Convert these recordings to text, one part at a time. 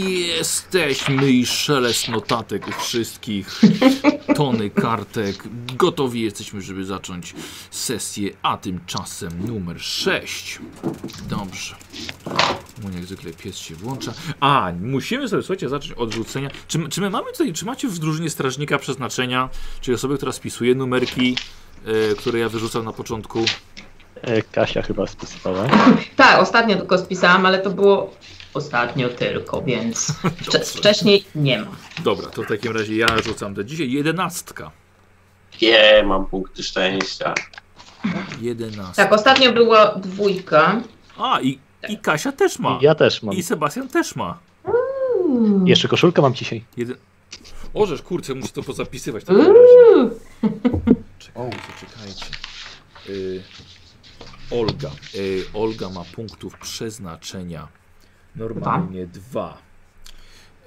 Jesteśmy i szelest notatek u wszystkich, tony kartek. Gotowi jesteśmy, żeby zacząć sesję, a tymczasem numer 6. Dobrze. Mu jak zwykle pies się włącza. A, musimy sobie, słuchajcie, zacząć od rzucenia. Czy, my- czy my mamy tutaj, czy macie w drużynie strażnika przeznaczenia, czyli osoby, która spisuje numerki, e, które ja wyrzucam na początku? E, Kasia chyba spisywała. Tak, ostatnio tylko spisałam, ale to było ostatnio tylko, więc wcze- wcześniej nie ma. Dobra, to w takim razie ja rzucam do dzisiaj. Jedenastka. Je, mam punkty szczęścia. Jedenastka. Tak, ostatnio była dwójka. A, i, i Kasia też ma. Ja też mam. I Sebastian też ma. Jeszcze koszulkę mam dzisiaj. Jeden... Orzesz, kurczę, muszę to pozapisywać. w takim razie. Czekajcie, czekajcie. Y... Olga. Y... Olga ma punktów przeznaczenia. Normalnie dwa.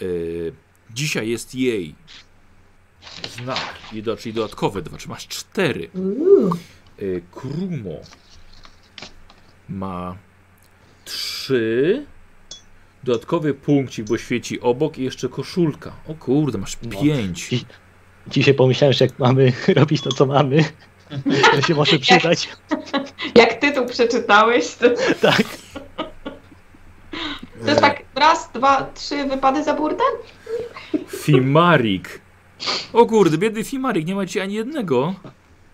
Y... Dzisiaj jest jej znak, i do- czyli dodatkowe dwa, czy masz cztery. Uuu. Y, Krumo ma trzy dodatkowy punkcik, bo świeci obok i jeszcze koszulka. O kurde, masz No. pięć. I- Dzisiaj pomyślałem, że jak mamy robić to, co mamy, to się może przydać. Jak tytuł przeczytałeś, to, Tak. to E, jest tak raz, dwa, trzy wypady za burtę? Fimarik. O kurde, biedny Fimarik, nie ma ci ani jednego.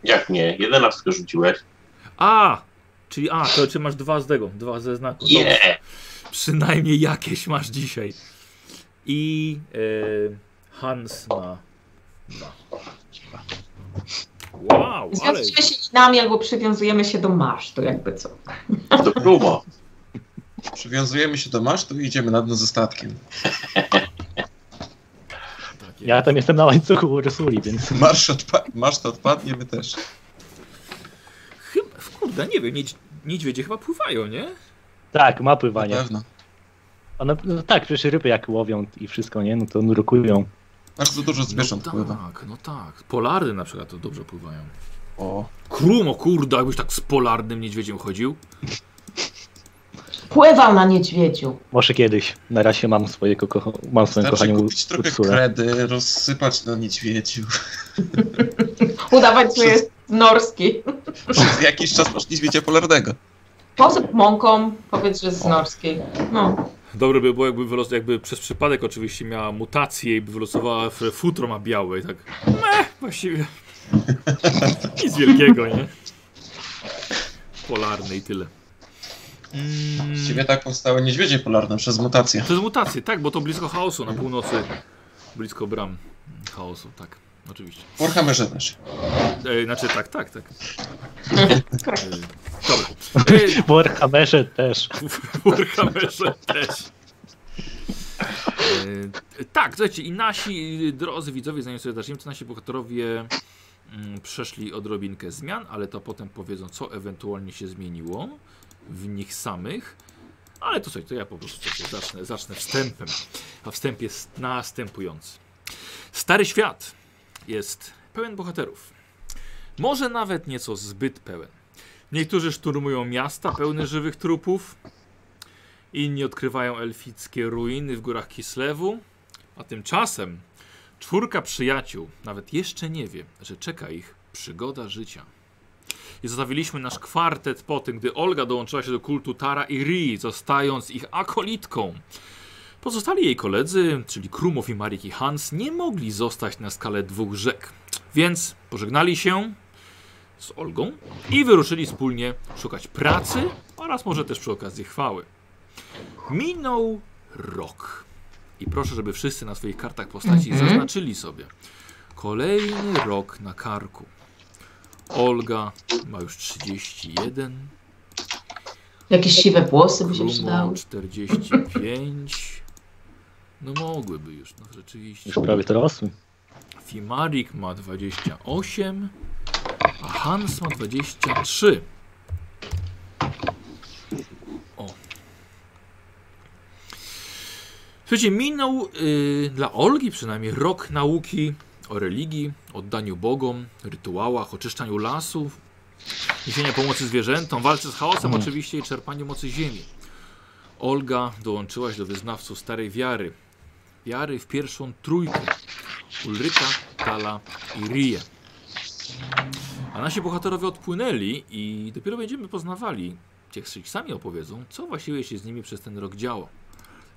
Jak nie? Jedenastkę rzuciłeś. A! Czyli a, to czy masz dwa z tego, dwa ze znaku. Je! Dobrze. Przynajmniej jakieś masz dzisiaj. I e, Hans ma dwa. Wow, ale... Związujemy się nami albo przywiązujemy się do masztu, jakby co. To Krumo. Przywiązujemy się do masztu i idziemy na dno ze statkiem. Takie. Ja tam jestem na łańcuchu u Rosuli, więc Marsz odpa- maszt odpadnie, my też. Chyba, w kurde, nie wiem, niedź, niedźwiedzie chyba pływają, nie? tak, ma Na pływanie. pewno. One, no tak, przecież ryby jak łowią i wszystko, nie? No to nurkują. Bardzo dużo zwierząt no pływa. tak, no tak. Polary na przykład to dobrze pływają. O, Krumo, kurde, jakbyś tak z polarnym niedźwiedziem chodził. Pływał na niedźwiedziu. Może kiedyś. Na razie mam swojego kocho mam swoją starczy kochaną kupić trochę Ursulę. kredy, rozsypać na niedźwiedziu. Udawać, że jest norski. Przez jakiś czas masz niedźwiedzia polarnego. Posyp mąką, powiedz, że z norskiej. No. Dobre by było, jakby, wylos, jakby przez przypadek oczywiście miała mutację i by wylosowała f- futro ma białe i tak. Meh, właściwie. Nic wielkiego, nie? Polarny i tyle. Z ciebie tak powstały niedźwiedzie polarne przez mutację. Przez mutację, tak, bo to blisko chaosu na północy. Blisko bram chaosu, tak. Oczywiście. Warhammerze też. E, znaczy tak, tak, tak. E, dobra. E, W Warhammerze też. w Warhammerze też. E, tak, słuchajcie, i nasi drodzy widzowie, zanim sobie zaczniemy, to nasi bohaterowie mm, przeszli odrobinkę zmian, ale to potem powiedzą, co ewentualnie się zmieniło w nich samych. Ale to słuchajcie, to ja po prostu sobie zacznę, zacznę wstępem. A wstęp jest następujący. Stary świat jest pełen bohaterów. Może nawet nieco zbyt pełen. Niektórzy szturmują miasta pełne żywych trupów. Inni odkrywają elfickie ruiny w górach Kislewu. A tymczasem czwórka przyjaciół nawet jeszcze nie wie, że czeka ich przygoda życia. I zostawiliśmy nasz kwartet po tym, gdy Olga dołączyła się do kultu Tara i Ri, zostając ich akolitką. Pozostali jej koledzy, czyli Krumow i Marik i Hans, nie mogli zostać na skalę dwóch rzek. Więc pożegnali się z Olgą i wyruszyli wspólnie szukać pracy oraz może też przy okazji chwały. Minął rok. I proszę, żeby wszyscy na swoich kartach postaci Mhm. zaznaczyli sobie. Kolejny rok na karku. Olga ma już 31, Jakieś siwe włosy by się Krumo przydały. 45. No mogłyby już, no rzeczywiście. Już prawie dorosły. Fimarik ma 28, a Hans ma 23. O. Słuchajcie, minął y, dla Olgi przynajmniej rok nauki o religii, oddaniu bogom, rytuałach, oczyszczaniu lasów, niesienia pomocy zwierzętom, walce z chaosem oczywiście i czerpaniu mocy ziemi. Olga, dołączyłaś do wyznawców starej wiary. Wiary w pierwszą trójkę. Ulryka, Kala i Rie. A nasi bohaterowie odpłynęli i dopiero będziemy poznawali, tych którzy sami opowiedzą, co właściwie się z nimi przez ten rok działo.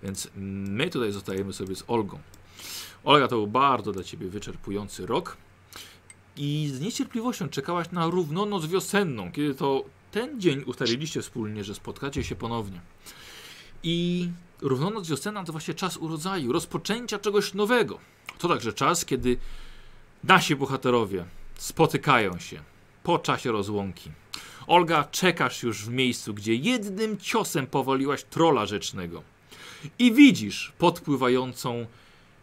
Więc my tutaj zostajemy sobie z Olgą. Olga, to był bardzo dla Ciebie wyczerpujący rok. I z niecierpliwością czekałaś na równonoc wiosenną, kiedy to ten dzień ustaliliście wspólnie, że spotkacie się ponownie. I równonoc wiosenna to właśnie czas urodzaju, rozpoczęcia czegoś nowego. To także czas, kiedy nasi bohaterowie spotykają się po czasie rozłąki. Olga, czekasz już w miejscu, gdzie jednym ciosem powaliłaś trola rzecznego. I widzisz podpływającą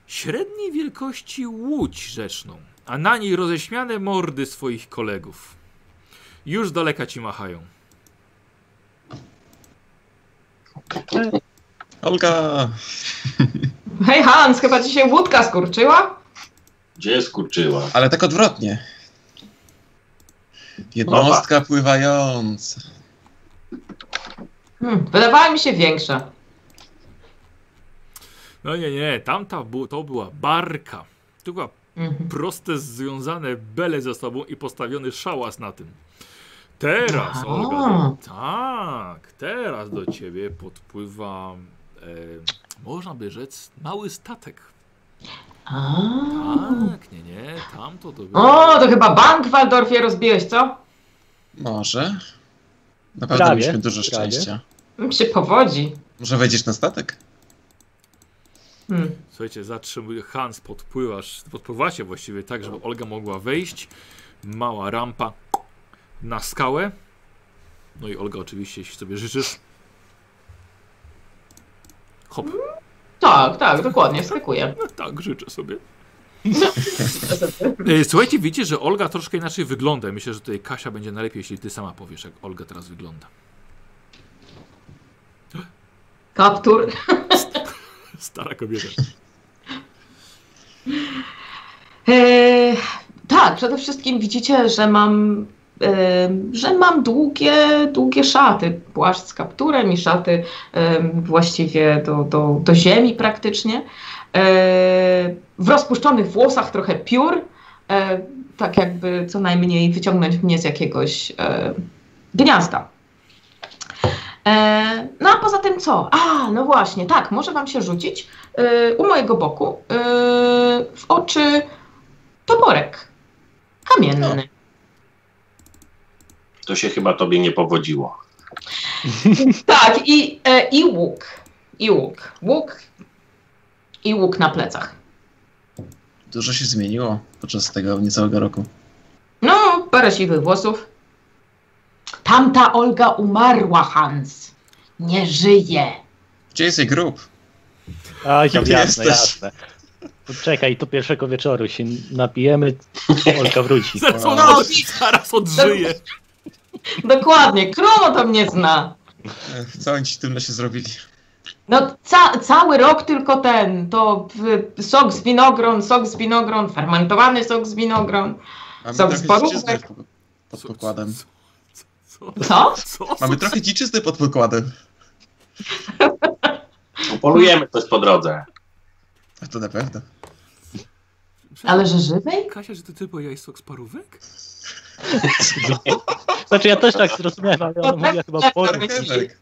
średniej wielkości łódź rzeczną, a na niej roześmiane mordy swoich kolegów. Już z daleka ci machają. Olga! Hej Hans, chyba ci się łódka skurczyła? Gdzie skurczyła? Ale tak odwrotnie. Jednostka pływająca. Hmm, wydawała mi się większa. No nie, nie, tamta bu- to była barka. To była Mhm. proste związane bele ze sobą i postawiony szałas na tym. Teraz, Aha. Olga, tak, teraz do ciebie podpływa, e, można by rzec, mały statek. A. Tak, nie, nie, tamto to było. O, to chyba bank w Waldorfie rozbiłeś, co? Może. Naprawdę Prawie, mieliśmy dużo prawie. szczęścia. Mi się powodzi. Może wejdziesz na statek? Hmm. Słuchajcie, zatrzymuj, Hans, podpływasz, podpływacie właściwie tak, żeby Olga mogła wejść. Mała rampa na skałę. No i Olga oczywiście, jeśli sobie życzysz. Hop, Tak, tak, dokładnie, wskakuję. no tak, życzę sobie. E, Słuchajcie, widzicie, że Olga troszkę inaczej wygląda. Myślę, że tutaj Kasia będzie najlepiej, jeśli ty sama powiesz, jak Olga teraz wygląda. Kaptur. Stara kobieta. E, tak, przede wszystkim widzicie, że mam, e, że mam długie, długie szaty. Płaszcz z kapturem i szaty e, właściwie do, do, do ziemi praktycznie. E, w rozpuszczonych włosach trochę piór. E, tak jakby co najmniej wyciągnąć mnie z jakiegoś e, gniazda. E, no a poza tym co? A, no właśnie, tak, może wam się rzucić e, u mojego boku e, w oczy toporek kamienny. To się chyba tobie nie powodziło. Tak, i, e, i łuk. I łuk. Łuk i łuk na plecach. Dużo się zmieniło podczas tego niecałego roku. No, parę siwych włosów. Tamta Olga umarła, Hans. Nie żyje. Gdzie jest jej grób? A, Kim ty jasne, jesteś? no jasne. To czekaj, to pierwszego wieczoru się napijemy, Olka wróci. Zaraz, on, No, zaraz odżyje. Dokładnie, królo to mnie zna. Ech, Co oni E, ci tym się zrobili? No, ca cały rok tylko ten. To y, sok z winogron, sok z winogron, fermentowany sok z winogron. Mamy Są trochę sporówek. dziczyzny po- pod pokładem. Co? co- co- Co? Co? Mamy trochę dziczyzny pod pokładem. Upolujemy coś po drodze. A to na pewno. Ale że żywej? Kasia, że ty ty powiedziałeś sok z parówek? Znaczy ja też tak zrozumiałem, ale ona mówiła chyba po Tak, Marchewek.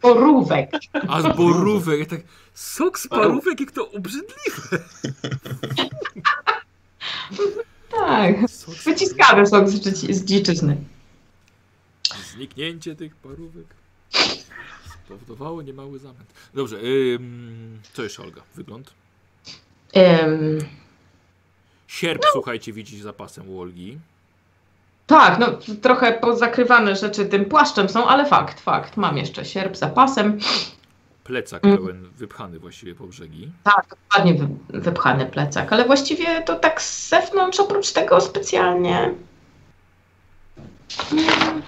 Porówek. A z borówek. Ja tak, sok z parówek, jak to obrzydliwe. Tak. Sok z Wyciskane są z, dzieci- z dziczyzny. parówek. Zniknięcie tych parówek spowodowało niemały zamęt. Dobrze, ym, co jeszcze Olga? Wygląd? Em, No. Sierp, słuchajcie, widzisz zapasem u Olgi. tak, no trochę pozakrywane rzeczy tym płaszczem są, ale fakt, fakt. Mam jeszcze sierp za pasem. Plecak Mm. pełen, wypchany właściwie po brzegi. Tak, ładnie wy, wypchany plecak, ale właściwie to tak z zewnątrz oprócz tego specjalnie. Mm,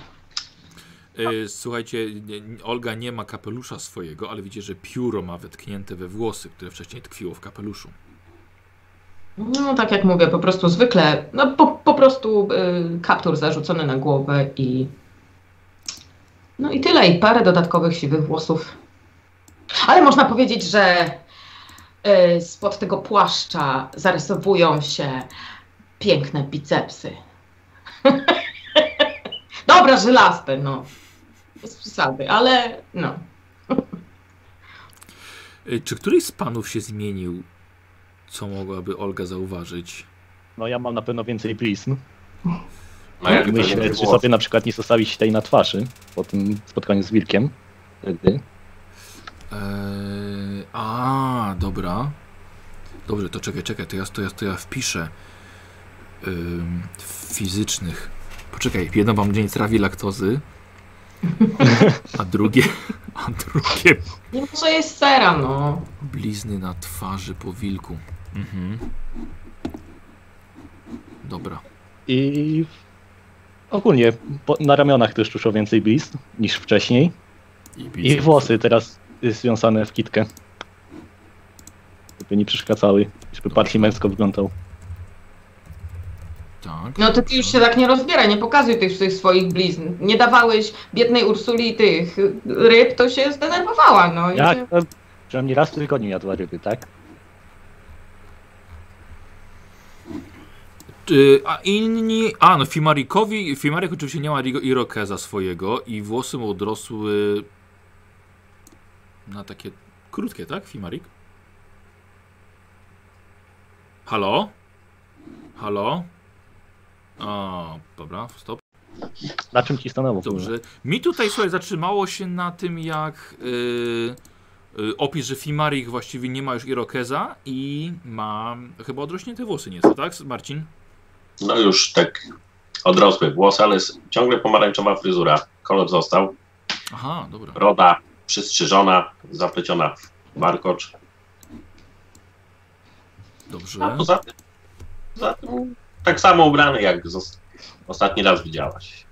Y, słuchajcie, nie, nie- Olga nie ma kapelusza swojego, ale widzicie, że pióro ma wetknięte we włosy, które wcześniej tkwiło w kapeluszu. No tak jak mówię, po prostu zwykle, no po, po prostu y, kaptur zarzucony na głowę i no i tyle, i parę dodatkowych siwych włosów. Ale można powiedzieć, że y, spod tego płaszcza zarysowują się piękne bicepsy. Dobra, żelaste, no. Bez przesady, ale no. Y, Czy któryś z panów się zmienił, co mogłaby Olga zauważyć? No ja mam na pewno więcej blizn. No jak to Myślę, nie czy było? sobie na przykład nie zostawić tej na twarzy po tym spotkaniu z Wilkiem. Wtedy. Eee, E, a, dobra. Dobrze, to czekaj, czekaj, to ja, to ja, to ja wpiszę. Ym, fizycznych. Poczekaj, jedno mam dzień trawi laktozy, a drugie, a drugie Nie może jest sera, no. blizny na twarzy po wilku. Mhm. Dobra. I ogólnie po, na ramionach też dużo więcej blizn niż wcześniej. I włosy teraz y, związane w kitkę. Żeby nie przeszkadzały, żeby bardziej męsko wyglądał. Tak. No to ty już się tak nie rozbieraj, nie pokazuj tych, tych swoich blizn. Nie dawałeś biednej Ursuli tych ryb, to się zdenerwowała, no. I Jak? się- No, Przynajmniej raz w tygodniu jadła ryby, tak? Czy- A inni. A, no Fimarikowi. Fimarik oczywiście nie ma Rigo Irokeza swojego i włosy mu odrosły na takie krótkie, tak? Fimarik? Halo? Halo? A, dobra, stop. Na czym ci stanęło? w ogóle? Dobrze. Mi tutaj, słuchaj, zatrzymało się na tym, jak yy, yy, opis, że Fimarik właściwie nie ma już Irokeza i ma chyba odrośnięte włosy nieco, tak, Marcin? No już tak odrosły włosy, ale s- ciągle pomarańczowa fryzura. Kolor został, Aha, dobra. roda przystrzyżona, zapleciona w warkocz. A No, Dobrze. poza tym, poza tym tak samo ubrany, jak zos- ostatni raz widziałaś.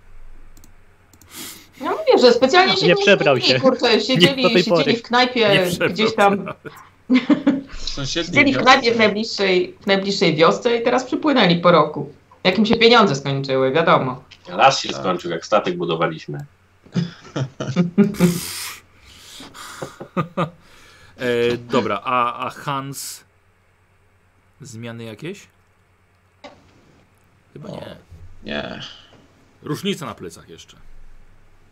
Ja mówię, że specjalnie się Nie przebrał zmienili, się. Kurczę, siedzieli, do tej pory. siedzieli w knajpie Nie gdzieś tam. Sąsiedni Siedzieli w knajpie w najbliższej, w najbliższej wiosce i teraz przypłynęli po roku. Jak im się pieniądze skończyły, wiadomo. Raz się Tak. skończył, jak statek budowaliśmy. E, dobra, a, a Hans. Zmiany jakieś? Chyba nie. Nie. Różnica na plecach jeszcze.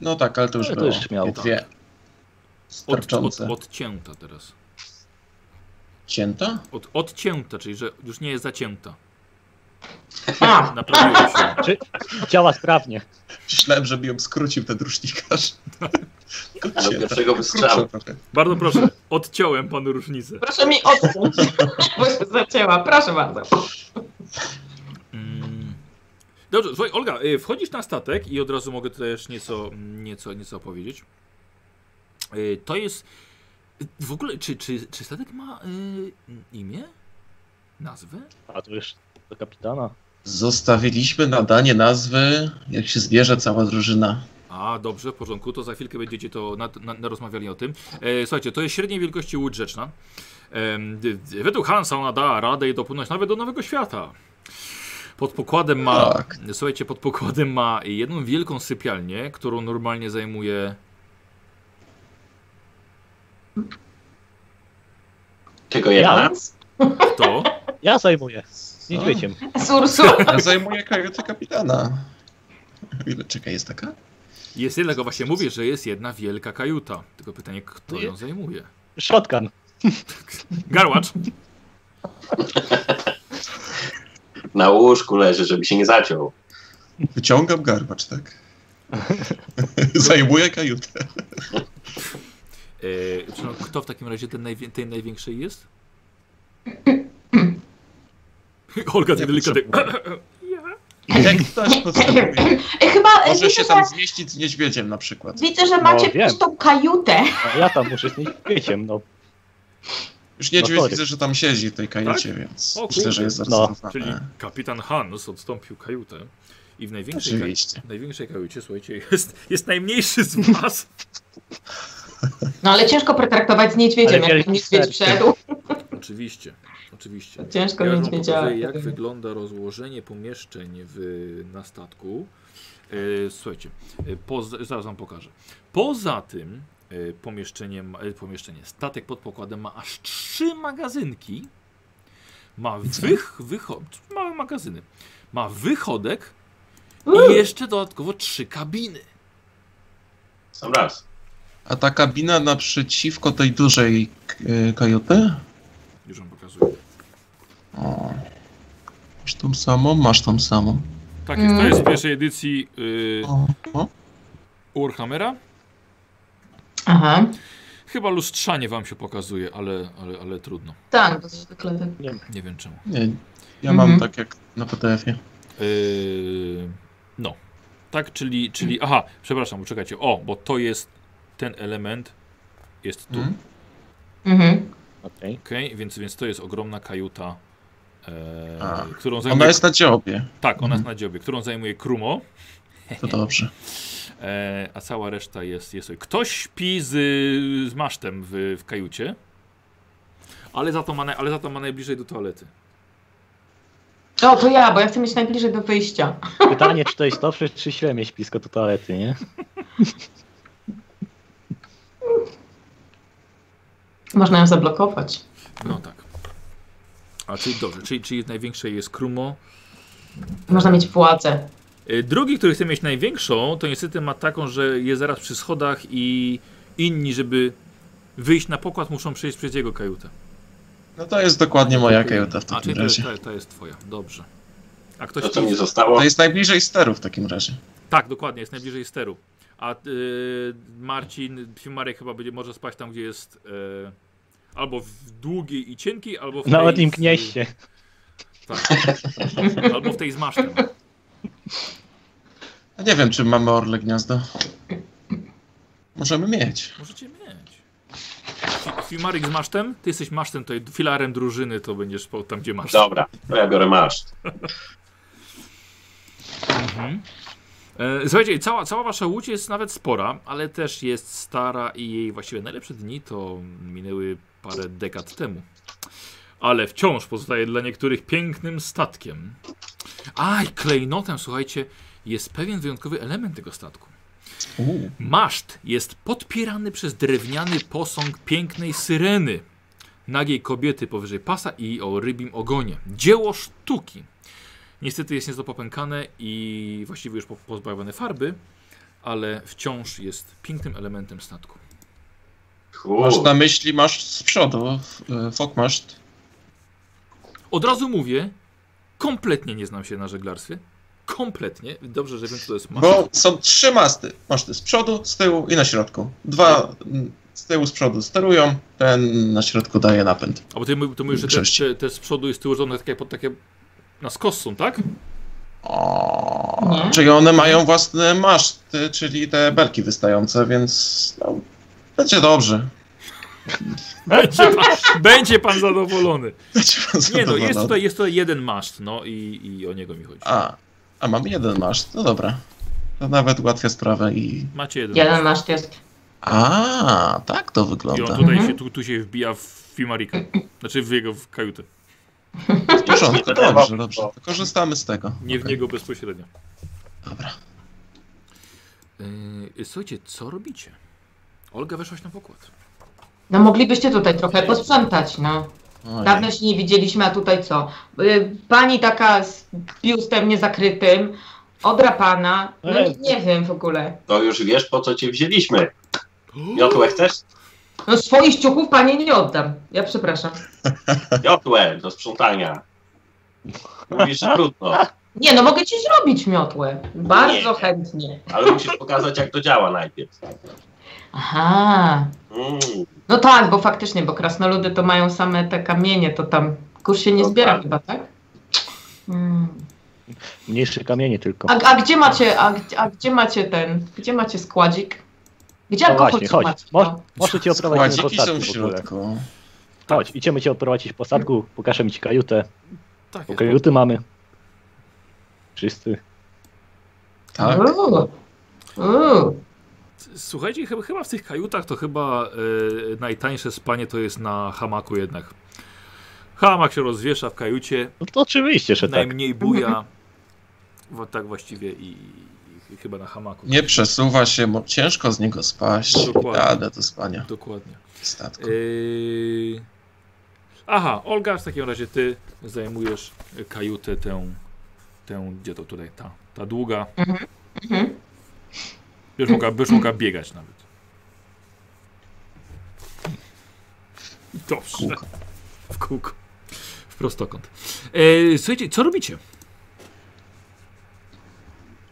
No tak, ale to już Ale to było. już miało, Te Dwie. Od, od, Starczące. odcięta teraz. Cięta? Od, odcięta, czyli że już nie jest zacięta. A, Naprawiło się. Czy działa sprawnie? Myślałem, żeby ją skrócił ten rusznikarz. Do pierwszego wystrzału. Bardzo proszę, odciąłem panu różnicę. proszę mi odciąć, bo się zacięła. Proszę bardzo. Mm. Dobrze, słuchaj, Olga, y, wchodzisz na statek i od razu mogę też nieco, nieco, nieco opowiedzieć. Y, To jest. W ogóle, czy, czy, czy statek ma y, imię? Nazwę? A to już do kapitana. Zostawiliśmy nadanie nazwy, jak się zbierze cała drużyna. A, dobrze, w porządku, to za chwilkę będziecie to nad, nad, rozmawiali o tym. E, słuchajcie, to jest średniej wielkości łódź rzeczna. Em, d- d- według Hansa ona da radę jej dopłynąć nawet do Nowego Świata. Pod pokładem ma, Tak. słuchajcie, pod pokładem ma jedną wielką sypialnię, którą normalnie zajmuje Tylko jedna. kto? Ja zajmuję. Z Co? niedźwiedziem. Z Ursu. Ja zajmuję kajutę kapitana. Ile czekaj, jest taka? Jest jednego, właśnie mówię, że jest jedna wielka kajuta. Tylko pytanie, kto ją zajmuje? Shotgun. Garłacz! Na łóżku leży, żeby się nie zaciął. Wyciągam garbacz, tak? Zajmuję kajutę. E, czy no, kto w takim razie ten najwie, tej największej jest? Olga, ty Nie delikatnie. Jak ktoś potrzebuje. E, Chyba e, Może widzę, się że, tam zmieścić z niedźwiedziem na przykład. widzę, że No, macie wiem. tą kajutę. A ja tam muszę z niedźwiedziem, no. Już No niedźwiedź sorry. widzę, że tam siedzi w tej kajucie, więc Tak? O kurde. myślę, że jest No. Czyli zarezerwowane. kapitan Hans odstąpił kajutę i w największej, kaj- Oczywiście. w największej kajucie, słuchajcie, jest, jest najmniejszy z was. No ale ciężko pretraktować z niedźwiedziem, Ale jak wielki ten niedźwiedź serce. wszedł. Oczywiście, oczywiście. Ciężko Ja już wam niedźwiedzia. pokazuję, jak wygląda rozłożenie pomieszczeń w, na statku. E, Słuchajcie, e, poza, zaraz wam pokażę. Poza tym Y, Pomieszczenie, ma- y, pomieszczenie, statek pod pokładem ma aż trzy magazynki. Ma wych, wychod, małe magazyny. Ma wychodek i jeszcze dodatkowo trzy kabiny. Sam raz. A ta kabina naprzeciwko tej dużej y, kajuty? Już wam pokazuję. O. Masz tą samą? Masz tą samą. Tak jest, to jest z pierwszej edycji y, O. O. Warhammera. Aha. Chyba lustrzanie wam się pokazuje, ale, ale, ale trudno. Tak, to zwykle tak. Nie wiem czemu. Nie, ja Mhm. mam tak jak na PDF-ie. Yy, no. Tak, czyli, czyli. Aha, przepraszam, czekajcie. O, bo to jest ten element. Jest tu. Mhm. Mhm. Okej. Okej, więc, więc to jest ogromna kajuta, A. e, którą zajmuje. Ona jest Mhm. na dziobie. Tak, ona jest na dziobie, którą zajmuje Krumo, To dobrze. e, a cała reszta jest. jest... Ktoś śpi z, z masztem w, w kajucie, ale za, to ma naj... ale za to ma najbliżej do toalety. O, to ja, bo ja chcę mieć najbliżej do wyjścia. Pytanie, czy to jest dobrze, czy źle mieć blisko do toalety, nie? Można ją zablokować. No tak. A czyli dobrze, czyli, czyli największe jest Krumo. Można mieć władzę. Y, Drugi, który chce mieć największą, to niestety ma taką, że jest zaraz przy schodach i inni, żeby wyjść na pokład, muszą przejść przez jego kajutę. No to jest dokładnie moja kajuta w A, czyli takim to jest, razie. to, to jest twoja, dobrze. A ktoś To, co ci- mi zostało, To jest najbliżej steru w takim razie. Tak, dokładnie, jest najbliżej steru. A y, Marcin, Fimarek chyba będzie może spać tam, gdzie jest y, albo w długiej i cienkiej, albo w Nawet tej im z- gnieście. Tak. Albo w tej z masztem. Ja nie wiem, czy mamy orle gniazdo. Możemy mieć. Możecie mieć. Fi- Fimarek z masztem? Ty jesteś masztem, tutaj filarem drużyny, to będziesz po- tam, gdzie masz. Dobra, to ja biorę maszt. Mhm. E, Słuchajcie, cała, cała wasza łódź jest nawet spora, ale też jest stara i jej właściwie najlepsze dni to minęły parę dekad temu. Ale wciąż pozostaje dla niektórych pięknym statkiem. Aj, klejnotem, słuchajcie, jest pewien wyjątkowy element tego statku. Uuu. Maszt jest podpierany przez drewniany posąg pięknej syreny, nagiej kobiety powyżej pasa i o rybim ogonie. Dzieło sztuki. Niestety jest nieco popękane i właściwie już po- pozbawione farby, ale wciąż jest pięknym elementem statku. Masz Kurde. na myśli, masz z przodu, y, fokmaszt. Od razu mówię, kompletnie nie znam się na żeglarstwie. Kompletnie. Dobrze, że wiem, co to jest maszt. Bo są trzy masty. Maszty z przodu, z tyłu i na środku. Dwa mm, z tyłu, z przodu sterują, ten na środku daje napęd. A bo ty mu- to mówisz, że te, Cześć. te, te z przodu i z tyłu, że one takie, pod takie na skos są, tak? O, Nie? Czyli one mają własne maszty, czyli te belki wystające, więc no, będzie dobrze. Będzie pan, będzie pan zadowolony. Będzie pan Nie no, zadowolony. jest tutaj, jest tutaj jeden maszt, no i, i o niego mi chodzi. A, a mam jeden maszt, no dobra. To nawet ułatwia sprawę i... Macie jeden, Jeden maszt. nasz jest. A, tak to I wygląda. on tutaj Mhm. się, tu, tu się wbija w Fimarika. Znaczy w jego w kajutę. W porządku, dobrze, dobrze. To korzystamy z tego. Nie w Okej. niego bezpośrednio. Dobra. Yy, słuchajcie, co robicie? Olga weszłaś na pokład. No moglibyście tutaj trochę posprzątać, no. Ojej. Dawno się nie widzieliśmy, a tutaj co? Y, Pani taka z biustem niezakrytym, odrapana, no nie, nie wiem w ogóle. To już wiesz, po co cię wzięliśmy. Miotłę chcesz? No swoich ciuchów pani nie oddam. Ja przepraszam. Miotłę do sprzątania. Mówisz że trudno, Nie, no mogę ci zrobić miotłę. Bardzo Nie. chętnie. ale musisz pokazać, jak to działa najpierw. Aha. Mm, No tak, bo faktycznie, bo krasnoludy to mają same te kamienie, to tam kurz się nie No zbiera tak. chyba, tak? Hmm. Mm. Mniejsze kamienie tylko. A, a gdzie macie, a, gdzie- a gdzie macie ten, gdzie macie składzik? Gdzie No alkohol właśnie, no chodź. macie? Może, No. może cię oprowadzić po Składziki są w statku w ogóle. środku. Chodź, idziemy cię oprowadzić po statku, pokażemy ci kajutę. Tak, Bo jest. kajuty mamy. Wszyscy. Tak. Uuu. Uuu. Słuchajcie, chyba, chyba w tych kajutach to chyba yy, najtańsze spanie to jest na hamaku jednak. Hamak się rozwiesza w kajucie, No to oczywiście, że tak. najmniej buja. Wo- tak właściwie i, i chyba na hamaku. Nie przesuwa się, bo ciężko z niego spaść. Dokładnie. Y, Radę do spania Dokładnie. w statku. Yy... Aha, Olga, w takim razie ty zajmujesz kajutę tę, tę gdzie to tutaj, ta, ta długa. Mhm. Już mogła, już mogła biegać nawet. Dobrze. Kółko. W kółko. W prostokąt. Yy, słuchajcie, co robicie?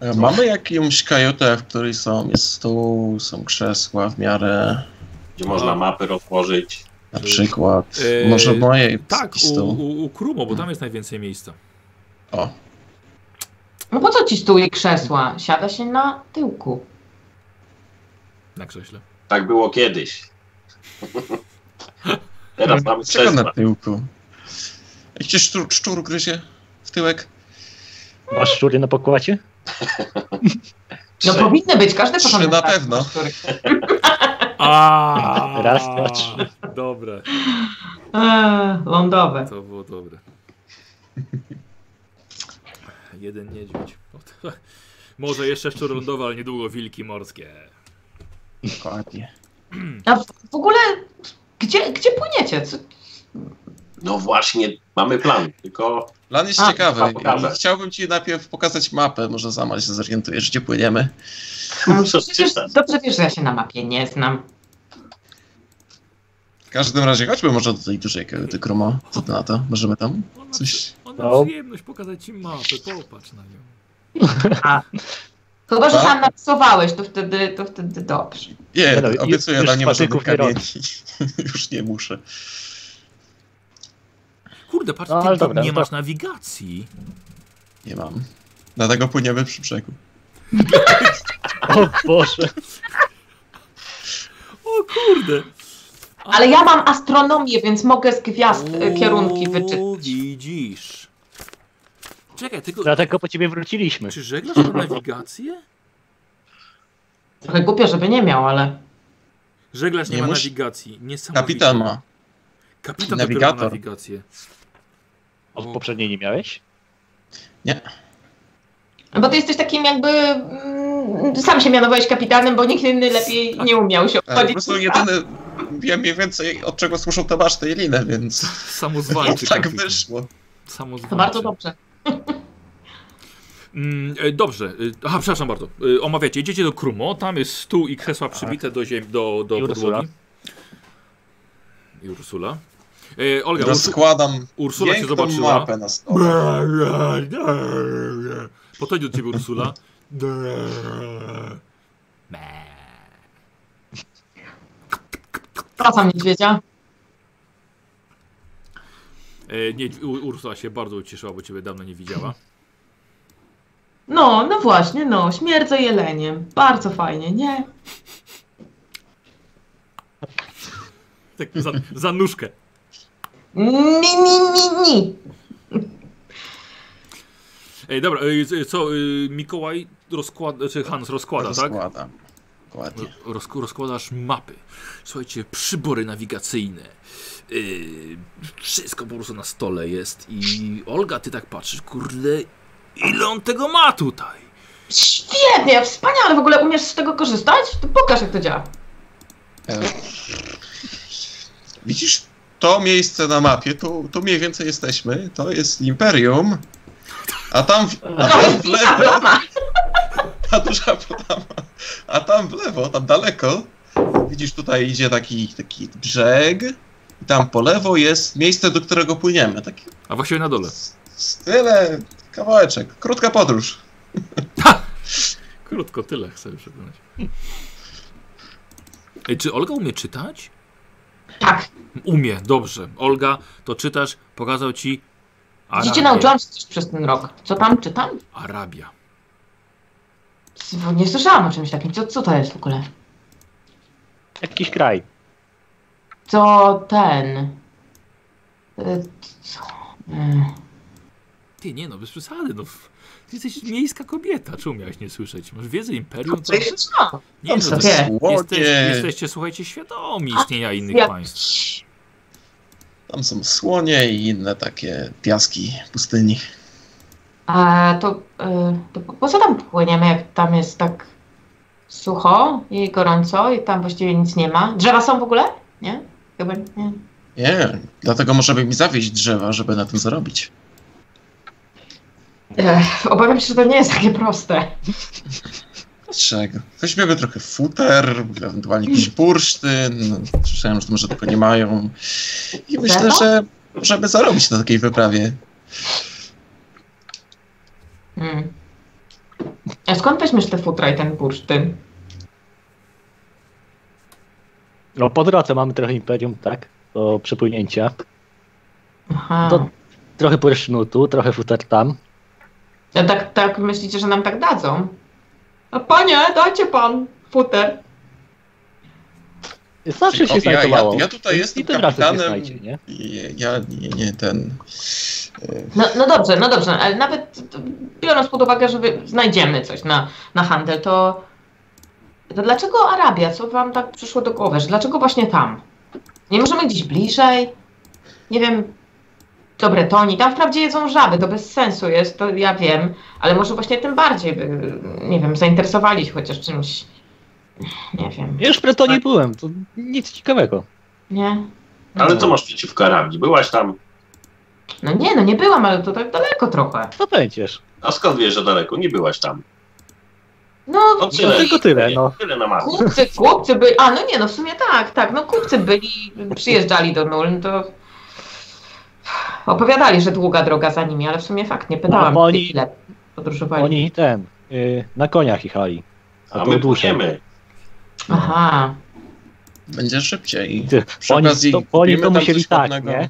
E, Mamy jakąś kajutę, w której są, jest stół, są krzesła w miarę, Gdzie można mapy rozłożyć. na E, przykład. e, Może w mojej Tak, taki u, stół. u, u Krumo, Mhm. bo tam jest najwięcej miejsca. O, No po co ci stół i krzesła? Siada się na tyłku. Na krześle. Tak było kiedyś. Teraz mamy czego na krzesła. tyłku? Jak cię szczur, szczur gryzie w tyłek? Masz szczury na pokładzie? No Trzy. powinny być, każdy Trzy porządek na pracy pewno. ma cztery. A, Raz, dwa, trzy. Dobre, Eee, lądowe. to było dobre. Jeden niedźwiedź. O, to- Może jeszcze szczur lądowy, ale niedługo wilki morskie. Dokładnie. A w, w ogóle, gdzie, gdzie płyniecie? Co, No właśnie, mamy plan, tylko Plan jest A, ciekawy. pokażę. Chciałbym ci najpierw pokazać mapę, może sama się zorientujesz, gdzie płyniemy. no, Co przecież czytasz? dobrze wiesz, że ja się na mapie nie znam. W każdym razie chodźmy może do tej dużej kajuty Kroma. Co ty na to? Możemy tam On ma, coś... on ma No. przyjemność pokazać ci mapę, popatrz na nią. Chyba, że Tak? sam narysowałeś, to wtedy, to wtedy dobrze. Nie, Nie no, obiecuję, już na nie ma żadnych spatyków nie robię. kamieni. Już nie muszę. Kurde, patrz, No, ty, ale ty dobra, nie no masz nawigacji. Nie mam. Dlatego płyniemy przy brzegu. O Boże. O kurde. Ale ja mam astronomię, więc mogę z gwiazd e, kierunki O, wyczytać. widzisz. Czekaj, tylko... Dlatego po ciebie wróciliśmy. Czy żeglarz ma nawigację? Trochę głupio, żeby nie miał, ale... Żeglarz nie, Nie ma musi- nawigacji. Niesamowite. Kapitan ma. Kapitan Nawigator. dopiero ma nawigację. Od poprzedniej nie miałeś? No Bo ty jesteś takim jakby... mm, Sam się mianowałeś kapitanem, bo nikt inny lepiej nie umiał się Ale E, po obchodzić. prostu jedyny... Ja mniej więcej od czego słyszą te maszty i linę, więc... Samozwańczy tak kapitan. wyszło. Samozwańczy. To bardzo dobrze. Mm, e, dobrze. E, Aha, przepraszam bardzo. E, Omawiacie. Idziecie do Krumo. Tam jest stół i krzesła przybite do ziemi, do, do I Ursula. podłogi. I Ursula. E, Olga, Ursu... Rozkładam Ursula cię piękną zobaczyła. mapę na stole. Podchodzi do ciebie Ursula. Wracam niedźwiedzia. E, nie, U- Ursula się bardzo ucieszyła, bo ciebie dawno nie widziała. No, no właśnie, no. Śmierdzę jeleniem. Bardzo fajnie, nie? Tak za, za nóżkę. Ni, ni, ni, ni. Ej, E, dobra, ej, c- co, y, Mikołaj rozkłada, czy Hans rozkłada, tak? Rozkładam. Dokładnie. Roz, rozkładasz mapy. Słuchajcie, przybory nawigacyjne. Y, wszystko po prostu na stole jest i Olga, ty tak patrzysz, kurde, ile on tego ma tutaj? Świetnie, wspaniale. W ogóle umiesz z tego korzystać? To pokaż, jak to działa. E, Widzisz to miejsce na mapie, tu, tu mniej więcej jesteśmy, to jest Imperium, a tam w, a To tam jest w wielka lewo, brama. ta duża brama, a tam w lewo, tam daleko, widzisz tutaj idzie taki, taki brzeg i tam po lewo jest miejsce, do którego płyniemy, taki A właściwie na dole. s- s- tyle, kawałeczek, krótka podróż. Krótko, tyle chcę przekonać. Ej, czy Olga umie czytać? Tak. Umie, dobrze. Olga, to czytasz, pokazał ci Dzieci Arabię. nauczyłam się coś przez ten rok. Co tam czytam? Arabia. Bo Nie słyszałam o czymś takim. Co, co to jest w ogóle? Jakiś kraj. Co ten? Y, Co? Y, Ty, nie no, bez przesady, no. Ty jesteś miejska kobieta, czemu miałeś nie słyszeć? Masz wiedzę imperium? To... Co ja słyszałam? Nie no, Tam to są jest- jesteś, słonie, jesteście, słuchajcie, świadomi istnienia innych Ja- państw. tam są słonie i inne takie piaski pustyni. A to, e, to po- po co tam płyniemy, jak tam jest tak sucho i gorąco i tam właściwie nic nie ma? Drzewa są w ogóle? Nie? Chyba nie. Nie, dlatego możemy mi zawieźć drzewa, żeby na tym zarobić. Ech, obawiam się, że to nie jest takie proste. Dlaczego? Weźmiemy trochę futer, ewentualnie jakiś bursztyn. Słyszałem, że to może tego nie mają. I myślę, Drzewo? że możemy zarobić na takiej wyprawie. Hmm. A skąd weźmiesz te futra i ten bursztyn? No po drodze mamy trochę imperium, tak? Do przepłynięcia. Aha. To- Trochę bursztynu tu, trochę futer tam. A tak, tak myślicie, że nam tak dadzą? A panie, dajcie pan futer. Zawsze się O, ja- ja- znajdowało. ja tutaj jestem I tym razem się kapitanem. znajdzie, nie? I Ja nie, nie ten. No, no dobrze, no dobrze, ale nawet to, biorąc pod uwagę, że wy znajdziemy coś na, na handel, to, to dlaczego Arabia? Co wam tak przyszło do głowy? Że dlaczego właśnie tam? Nie możemy gdzieś bliżej? Nie wiem, do Bretonii. Tam wprawdzie jedzą żaby, to bez sensu jest, to ja wiem, ale może właśnie tym bardziej by, nie wiem, zainteresowali się chociaż czymś, nie wiem, Ja już w Tak. Bretonii byłem, to nic ciekawego. nie? Ale co masz przeciwko Arabii? Byłaś tam. No nie, no nie byłam, ale to tak daleko trochę. To będziesz. A skąd wiesz, że daleko? Nie byłaś tam. No, No No tyle. tylko tyle, no. Tyle na masę. kupcy, kupcy byli, a no nie, no w sumie tak, tak, no kupcy byli, przyjeżdżali do Nuln, to opowiadali, że długa droga za nimi, ale w sumie fakt, nie pytałam, No, bo oni- ile podróżowali. Oni ten, y, na koniach jechali. A to my dłużej. płyniemy. Aha, Będzie szybciej. Ty, Przy Oni okazji to, oni kupimy to tam musieli coś tak, ładnego. nie?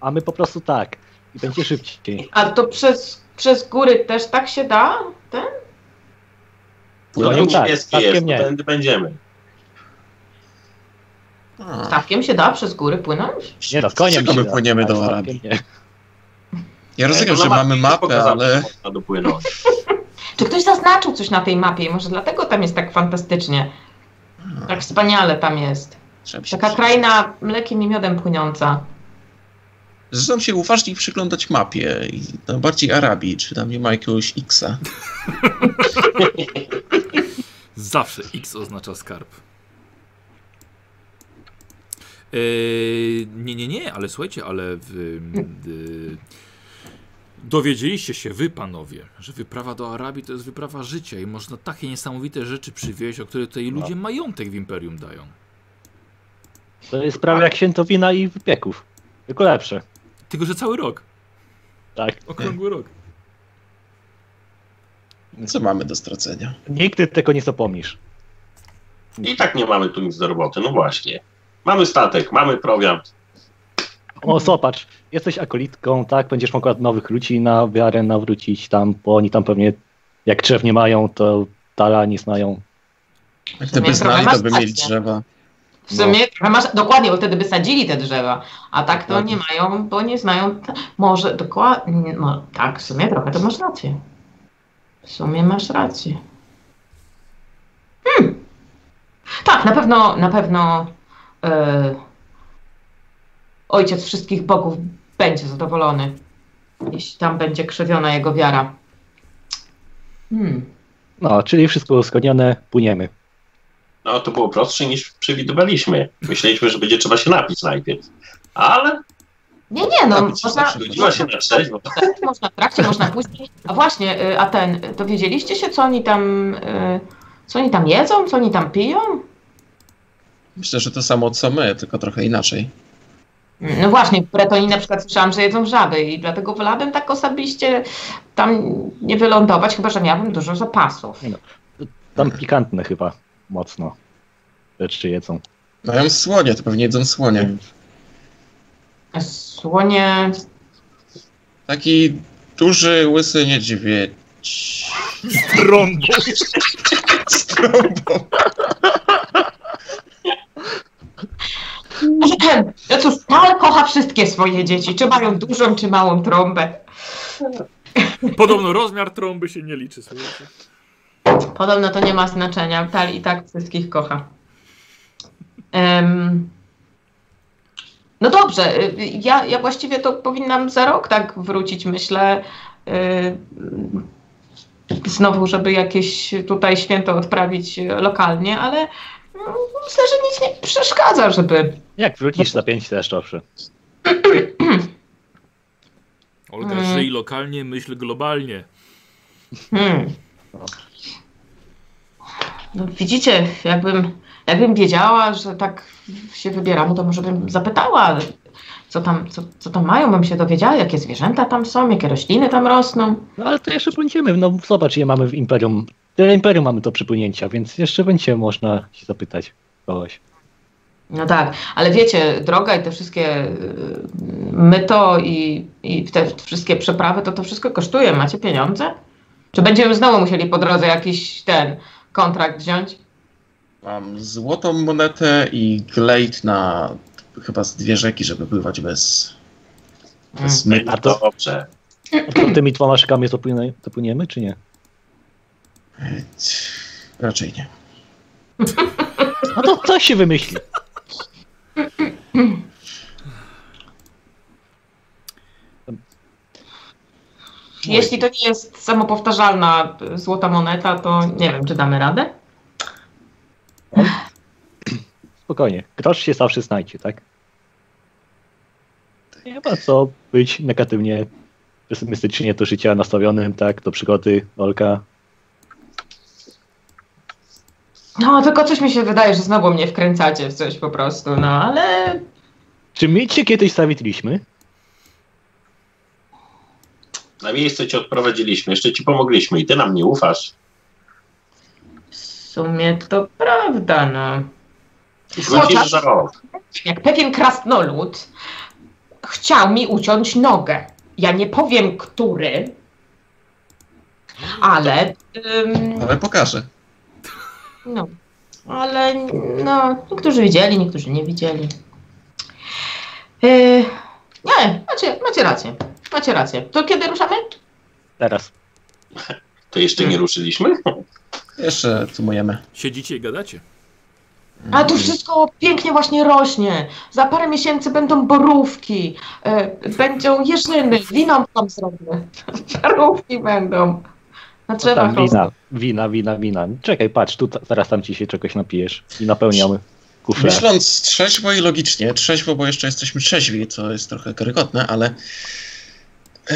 A my po prostu tak. I będzie szybciej. a to przez, przez góry też tak się da? Ten? To No no, tak, niebieskie statkiem jest, to nie. tędy będziemy. A, Statkiem się da przez góry płynąć? Nie no, Z koniem czego się my płyniemy tak, do tak, Arabii? nie. Ja rozumiem, To No że na mamy mapie mapę, pokazane, ale że Można dopłynąć. Czy ktoś zaznaczył coś na tej mapie i może dlatego tam jest tak fantastycznie, tak wspaniale tam jest. trzeba się Taka przy- kraina mlekiem i miodem płynąca. Zaczynam się uważnie przyglądać mapie i no, bardziej Arabii, czy tam nie ma jakiegoś X-a. Zawsze X oznacza skarb. Eee, nie, nie, nie, ale słuchajcie, ale w, y, dowiedzieliście się wy, panowie, że wyprawa do Arabii to jest wyprawa życia i można takie niesamowite rzeczy przywieźć, o które tutaj No. ludzie majątek w Imperium dają. To jest prawie jak świętowina i wypieków. Tylko lepsze. Tylko, że cały rok, Tak. okrągły rok. Co mamy do stracenia? Nigdy tego nie zapomnisz. I tak nie mamy tu nic do roboty, no właśnie. Mamy statek, mamy program. O, zobacz, jesteś akolitką, tak? Będziesz mogła nowych ludzi na wiarę nawrócić tam, bo oni tam pewnie jak drzew nie mają, to dala nie znają. Gdyby trochę znali, masz to by mieli rację. drzewa. W sumie trochę masz, dokładnie, bo wtedy by sadzili te drzewa, a tak to nie mają, bo nie znają, t- może dokładnie, no tak, w sumie trochę to masz rację. W sumie masz rację. Hmm. Tak, na pewno, na pewno e, ojciec wszystkich bogów będzie zadowolony, jeśli tam będzie krzywiona jego wiara. Hmm. No, czyli wszystko uzgodnione, płyniemy. No to było prostsze niż przewidywaliśmy. Myśleliśmy, że będzie trzeba się napić najpierw. Ale Nie, nie, no, Napić się można, zawsze zgodziła się na trzeźwo. przed, można w trakcie, można później. A właśnie, y, a ten, y, to wiedzieliście się, co oni tam, y, co oni tam jedzą, co oni tam piją? Myślę, że to samo co my, tylko trochę inaczej. No właśnie, w Bretonii na przykład słyszałam, że jedzą żaby i dlatego wolałabym tak osobiście tam nie wylądować, chyba że miałabym dużo zapasów. Tam pikantne chyba mocno rzeczy jedzą. Mają No słonie, to pewnie jedzą słonie. Słonie, Taki duży, łysy niedźwiedź. Trąbo! Z trąbą. no cóż, Tal kocha wszystkie swoje dzieci, czy mają dużą, czy małą trąbę. Podobno rozmiar trąby się nie liczy, słuchajcie. Podobno to nie ma znaczenia. Tal i tak wszystkich kocha. Em, no dobrze, y, ja, ja właściwie to powinnam za rok tak wrócić, myślę. y, znowu, żeby jakieś tutaj święto odprawić y, lokalnie, ale y, myślę, że nic nie przeszkadza, żeby Jak wrócisz za pięć też, dobrze. Olga, Mm. żyj lokalnie, myśl globalnie. Hmm. No, widzicie, jakbym, jakbym wiedziała, że tak się wybieram, to może bym zapytała, co tam, co, co tam mają, bym się dowiedziała, jakie zwierzęta tam są, jakie rośliny tam rosną. No ale to jeszcze będziemy, no zobacz, je mamy w Imperium. Tyle Imperium mamy do przypłynięcia, więc jeszcze będzie można się zapytać kogoś. No tak, ale wiecie, droga i te wszystkie y, myto i, i te wszystkie przeprawy, to to wszystko kosztuje. Macie pieniądze? Czy będziemy znowu musieli po drodze jakiś ten kontrakt wziąć? Mam złotą monetę i glejt na chyba z dwie rzeki, żeby pływać bez, Hmm. bez myta. Mm. A to- No, Dobrze. A to tymi dwoma szykami dopłynie- dopłyniemy, czy nie? Raczej nie. No to coś się wymyśli. Jeśli to nie jest samopowtarzalna y, złota moneta, to nie wiem, czy damy radę. Spokojnie, grosz się zawsze znajdzie, tak? Nie ma co być negatywnie, pesymistycznie do życia nastawionym, tak? Do przygody, Olka. No, tylko coś mi się wydaje, że znowu mnie wkręcacie w coś po prostu, no ale Czy my cię kiedyś zawitliśmy? Na miejsce cię odprowadziliśmy, jeszcze ci pomogliśmy i ty nam nie ufasz. w sumie to prawda, no. Zgodzisz za rok. Jak pewien krasnolud chciał mi uciąć nogę. Ja nie powiem, który, ale... Ym, Ale pokażę. No, ale no, niektórzy widzieli, niektórzy nie widzieli. Yy, nie, macie, macie rację. Macie rację. To kiedy ruszamy? Teraz. To jeszcze Hmm. nie ruszyliśmy? Jeszcze sumujemy. Siedzicie i gadacie. A Mhm. tu wszystko pięknie właśnie rośnie. Za parę miesięcy będą borówki, yy, będą jeżyny, winą tam zrobię. Borówki będą. Na Tam drzewach rosną. wina, wina, wina, wina. Czekaj, patrz, tu ta- zaraz tam ci się czegoś napijesz i napełniamy kufle. Myśląc trzeźwo i logicznie, trzeźwo, bo jeszcze jesteśmy trzeźwi, co jest trochę karygodne, ale e,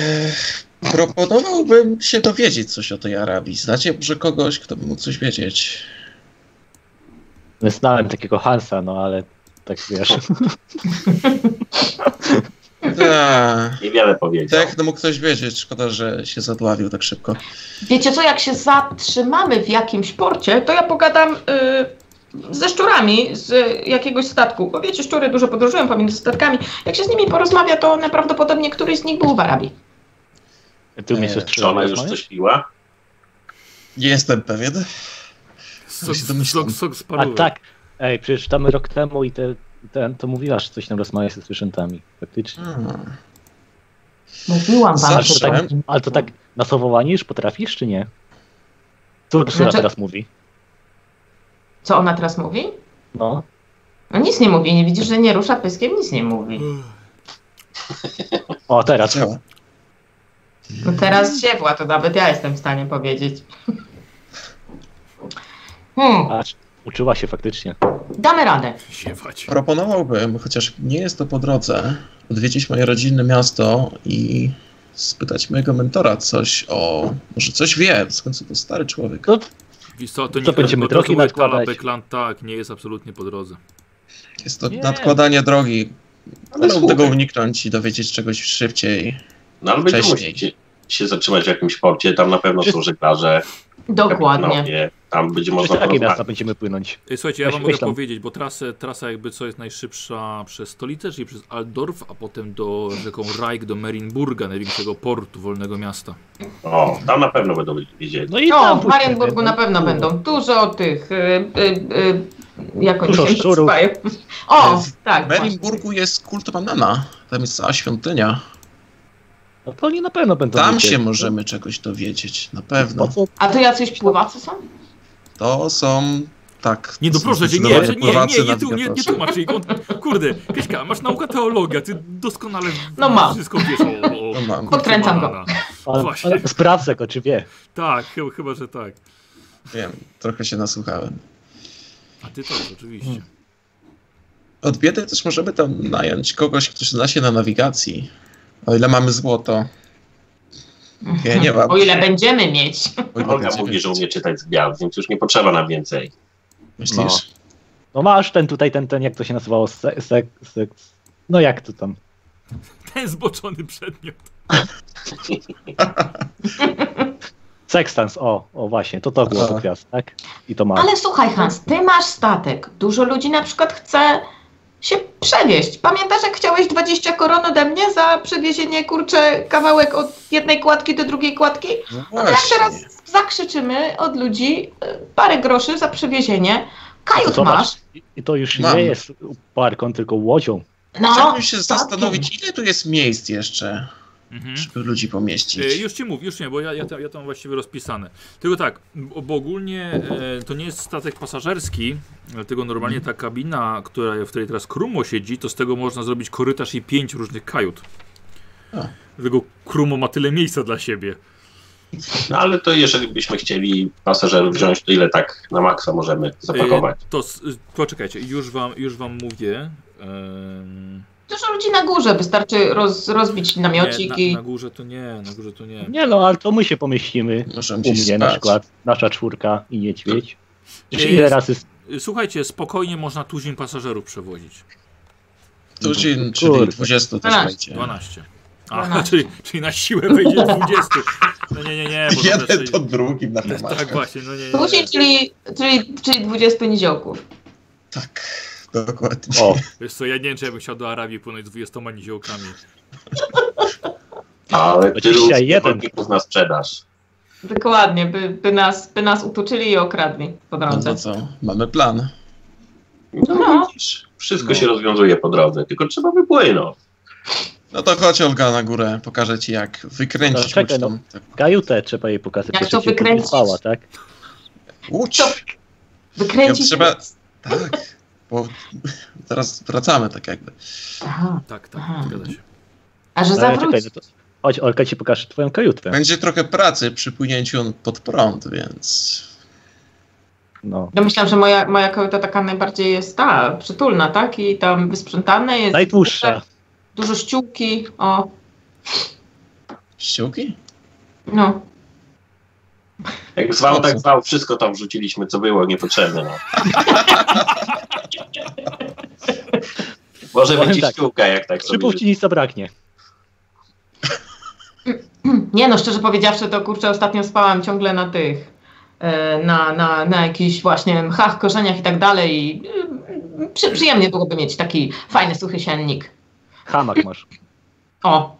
proponowałbym się dowiedzieć coś o tej Arabii. Znacie może kogoś, kto by mógł coś wiedzieć? Znałem takiego Hansa, no ale tak wiesz. Tak, Niewiele powiedział. tak, no mógł ktoś wiedzieć. Szkoda, że się zadławił tak szybko. Wiecie co, jak się zatrzymamy w jakimś porcie, to ja pogadam y, ze szczurami z y, jakiegoś statku. Bo wiecie, szczury dużo podróżują pomiędzy statkami. Jak się z nimi porozmawia, to one prawdopodobnie któryś z nich był w Arabii. Tu mnie Eee, się Czy ona już coś piła? Nie jestem pewien. Sok, się domyślam. sok, sok z A parówek. tak, ej, przecież tam rok temu i te, ten, to mówiłaś, że coś tam rozmawia ze zwierzętami. Faktycznie. Hmm. Mówiłam wam, Zawsze że tak. słyszałem. Ale to tak na słowowanie już potrafisz, czy nie? Co Ursula Znaczy- teraz mówi? Co ona teraz mówi? No. No nic nie mówi, nie widzisz, że nie rusza pyskiem, nic nie mówi. O, teraz. Działa. No teraz ziewła, to nawet ja jestem w stanie powiedzieć. Hmm, Patrz, uczyła się faktycznie. damy radę. Siewać. Proponowałbym, chociaż nie jest to po drodze, odwiedzić moje rodzinne miasto i spytać mojego mentora coś o. Może coś wie, w końcu to stary człowiek. No, Wiesz co, to nie Co, będziemy bo to drogi były nakładać? Tala Beckland, tak, nie jest absolutnie po drodze. Jest to Nie. nadkładanie drogi. Ale Wolę tego słuchaj, uniknąć i dowiedzieć czegoś szybciej. no ale będziemy wcześniej. musieli się zatrzymać w jakimś porcie, tam na pewno są żeglarze, Dokładnie. kapitanowie, tam będzie Przez można takie miasta porozmawiać. będziemy płynąć. Ej, Słuchajcie, ja Ja wam się mogę myślam. powiedzieć, bo trasę, trasa jakby co jest najszybsza przez stolicę, czyli przez Aldorf, a potem do rzeką Rajk, do Merinburga, największego portu wolnego miasta. O, tam na pewno będą wiedzieli. No i No, tam w pójdziemy. Marienburgu na pewno będą. Dużo tych. Y, y, y, jak oni Dużo się szczurów. nazywają? O, W tak. W właśnie. Edynburgu jest kult banana. Tam jest cała świątynia. No to oni na pewno będą. Tam wiedzieć. się możemy czegoś dowiedzieć, na Po pewno. co? A to jacyś pływacy są? To są. Tak. Nie, no są proszę cię, nie, nie, zdecydowanie nie, pływacy nie, nie, tu, nie, nie nawigatorzy. tłumacz jej. On, kurde, Kryśka, masz naukę teologia, ty doskonale No mam. wszystko wiesz o, o No mam. kurczę Podkręcam go. banana. Ale, Właśnie. ale sprawdzę go, czy wie. Tak, chyba, chyba że tak. Wiem, trochę się nasłuchałem. A ty też, oczywiście. Od biedy też możemy tam nająć kogoś, kto się zna się na nawigacji. O ile mamy złoto. Ja nie Tak. mam. O ile będziemy mieć. O ile Olga będziemy mówi, że mieć. umie czytać z gwiazd, więc już nie potrzeba nam więcej. Myślisz? No masz ten tutaj, ten, ten, jak to się nazywało, se, se, se, no jak to tam. Ten zboczony przedmiot. Sextans, o, o właśnie, to to było Aha. do gwiazd, tak? I to masz. Ale słuchaj, Hans, ty masz statek. Dużo ludzi na przykład chce się przewieźć. Pamiętasz, jak chciałeś 20 koron ode mnie za przewiezienie, kurczę, kawałek od jednej kładki do drugiej kładki? No No jak teraz właśnie. zakrzyczymy od ludzi y, parę groszy za przewiezienie. Kajut Zobacz. masz. I- I to już Mam. nie jest parką, tylko łodzią. No, Chciałbym się statkiem. zastanowić, ile tu jest miejsc jeszcze, Mhm. żeby ludzi E, pomieścić. Już ci mów, już nie, bo ja, ja, to, ja to mam właściwie rozpisane. Tylko tak, bo bo ogólnie e, to nie jest statek pasażerski, dlatego normalnie ta kabina, która, w której teraz Krumo siedzi, to z tego można zrobić korytarz i pięć różnych kajut. A. Dlatego Krumo ma tyle miejsca dla siebie. No ale to jeżeli byśmy chcieli pasażerów wziąć, to ile tak na maksa możemy zapakować? E, To, s- poczekajcie, już wam, już wam mówię. Em, dużo ludzi na górze. Wystarczy roz, rozbić nie, namiocik na, i... na górze to nie, na górze to nie. Nie no, ale to my się pomyślimy. Możemy U gdzieś mnie spać. na przykład, nasza czwórka i niedźwiedź. Jest. Ile razy z Słuchajcie, spokojnie można tuzin pasażerów przewozić. Tak. Tuzin, czyli Kurde. 20 też Dwanaście. będzie. 12. A, 12. Czyli, czyli na siłę wejdzie 20. No nie, nie, nie. Bo to Jeden raczej- po drugim na Tak temat. właśnie, no nie, nie, Później, nie. czyli, czyli, czyli 20 niziołków. Tak, dokładnie. O, Wiesz co, ja nie wiem, czy ja bym chciał do Arabii płynąć z 20 niziołkami. Ale tylu Dzisiaj jeden. uczestników na sprzedaż. Dokładnie, by, by, nas, by nas utuczyli i okradli po No drodze. to co, mamy plan. No, No. widzisz, wszystko się rozwiązuje po drodze, tylko trzeba wypłynąć. No to chodź Olga na górę, pokażę ci jak wykręcić No, czekaj, łódź tą- kajutę trzeba jej pokazać. Jak jeszcze to się tu nie wykręcić? Spała, tak? Łódź! To- Wykręcić... Ja trzeba- Tak, bo teraz wracamy tak jakby. Aha, Tak, tak, Aha. zgadza się. a że Ale czekaj, zawróć. no to... Chodź, Olka ci pokaże twoją kajutę. Będzie trochę pracy przy płynięciu pod prąd, więc... No. Ja myślałam, że moja, moja kobieta taka najbardziej jest ta, przytulna, tak? I tam wysprzątane jest. Tak, Najdłuższa. Dużo ściółki, o, Ściółki? no. Jak zwał, tak zwał, wszystko tam wrzuciliśmy, co było niepotrzebne. No. Może Powiem będzie tak. ściółka, jak tak sobie... Szybów ci nic zabraknie. Nie no, szczerze powiedziawszy, to kurczę, ostatnio spałam ciągle na tych, e, na, na, na jakichś właśnie mchach, korzeniach i tak dalej. I, y, przy, przyjemnie byłoby mieć taki fajny, suchy siennik. Hamak masz. O,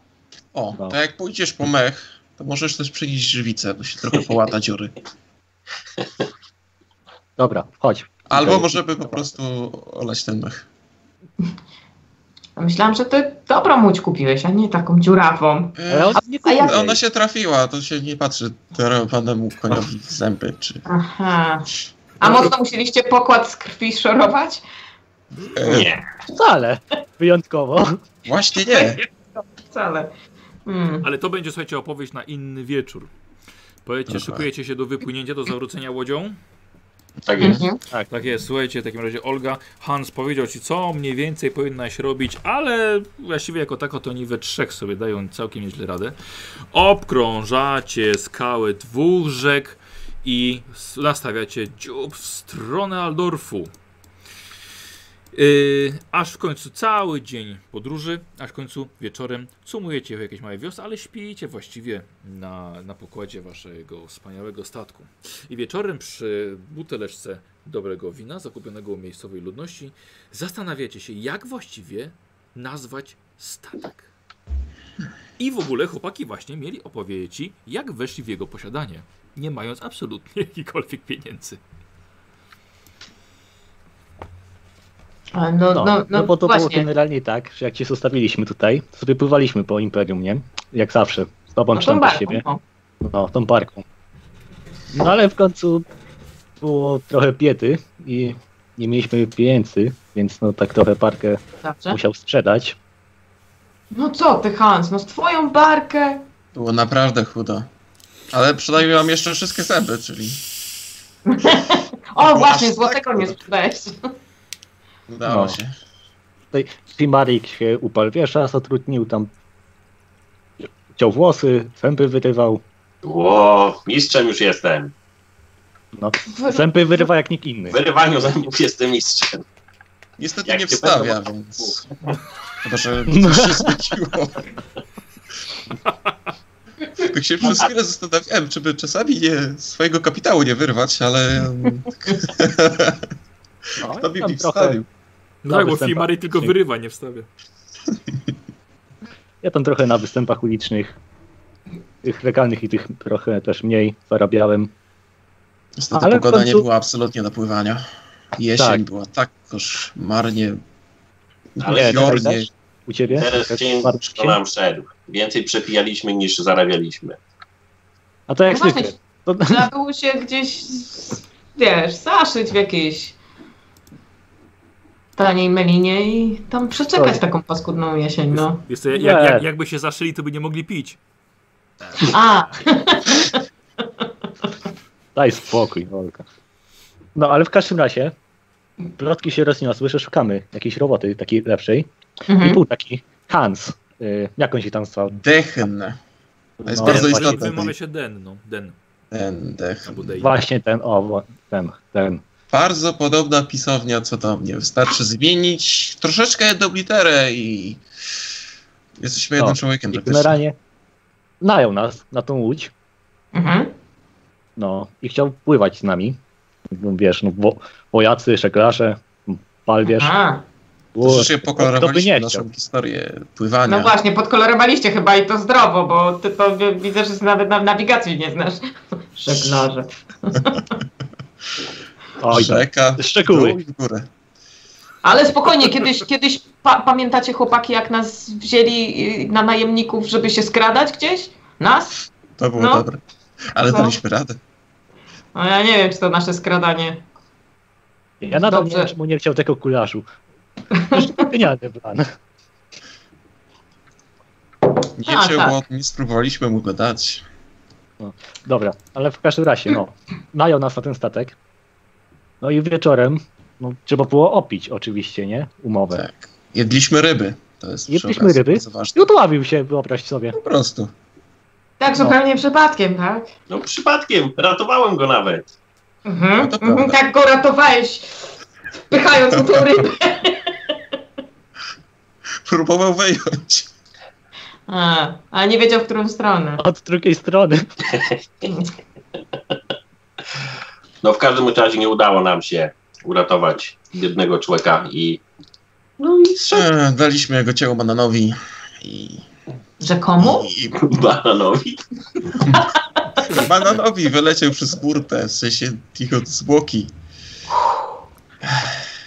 O, No. to jak pójdziesz po mech, to możesz też przynieść żywicę, bo się trochę połata dziury. Dobra, chodź. Albo Okej. możemy po prostu olać ten mech. a myślałam, że ty dobrą łódź kupiłeś, a nie taką dziurawą. Ale on nie a ja- kurde. E, Mm. Ona się trafiła, to się nie patrzy terowanemu koniowi w zęby, czy... Aha. No A mocno musieliście pokład z krwi szorować? E, Nie. Wcale. Wyjątkowo. Właśnie nie. Wcale. Hmm. Ale to będzie, słuchajcie, opowieść na inny wieczór. Powiedzcie, Dobra. szykujecie się do wypłynięcia, do zawrócenia łodzią? Tak jest. Mhm. no, Tak jest, słuchajcie, w takim razie Olga, Hans powiedział ci, co mniej więcej powinnaś robić, ale właściwie jako tako to oni we trzech sobie dają całkiem nieźle radę. Obkrążacie skały dwóch rzek i s- nastawiacie dziób w stronę Aldorfu. Yy, aż w końcu cały dzień podróży, aż w końcu wieczorem sumujecie w jakiejś małej wiosce, ale śpijcie właściwie na, na pokładzie waszego wspaniałego statku. I wieczorem przy buteleczce dobrego wina, zakupionego u miejscowej ludności, zastanawiacie się, jak właściwie nazwać statek. I w ogóle chłopaki właśnie mieli opowiedzieć, ci, jak weszli w jego posiadanie, nie mając absolutnie jakichkolwiek pieniędzy. A No, No, no, no, no, bo to właśnie. było generalnie tak, że jak cię zostawiliśmy tutaj, to sobie pływaliśmy po Imperium, nie? Jak zawsze. Z tobą No, czy tą tam po barką, siebie. no. No, tą parką. No ale w końcu było trochę biedy i nie mieliśmy pieniędzy, więc no tak trochę parkę Dobrze. musiał sprzedać. No co ty, Hans, no z twoją barkę. Było naprawdę chudo. Ale przynajmniej mam jeszcze wszystkie zęby, czyli... O, No Aż właśnie, tak? złotego nie sprzedałeś. Udało No. się. Primarik się uparł wiesza, zatrudnił tam. Ciął włosy, zęby wyrywał. Ło, mistrzem już jestem. No, zęby wyrywa jak nikt inny. W wyrywaniu zębów jestem mistrzem. Niestety Jak nie się wstawia, będą- więc... Chyba, że No. coś się zmieciło. Tak się przez chwilę zastanawiałem, czy by czasami nie, swojego kapitału nie wyrwać, ale... mm, No, Kto by tam mi trochę- wstawił? Na No tak, bo występach Fimary tylko ulicznych. wyrywa, nie wstawia. Ja tam trochę na występach ulicznych, tych legalnych i tych trochę też mniej zarabiałem. Niestety Ale w pogoda nie końcu- była absolutnie do pływania. Jesień Tak. była tak koszmarnie, Ale Nie, tak jornie. też? U ciebie? teraz Tak, ciężko Marcin? nam szedł. Więcej przepijaliśmy niż zarabialiśmy. A to jak No właśnie, zwykle. To, Trzeba było się gdzieś, wiesz, zaszyć w jakiejś taniej melinie i tam przeczekać Oj. taką paskudną jesień, no. Jest to, jak, jak, Nie. jakby się zaszyli, to by nie mogli pić. A, daj spokój, Wolka. No ale w każdym razie plotki się rozniosły, że szukamy jakiejś roboty takiej lepszej. I mhm. był taki Hans. Y, jak on się tam stał? Dechn. To jest No, bardzo Den, właśnie- istotne. Wymawia się den, no. Den. Ten dech. Albo dej. Właśnie ten, o, wo- ten, ten. Bardzo podobna pisownia co do mnie. Wystarczy zmienić troszeczkę jedną literę i jesteśmy jednym No, człowiekiem tak I praktycznie. generalnie najął nas na tą łódź, Mhm. no i chciał pływać z nami. No, Wiesz, no, wo, wojacy, szeklarze, palwierz. A, Troszeczkę to by nie pokolorowaliśmy chciał. naszą historię pływania. no właśnie, podkolorowaliście chyba i to zdrowo, bo ty to wi- widzę, że nawet na nawigacji nie znasz. Żeglarze. Oj, tak. Rzeka, Szczegóły. dół i w górę. Ale spokojnie, kiedyś, kiedyś pa pamiętacie chłopaki, jak nas wzięli y, na najemników, żeby się skradać gdzieś? Nas? To było No. dobre. Ale No. daliśmy radę. No ja nie wiem, czy to nasze skradanie. Ja nadal nie Dobrze. wiem, czemu nie chciał tego kulaszu. Genialny plan. Nie A, chciał, tak. bo nie spróbowaliśmy mu go dać. Dobra, ale w każdym razie, no, najął nas na ten statek. No i wieczorem, no, trzeba było opić oczywiście, nie? Umowę. Tak. Jedliśmy ryby. To jest przy Jedliśmy okazji ryby? bardzo I ważne. udławił się, wyobraź sobie. Po prostu. Tak, No. zupełnie przypadkiem, tak? No przypadkiem, ratowałem go nawet. Mhm. No to mhm, prawda. tak go ratowałeś, wpychając mu tą rybę. Próbował wyjąć. A, a nie wiedział, w którą stronę. Od drugiej strony. No w każdym razie nie udało nam się uratować jednego człowieka i No i E, Daliśmy jego ciało bananowi i, Rzekomo? i bananowi. bananowi wyleciał przez burtę, w sensie ich od zwłoki.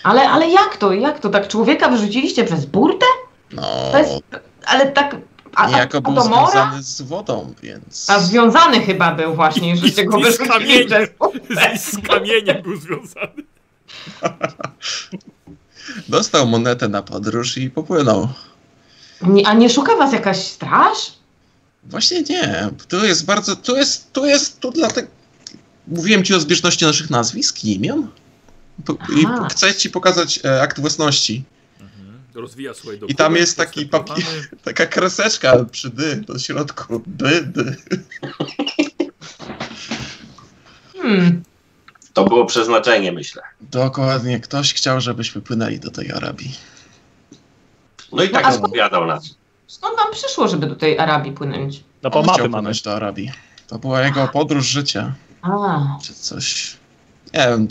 Ale, ale jak to, jak to? Tak człowieka wyrzuciliście przez burtę? No, To jest, ale tak... A, a, niejako a był to mora? związany z wodą, więc... A związany chyba był właśnie, żeście go I z wyrzucili kamieniem. przez burtę. Z, z kamieniem był związany. Dostał monetę na podróż i popłynął. Nie, a nie szuka was jakaś straż? Właśnie nie, tu jest bardzo, tu jest, tu jest, tu dlatego... Mówiłem ci o zbieżności naszych nazwisk i imion. Po, i Aha. chcę ci pokazać e, akt własności. Rozwija swoje Mhm. I tam jest taki papier, taka kreseczka przy dy, do środku. Dy, dy. Hmm. To było przeznaczenie, myślę. Dokładnie, ktoś chciał, żebyśmy płynęli do tej Arabii. No i tak No, a no, opowiadał nas. Skąd wam przyszło, żeby do tej Arabii płynąć? No On po mapy chciał mamy. płynąć do Arabii. To była jego podróż życia, A, czy coś. Nie wiem,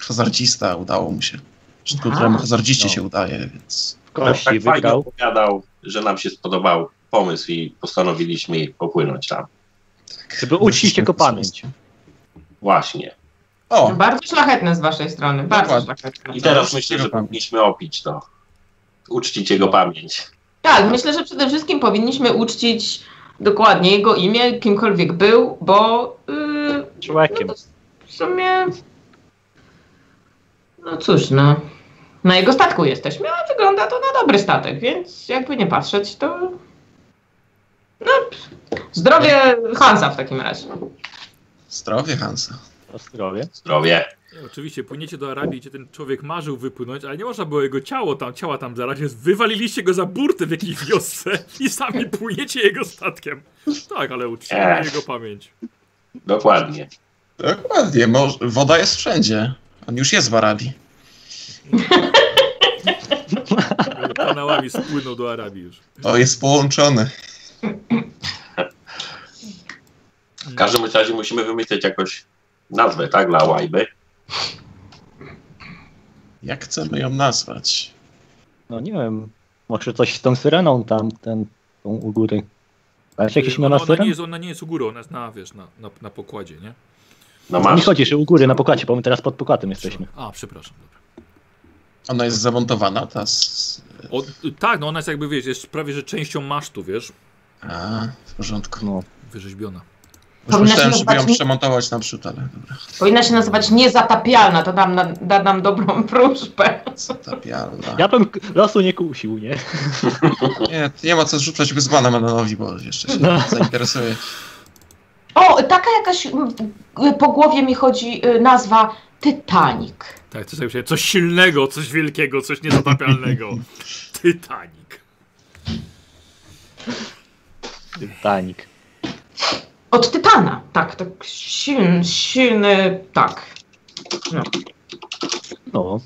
hazardzista udało mu się. Wszystko, Aha. któremu hazardziście No. się udaje, więc... W No, tak kości fajnie wygrał. opowiadał, że nam się spodobał pomysł i postanowiliśmy popłynąć tam. Żeby uczcić jego pamięć. Właśnie. O, bardzo szlachetne z waszej strony, bardzo Dokładnie. szlachetne. I Tak, teraz uczcić myślę, jego że pamięć. powinniśmy opić to. Uczcić jego pamięć. Tak, myślę, że przede wszystkim powinniśmy uczcić dokładnie jego imię, kimkolwiek był, bo yy, Człowiekiem. no to w sumie no cóż, no na jego statku jesteśmy, a wygląda to na dobry statek, więc jakby nie patrzeć, to no, Zdrowie Hansa w takim razie. Zdrowie Hansa. Ostrowie. Zdrowie. No, Oczywiście płyniecie do Arabii, gdzie ten człowiek marzył wypłynąć, ale nie można było jego ciało tam, ciała tam zaraz, więc wywaliliście go za burtę w jakiejś wiosce i sami płyniecie jego statkiem. Tak, ale utrzymaj Ech. jego pamięć. Dokładnie. Dokładnie, mo- woda jest wszędzie. On już jest w Arabii. Kanałami spłynął do Arabii już. O, jest połączony. W każdym bądź razie musimy wymyśleć jakąś nazwę, tak, dla łajby. Jak chcemy ją nazwać? No nie wiem, może coś z tą syreną tam, ten, tą u góry. Masz jakieś ona, imiona ona, No, nie syren? jest, ona nie jest u góry, ona jest na, wiesz, na, na, na pokładzie, nie? No Nie masz. chodzi, że u góry na pokładzie, bo my teraz pod pokładem jesteśmy. A, przepraszam. dobra. Ona jest zamontowana, ta. S- O, tak, no ona jest jakby, wiesz, jest prawie, że częścią masztu, wiesz, A, w porządku. No, wyrzeźbiona. Już Powinna się myślałem, żeby ją nazywać- przemontować naprzód, ale dobra. Powinna się nazywać niezatapialna, to dam, na- da nam dobrą wróżbę. Zatapialna. ja bym k- losu nie kusił, nie? Nie, nie ma co rzucać Guzmana Manonowi, bo jeszcze się No. zainteresuje. O, taka jakaś mm, y, po głowie mi chodzi y, nazwa Titanic. Tak, to sobie myślałem, coś silnego, coś wielkiego, coś niezatapialnego. Titanic. Titanik. Od Tytana, tak, tak silny, silny, tak. No.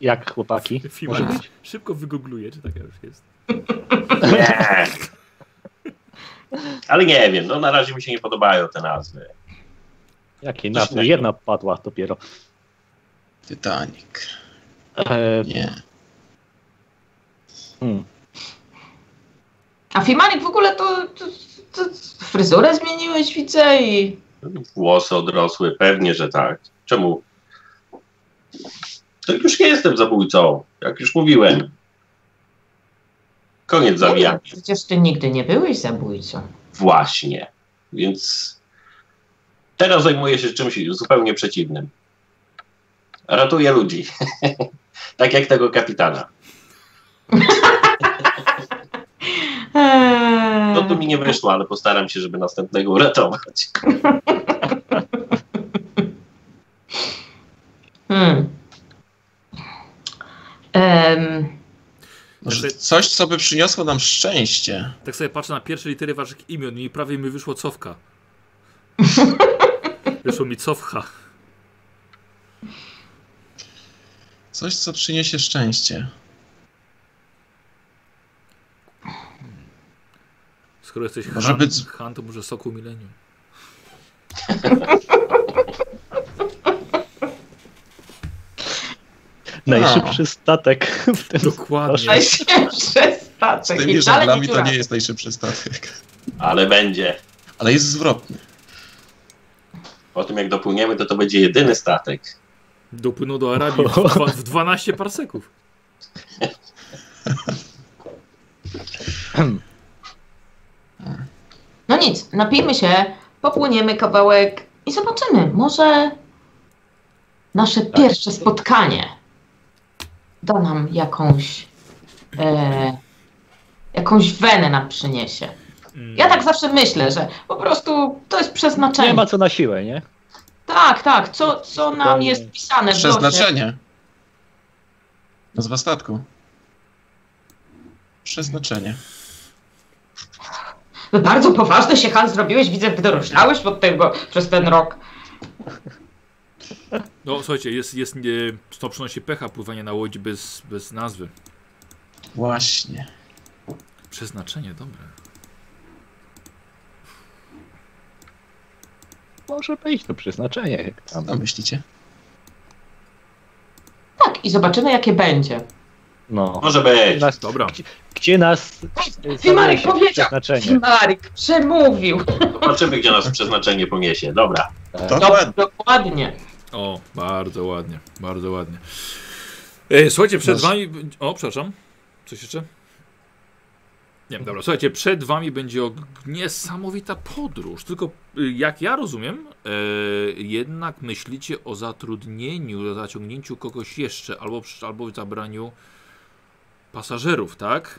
Jak chłopaki? Fima, Może być? szybko wygoogluję, czy taka już jest. Nie. Ale nie wiem, no na razie mi się nie podobają te nazwy. Jakie Coś nazwy? takiego. Jedna padła dopiero. Titanic. E, Nie. hmm. A Fimanik w ogóle to, to, to fryzurę zmieniłeś, widzę i... Włosy odrosły, pewnie, że tak. Czemu? To już nie jestem zabójcą, jak już mówiłem. Koniec No zabijania. Przecież ty nigdy nie byłeś zabójcą. Właśnie. Więc teraz zajmuję się czymś zupełnie przeciwnym. Ratuję ludzi. tak jak tego kapitana. Eee, No to mi nie wyszło, ale postaram się, żeby następnego uratować. hmm. Em, Może Znaczy- coś, co by przyniosło nam szczęście. Tak sobie patrzę na pierwsze litery waszych imion i prawie mi wyszło cofka. Wyszło mi cofcha. Coś, co przyniesie szczęście. Skoro jesteś Może Han, być- Han, to może soku milenium. No. Najszybszy statek w tym Dokładnie. Najświeższy Z staczek tymi Tak, i dalej żaglami nie to nie dziurawy. jest najszybszy statek. Ale będzie. Ale jest zwrotny. Po tym jak dopłyniemy, to to będzie jedyny statek. Dopłynął do Arabii w, dwa, w 12 parseków. No nic, napijmy się, popłyniemy kawałek i zobaczymy. Może nasze pierwsze spotkanie da nam jakąś e, jakąś wenę nam przyniesie. Mm. Ja tak zawsze myślę, że po prostu to jest przeznaczenie. Nie ma co na siłę, nie? Tak, tak, co, co nam jest pisane w losie. Przeznaczenie. Nazwa statku. Przeznaczenie. No Bardzo poważny się Han zrobiłeś, widzę, wydoroślałeś od tego przez ten rok. No słuchajcie, jest, jest nie, to przynosi pecha pływanie na łodzi bez, bez nazwy. Właśnie. Przeznaczenie, dobre. Może być to przeznaczenie. jak Co Tam. tam myślicie? Tak, i zobaczymy jakie będzie. No. Może Gdzie być. nas, Dobra. gdzie nas e, Fimarek zaniesie powiedział! przeznaczenie? Fimarek przemówił! Zobaczymy, gdzie nas przeznaczenie poniesie. Dobra. Dokładnie. Dokładnie. O, bardzo ładnie, bardzo ładnie. E, słuchajcie, przed Masz- wami... O, przepraszam. Coś jeszcze? Nie, dobra, słuchajcie, przed wami będzie og- niesamowita podróż, tylko y, jak ja rozumiem, e, jednak myślicie o zatrudnieniu, o zaciągnięciu kogoś jeszcze, albo, przy- albo zabraniu pasażerów, tak?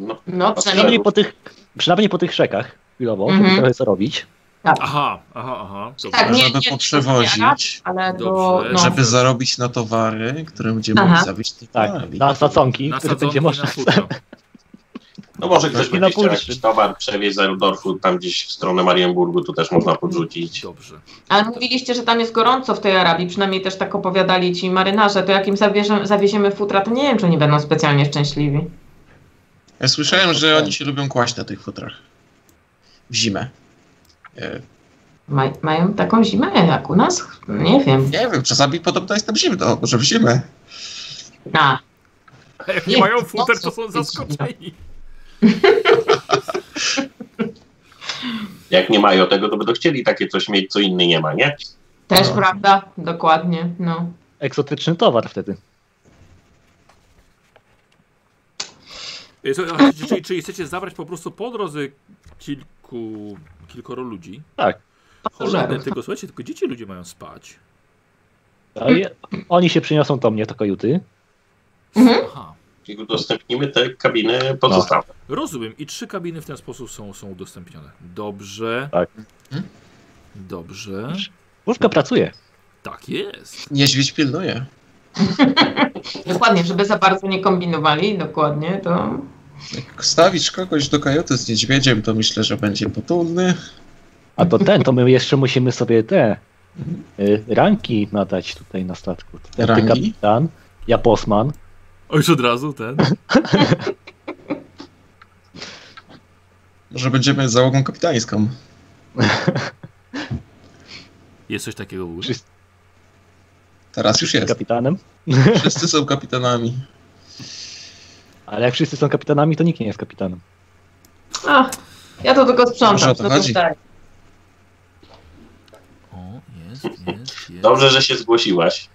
No, No przynajmniej Przynajmniej po tych, przynajmniej po tych szekach chwilowo, Mhm. żeby trochę zarobić. Aha, aha, aha. Dobra. Tak, nie, żeby nie, poprzewozić, ale do, Dobrze, no, żeby zarobić na towary, które będziemy Aha. mogli zawieźć do Tak, Arabii. na sadzonki, Na które będzie sadzonki można... na futro. no może ktoś I by na chciał Polsce. jakiś towar przewieźć z Eldorfu tam gdzieś w stronę Marienburgu, to też można podrzucić. Dobrze. ale mówiliście, że tam jest gorąco w tej Arabii, przynajmniej też tak opowiadali ci marynarze, to jak im zawiezie, zawieziemy futra, to nie wiem, czy oni będą specjalnie szczęśliwi. Ja słyszałem, że oni się lubią kłaść na tych futrach. W zimę. E, Maj, mają taką zimę jak u nas? Nie wiem. Nie wiem, czasami podobno jest tam zimno, może w zimę. A, A jak nie Nie, mają no futer, to co są ty, zaskoczeni. Jak nie mają tego, to będą chcieli takie coś mieć, co inny nie ma, nie? też No. prawda, dokładnie, no. Eksotyczny towar wtedy. Y, co- a, czy- Czyli, czyli chcecie zabrać po prostu po drodze kilku, kilkoro ludzi? Tak. Cholerny, tylko słuchajcie, tylko dzieci ludzie mają spać. A je- No Oni się przyniosą do mnie do kajuty. Mhm. Aha. I udostępnimy te kabiny pozostałe. No. Rozumiem. I trzy kabiny w ten sposób są, są udostępnione. Dobrze. Tak. Mhm. Dobrze. Łóżka pracuje. Tak jest. Niedźwiedź pilnuje. Dokładnie, żeby za bardzo nie kombinowali, dokładnie, to Jak stawisz kogoś do kajoty z niedźwiedziem, to myślę, że będzie potulny. A to ten, to my jeszcze musimy sobie te y, ranki nadać tutaj na statku. Ten ty Rangi? kapitan, ja posman. O, już od razu ten. Może będziemy załogą kapitańską. Jest coś takiego w ogóle? Wszyscy- Teraz już jest. kapitanem. Wszyscy są kapitanami. Ale jak wszyscy są kapitanami, to nikt nie jest kapitanem. Ach, ja to tylko Może sprzątam. o to No to chodzi? tak. O, jest, jest, jest. Dobrze, że się zgłosiłaś.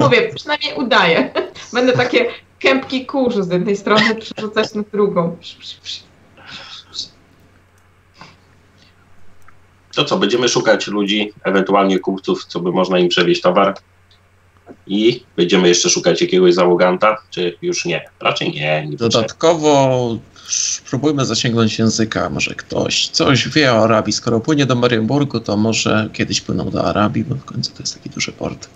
Mówię, przynajmniej udaję. Będę takie kępki kurzu z jednej strony przerzucać na drugą. Psz, psz, psz. To co, będziemy szukać ludzi, ewentualnie kupców, co by można im przewieźć towar. I będziemy jeszcze szukać jakiegoś załoganta, czy już nie? Raczej No nie. nie tak. muszę. Dodatkowo spróbujmy zasięgnąć języka. Może ktoś coś wie o Arabii. Skoro płynie do Marienburgu, to może kiedyś płyną do Arabii, bo w końcu to jest taki duży port.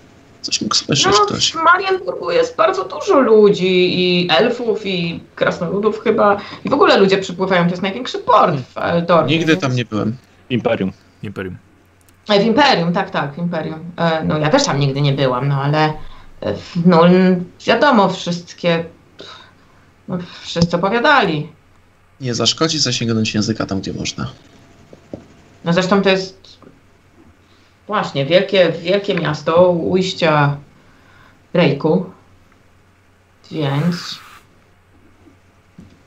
Coś mógł słyszeć No, ktoś. w Marienburgu jest bardzo dużo ludzi i elfów i krasnoludów chyba. I w ogóle ludzie przypływają, to jest największy port w Eldorfie. Hmm. Nigdy tam nie byłem. Imperium. Imperium. E, W Imperium, tak, tak, w Imperium. E, No ja też tam nigdy nie byłam, no ale e, w- no n- wiadomo, wszystkie no, wszyscy opowiadali. Nie zaszkodzi zasięgnąć języka tam, gdzie można. No zresztą to jest właśnie wielkie, wielkie miasto ujścia Rejku. Więc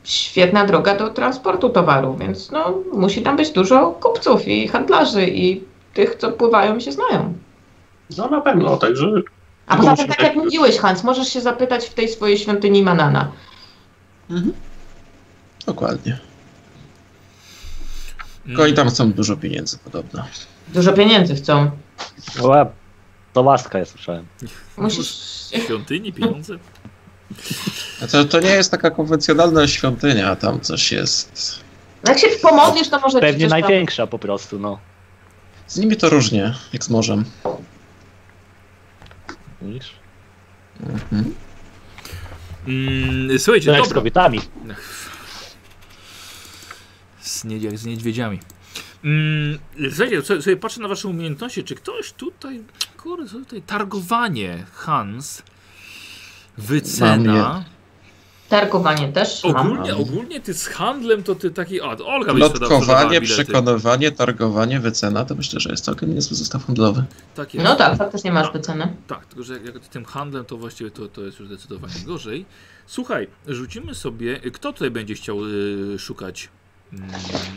świetna droga do transportu towaru, więc no musi tam być dużo kupców i handlarzy i tych, co pływają i się znają. No na pewno, także A Tylko poza tym, musimy- tak jak mówiłeś, Hans, możesz się zapytać w tej swojej świątyni Manana. Mhm. Dokładnie. Tylko Mm. i tam są dużo pieniędzy podobno. Dużo pieniędzy chcą. Była to łaska, ja słyszałem. Musisz... Mm, Świątyni, pieniądze. A to, to nie jest taka konwencjonalna świątynia, tam coś jest. No Jak się pomodlisz, to może ci Pewnie coś tam- największa po prostu, no. Z nimi to różnie, jak z morzem. Widzisz? Mhm. Mm, słuchajcie, To jak z dobra. kobietami. Z, nie, jak z niedźwiedziami. Mm, słuchajcie, sobie, sobie patrzę na wasze umiejętności. Czy ktoś tutaj, kurde, co tutaj targowanie, Hans, wycena. Mam Targowanie też mam. Ogólnie, ogólnie ty z handlem to ty taki, a to Olga by sprzedawała Lotkowanie, bilety. przekonywanie, targowanie, wycena, to myślę, że jest całkiem niezły zestaw handlowy. Tak jest. No tak, faktycznie masz wycenę. Tak, tylko że jak, jak tym handlem to właściwie to, to jest już zdecydowanie gorzej. Słuchaj, rzucimy sobie, kto tutaj będzie chciał y, szukać mm,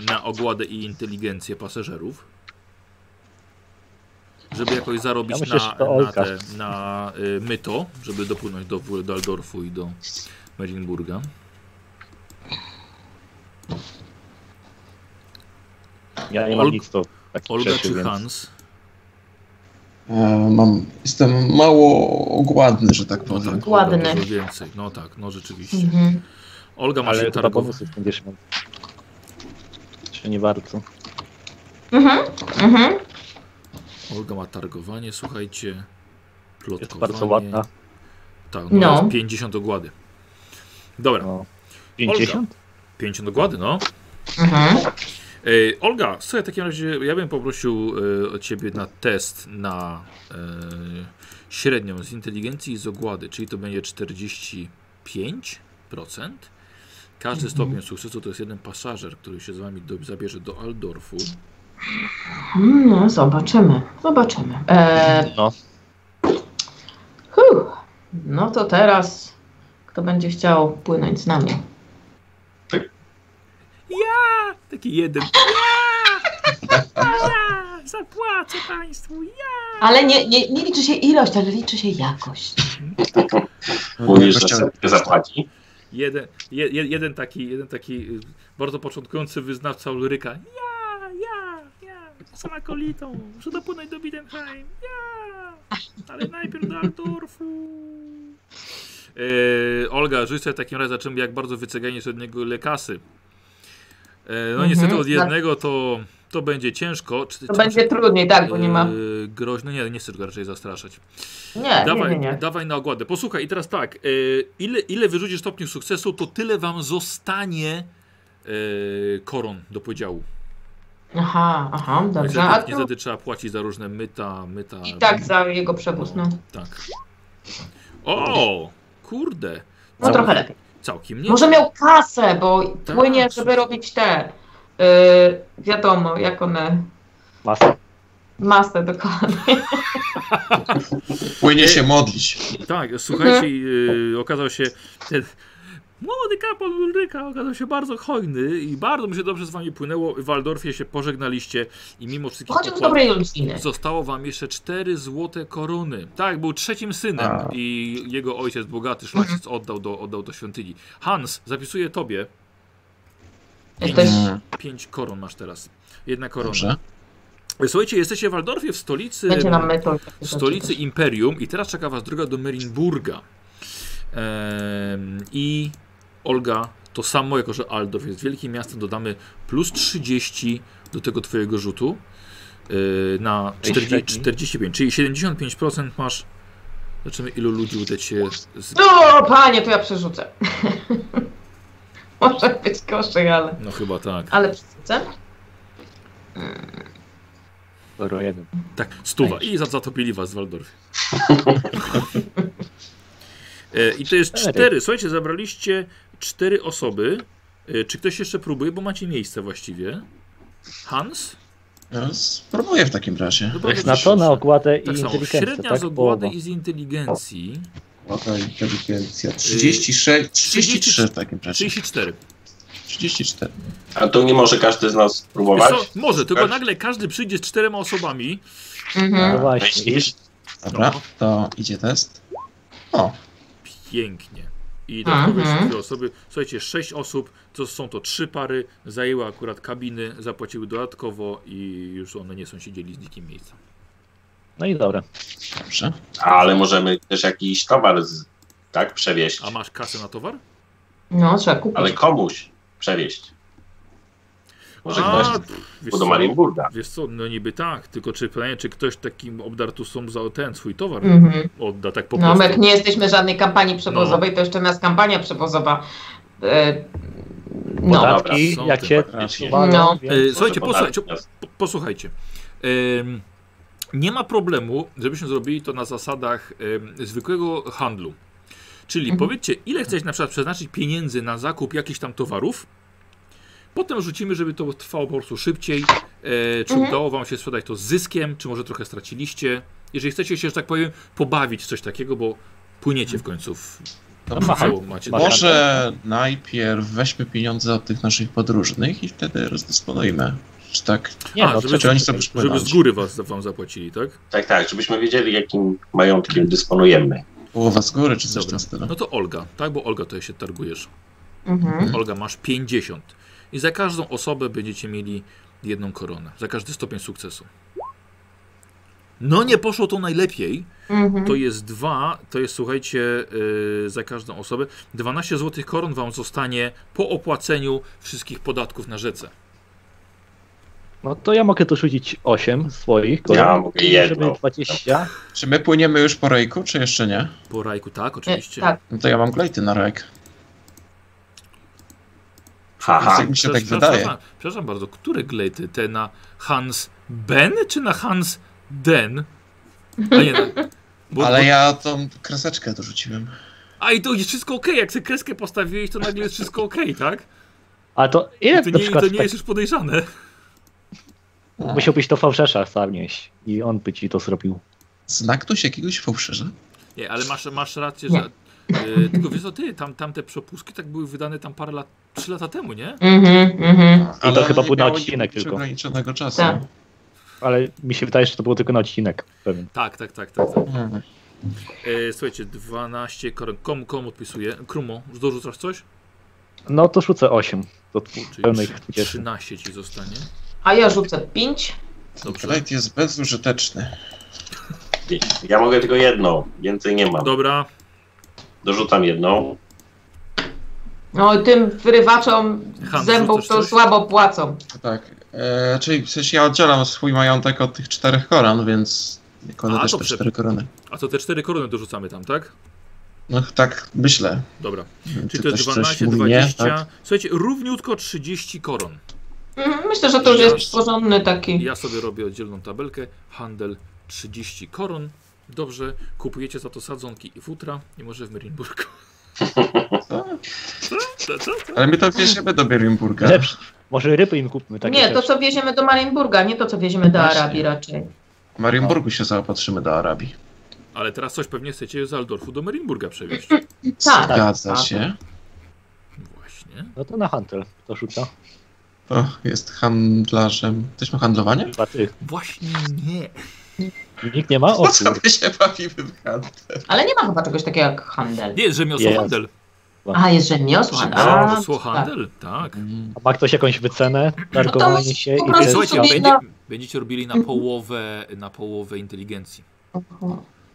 na ogładę i inteligencję pasażerów? Żeby jakoś zarobić Ja myślę, że to na, na, Olka. te, na y, myto, żeby dopłynąć do, do Aldorfu i do Marienburga. Ja nie mam Olg- nic do takich Olga rzeczy, czy więc... Hans? E, Mam, jestem mało ogładny, że tak powiem. tak, Ładny. Olga dużo więcej. No tak, no rzeczywiście. Mhm. Olga ma się Ale chyba targować. bonusów będziesz miał. Czy nie bardzo? Mhm. Mhm. Olga ma targowanie, słuchajcie. Plotkowanie. Jest bardzo ładna. Tak, no, No. jest 50 ogłady. Dobra, No. 50? 50 ogłady, no. Mhm. E, Olga, słuchaj, w takim razie ja bym poprosił e, od ciebie na test na e, średnią z inteligencji i z ogłady, czyli to będzie 45%. Każdy stopień sukcesu to jest jeden pasażer, który się z wami do, zabierze do Aldorfu. Mm, No, zobaczymy. Zobaczymy. E, No. huh. No to teraz kto będzie chciał płynąć z nami? Taki jeden. Ja! Zapłacę państwu. Ja! Ale nie, nie, nie liczy się ilość, ale liczy się jakość. No, Mówisz, że sobie zapłaci. Jeden, je, je- jeden taki, jeden taki y, bardzo początkujący wyznawca Ulryka. Ja, ja, ja, sama kolitą. Muszę dopłynąć do Bidenheim. Ja, ale najpierw do Arturfu. Yy, Olga, rzuć sobie w takim razie, zaczynamy jak bardzo wyceganie średniego lekasy. Yy, E, no Mhm, niestety od tak. jednego to, to będzie ciężko. Czy- To czy- będzie trudniej, tak, bo nie ma. Yy, groźne, nie, nie chcę go raczej zastraszać. Tak, Nie, nie, Yy, Dawaj, nie, nie. dawaj na ogładę. Posłuchaj, i teraz tak. y, ile, ile wyrzucisz stopni sukcesu, to tyle wam zostanie y, koron do podziału. Aha, aha, dobrze. A Niestety, tu niestety trzeba płacić za różne myta, myta. i tak za jego przewóz, no. Tak. O, kurde. No trochę lepiej. Całkiem nie. Tak. Może miał kasę, bo płynie, żeby słuchaj. robić te. y, wiadomo, jak one. Masa. Masę dokładnie. Płynie się modlić. Tak, słuchajcie, Mhm. y, okazał się ten młody kapłan Ulryka okazał się bardzo hojny i bardzo mi się dobrze z wami płynęło. W Waldorfie się pożegnaliście i mimo wszystkich Chodził z opłat- dobrej rodziny. Zostało wam jeszcze cztery złote korony. Tak, był trzecim synem A. Mhm. i jego ojciec, bogaty szlachcic, oddał do, oddał do świątyni. Hans, zapisuję tobie. Jesteś. Mm, Pięć koron masz teraz. Jedna korona. Dobrze. Słuchajcie, jesteście w Waldorfie, w stolicy, Będzie nam metod. w stolicy Imperium i teraz czeka was droga do Merinburga. Em, I Olga, to samo, jako że Aldorf jest wielkim miastem, dodamy plus 30 do tego twojego rzutu y, na Tej 40, średniej. 45, czyli 75% masz. Zobaczymy ilu ludzi uda ci się z... No, panie, to ja przerzucę. Może być gorzej, ale. No chyba tak. Ale przerzucę. Zero jeden. Tak, stuwa. I za- zatopili was w Waldorfie. E, I to jest Cztery. cztery. Słuchajcie, zabraliście cztery osoby. E, Czy ktoś jeszcze próbuje, bo macie miejsce właściwie? Hans? No, spróbuję w takim razie. Dobra, Na dobrze. to, na ogładę i Tak samo. inteligencję, Średnia tak? z ogłady Połowa. i z inteligencji. Ładna inteligencja. 36, 33 w takim razie. 34. 34. A to nie może każdy z nas Wiesz spróbować? co? Może, tylko Tak. nagle każdy przyjdzie z czterema osobami. Mhm. Hmm. No właśnie. Myślisz? Dobra, No. to idzie test. O, Pięknie. I dodatkowe Mhm. jeszcze dwie osoby. Słuchajcie, sześć osób, to są to trzy pary, zajęły akurat kabiny, zapłaciły dodatkowo i już one nie są siedzieli z nikim miejsca. No i dobra. dobrze. Ale możemy też jakiś towar z, tak przewieźć. A masz kasę na towar? No, trzeba kupić. Ale komuś przewieźć. Może A, ktoś pff, wiesz tu do co? Marienburga. Wiesz co, no niby tak, tylko czy pytanie, czy ktoś takim obdartusom za ten swój towar Mm. Mhm. odda tak po No, prostu. No. my jak nie jesteśmy żadnej kampanii przewozowej, to jeszcze nas kampania przewozowa. E, no. Podatki, Dobra, są jak te się faktycznie. walą, No. więc- E, Słuchajcie, Może podać posłuchajcie, nas. po- posłuchajcie. Em, nie ma problemu, żebyśmy zrobili to na zasadach em, zwykłego handlu. Czyli Mhm. powiedzcie, ile chcecie na przykład przeznaczyć pieniędzy na zakup jakichś tam towarów. Potem rzucimy, żeby to trwało po prostu szybciej. E, czy Mhm. udało wam się sprzedać to z zyskiem, czy może trochę straciliście. Jeżeli chcecie się, że tak powiem, pobawić w coś takiego, bo płyniecie w końcu w Aha. całą macie. Masz Może najpierw weźmy pieniądze od tych naszych podróżnych i wtedy rozdysponujemy. Czy tak? Nie, A, no, żeby- Czy oni sobie Żeby z przypominać? góry was, wam zapłacili, tak? Tak, tak, żebyśmy wiedzieli, jakim majątkiem dysponujemy. Połowa z góry, czy coś w Dobra. tym stylu? No to Olga, tak? Bo Olga tutaj się targujesz. Mhm. Olga, masz 50. I za każdą osobę będziecie mieli jedną koronę. Za każdy stopień sukcesu. No nie poszło to najlepiej. Mhm. To jest dwa, to jest słuchajcie, yy, za każdą osobę. 12 złotych koron wam zostanie po opłaceniu wszystkich podatków na rzece. No to ja mogę dorzucić 8 swoich. Ja mogę żeby jedno. 20. Czy my płyniemy już po rejku, czy jeszcze nie? Po rajku, tak, E, oczywiście. tak, No to ja mam glejty na rejk. Haha. Więc mi się tak Przepraszam, wydaje. Przepraszam, przepraszam bardzo, które glejty? Te na Hans Ben czy na Hans Den? A nie, na- bo, Ale bo, ja tą kreseczkę dorzuciłem. A i to jest wszystko okej, jak sobie kreskę postawiłeś, to nagle jest wszystko okej, tak? A to I ile No to na nie, i przykład to nie tak, jest już podejrzane. musiałbyś to fałszerza sam nieść i on by ci to zrobił. Znak tu się jakiegoś fałszerza? Nie, ale masz, masz rację, Nie. że... Yy, tylko wiesz co, ty, tam, tam te przepuski tak były wydane tam parę lat, trzy lata temu, nie? mhm, mhm. Ale to chyba nie był na miało odcinek jakiegoś tylko. ograniczonego czasu. Tak. Ale mi się wydaje, że to było tylko na odcinek pewien. Tak, tak, tak, tak. tak. Mhm. E, słuchajcie, 12 koron. Kom, kom odpisuje. Krumo, dorzucasz coś? No to rzucę 8 do tw- Czyli pełnych 20. 13 ci zostanie. A ja rzucę 5. Dobrze. Glejt jest bezużyteczny. Ja mogę tylko jedno, więcej nie mam. Dobra, Dorzucam jedną. No i tym wyrywaczom Hans, zębów rzucasz to coś? słabo płacą. Tak. E, czyli w sensie ja oddzielam swój majątek od tych czterech koron, więc kładę A, też to te prze- cztery korony. a to te 4 korony dorzucamy tam, tak? No tak myślę. Dobra. Czy Czyli to jest ktoś 12, mówi 20. Nie, tak? Słuchajcie, równiutko 30 koron. Mhm, Myślę, że to już jest porządny taki. Ja sobie robię oddzielną tabelkę. Handel 30 koron. Dobrze, kupujecie za to sadzonki i futra i może w Marienburgu. Co? Co, co? Tak, Ale my to wieziemy do Bierinburga. Lepszy. Może ryby im kupmy takie Nie, to też. co wieziemy do Marienburga, nie to co wieziemy do Właśnie. Arabii raczej. W Marienburgu się zaopatrzymy do Arabii. Ale teraz coś pewnie chcecie z Aldorfu do Marienburga przewieźć. Tak. Zgadza tak. się. Właśnie. No to na handel to rzuca. To jest handlarzem. Ktoś ma handlowanie? Chyba ty. Właśnie nie. Nikt nie No ma? O Po co kur... my się bawimy w handel? Ale nie ma chyba czegoś takiego jak handel. Nie, rzemiosło Jest. handel. A, jest rzemiosło. a, Rzemiosło tak. handel, tak. A ma ktoś jakąś wycenę? Targowanie się No i po prostu I tyle. słuchajcie, sobie będzie, na- będziecie robili na Mhm. połowę, na połowę inteligencji.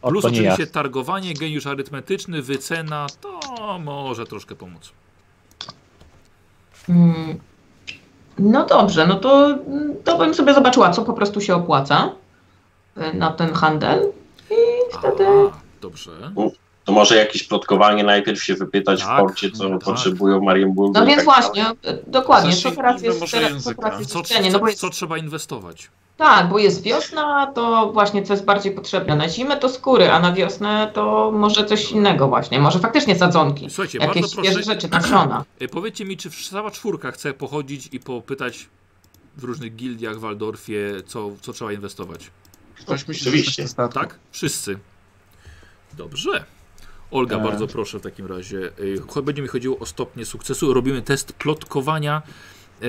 O, Plus to nie ja. oczywiście targowanie, geniusz arytmetyczny, wycena, to może troszkę pomóc. Mm. No dobrze, no to, mm, to bym sobie zobaczyła, co po prostu się opłaca y, na ten handel. I wtedy. A, dobrze. To może jakieś plotkowanie najpierw się wypytać Tak, w porcie, co tak. potrzebują Marienburgu. No więc tak właśnie, y, dokładnie, co Zacznijmy teraz jest, może teraz, co języka. teraz Co, jest co, jedzenie, no bo jest, co trzeba inwestować? tak, bo jest wiosna, to właśnie co jest bardziej potrzebne. Na zimę to skóry, a na wiosnę to może coś innego właśnie, może faktycznie sadzonki, Słuchajcie, jakieś bardzo proszę, świeże rzeczy, tak, tasiona. e, powiedzcie mi, czy cała czwórka chce pochodzić i popytać w różnych gildiach w Waldorfie, co, co trzeba inwestować? Ktoś myśli, że Oczywiście. coś na statku. Tak? Wszyscy. Dobrze. Olga, Tak. E. bardzo proszę w takim razie. Y, cho- Będzie mi chodziło o stopnie sukcesu. Robimy test plotkowania. e,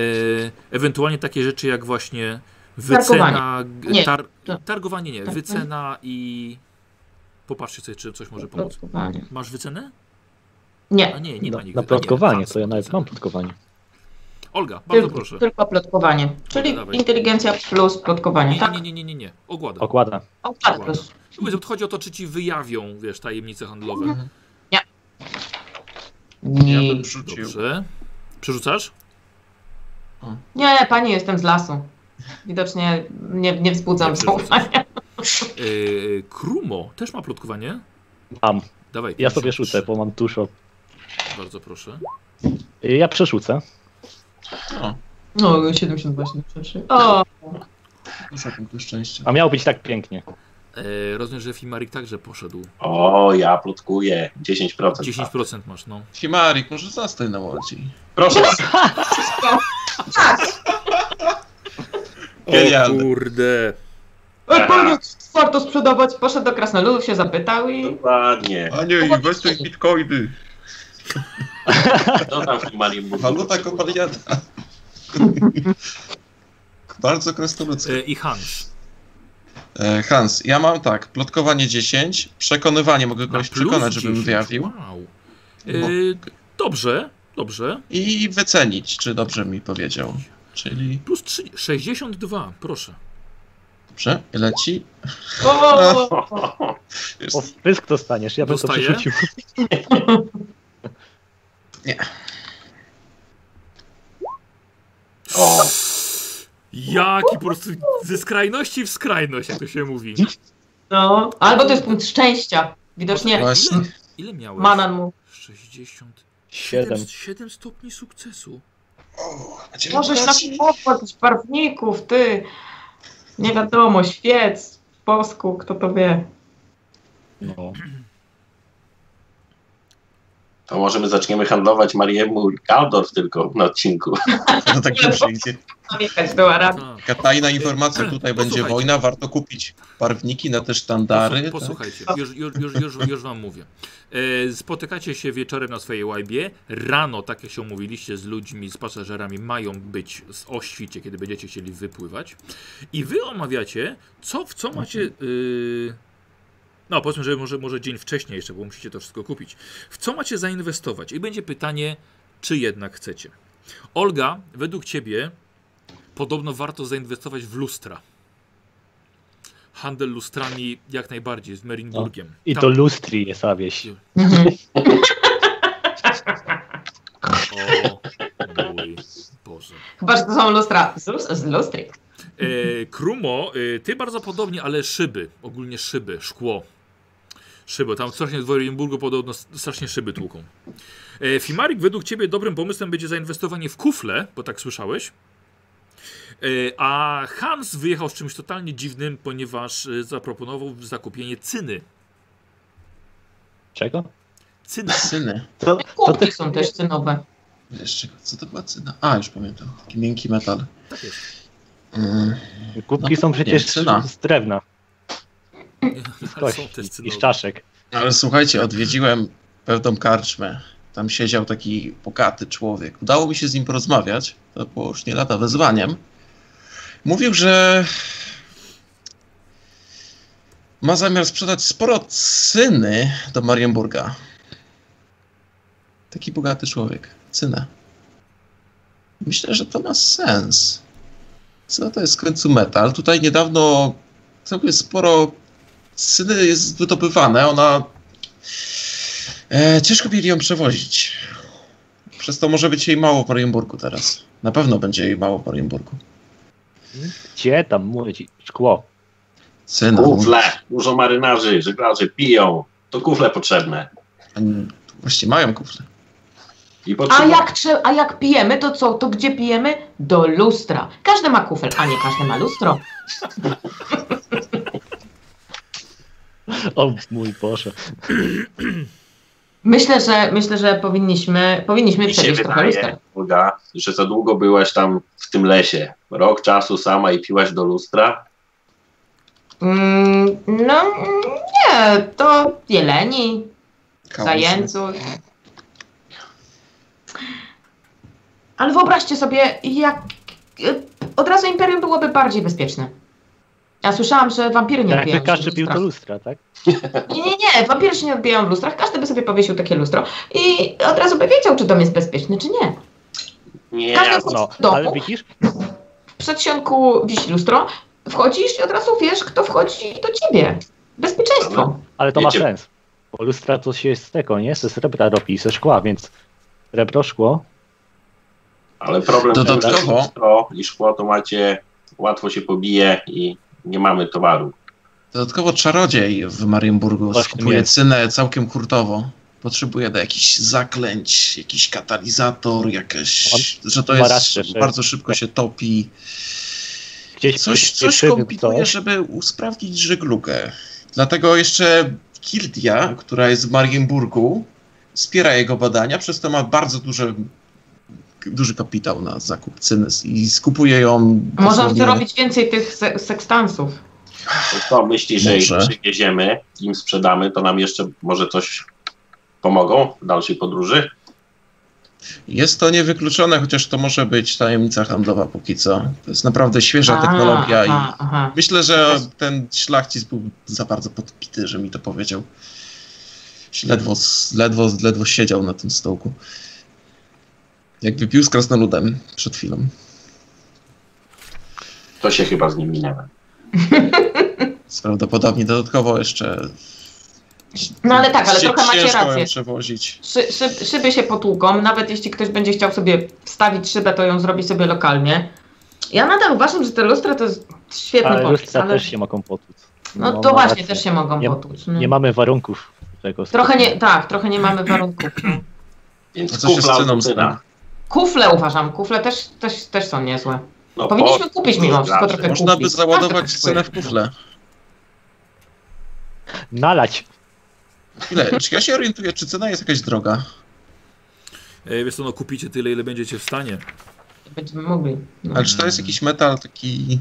Ewentualnie takie rzeczy jak właśnie wycena. g- Nie. Tar, To- targowanie nie, Tak. wycena i. Popatrzcie sobie, czy coś może pomóc. Plotkowanie. Masz wycenę? A Nie, nie, nie ma nigdy. A Na, na nie, No, tak, plotkowanie, tam to ja są nawet wyceny. mam plotkowanie. Olga, bardzo tylko, proszę. tylko plotkowanie, czyli Dawaj. inteligencja plus plotkowanie, tak? Nie, nie, nie, nie, nie, nie. Ogłada. Okłada. O, tak, plus. Powiedz, Chodzi o to, czy ci wyjawią, wiesz, tajemnice handlowe. Mhm. Ja Nie. bym rzucił. Dobrze. Przerzucasz? nie, pani, jestem z lasu. Widocznie nie, nie wzbudzam Nie zaufania. Yy, Krumo też ma plotkowanie? Mam. Dawaj. Ja proszę. sobie rzucę, bo mam dużo. Bardzo proszę. Y, Ja przerzucę. O, No, 70 właśnie przeszły. O, dużo punktu szczęścia. A miało być tak pięknie. E, rozumiem, że Fimarik także poszedł. O, ja plotkuję. Tak. 10%. Tak. 10% masz, no. Himarik, może zostań na łodzi. Proszę. tak! Genialny. kurde. Odpowiedź warto sprzedawać. Poszedł do krasnoludów, się zapytał i... Dokładnie. Panie, inwestuj w bitcoiny. Co tam w tym Marienburgu? Waluta kopalniana. Bardzo krasnoludzka. E, I Hans. E, Hans, ja mam tak, plotkowanie 10, przekonywanie, mogę Na kogoś plus przekonać, żebym 10. wyjawił Wow. E, dobrze, dobrze. i wycenić, czy dobrze mi powiedział. Czyli Plus 3, 62, proszę. Dobrze, leci. O! Jest. O wpysk dostaniesz, ja bym Dostaję? to przerzucił. O, Jaki po prostu ze skrajności w skrajność, jak to się mówi. No, albo to jest punkt szczęścia. Widocznie Właśnie. Ile miałeś? Manan mu. 60. Siedem. 7, stopni sukcesu. O, będzie Możesz na leci. jakichś barwników, ty. Nie wiadomo, świec, w posku, kto to wie. No. to może my zaczniemy handlować Mariemu i Kaldorf tylko na odcinku. To tak nie przyjdzie. Zamykać do Arabii. Tak. Taka tajna informacja, tutaj będzie Posłuchajcie. wojna, warto kupić barwniki na te sztandary. Posłuch- Posłuchajcie, już, już, już, już, już wam mówię. E, spotykacie się wieczorem na swojej łajbie. Rano, tak jak się umówiliście z ludźmi, z pasażerami, mają być z o świcie, kiedy będziecie chcieli wypływać. I wy omawiacie, co w co macie. y, no, powiedzmy, że może, może dzień wcześniej jeszcze, bo musicie to wszystko kupić. W co macie zainwestować? I będzie pytanie, czy jednak chcecie. Olga, według ciebie podobno warto zainwestować w lustra. Handel lustrami jak najbardziej z Merinburgiem. No. Tak. I Tam- to lustri jest ta wieś. Mhm. O mój Boże. Chyba, że to są lustra. Z, lus- z lustry. E, Krumo, e, ty bardzo podobnie, ale szyby, ogólnie szyby, szkło. Szyby, tam strasznie w Orienburgu podobno s- strasznie szyby tłuką. E, Fimarik, według ciebie dobrym pomysłem będzie zainwestowanie w kufle, bo tak słyszałeś. E, a Hans wyjechał z czymś totalnie dziwnym, ponieważ e, zaproponował zakupienie cyny. Czego? Cyny. tak? Cyny. To, to Kurki ty... są też cynowe. Wiesz czego? Co to była cyna? A, już pamiętam. Taki miękki metal. Tak jest. Mm, Kubki są No, przecież nie, cyna. z drewna, Ale z są też kości i z cynowe. czaszek. Ale słuchajcie, odwiedziłem pewną karczmę. Tam siedział taki bogaty człowiek. Udało mi się z nim porozmawiać. To było już nie lata wezwaniem. Mówił, że ma zamiar sprzedać sporo cyny do Marienburga. Taki bogaty człowiek. Cynę. Myślę, że to ma sens. Co to jest w końcu metal? Tutaj niedawno całkiem sporo Syny jest wydobywane, ona. E, ciężko mieli ją przewozić. Przez to może być jej mało w Marienburgu teraz. Na pewno będzie jej mało w Marienburgu. Gdzie tam młodzi? Szkło. Syna. Kufle, dużo marynarzy, żeglarzy piją. To kufle potrzebne. Oni Właśnie mają kufle. I A potrzebne. jak, trze- a jak pijemy, to co? To gdzie pijemy? Do lustra. Każdy ma kufel, a nie każdy ma lustro. O mój Boże. Myślę, że, myślę, że powinniśmy, powinniśmy Mi się przewieźć trochę wydaje, lustra. Olga, że za długo byłaś tam w tym lesie. Rok czasu sama i piłaś do lustra. Mm, no mm, nie, to jeleni, Kałuże. zajęców. Ale wyobraźcie sobie, jak y, od razu Imperium byłoby bardziej bezpieczne. Ja słyszałam, że wampiry nie Tak Jakby odbijają każdy się w pił to lustrach. lustra, tak? Nie, nie, nie, wampiry się nie odbijają w lustrach, każdy by sobie powiesił takie lustro i od razu by wiedział, czy dom jest bezpieczny, czy nie. Nie, Każdy jasno. No, domu? ale widzisz, W przedsionku wisi lustro, wchodzisz i od razu wiesz, kto wchodzi do ciebie. Bezpieczeństwo. ale to ma Wiecie- sens. Bo lustra to się z tego, nie? Ze srebra robi, ze szkła, więc srebro, szkło. ale problem Dodatkowo- tego, że lustro i szkło to macie, łatwo się pobije i nie mamy towaru. Dodatkowo czarodziej w Marienburgu Właśnie skupuje jest. cynę całkiem hurtowo. Potrzebuje do jakichś zaklęć, jakiś katalizator, jakieś. On- że to ma jest. rację, że- bardzo szybko się topi. Gdzieś Coś, coś przybył kombinuje, coś. żeby usprawnić żeglugę. Dlatego jeszcze Kildia, która jest w Marienburgu, wspiera jego badania, przez to ma bardzo duże, duży kapitał na zakup cyny i skupuje ją. Można dosłownie- zrobić więcej tych se- sekstansów. To co myśli, że ich Może. przywieziemy, im sprzedamy, to nam jeszcze może coś pomogą w dalszej podróży? Jest to niewykluczone, chociaż to może być tajemnica handlowa póki co. To jest naprawdę świeża A, technologia i aha, aha. myślę, że ten szlachcic był za bardzo podpity, że mi to powiedział. Ledwo, ledwo, ledwo siedział na tym stołku. Jakby pił z krasnoludem przed chwilą. To się chyba z nim minęło. Prawdopodobnie dodatkowo jeszcze. No ale tak, ale Cie- trochę macie ciężko ją rację. przewozić. Szy, szyb, szyby się potłuką, nawet jeśli ktoś będzie chciał sobie wstawić szybę, to ją zrobi sobie lokalnie. Ja nadal uważam, że te lustra to jest świetny Ale pomysł, lustra ale też się mogą potłuc. no to ma właśnie rację. też się mogą Nie- potłuc. No. Nie mamy warunków tego. Trochę nie, tak, trochę nie mamy warunków. No. A Więc co się kufla z ceną od syna. stanie? Kufle uważam, kufle też, też, też są niezłe. No, Powinniśmy kupić mimo wszystko zawsze. trochę Można kufli. by Każdy załadować kupuje. cenę w kufle. Nalać. Ile? Czy ja się orientuję, czy cena jest jakaś droga? E, Wiesz co, no kupicie tyle, ile będziecie w stanie. Będziemy mogli. No. Ale czy to jest jakiś metal taki.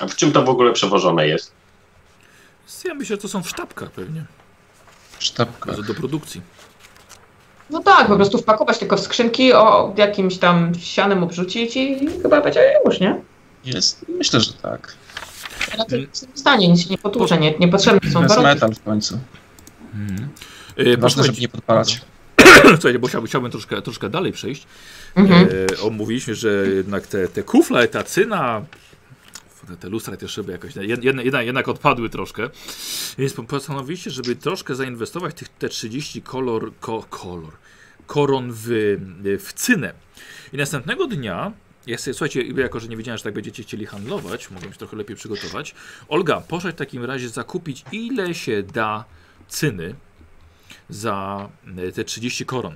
A w czym to w ogóle przewożone jest? Ja myślę, że to są w sztabkach pewnie, sztabka? do produkcji. No tak, po prostu wpakować tylko w skrzynki, o jakimś tam sianem obrzucić i chyba będzie już, nie? Jest? Myślę, że tak. Mm. W tym stanie nic się nie potłucze, nie, niepotrzebne To są jest warunki. metal w końcu. Mhm. Ważne, żeby nie podpalać. Słuchajcie, bo chciałbym, chciałbym troszkę, troszkę dalej przejść. Mhm. E, omówiliśmy, że jednak te, te kufle, ta cyna, te, te lustra, te szyby jakoś jed, jedna, jedna, jednak odpadły troszkę. Więc po- postanowiliście, żeby troszkę zainwestować tych, te 30 kolor, ko, kolor, koron w, w cynę. I następnego dnia, ja sobie, słuchajcie, jako że nie wiedziałem, że tak będziecie chcieli handlować, mogłem się trochę lepiej przygotować. Olga, poszedł w takim razie zakupić ile się da cyny za e, te 30 koron.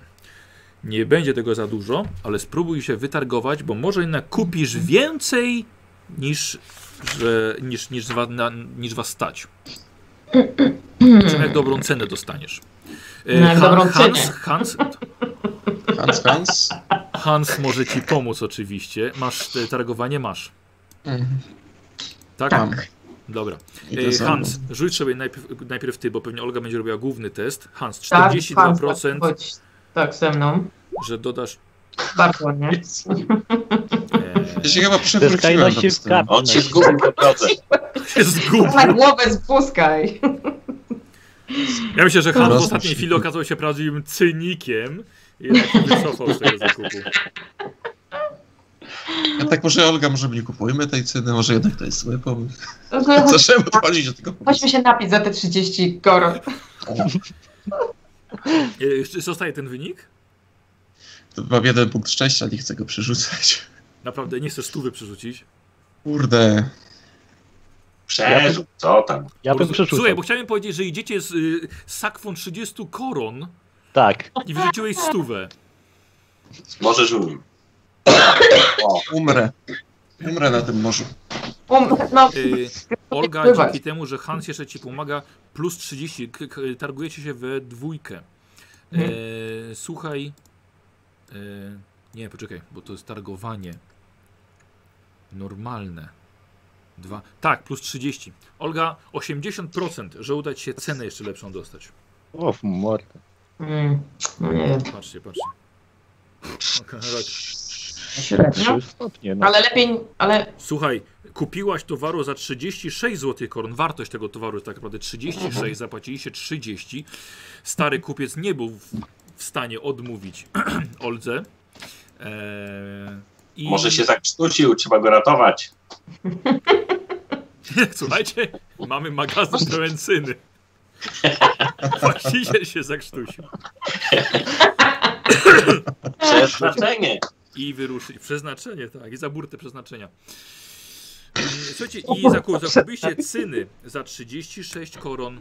Nie będzie tego za dużo, ale spróbuj się wytargować, bo może jednak kupisz więcej niż, że, niż, niż, wa, na, niż was stać. Przy czym jak dobrą cenę dostaniesz. E, No, jak dobrą Hans, cenę. Hans, Hans, Hans. Hans może ci pomóc oczywiście. Masz e, targowanie? Masz. Mhm. Tak? Tam. Dobra. Idę E, za Hans, mną. rzuć sobie najpierw, najpierw ty, bo pewnie Olga będzie robiła główny test. Hans, Tak, 42%, tak, chodź, tak, ze mną. że dodasz... Bardzo ładnie. E, Ja się chyba Ze przewróciłem. skrajności tam z w tym. kap. On się zgubił po drodze. się zgubił. Na głowę spuskaj. Ja myślę, że Hans w Rozumiem. ostatniej chwili okazał się prawdziwym cynikiem i jednak się wycofał z tego zakupu. Y, Ja tak może Olga, może my nie kupujmy tej ceny, może jednak to jest zły pomysł. No to chodź- Zaczynamy odchodzić od tego pomysłu. Chodźmy się napić za te 30 koron. E, jeszcze Zostaje ten wynik? To mam jeden punkt szczęścia, nie chcę go przerzucać. Naprawdę, nie chcesz stówy przerzucić? Kurde. Przeżył, co tam? Ja bym Porozum- przerzucał. Słuchaj, bo chciałem powiedzieć, że idziecie z y, sakwą 30 koron Tak. i wyrzuciłeś stówę. Możesz u nim. O, Umrę. Umrę na tym morzu. Um, no, Y, Olga, Pływać. dzięki temu, że Hans jeszcze ci pomaga, plus 30, k- k- targujecie się we dwójkę. E, Mhm. słuchaj. E, nie, poczekaj, bo to jest targowanie. Normalne. Dwa. Tak, plus 30. Olga, 80%, że uda ci się cenę jeszcze lepszą dostać. O, w mordę. mm, no nie wiem. Patrzcie, patrzcie. Okej, tak. Średnio. Trzy stopnie. No. Ale lepiej, ale Słuchaj, kupiłaś towaru za 36 zł koron. Wartość tego towaru jest tak naprawdę Mhm. 36, zapłaciliście 30. Stary kupiec nie był w, w stanie odmówić Oldze. Eee, i... może się tak- zakrztusił, trzeba go ratować. Słuchajcie, mamy magazyn pełen cyny. Właściciel się zakrztusił. Tak. Przeznaczenie. I wyruszyć. Przeznaczenie, tak. I za burtę przeznaczenia. Mm, Słuchajcie, i zaku, zakupiliście cyny za 36 koron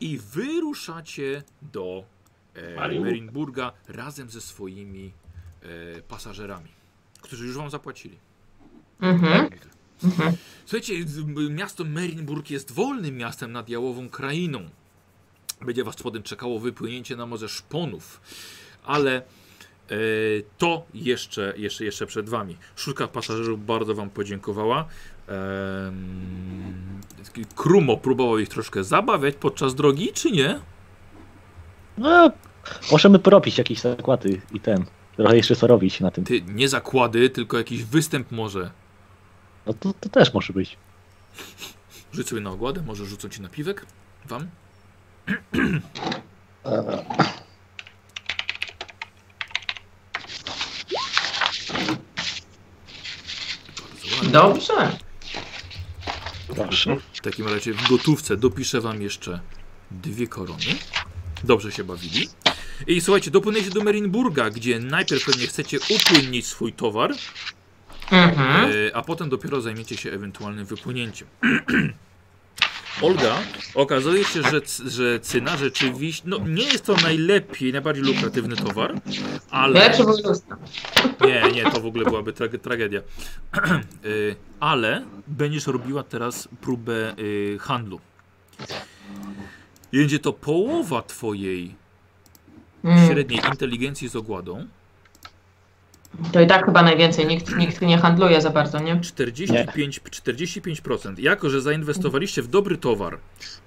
i wyruszacie do e, Marienburga. Marienburga razem ze swoimi e, pasażerami, którzy już wam zapłacili. mhm, Mhm. Słuchajcie, z- m- miasto Merinburg jest wolnym miastem nad Jałową Krainą. Będzie was potem czekało wypłynięcie na Morze Szponów, ale e, to jeszcze, jeszcze, jeszcze przed wami. Szulka pasażerów bardzo wam podziękowała. Em, Krumo próbował ich troszkę zabawiać podczas drogi, czy nie? No, możemy porobić jakieś zakłady i ten. Trochę jeszcze co robić na tym. Ty, nie zakłady, tylko jakiś występ może. No to, to też może być. Rzuć sobie na ogładę, może rzucą ci na piwek? Wam? Bardzo ładnie. dobrze. Proszę. W takim razie w gotówce dopiszę wam jeszcze dwie korony. Dobrze się bawili. I słuchajcie, dopłynęliście do Merinburga, gdzie najpierw pewnie chcecie upłynnić swój towar, Mhm. e, a potem dopiero zajmiecie się ewentualnym wypłynięciem. Olga, okazuje się, że, c- że cyna rzeczywiście, no nie jest to najlepiej, najbardziej lukratywny towar, ale... Lepsze województwo. Nie, nie, to w ogóle byłaby trage- tragedia. Y, Ale będziesz robiła teraz próbę y, handlu. I Będzie to połowa twojej Mm. średniej inteligencji z ogładą. To i tak chyba najwięcej. Nikt, nikt nie handluje za bardzo, nie? 45, 45%. Jako, że zainwestowaliście w dobry towar,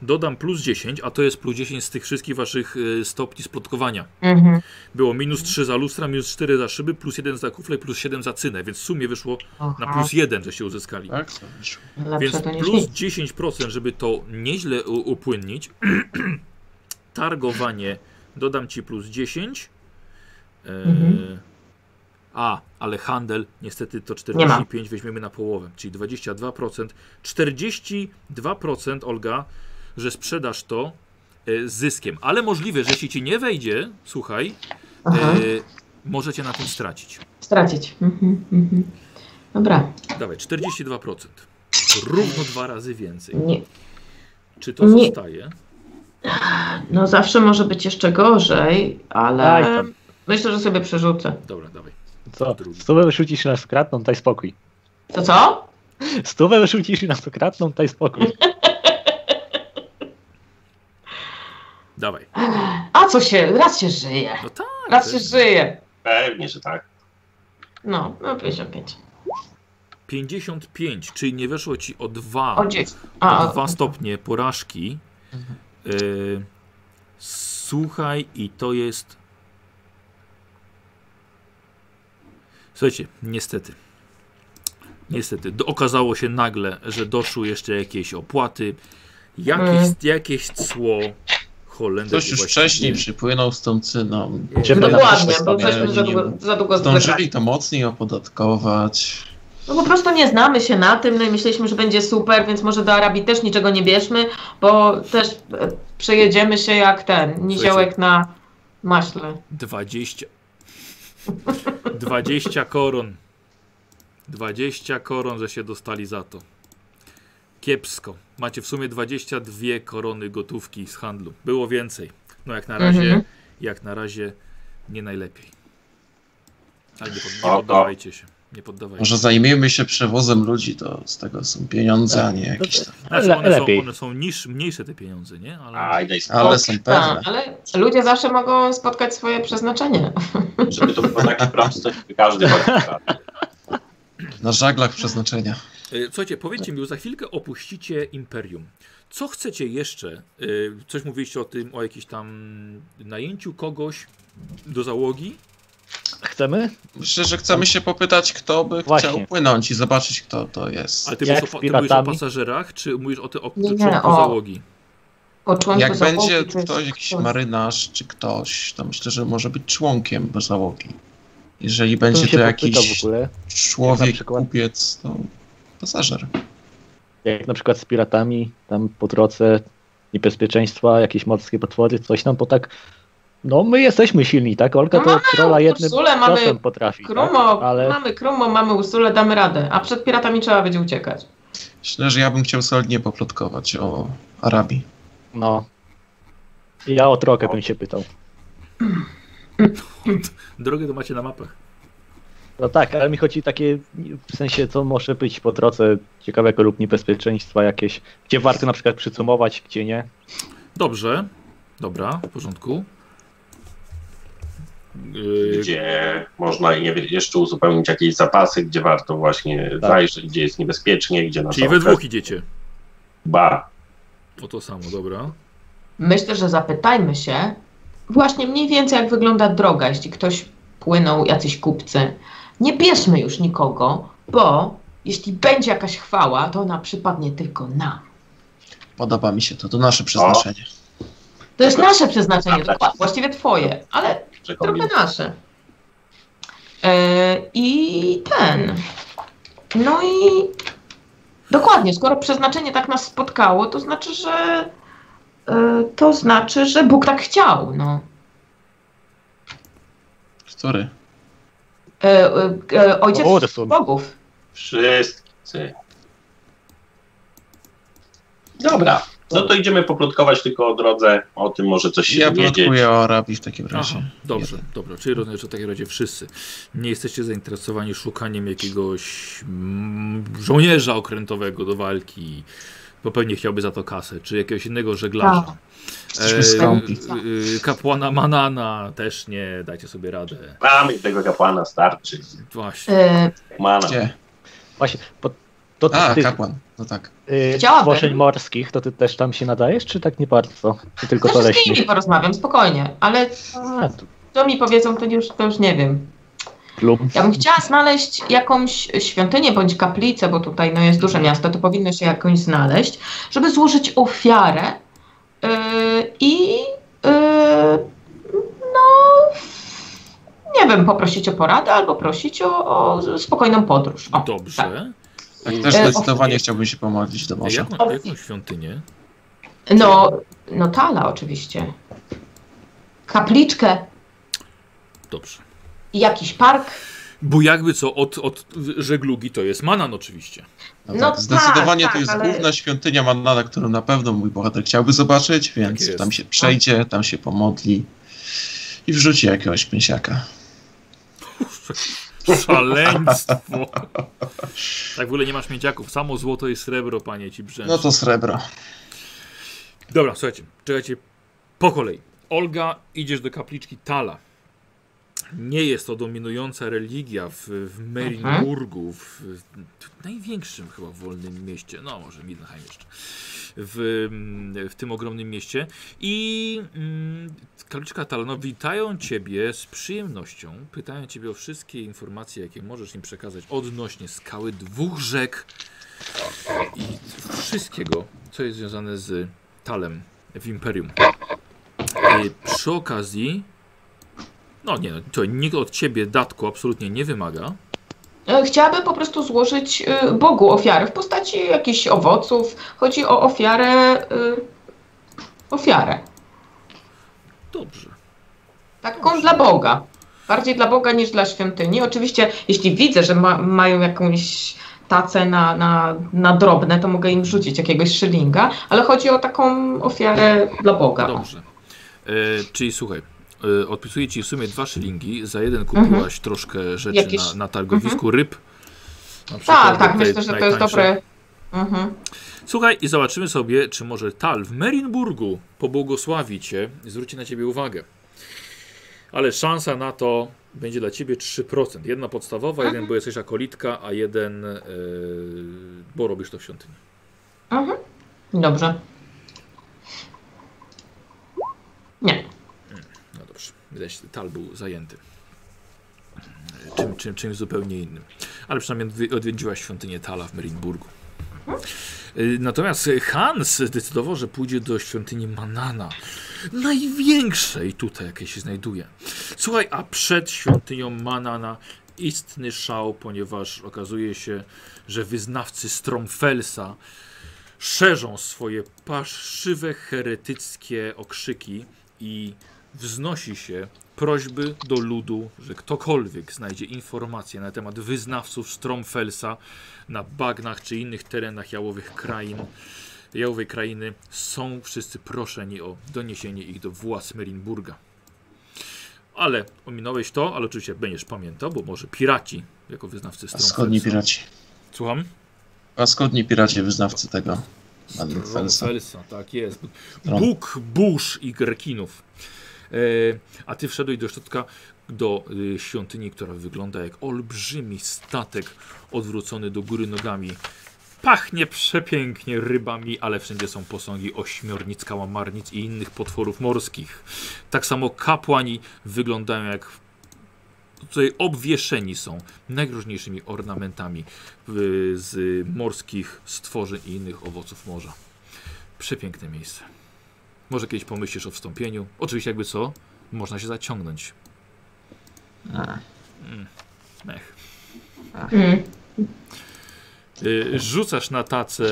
dodam plus 10, a to jest plus 10 z tych wszystkich waszych y, stopni splotkowania. Mhm. Było minus 3 za lustra, minus 4 za szyby, plus 1 za kufle, plus 7 za cynę, więc w sumie wyszło na plus 1, że się uzyskali. Tak? To wyszło. Lepsze Więc to niż plus yy. nic. 10%, żeby to nieźle u- upłynnić. Targowanie dodam ci plus 10. E, Mhm. A, ale handel niestety to ma. 45 weźmiemy na połowę, czyli 22%. 42% Olga, że sprzedasz to e, z zyskiem, ale możliwe, że jeśli ci nie wejdzie, słuchaj, e, Aha. możecie na tym stracić. Stracić. Mhm, mhm. Dobra. Dawaj, 42%. Równo dwa razy więcej. Nie. Czy to Nie. zostaje? No zawsze może być jeszcze gorzej, Aj, ale tam. myślę, że sobie przerzucę. Dobra, dawaj. Co? Drugi. Stówę wyrzucisz i nas kradną, daj spokój. To co? Stówę wyrzucisz i nas kradną, daj spokój. Dawaj. A co się, raz się żyje. No tak. Raz się żyje. Pewnie, że tak. No, no 55. 55, czyli nie weszło ci o dwa, O o 10. A, o, no dwa stopnie porażki. Y, słuchaj, i to jest. Słuchajcie, niestety. Niestety, do, okazało się nagle, że doszły jeszcze jakieś opłaty, jakieś, Mm. jakieś cło Holender. Ktoś już właściwie- wcześniej przypłynął z tą cyną. Czy No Nie, pan- Dokładnie, bo Nie, żeśmy za nie długo, wiem. za długo zwlekali. Zdążyli to mocniej opodatkować. No po prostu nie znamy się na tym, no i myśleliśmy, że będzie super, więc może do Arabii też niczego nie bierzmy, bo też e, przejedziemy się jak ten, niziołek na maśle. 20. 20 koron. 20 koron, że się dostali za to. Kiepsko. Macie w sumie 22 korony gotówki z handlu. Było więcej. No jak na razie, Mhm. jak na razie nie najlepiej. Ale nie, pod, nie Oto. poddawajcie się. Nie poddawajcie się. Może zajmiemy się przewozem ludzi, to z tego są pieniądze, a nie jakieś tam. Znaczy one są, lepiej. one są niż, mniejsze te pieniądze, nie? Ale Aj, daj spokój. No. Ale są Tak, pewne. ale ludzie zawsze mogą spotkać swoje przeznaczenie. Żeby to było takie proste, żeby każdy ma Na żaglach przeznaczenia. E, Słuchajcie, powiedzcie mi, bo za chwilkę opuścicie Imperium. Co chcecie jeszcze? E, Coś mówiliście o tym, o jakimś tam najęciu kogoś do załogi? Chcemy? Myślę, że chcemy się popytać, kto by Właśnie. chciał płynąć i zobaczyć, kto to jest. Ale ty, Jak mówisz z o, pa- ty mówisz o piratami? pasażerach, czy mówisz o tym o Nie, nie, członku o- załogi? O członku Jak załogi, będzie czy- ktoś, jakiś marynarz czy ktoś, to myślę, że może być członkiem załogi. Jeżeli Bym będzie się to popytał jakiś w ogóle. jak człowiek, na przykład- kupiec, to pasażer. Jak na przykład z piratami, tam po drodze niebezpieczeństwa, jakieś morskie potwory, coś nam po tak. No my jesteśmy silni, tak? Olga No to trola jednym Ursulę, mamy ciosem potrafi. Krumo, tak? Ale mamy Krumo, mamy Ursulę, damy radę, a przed piratami trzeba będzie uciekać. Myślę, że ja bym chciał solidnie poplotkować o Arabii. no. Ja o trokę bym się pytał. Drogę to macie na mapach. No tak, ale mi chodzi takie w sensie, co może być po drodze ciekawego lub niebezpieczeństwa jakieś, gdzie warto na przykład przycumować, gdzie nie. Dobrze, dobra, w porządku. Yy, gdzie można je jeszcze uzupełnić jakieś zapasy, gdzie warto właśnie Tak. zajrzeć, gdzie jest niebezpiecznie, gdzie na czyli we przykład dwóch idziecie. Ba. O to samo, dobra. Myślę, że zapytajmy się właśnie mniej więcej, jak wygląda droga, jeśli ktoś płynął, jacyś kupcy. Nie bierzmy już nikogo, bo jeśli będzie jakaś chwała, to ona przypadnie tylko nam. Podoba mi się to, to nasze przeznaczenie. To jest nasze przeznaczenie, Dobra. dokładnie, właściwie twoje, ale że kombin- trochę nasze. E, I ten. No i Dokładnie, skoro przeznaczenie tak nas spotkało, to znaczy, że y, to znaczy, że Bóg tak chciał, no. Który? Y, y, y, ojciec O, wszystkich Orson. bogów. Wszyscy. Dobra, no to idziemy poplotkować tylko o drodze, o tym może coś się Ja dowiedzieć. plotkuję o Arabii w takim razie. Aha, dobrze, dobrze. Czyli rozumiem, że w takim razie wszyscy nie jesteście zainteresowani szukaniem jakiegoś mm, żołnierza okrętowego do walki, bo pewnie chciałby za to kasę, czy jakiegoś innego żeglarza. Tak, Jesteśmy skąpi. e, kapłana Manana też nie, dajcie sobie radę. Mamy tego kapłana, starczy. Właśnie. Y, Mana. Gdzie? Właśnie, bo to ty A, z tych kapłan. No tak. y, Chciałabym. zgłoszeń morskich, to ty też tam się nadajesz, czy tak nie bardzo? Czy tylko to Znaczy z leśni? nimi porozmawiam, spokojnie, ale A, tu co mi powiedzą, to już, to już nie wiem. klub. Ja bym chciała znaleźć jakąś świątynię bądź kaplicę, bo tutaj no, jest duże miasto, to powinno się jakąś znaleźć, żeby złożyć ofiarę yy, i yy, no nie wiem, poprosić o poradę albo prosić o, o spokojną podróż. O, tak. Dobrze. Tak Eee, też E, zdecydowanie chciałbym się pomodlić do E, morza. Jaką, jaką świątynię? No, no tala oczywiście. Kapliczkę Dobrze. i jakiś park. Bo jakby co, od, od żeglugi to jest Manan oczywiście. No No tak, tak, zdecydowanie tak, to jest ale- główna świątynia Mannana, którą na pewno mój bohater chciałby zobaczyć, więc jest. tam się przejdzie, tam się pomodli i wrzuci jakiegoś pięsiaka. Szaleństwo. Tak w ogóle nie masz miedziaków. Samo złoto i srebro, panie ci brzęczy. No to srebro. Dobra, słuchajcie, czekajcie po kolei. Olga, idziesz do kapliczki Tala. Nie jest to dominująca religia w, w Merinburgu, w, w największym chyba wolnym mieście, no może Middenheim jeszcze, w, mm, w tym ogromnym mieście. I mm, kapliczka Tala, no witają Ciebie z przyjemnością, pytają Ciebie o wszystkie informacje, jakie możesz im przekazać odnośnie skały dwóch rzek i wszystkiego, co jest związane z Talem w Imperium. Y, przy okazji, no nie, no, to nikt od ciebie datku absolutnie nie wymaga. E, Chciałabym po prostu złożyć e, Bogu ofiarę w postaci jakichś owoców. Chodzi o ofiarę. e, Ofiarę. Dobrze. Taką dla Boga. Bardziej dla Boga niż dla świątyni. Oczywiście, jeśli widzę, że ma, mają jakąś tacę na, na, na drobne, to mogę im rzucić jakiegoś szylinga, ale chodzi o taką ofiarę dla Boga. Dobrze. E, czyli słuchaj, e, odpisuję ci w sumie dwa szylingi. Za jeden kupiłaś Mhm. troszkę rzeczy Jakieś- na, na targowisku ryb. Na Tak, przykład, tak, te myślę, że to jest najtańsze. dobre. Mhm. Słuchaj, i zobaczymy sobie, czy może Tal w Merinburgu pobłogosławi cię i zwróci na ciebie uwagę. Ale szansa na to będzie dla ciebie 3%. Jedna podstawowa, jeden, bo jesteś akolitka, a jeden, yy, bo robisz to w świątyni. Mhm. Dobrze. Nie. No dobrze, widać, Tal był zajęty. Yy, Czym, czym, czymś zupełnie innym. Ale przynajmniej odwi- odwiedziła świątynię Tala w Merinburgu. Yy, Natomiast yy, Hans zdecydował, że pójdzie do świątyni Manana. Największej tutaj, jakiej się znajduje. Słuchaj, a przed świątynią Manana istny szał, ponieważ okazuje się, że wyznawcy Stromfelsa szerzą swoje paszczywe, heretyckie okrzyki i wznosi się prośby do ludu, że ktokolwiek znajdzie informacje na temat wyznawców Stromfelsa na bagnach czy innych terenach jałowych krain, jałowej krainy, są wszyscy proszeni o doniesienie ich do władz Merinburga. Ale ominąłeś to, ale oczywiście będziesz pamiętał, bo może piraci jako wyznawcy Wschodni Stromfelsa. piraci. Słucham? Wschodni piraci, wyznawcy tego. Manfelsa. Felsa, tak jest. Tron. Bóg, burz i Grekinów. E, a ty wszedłeś do środka do y, świątyni, która wygląda jak olbrzymi statek odwrócony do góry nogami. Pachnie przepięknie rybami, ale wszędzie są posągi ośmiornic, kałamarnic i innych potworów morskich. Tak samo kapłani wyglądają jak tutaj obwieszeni są najróżniejszymi ornamentami y, z morskich stworzeń i innych owoców morza. Przepiękne miejsce. Może kiedyś pomyślisz o wstąpieniu. Oczywiście jakby co, można się zaciągnąć. A, Mech. Mm. Y, Rzucasz na tacę.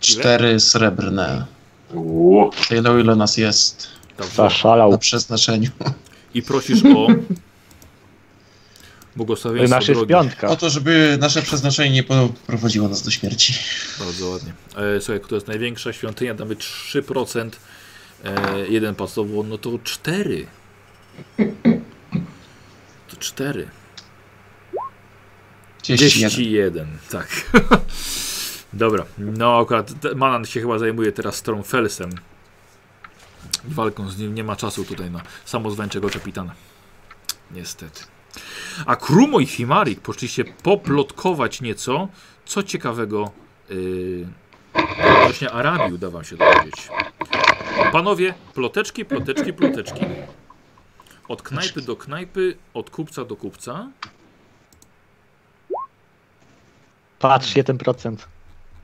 Cztery srebrne. Uuu, Tyle, o ile nas jest Dobrze. na Zaszalał. przeznaczeniu. I prosisz o. Błogosławieństwo Nasz jest drogi. O piątka. to, żeby nasze przeznaczenie nie prowadziło nas do śmierci. Bardzo ładnie. E, słuchaj, to jest największa świątynia, damy 3%, e, jeden podstawowo, no to 4. To 4. 31. 31, tak. Dobra, no akurat te- Manan się chyba zajmuje teraz Stromfelsem. Walką z nim nie ma czasu tutaj na samozwańczego kapitana. Niestety. A Krumo i Himarik poszli się poplotkować nieco, co ciekawego yy, właśnie Arabii udało się dowiedzieć. Panowie, ploteczki, ploteczki, ploteczki. Od knajpy do knajpy, od kupca do kupca. Patrz, 1%.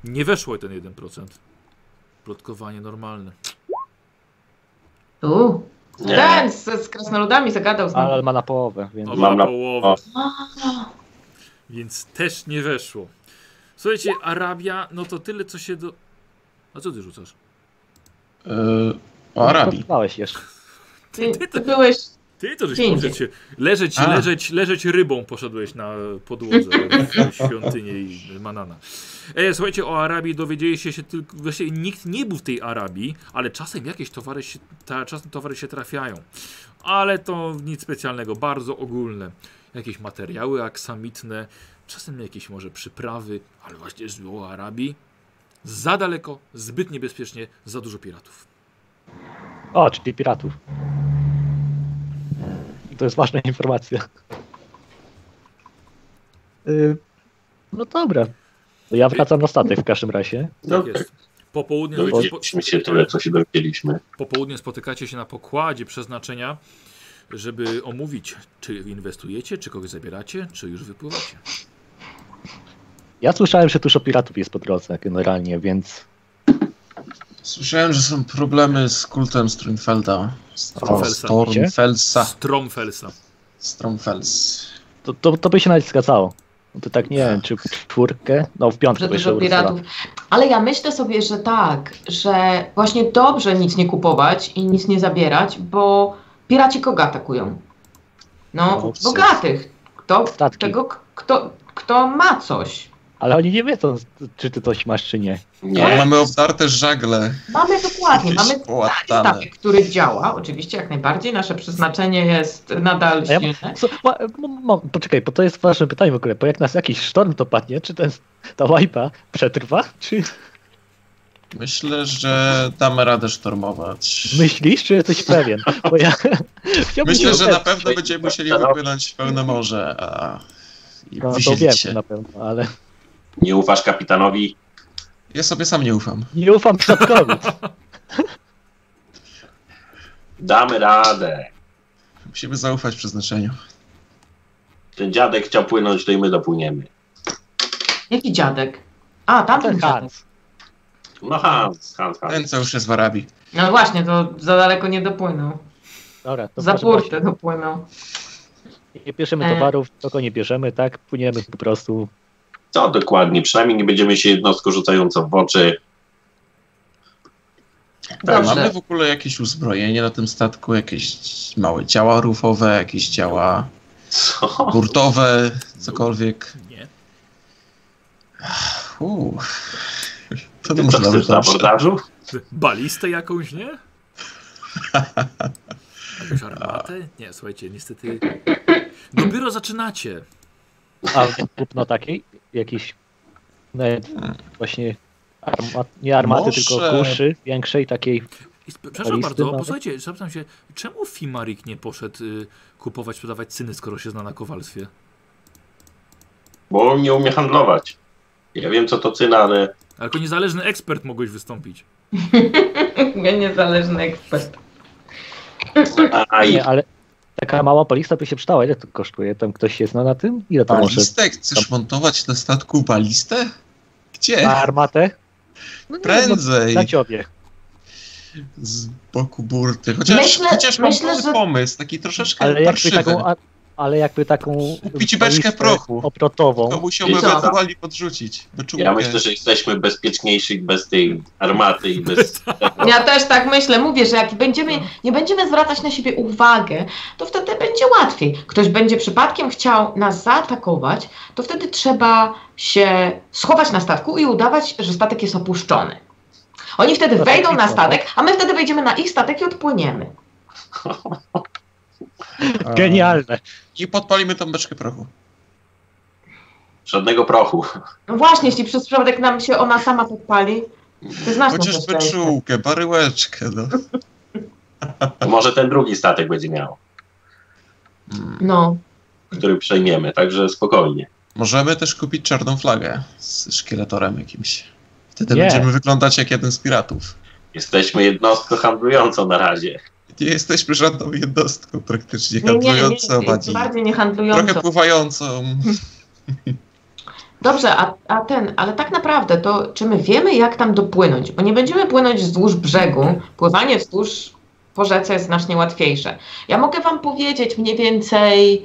Nie weszło ten 1%. Plotkowanie normalne. U. nie. Ten z, z krasnoludami zagadał z Ale nim. ma na połowę, więc O, Mam Mam na- połowę. o. Więc też nie weszło. Słuchajcie, Arabia, no to tyle co się do... A co ty rzucasz? Yy, o Arabii. No, Poznałeś jeszcze. Ty, ty byłeś... No, Ty to żeś Dzień poszedł się... Leżeć, A. leżeć, leżeć rybą poszedłeś na podłodze w świątyni i Manana. E, słuchajcie, o Arabii dowiedzieliście się tylko... Właściwie nikt nie był w tej Arabii, ale czasem jakieś towary się, ta, czasem towary się trafiają. Ale to nic specjalnego, bardzo ogólne. Jakieś materiały aksamitne, czasem jakieś może przyprawy, ale właśnie z o Arabii. Za daleko, zbyt niebezpiecznie, za dużo piratów. O, czyli piratów. To jest ważna informacja. Y, No dobra. To ja wracam na statek w każdym razie. Tak No, jest. Po południu... dowiedzieliśmy się tyle, co się dowiedzieliśmy. Popołudnie spotykacie się na pokładzie przeznaczenia, żeby omówić, czy inwestujecie, czy kogoś zabieracie, czy już wypływacie. Ja słyszałem, że tuż o piratów jest po drodze generalnie, więc Słyszałem, że są problemy z kultem Strunfelda. Stromfelsa. Stormfelsa. Stromfelsa. Stromfels. to, to, to by się nawet zgadzało. No to tak nie wiem, czy w czwórkę, no w piątkę Że by jeszcze dużo wróciła. piratów. Ale ja myślę sobie, że tak, że właśnie dobrze nic nie kupować i nic nie zabierać, bo piraci kogo atakują? No, Chłopcy. bogatych. Kto, Statki. tego, k- kto, kto ma coś. Ale oni nie wiedzą, czy ty coś masz, czy nie. Ale Nie, Tak, mamy obdarte żagle. Mamy dokładnie, mamy Spłatane. statek, który działa, oczywiście jak najbardziej, nasze przeznaczenie jest nadal A ja- silne. Co, Tak? ma, mo- mo- poczekaj, bo to jest ważne pytanie w ogóle, bo jak nas jakiś sztorm to padnie, czy ten, ta łajpa przetrwa, czy Myślę, że damy radę sztormować. myślisz, czy jesteś pewien? Bo ja chciałbym Myślę, się że na upewnić. pewno będziemy musieli wypłynąć w pełne morze. A... I No to wysilić wiem się. na pewno, ale nie ufasz kapitanowi? Ja sobie sam nie ufam. nie ufam statkowi. Damy radę. Musimy zaufać przeznaczeniu. Ten dziadek chciał płynąć, to i my dopłyniemy. Jaki dziadek? A, tamten Ten dziadek. Hans. No Hans, Hans, Ten, Hans. co już jest w Arabii. No właśnie, to za daleko nie dopłynął. Dobra, to Za w każdym razie furtę dopłynął. Nie bierzemy E. towarów, tylko nie bierzemy, tak? Płyniemy po prostu. Co dokładnie? Przynajmniej nie będziemy się jednostką rzucającą w oczy. Mamy Dobrze. w ogóle jakieś uzbrojenie na tym statku, jakieś małe działa rufowe, jakieś działa Co? burtowe, cokolwiek. Nie. Uuu. To Ty może co nawet chcesz na dobrze. bordażu? Balistę jakąś, nie? Jakąś armatę? Nie, słuchajcie, niestety... Dopiero zaczynacie. A kupno takiej, jakiś nawet właśnie armat, nie armaty, Może- tylko kuszy większej takiej. I sp- Przepraszam Listy bardzo, mamy? posłuchajcie, zapytam się, czemu Fimarik nie poszedł y, kupować, sprzedawać cyny, skoro się zna na kowalstwie? Bo on nie umie handlować. Ja wiem, co to cyna, ale Ale Jako niezależny ekspert mogłeś wystąpić. Ja niezależny ekspert. aj, Nie, ale taka mała polista by się przydała. Ile to kosztuje? Tam ktoś się zna na tym? Ile to może? Balistę? Chcesz montować na statku balistę? Gdzie? Na armatę? No nie, Prędzej. na ciobie. z boku burty. Chociaż, Myślę- chociaż mam myślę, myślę, że- pomysł, taki troszeczkę Ale Ale jakby parszywy. taką ar- ale jakby taką... Kupić beczkę listę prochu. Oprotową. Komuś ją ewentualnie podrzucić. Ja myślę, że jesteśmy bezpieczniejsi bez tej armaty i bez... Ja też tak myślę, mówię, że jak będziemy, nie będziemy zwracać na siebie uwagę, to wtedy będzie łatwiej. Ktoś będzie przypadkiem chciał nas zaatakować, to wtedy trzeba się schować na statku i udawać, że statek jest opuszczony. Oni wtedy To wejdą na taktyka. statek, a my wtedy wejdziemy na ich statek i odpłyniemy. Genialne. I podpalimy tą beczkę prochu. Żadnego prochu. No właśnie, jeśli przez przypadek nam się ona sama podpali, to znasz nasze Chociażby szczęście. czułkę, baryłeczkę. No. To może ten drugi statek będzie miał, Mm. No, który przejmiemy, także spokojnie. Możemy też kupić czarną flagę z szkieletorem jakimś. Wtedy Nie. będziemy wyglądać jak jeden z piratów. Jesteśmy jednostką handlującą na razie. Nie jesteśmy żadną jednostką praktycznie, nie, nie, nie, handlującą nie, bardziej. bardziej nie handlującą. Trochę pływającą. Dobrze, a, a ten, ale tak naprawdę to czy my wiemy, jak tam dopłynąć? Bo nie będziemy płynąć wzdłuż brzegu. Pływanie wzdłuż po rzece jest znacznie łatwiejsze. Ja mogę Wam powiedzieć mniej więcej,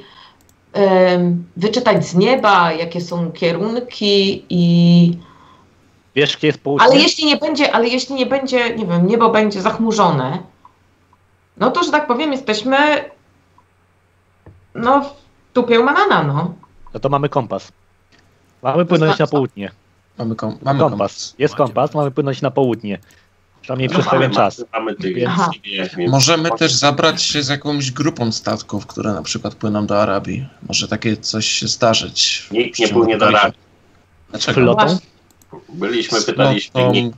em, wyczytać z nieba, jakie są kierunki i. Wiesz, gdzie jest południe? Ale jeśli nie będzie, ale jeśli nie będzie, nie wiem, niebo będzie zachmurzone, no to, że tak powiem, jesteśmy. No, w dupie u manana, no. No to mamy kompas. Mamy płynąć na południe. Mamy, kom- mamy Kompas. Jest Macie kompas, kompas. mamy płynąć na południe. Przynajmniej No przez pewien mamy- czas. Mamy tych, Więc- Aha. nie wiem, Możemy może- też zabrać się z jakąś grupą statków, które na przykład płyną do Arabii. Może takie coś się zdarzyć. Nikt nie płynie do Arabii. Dlaczego? Flotą? Właśnie. Byliśmy, Z pytaliśmy, flotą, nikt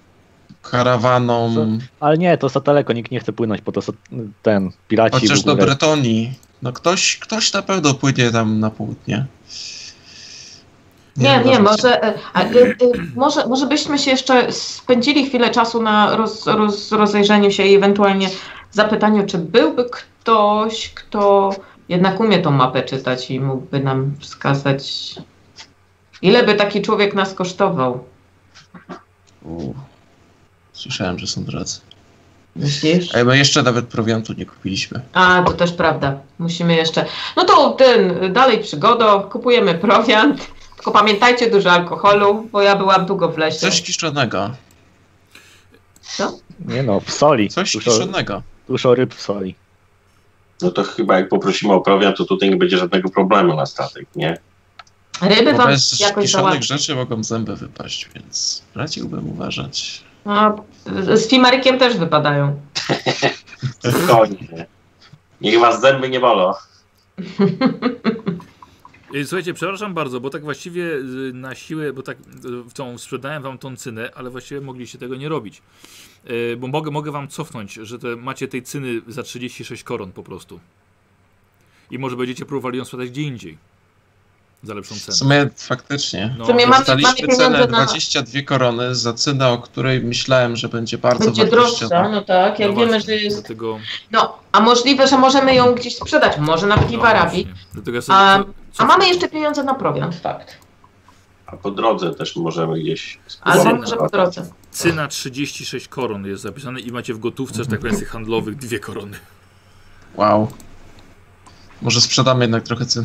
karawaną, Ale nie, to za daleko, nikt nie chce płynąć, bo to są- ten, piraci chociaż w ogóle. do Bretonii. No ktoś, ktoś na pewno płynie tam na południe. Nie, nie, wiem, może, e, a, y, y, może, może byśmy się jeszcze spędzili chwilę czasu na roz, roz, rozejrzeniu się i ewentualnie zapytaniu, czy byłby ktoś, kto jednak umie tą mapę czytać i mógłby nam wskazać, ile by taki człowiek nas kosztował. U, Słyszałem, że są drodzy. Myślisz? Ej, my jeszcze nawet prowiantu nie kupiliśmy. A, to też prawda. Musimy jeszcze. No to ten, y, dalej przygoda, kupujemy prowiant. Tylko pamiętajcie dużo alkoholu, bo ja byłam długo w lesie. No. Coś kiszonego. Nie no, w soli. Coś Dużo, kiszonego. dużo ryb w soli. No to chyba jak poprosimy o prowiant, to tutaj nie będzie żadnego problemu na statek, nie? Ryby Bo wam bez jakoś kiszonych załatwią. rzeczy mogą zęby wypaść, więc radziłbym uważać. A, No, z- z Fimarykiem też wypadają. Spokojnie. Niech was zęby nie bolą. Y, Słuchajcie, przepraszam bardzo, bo tak właściwie y, na siłę, bo tak y, w tą sprzedałem wam tą cynę, ale właściwie mogliście tego nie robić. Y, Bo mogę, mogę wam cofnąć, że te, macie tej cyny za 36 koron po prostu. I może będziecie próbowali ją sprzedać gdzie indziej. Za lepszą W cenę. sumie faktycznie. Tak. No, W sumie mamy- Dostaliśmy mamy cenę pieniądze na- 22 korony za cenę, o której myślałem, że będzie bardzo Będzie droższa, wartościowa. no tak, jak no wiemy, właśnie, że jest. Dlatego, No, a możliwe, że możemy ją gdzieś sprzedać, może nawet i no w Arabii. właśnie, Dlatego ja sobie A, co- a cofam. mamy jeszcze pieniądze na prowiant, fakt. A po drodze też możemy gdzieś Albo Dobra. spróbować. może po drodze. Cyna 36 koron jest zapisane i macie w gotówce, że tak powiem, z tych handlowych dwie korony. Wow. Może sprzedamy jednak trochę cen.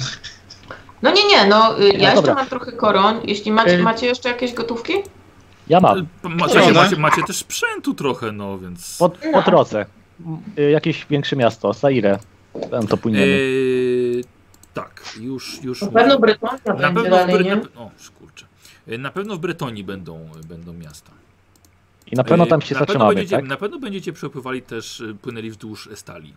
No nie, nie, no y, ja jeszcze dobra. mam trochę koron. Jeśli macie, Y- macie jeszcze jakieś gotówki? Ja mam, Ma, Korony. czekaj, macie, macie też sprzętu trochę, no więc... po, po Tak. drodze. Y, Jakieś większe miasto, Saire. Tam to płyniemy. Eee, tak, już, już. Na mówię. pewno Brytania na będzie pewno w dalej, Bry... nie? na... O, kurczę. Eee, Na pewno w Bretonii będą, yy, będą miasta. I na pewno tam się Eee, na pewno, zatrzymamy, będziecie, tak? na pewno będziecie przepływali też, e, płynęli wzdłuż stali.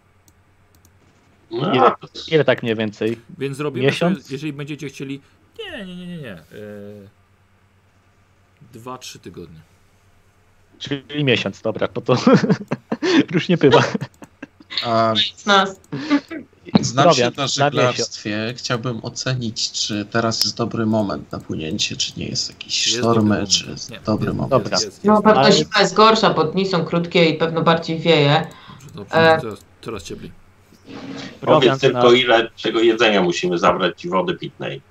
No, Ile? a, Ile tak mniej więcej? Więc zrobimy, Miesiąc? sobie, jeżeli będziecie chcieli. Nie, nie, nie, nie. nie. Eee, Dwa, trzy tygodnie. Czyli miesiąc, dobra, to to już nie pywa. A Z nas. znam się Prowiant na miesiąc. żeglarstwie. Chciałbym ocenić, czy teraz jest dobry moment na płynięcie, czy nie jest jakiś Jest dobry sztormy, moment. czy jest Nie, dobry jest- moment. Dobra. jest- jest- No jest. pewno Ale- zima jest gorsza, bo dni są krótkie i pewno bardziej wieje. Dobrze, dobrze, e, teraz, teraz ciepli. powiedz Prowiant na... tylko ile czego jedzenia musimy zabrać i wody pitnej.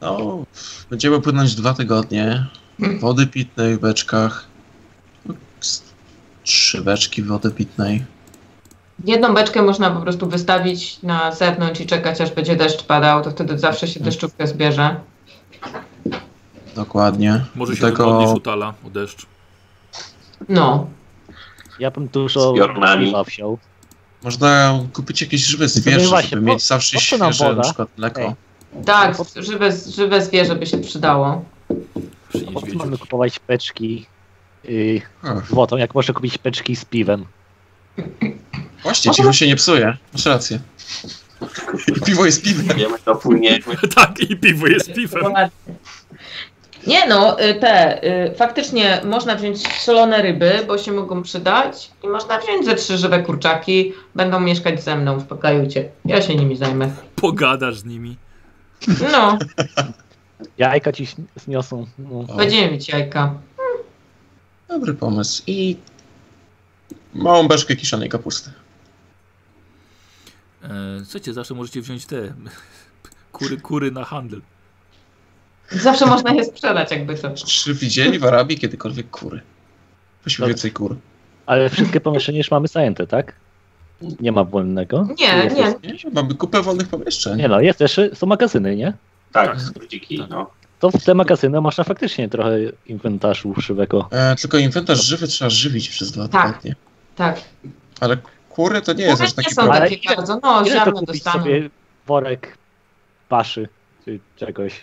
No, będziemy płynąć dwa tygodnie. Hmm. Wody pitnej w beczkach. Z- Trzy beczki wody pitnej. Jedną beczkę można po prostu wystawić na zewnątrz i czekać, aż będzie deszcz padał, to wtedy zawsze Mm. się deszczówkę zbierze. Dokładnie. Może się tego... Tego odnieść utala o deszcz. No. Ja bym dużo Z piornami. piwa wziął. można kupić jakieś żywe zwierzę, właśnie, żeby po- mieć zawsze po co nam świeże, na woda? przykład mleko. Ej. Tak, żywe, żywe zwierzę by się przydało. Przy Po co niedźwiedziu. mamy kupować peczki yy, Ach, z wodą, jak można kupić peczki z piwem? właśnie, Może- cicho się nie psuje. Masz rację. Piwo jest piwem. Wiemy, to płyniemy. tak, i piwo jest piwem. Nie no, y, te, y, faktycznie można wziąć solone ryby, bo się mogą przydać i można wziąć ze trzy żywe kurczaki, będą mieszkać ze mną, uspokajujcie, ja się nimi zajmę. Pogadasz z nimi. No, Jajka ci śn- zniosą. No. O, będziemy mieć jajka. dobry pomysł. I małą beczkę kiszonej kapusty. E, słuchajcie, zawsze możecie wziąć te kury, kury na handel. Zawsze można je sprzedać jakby co. Czy widzieli w Arabii kiedykolwiek kury? Weźmy Dobra. więcej kur. Ale wszystkie pomieszczenia już mamy zajęte, tak? Nie ma wolnego. Nie, Jest- nie. Nie? Mamy kupę wolnych pomieszczeń. Nie no, jest też, są magazyny, nie? Tak, ludziki, no. To w te magazyny można faktycznie trochę inwentarzu szybego. E, tylko inwentarz żywy trzeba żywić przez dwa Tak. tygodnie. Tak. Ale kury to nie jest Kury aż taki nie są problem. Ale takie ile- bardzo, no Ile to ziarno kupić dostaną. sobie worek paszy czy czegoś?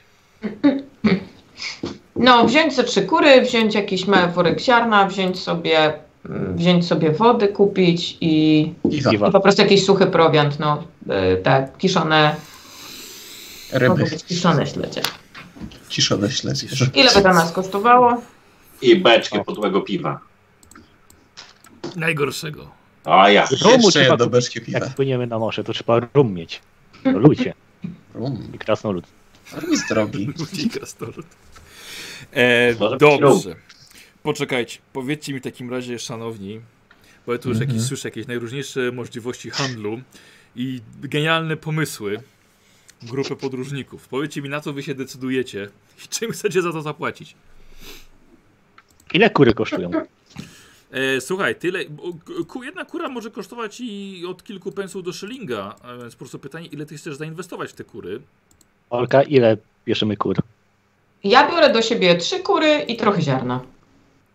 No, wziąć ze trzy kury, wziąć jakiś mały worek ziarna, wziąć sobie, mm, wziąć sobie wody, kupić i Piwa, Piwa. I No, po prostu jakiś suchy prowiant, no y, tak, kiszone, mogą ryby, być kiszone śledzie. kiszone śledzie. Ile by to nas kosztowało? I beczkę podłego piwa. Najgorszego. A ja. Rumu Jeszcze trzeba jedno kupić. Tak. beczkę piwa. Jak płyniemy na morze, to trzeba rum mieć. To ludzie Rum, i krasnolud. rum jest drogi. Ludzi krasnolud. E, Może dobrze. Poczekajcie, powiedzcie mi w takim razie, szanowni, bo ja tu już Mhm. jakieś, słyszę jakieś najróżniejsze możliwości handlu i genialne pomysły grupy podróżników. Powiedzcie mi, na co wy się decydujecie i czym chcecie za to zapłacić. Ile kury kosztują? E, słuchaj, tyle. bo k- ku- Jedna kura może kosztować i od kilku pensów do szylinga, a więc po prostu pytanie, ile ty chcesz zainwestować w te kury? Olka, ile bierzemy kur? Ja biorę do siebie trzy kury i trochę ziarna.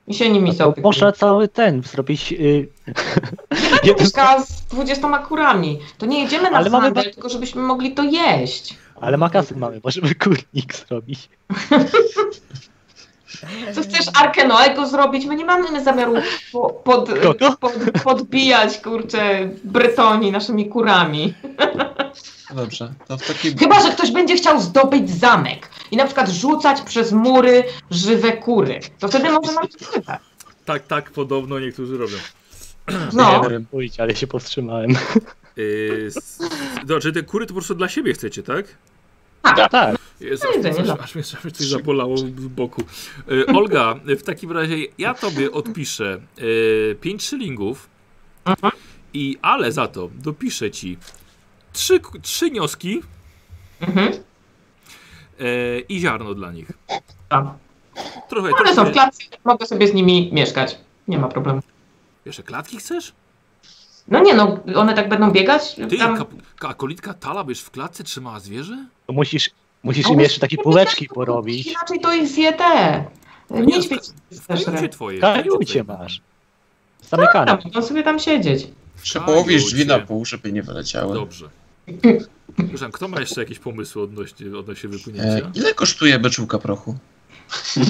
I się nimi No To zaopiekuję. można cały ten zrobić. y, jeden- Puszka z 20 kurami. To nie jedziemy na Ale mamy handel, ba- tylko żebyśmy mogli to jeść. Ale makasyn mamy, możemy kurnik zrobić. Co chcesz Arkę Noego zrobić? My nie mamy zamiaru po, pod, Kogo? pod, podbijać, kurczę, Brytonii naszymi kurami. No Dobrze, to w takim... Chyba, że ktoś będzie chciał zdobyć zamek i na przykład rzucać przez mury żywe kury. To wtedy może nam to wydać. Tak, tak, podobno niektórzy robią. No, Nie wiem. Pójdź, ale się powstrzymałem. Yy, s- znaczy te kury to po prostu dla siebie chcecie, tak? Tak, Jest, No, aż, jedzenie, aż, no. aż, mnie- aż mnie coś zabolało z boku. Yy, Olga, w takim razie ja tobie odpiszę 5 szylingów, i, ale za to dopiszę ci trzy, ku- trzy nioski mhm. yy, i ziarno dla nich. Tak. Trochę, One są w trochę. klatce, mogę sobie z nimi mieszkać. Nie ma problemu. Jeszcze klatki chcesz? No nie no, one tak będą biegać. Ty, Tam... kap, ka, kolitka Tala byś w klatce trzymała zwierzę? to musisz, musisz Ale im jeszcze takie nie półeczki tak, porobić. Inaczej to ich zje te. no, Niedźwiedź W też kajucie twoje. w Kajujcie twoje. Tak, masz. Zamykane. tam, mogą sobie tam siedzieć. Trzeba połowić drzwi na ludzie. pół, żeby nie wyleciały. Dobrze. Przepraszam, kto ma jeszcze jakieś pomysły odnośnie, odnośnie E, wypłynięcia? ile kosztuje beczułka prochu?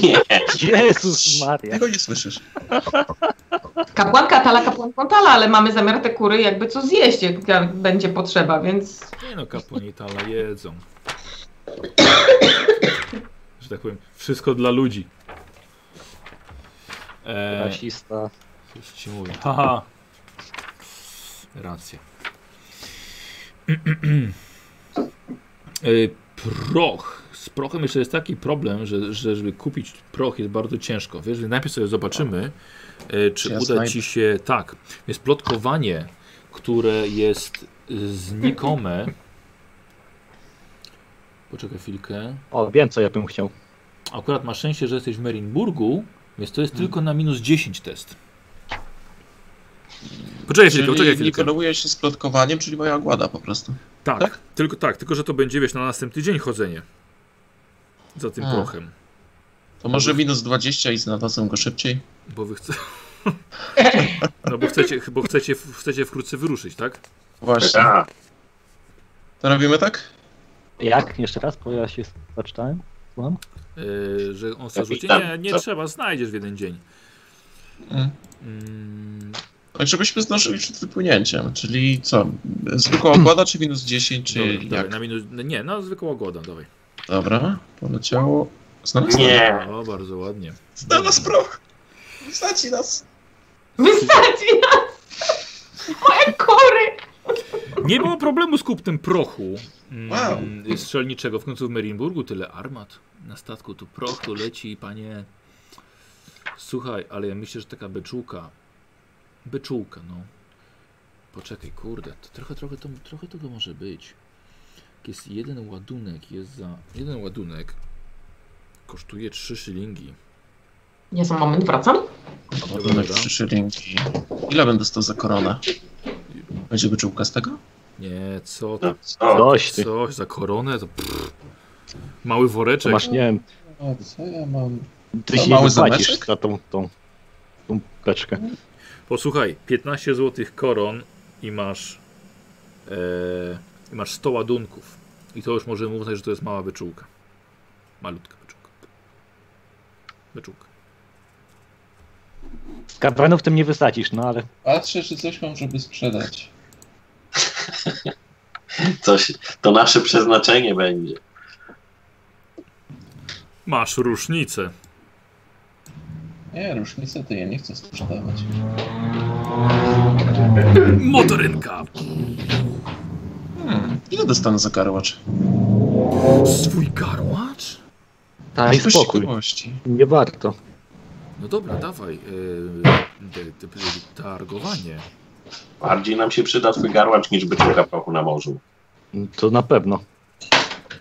Nie. Jezus Maria. Tego nie słyszysz. Kapłanka tala, kapłanką tala, ale mamy zamiar te kury jakby co zjeść, jak będzie potrzeba, więc Nie no, kapłani Tala jedzą. Że tak powiem, wszystko dla ludzi. Eee, E. Rasista. coś ci mówię. Haha. Racja. E, Proch. Z prochem jeszcze jest taki problem, że, że żeby kupić proch jest bardzo ciężko. Wiesz, więc najpierw sobie zobaczymy, e, czy Czy ja uda znajdę? ci się. Tak. Jest plotkowanie, które jest e, znikome. Poczekaj chwilkę. O, wiem co ja bym chciał. Akurat masz szczęście, Mhm. że jesteś w Merinburgu, więc to jest tylko na minus 10 test. Poczekaj chwilkę, poczekaj Czyli nie chwilkę. koreluje się z plotkowaniem, czyli moja ogłada po prostu. Tak, tak? Tylko, tak, tylko że to będzie wiesz na następny dzień chodzenie. Za tym A. prochem. To może minus 20 i znalazłem go szybciej? Bo wy chce... No bo chcecie, bo chcecie, chcecie wkrótce wyruszyć, tak? Właśnie. A, To robimy tak? Jak? Jeszcze raz, bo ja się zaczytałem. Słucham? Yy, że on sobie Jakiś rzuci. tak. tam, Nie, nie co? trzeba, znajdziesz w jeden dzień. Mm. Mm, Tak, żebyśmy zdążyli przed wypłynięciem. Czyli co? Zwykła ogłada, czy minus 10, czy dobra, jak? dawaj, na minus... Nie, no zwykła goda, dawaj. Dobra, poleciało. Znalazłem. nie. O, bardzo ładnie. Znalazł proch! Znaci nas! Wystarczy nas! Moje kury! Nie było problemu z kupnem prochu mm, Wow. strzelniczego. W końcu w Merinburgu tyle armat. Na statku tu proch tu leci, panie. Słuchaj, ale ja myślę, że taka beczułka. Beczułka, no. Poczekaj, kurde, to trochę, trochę, to, trochę tego może być. Jest jeden ładunek, jest za. Jeden ładunek kosztuje 3 szylingi. Ja za moment wracam. Podobno trzy szylingi. Ile będę dostał za koronę? Będzie wyczułka z tego? Nie, co to? No, co? Coś ty. Coś za koronę? To pff. Mały woreczek. Masz, nie wiem, O, co ja mam? ty się nie mały zapłacisz zameczek? za tą, tą, tą beczkę. Posłuchaj, 15 zł koron i masz, e, i masz 100 ładunków. I to już możemy uznać, że to jest mała wyczółka. Malutka wyczółka. Wyczółka. Karwanów tym nie wysadzisz, no ale Patrzę, czy coś mam, żeby sprzedać. Coś, to nasze przeznaczenie będzie. Masz różnicę. Nie, różnicę to ja nie chcę sprzedawać. Motorynka! Hmm, ile dostanę za karłacz? Swój garłacz? Daj Jakoś spokój. ciekawości. nie warto. No dobra, dawaj. E, te- te- te- targowanie. Bardziej nam się przyda twój garłacz niż byczułka prochu na morzu. To na pewno.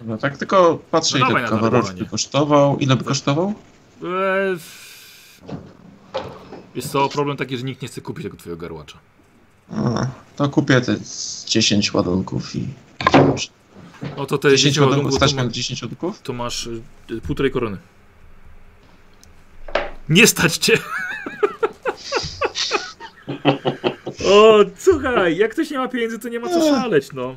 No tak, tylko patrzę, No ile dawaj by na karłacz darowanie. by kosztował. Ile by kosztował? E, f- jest to problem taki, że nikt nie chce kupić tego twojego garłacza. A, to kupię te z 10 ładunków i... No to te 10 ładunków, ładunków to stać ma- mam 10 ładunków? To masz y, półtorej korony. Nie stać cię! o, słuchaj, jak ktoś nie ma pieniędzy, to nie ma co szaleć, no.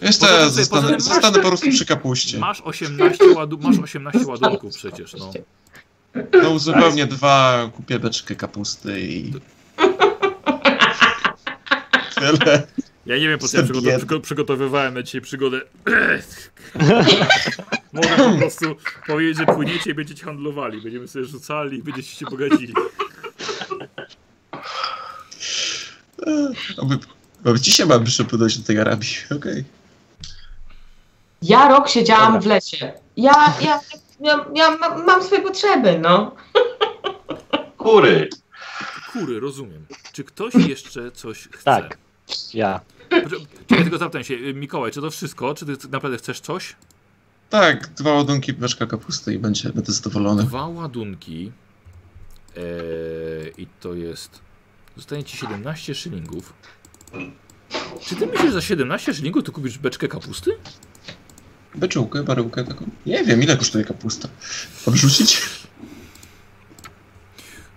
Wiesz Poza tym sobie- co, poza zostanę, tym- zostanę po prostu przy kapuście. Masz 18, ładu masz 18 ładunków przecież, no. No uzupełnię dwa, kupię beczkę kapusty i... Tyle. Ja nie wiem, po co ja Jestem przygotow- biedny. przygo- przygotowywałem na dzisiaj przygodę. Mogę po prostu powiedzieć, że płyniecie i będziecie handlowali. Będziemy sobie rzucali i będziecie się bogacili. E, Oby... Bo dzisiaj mam przypłynąć do tej Arabii, okej. Ja rok siedziałam Dobra. w lesie. Ja, ja, ja, ja ma- mam swoje potrzeby, no. Kury. Kury, rozumiem. Czy ktoś jeszcze coś chce? Tak. Ja. Poczekaj, Znaczy, Czekaj, tylko zapytam się, y, Mikołaj, czy to wszystko? Czy ty naprawdę chcesz coś? Tak, dwa ładunki, beczka kapusty i będzie, będę zadowolony. Dwa ładunki eee, i to jest... Zostanie ci 17 szylingów. Czy ty myślisz, że za 17 szylingów to kupisz beczkę kapusty? Beczułkę, baryłkę taką. Nie wiem, ile kosztuje kapusta. Odrzucić?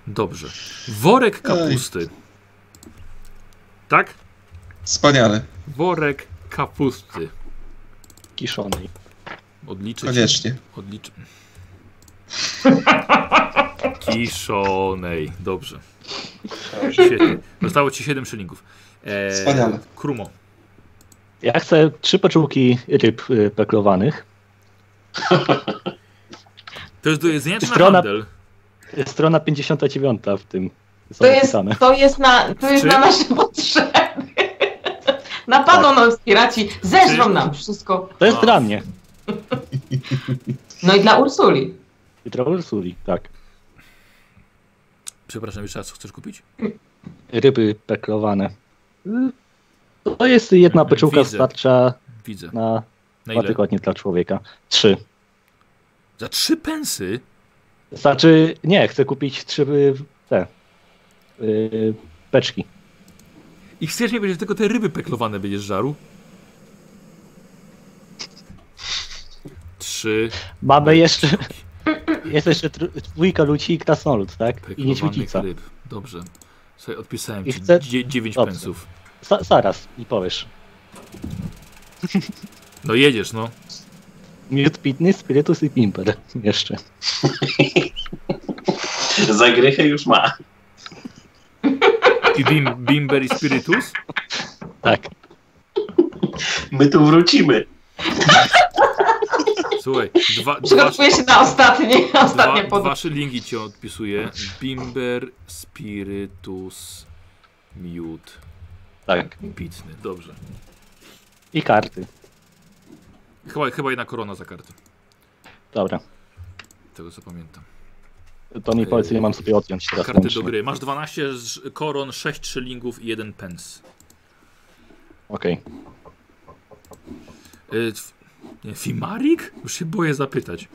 Dobrze. Worek kapusty. Tak? Wspaniale, Worek kapusty. Kiszonej. No Odliczę ci. koniecznie. Odliczę. Kiszonej. Dobrze. Świetnie. Zostało ci 7 szylingów. Eee, Wspaniale. Krumo. Ja chcę trzy paczułki ryb y, peklowanych. To jest do jedzenia czy na Strona- handel? Y, Strona 59 w tym są To jest, napisane. to jest, na, to jest Czy- na nasze potrzeby. Napadną nas piraci, zeżrą Tak. Czy- nam wszystko. To jest A. dla mnie. No i dla Ursuli. Troll suli, tak. Przepraszam, jeszcze raz, co chcesz kupić? Ryby peklowane. Y, To jest jedna Mhm, paczułka widzę. starcza Widzę. na Na dwa ile? tygodnie dla człowieka. Trzy. Za trzy pensy? Znaczy, nie, chcę kupić trzy y, te y, beczki. I chcesz nie będzie tylko te ryby peklowane będziesz żarł. Trzy Mamy jeszcze, jest jeszcze tr- dwójka ludzi i krasnolud, tak? I peklowanych niedźwiedzica. ryb. Dobrze. Sobie odpisałem I ci chcę- dzie- dziewięć Dobrze. pensów. Sa- zaraz mi powiesz. No jedziesz, no. Miód pitny, spirytus i pimper jeszcze. Zagrychę już ma. I bim, bimber i spirytus. Tak. My tu wrócimy. Słuchaj, dwa, dwa, Przygotowuję się na ostatnie, ostatnie dwa, dwa podróż. szylingi cię odpisuję. Bimber, spirytus, miód, Tak. pitny. Dobrze. I karty. Chyba, chyba jedna korona za kartę. Dobra. Tego co pamiętam. To mi powiedz, ile mam sobie odjąć teraz. Karty do ręcznie. gry. Masz 12 ż- koron, 6 szylingów i 1 pens. Okej. Y, tw- nie, Fimarik? Już się boję zapytać.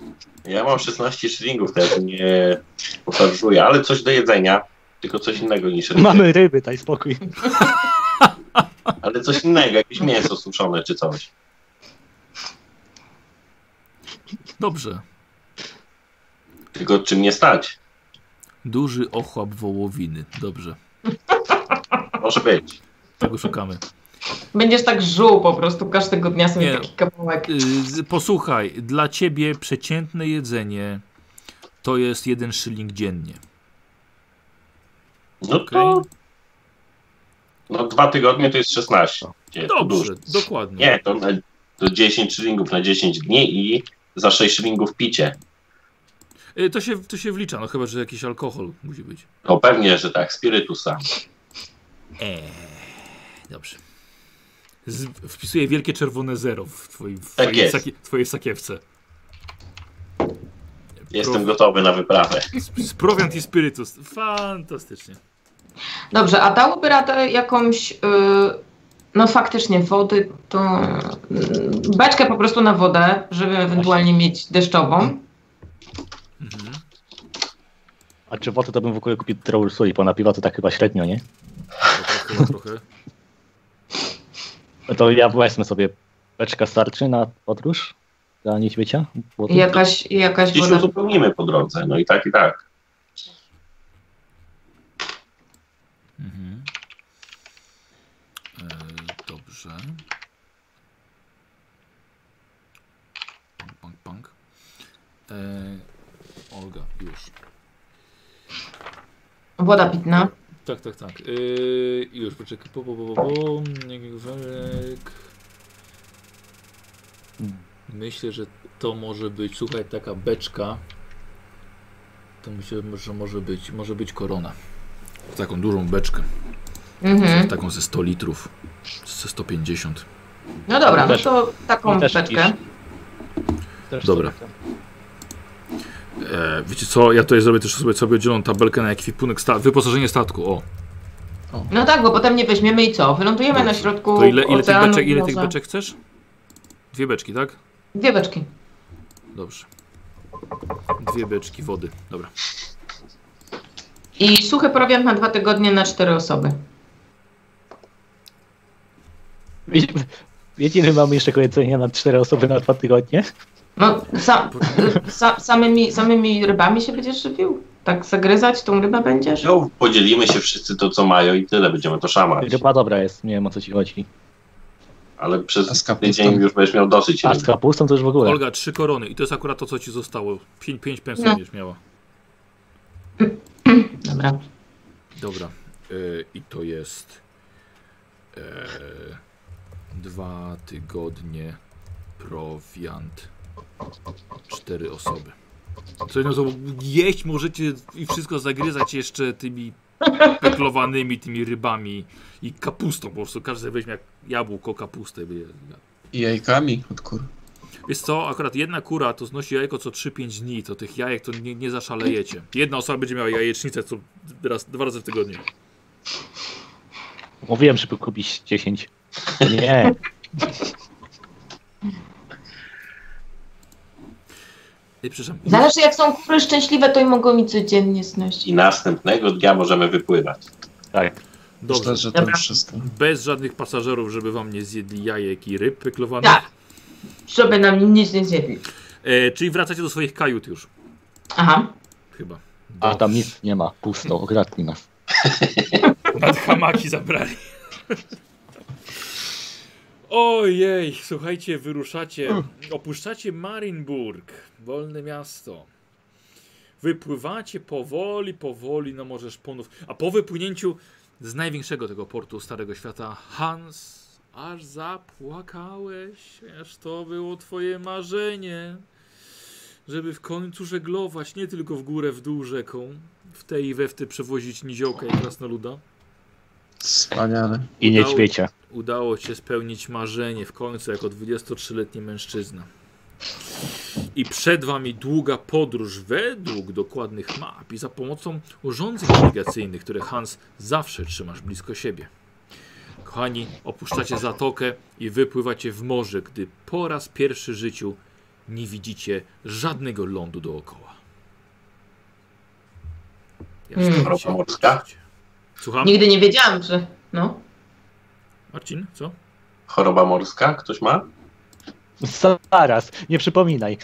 Ja mam 16 szylingów teraz, nie poszarżuję, ale coś do jedzenia. Tylko coś innego niż ryby. Mamy ryby, daj spokój. Ale coś innego, jakieś mięso suszone czy coś. Dobrze. Tylko czym nie stać? Duży ochłap wołowiny. Dobrze. Może być. Tego szukamy. Będziesz tak żył po prostu, każdego dnia sobie Nie. taki kawałek. Y, z- Posłuchaj, dla ciebie przeciętne jedzenie to jest jeden szyling dziennie. No to Okej? no, dwa tygodnie to jest 16. Nie, to dużo. Dobrze, dokładnie. Nie, to, na, to 10 szylingów na 10 dni i za 6 szylingów picie. Y, To się, to się wlicza, no chyba, że jakiś alkohol musi być. No pewnie, że tak, spirytusa. Eee, dobrze. Z, wpisuję wielkie czerwone zero w twojej, w Tak twojej, jest. saki, twojej sakiewce. Jestem gotowy na wyprawę. Sp- Z prowiant i spirytus. Fantastycznie. Dobrze, a dałoby radę jakąś, y, no faktycznie wody, to y, beczkę po prostu na wodę, żeby ewentualnie mieć deszczową. Mhm. A czy wodę to bym w ogóle kupił Trollsuli, bo na piwo to tak chyba średnio, nie? To tak chyba trochę. No To ja wezmę sobie beczka starczy na podróż dla niedźwiedzia. Bo to- Jakaś, jakaś Gdzieś woda. uzupełnimy po drodze, no i tak, i tak. Mhm. E, dobrze. Pang, pang, pang. E, Olga, już. Woda pitna. Tak, tak, tak. Yy, już, poczekaj. Po, po, po, po, po. Werek. Myślę, że to może być, słuchaj, taka beczka. To myślę, że może być, może być korona. W taką dużą beczkę. Mhm. Taką ze 100 litrów. Ze 150. No dobra, no Też- to taką też beczkę. Też Dobra. E, wiecie co, ja tutaj zrobię też sobie, sobie oddzielną tabelkę na ekwipunek, sta wyposażenie statku. O, No tak, bo potem nie weźmiemy i co? Wylądujemy na środku to ile, ile, tych, oceanu, beczek, ile tych morza. beczek chcesz? Dwie beczki, tak? Dwie beczki. Dobrze. Dwie beczki wody. Dobra. I suchy prowiant na dwa tygodnie na cztery osoby. Wie- Wiecie, ile mamy jeszcze jedzenia na cztery osoby na dwa tygodnie? No, sam, sa, samymi, samymi rybami się będziesz żywił? Tak zagryzać tą rybę będziesz? No, podzielimy się wszyscy to, co mają i tyle, będziemy to szamać. Ryba dobra jest, nie wiem o co ci chodzi. Ale A z przez kapustą? tydzień już będziesz miał dosyć. A z kapustą to już w ogóle. Olga, trzy korony i to jest akurat to, co ci zostało. Pięć, pięć pensów No. będziesz miała. Dobra. Dobra. Y, I to jest e, dwa tygodnie prowiant. Cztery osoby. Co jedno słowo, jeść możecie i wszystko zagryzać jeszcze tymi peklowanymi, tymi rybami i kapustą. Po prostu każdy sobie weźmie jak jabłko, kapustę. wie- I jajkami od kur. Wiesz co, akurat jedna kura to znosi jajko co 3-5 dni, to tych jajek to nie, nie zaszalejecie. Jedna osoba będzie miała jajecznicę co raz, dwa razy w tygodniu. Mówiłem, żeby kupić 10. Nie, Ej, przepraszam. Zależy jak są kury szczęśliwe, to i mogą mi codziennie znosić. I następnego dnia możemy wypływać. tak. Dobrze. Myślę, że to Dobra. wszystko. Bez żadnych pasażerów, żeby wam nie zjedli jajek i ryb pyklowanych. Tak. Żeby nam nic nie zjedli. E, czyli wracacie do swoich kajut już, Aha. chyba. A tam nic nie ma, pusto, okradli nas. Nad hamaki zabrali. Ojej, słuchajcie, wyruszacie, opuszczacie Marienburg, wolne miasto. Wypływacie powoli, powoli na Morze Szponów, a po wypłynięciu z największego tego portu Starego Świata, Hans, aż zapłakałeś, aż to było twoje marzenie, żeby w końcu żeglować nie tylko w górę, w dół rzeką, w tej i we w te przewozić niziołka i krasnoluda. Wspaniale. I nie Udało- ćwiecie. Udało ci się spełnić marzenie w końcu jako 23-letni mężczyzna. I przed wami długa podróż według dokładnych map i za pomocą urządzeń nawigacyjnych, które Hans zawsze trzymasz blisko siebie. Kochani, opuszczacie zatokę i wypływacie w morze, gdy po raz pierwszy w życiu nie widzicie żadnego lądu dookoła. Jak Mm. się Ropa morska? Słucham? Nigdy nie wiedziałam, że. No. Marcin, co? Choroba morska? Ktoś ma? Zaraz, nie przypominaj.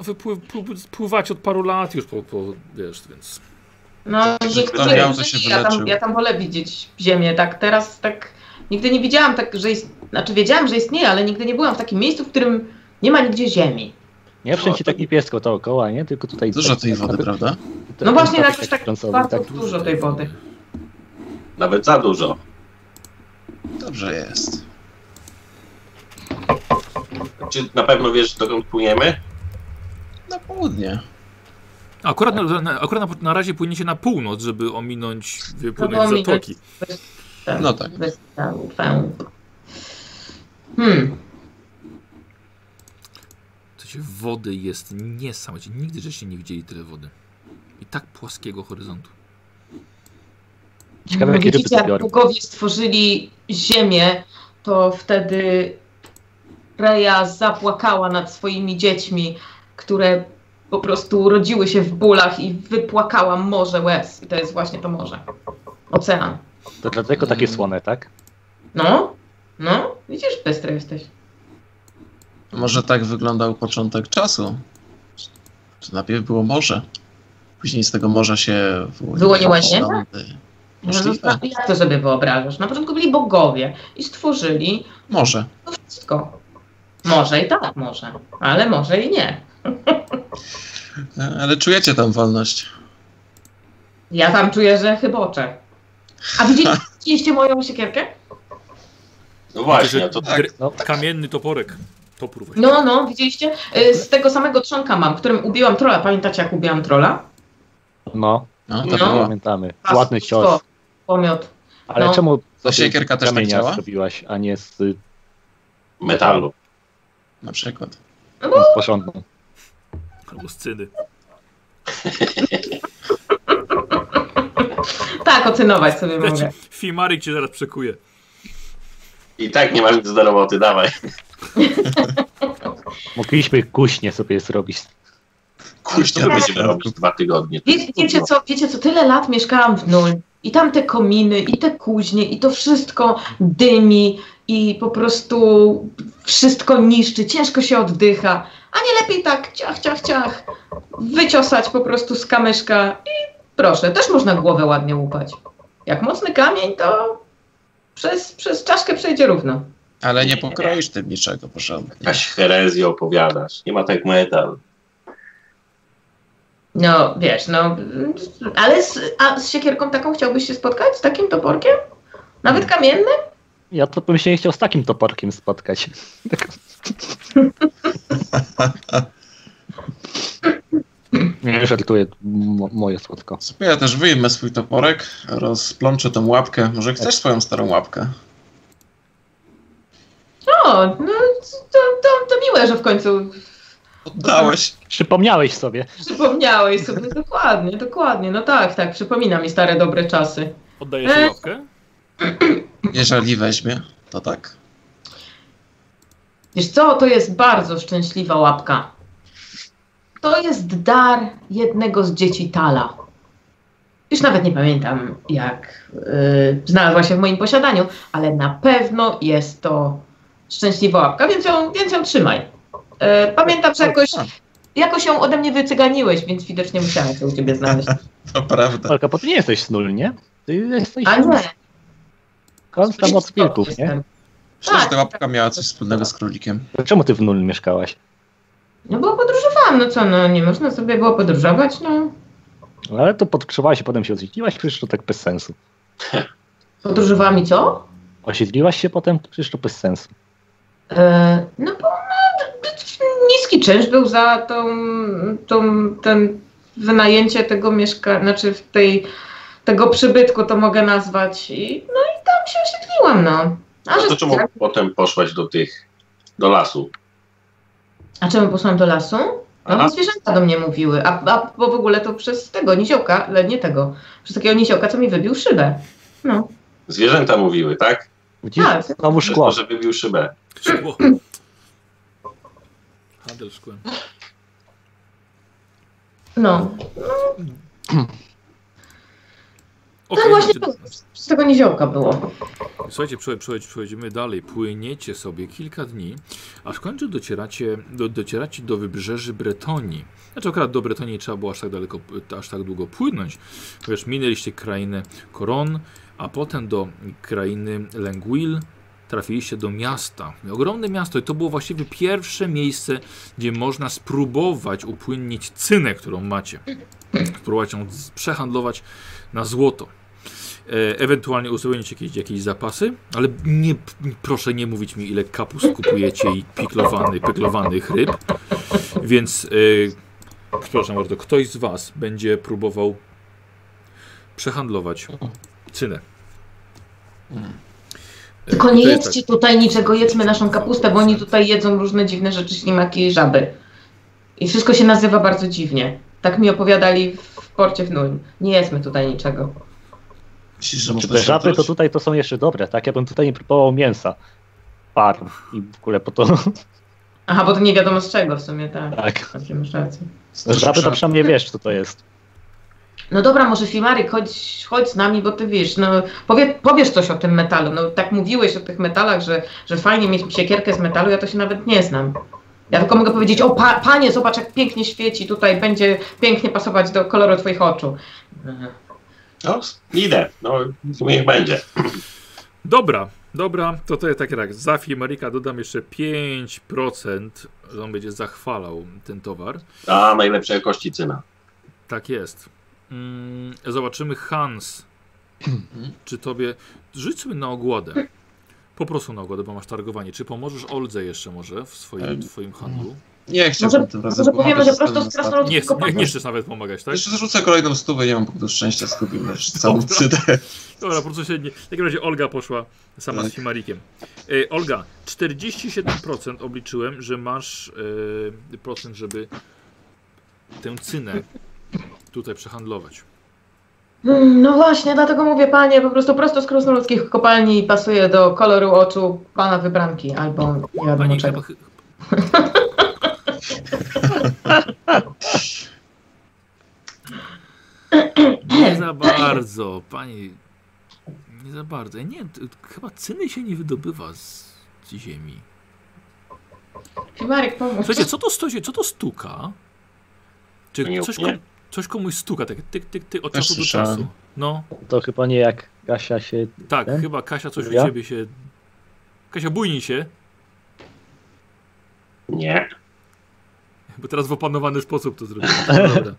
wypływ, pł- pływać od paru lat już po, po wiesz, więc. No, Ktoś niektóre miał, to się rzeczy ja, tam, wyleczył. ja tam wolę widzieć ziemię, tak teraz tak nigdy nie widziałam tak, że ist... znaczy wiedziałam, że istnieje, ale nigdy nie byłam w takim miejscu, w którym nie ma nigdzie ziemi. Nie wszędzie tak niepiesko dookoła, nie? Tylko tutaj... Dużo tej wody, prawda? No właśnie, jakoś tak kręcowy, bardzo- tak. Dużo tej wody. Nawet za dużo. Dobrze jest. Czy na pewno wiesz, dokąd płyniemy? Na południe. Akurat, na, na, akurat na, na razie płyniecie na północ, żeby ominąć wypłynąć No bo ominąć- zatoki. No tak. Bez tę- Hmm. To się wody jest niesamowite. Nigdy żeście nie widzieli tyle wody. I tak płaskiego horyzontu. Ciekawe, jakie ryby Mm. Widzicie, jak zabiorą. bogowie stworzyli ziemię, to wtedy Reja zapłakała nad swoimi dziećmi, które po prostu urodziły się w bólach i wypłakała morze łez. I to jest właśnie to morze. Ocean. To dlatego takie Mm. słone, tak? No, no, widzisz, bystry jesteś. Może tak wyglądał początek czasu. To najpierw było morze. Później z tego morza się Wyłoniła ziemia? Holandy. Może Możliwe. zosta- Jak to sobie wyobrażasz? Na początku byli bogowie i stworzyli Może. to wszystko. Może i tak, może, ale może i nie. E, Ale czujecie tam wolność. Ja tam czuję, że chyboczę. A widzieli- widzieliście moją siekierkę? No właśnie, to Tak. Gry- No. Kamienny toporek. Topór właśnie. No, no, widzieliście? Y, Z tego samego trzonka mam, którym ubiłam trola. Pamiętacie, jak ubiłam trola? No, No, to No. było. pamiętamy. Pas, Ładny cios. to, Pomiot. Ale No. czemu Ta siekierka też tak kamienia działa? zrobiłaś, a nie z, y, Metalu. Na przykład. z porządną? No. Albo scyny. Tak, ocynować sobie mogę. Wiecie, Fimaryk cię zaraz przekuje. I tak nie masz nic do roboty, dawaj. Mogliśmy kuśnie sobie zrobić. Kuźnia będziemy robić dwa tygodnie. Wie, wiecie, co, wiecie co, tyle lat mieszkałam w Nul i tam te kominy, i te kuźnie, i to wszystko dymi i po prostu wszystko niszczy, ciężko się oddycha. A nie lepiej tak ciach, ciach, ciach, wyciosać po prostu z kamyszka i proszę, też można głowę ładnie łupać. Jak mocny kamień, to przez, przez czaszkę przejdzie równo. Ale nie pokroisz tym niczego porządnie. Jakaś herezję opowiadasz. Nie ma tak metal. No, wiesz, no, ale z, a z siekierką taką chciałbyś się spotkać? Z takim toporkiem? Nawet kamiennym? Ja to bym się nie chciał z takim toporkiem spotkać. Nie żartuję, mo- moje słodko. Sobie ja też wyjmę swój toporek, rozplączę tą łapkę. Może chcesz swoją starą łapkę? O, no to, to, to miłe, że w końcu Oddałeś. Przypomniałeś sobie. przypomniałeś sobie. Dokładnie, dokładnie. No tak, tak, przypomina mi stare dobre czasy. Oddaję się E. łapkę. Jeżeli weźmie, to tak. Wiesz co, to jest bardzo szczęśliwa łapka. To jest dar jednego z dzieci Tala. Już nawet nie pamiętam, jak y, znalazła się w moim posiadaniu, ale na pewno jest to szczęśliwa łapka, więc ją, więc ją trzymaj. Y, pamiętam, że jakoś, Tak. jakoś ją ode mnie wycyganiłeś, więc widocznie musiałam się u ciebie znaleźć. To Tak. prawda. Olka, bo ty nie jesteś snul, nie? Ty jesteś A nie, skąd tam od wilków, nie? jestem. Przecież tak. ta łapka miała coś wspólnego z królikiem. Czemu ty w nul mieszkałaś? No bo podróżowałam, no co, no nie można sobie było podróżować, no. No, ale to podkrzywałaś i potem się osiedliłaś, przecież to tak bez sensu. Podróżowałam i co? Osiedliłaś się potem, przecież to bez sensu. E, No bo no, d- d- niski czynsz był za tą, tą ten wynajęcie tego mieszkania, znaczy w tej, tego przybytku to mogę nazwać. I, no i tam się osiedliłam, no. A, No że to czemu specjalnie- potem poszłaś do tych, do lasu? a czemu posłałam do lasu? No Aha. bo zwierzęta do mnie mówiły, a, a bo w ogóle to przez tego niziołka, ale nie tego, przez takiego niziołka, co mi wybił szybę. No, Zwierzęta mówiły, tak? Widzisz? Tak. Znowu Przez szkło. to, że wybił szybę. Szkło. Handel szkłem. no. Okej, no właśnie słuchajcie, to, z tego niziołka było. Słuchajcie, przechodź- przechodź- przechodzimy dalej. Płyniecie sobie kilka dni, aż w końcu docieracie do, docieracie do wybrzeży Bretonii. Znaczy akurat do Bretonii trzeba było aż tak daleko, aż tak długo płynąć, ponieważ minęliście krainę Koron, a potem do krainy Lenguil trafiliście do miasta. Ogromne miasto i to było właściwie pierwsze miejsce, gdzie można spróbować upłynnić cynę, którą macie. Spróbować ją z- przehandlować na złoto. E, ewentualnie uzupełnić jakieś, jakieś zapasy, ale nie, proszę nie mówić mi, ile kapust kupujecie i piklowany, pyklowanych ryb. Więc e, przepraszam bardzo, ktoś z Was będzie próbował przehandlować cynę. E, Tylko i nie to jest jedzcie tutaj niczego, jedzmy naszą kapustę, bo oni tutaj jedzą różne dziwne rzeczy, ślimaki i żaby. I wszystko się nazywa bardzo dziwnie. Tak mi opowiadali w porcie w Nulm. Nie jedzmy tutaj niczego. Myślisz, że Czy można te się żaby to odwrócić? tutaj to są jeszcze dobre, tak? Ja bym tutaj nie próbował mięsa. Parm i w ogóle po to, Aha, bo to nie wiadomo z czego w sumie, tak. tak. Dobrze, masz rację. Żaby to przynajmniej wiesz, co to jest. No dobra, może Filmary, chodź, chodź z nami, bo ty wiesz, no powie, powiesz coś o tym metalu. No tak mówiłeś o tych metalach, że, że fajnie mieć siekierkę z metalu, ja to się nawet nie znam. Ja tylko mogę powiedzieć, o pa, panie, zobacz jak pięknie świeci tutaj, będzie pięknie pasować do koloru twoich oczu. No, idę. No, niech będzie. Dobra, dobra, to to jest tak, tak. Za Fimerika dodam jeszcze 5%, że on będzie zachwalał ten towar. A, najlepszej jakości cyna. Tak jest. Mm, zobaczymy Hans. Czy tobie. Rzuć sobie na ogładę. Po prostu na ogładę, bo masz targowanie. Czy pomożesz Oldze jeszcze może w swoim, Em, twoim handlu? Nie, chciałbym tym razem może pomagać, powiemy, że zostałem prosto z ostatni. krasnoludów- Nie, tylko nie, pomagać. nie chcesz nawet pomagać, tak? Jeszcze zrzucę kolejną stówę, nie mam punktu szczęścia, zgubiłem już całą cydę. Dobra, po prostu się nie. W takim razie Olga poszła sama z Tak. Himarikiem. E, Olga, 47% obliczyłem, że masz e, procent, żeby tę cynę tutaj przehandlować. Mm, No właśnie, dlatego mówię panie, po prostu prosto z krasnoludzkich kopalni pasuje do koloru oczu pana wybranki albo nie wiadomo Pani czego. chyba. Nie za bardzo, pani. Nie za bardzo. E, Nie, t- chyba cyny się nie wydobywa z z ziemi. Marek, pomóż. Słuchajcie, co to stosi? Co to stuka? Czy Nie coś, upnie? kom, coś komuś stuka, tak tyk, tyk, tyk, od Też czasu do słyszałem. czasu. No, To chyba nie jak Kasia się... tak, Ten? chyba Kasia coś u Ja? ciebie się... Kasia, bujnij się, Nie. bo teraz w opanowany sposób to zrobiłem. No, Dobra.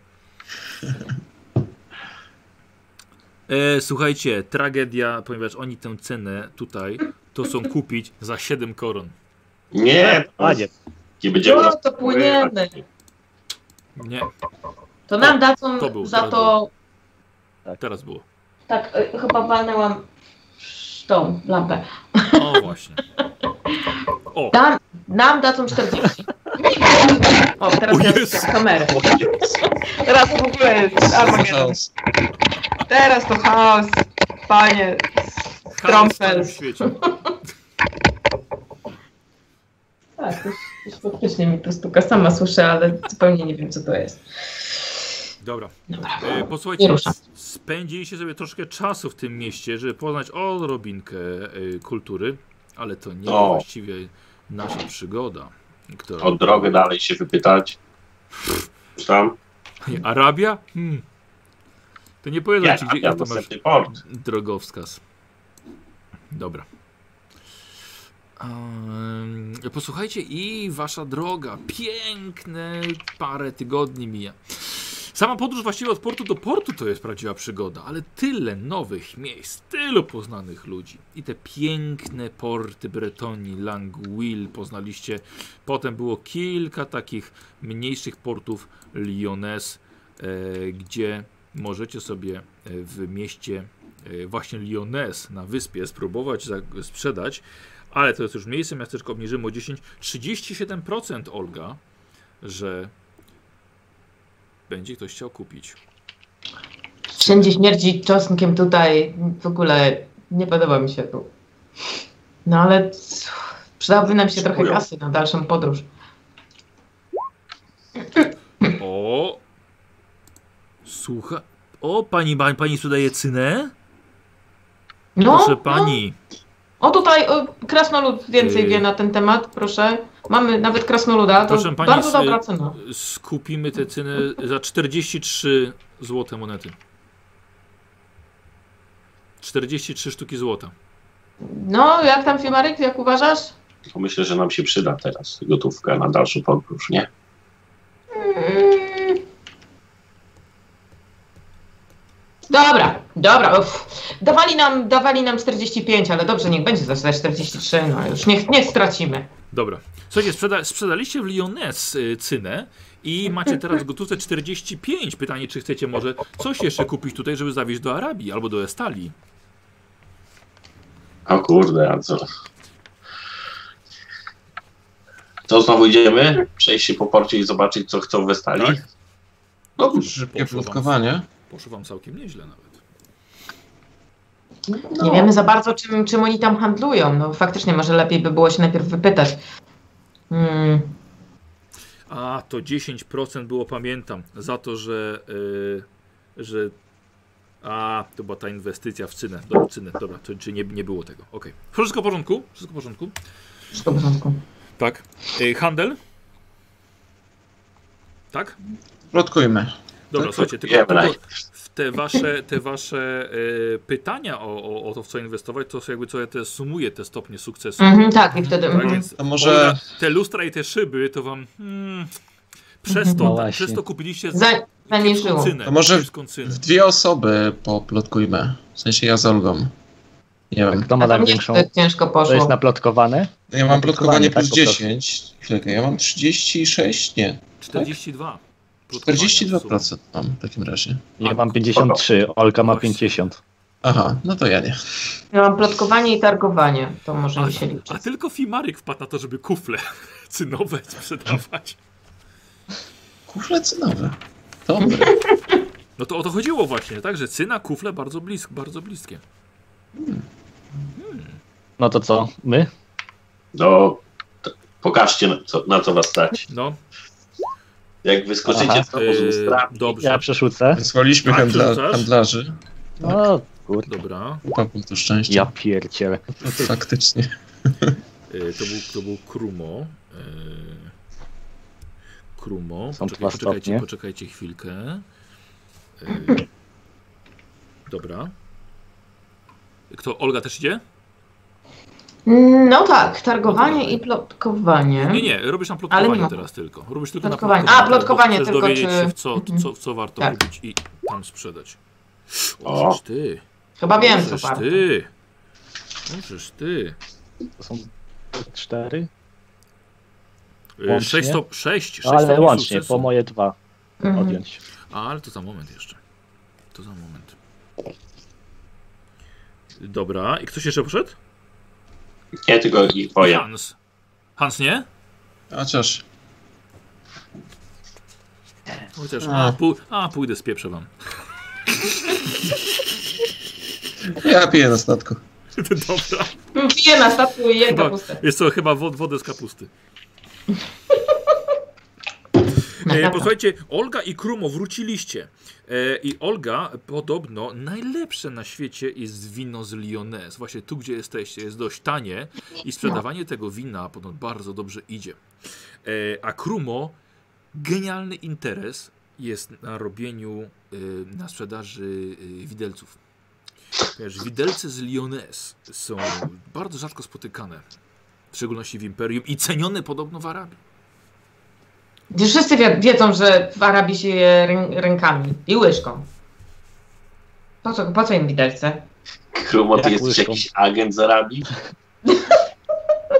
E, słuchajcie, tragedia, ponieważ oni tę cenę tutaj to są kupić za 7 koron. Nie. Tak, Panie, Nie będziemy Tak. No, nas to płyniemy. Nie, To nam dadzą to był, za to to, teraz było. tak, y, chyba walnęłam tą lampę. O, właśnie. O, Dam, nam dadzą 40. O, teraz O ja Jezu. z kamerę. Teraz w ogóle jest Armageddon. Teraz to chaos, panie. chaos w całym świecie. Tak, już, już faktycznie mi to stuka. Sama słyszę, ale zupełnie nie wiem, co to jest. Dobra. Dobra. E, Nie posłuchajcie, ruszam. s- Spędziliście sobie troszkę czasu w tym mieście, żeby poznać odrobinkę y, kultury, ale to nie O. właściwie nasza przygoda. Która... O drogę dalej się wypytać. Tam? Arabia? Hmm. To nie powiedzą Nie, ci, gdzie, ja to masz następny port. drogowskaz. Dobra. Em, Posłuchajcie, i wasza droga. Piękne parę tygodni mija. Sama podróż właściwie od portu do portu to jest prawdziwa przygoda, ale tyle nowych miejsc, tylu poznanych ludzi. I te piękne porty Bretonii, Languil poznaliście. Potem było kilka takich mniejszych portów Lyonez, e, gdzie możecie sobie e, w mieście e, właśnie Lyonez na wyspie spróbować za- sprzedać, ale to jest już miejsce, miasteczko obniżymy o 10, 37% Olga, że będzie ktoś chciał kupić. Wszędzie śmierdzi czosnkiem tutaj. W ogóle nie podoba mi się tu. No ale c- przydałoby nam się trochę Dziękuję. kasy na dalszą podróż. O! Słucha. O, pani, pani, pani sprzedaje cynę? No, Proszę pani. No. O tutaj o, krasnolud więcej Yy. wie na ten temat, proszę. Mamy nawet krasnoluda, to Proszę pani, y. bardzo z- dobra cena. Skupimy tę cynę za 43 złote monety. 43 sztuki złota. No, jak tam Fimaryk, jak uważasz? To myślę, że nam się przyda teraz gotówka na dalszą podróż, nie? Mm. Dobra, dobra. Uff. Dawali, nam, dawali nam 45, ale dobrze, niech będzie za 43, no już niech nie stracimy. Dobra. Słuchajcie, sprzeda sprzedaliście w Lyoness y, cynę i macie teraz w gotówce 45. Pytanie, czy chcecie może coś jeszcze kupić tutaj, żeby zawieźć do Arabii albo do Estalii? O kurde, a co? To znowu idziemy? Przejść się po porcie i zobaczyć, co chcą wystali? Tak. No, szybkie Poszło wam- plotkowanie. Poszło wam całkiem nieźle nawet. Nie wiemy za bardzo, czym, czym oni tam handlują. No faktycznie, może lepiej by było się najpierw wypytać. Mm. A, to 10% było, pamiętam, za to, że... y, że... A, to była ta inwestycja w cynę. Dobra, cynę, dobra, to, czy nie, nie było tego. Okej. Wszystko w porządku? Wszystko w porządku? Wszystko w porządku. Tak. Y, handel? Tak? Plotkujmy. Dobra, Tak? słuchajcie, Nie, tylko, tylko braj. w te wasze, te wasze e, pytania o, o, o to, w co inwestować, to jakby co ja te sumuję te stopnie sukcesu. Mhm, tak, i wtedy. Tak Mhm. więc To może... te lustra i te szyby to wam hmm, przez, No to, ta, właśnie. przez to kupiliście Mhm. Za, zaniżyło. cynę, To może- Tak? kiepską cynę. W dwie osoby poplotkujmy. W sensie ja z Olgą. Nie wiem. Kto ma A to mnie największą? tak ciężko To poszło. jest naplotkowane. Ja mam Plotkowanie, plotkowanie tak, plus po prostu. 10. Chwilkę, ja mam 36? Nie. 42. plotkowania w sumie. 42% mam w takim razie. Ja A, mam 53, Olka ma Właśnie. 50. Aha, no to ja nie. Ja mam plotkowanie i targowanie, to może mi się A, a liczyć. tylko Fimaryk wpadł na to, żeby kufle cynowe sprzedawać. Kufle cynowe. Dobre. No to o to chodziło właśnie, tak? Że cyna, kufle bardzo blisko, bardzo bliskie. No to co? My? No, to pokażcie, na co, na co was stać. No, Jak wyskoczycie Aha. z powozu e, strach, dobrze. Ja przerzucę. Wysłaliśmy Tak, handla rzucasz? handlarzy. No kurde. Dobra. Kupa punktu szczęścia. No, Ja pierdzielę. Faktycznie. E, To był, to był Krumo. E, Krumo. Są Poczekaj, dwa poczekajcie, stopnie. poczekajcie chwilkę. E, Dobra. Kto? Olga też idzie? No tak, targowanie i plotkowanie. Nie, nie, robisz tam Ale plotkowanie mimo- teraz tylko. Robisz tylko na Plotkowanie. plotkowanie. A, plotkowanie bo chcesz tylko, dowiedzieć czy- się, w co, Mhm. co, w co warto Tak. kupić i tam sprzedać. O. O, żeż ty. Chyba wiem, co Możesz warto. ty. Możesz ty. To są cztery? E, Łącznie? Y, No, Sześć, stop, sześć, sześć Ale stopni łącznie, sukcesu. po moje dwa Mhm. odjąć. A, ale to za moment jeszcze. To za moment. Dobra, i ktoś jeszcze poszedł? nie tylko ich boję. Hans. Hans nie? Chociaż Chociaż. A. A, pół, a pójdę, spieprzę wam. ja piję na statku. Dobra. Piję Mm, na statku i jedno Chyba, puste. jest to chyba wod, wodę z kapusty. E, posłuchajcie, Olga i Krumo wróciliście. E, I Olga podobno najlepsze na świecie jest wino z Lyonez. Właśnie tu, gdzie jesteście, jest dość tanie i sprzedawanie tego wina podobno bardzo dobrze idzie. E, a Krumo, genialny interes jest na robieniu, e, na sprzedaży e, widelców. Wiesz, widelce z Lyonez są bardzo rzadko spotykane, w szczególności w Imperium i cenione podobno w Arabii. Wszyscy wie, wiedzą, że w Arabii się je rę, rękami i łyżką. Po co, po co im widelce? Krumo, ty Jak jesteś łyżką. jakiś agent z Arabii?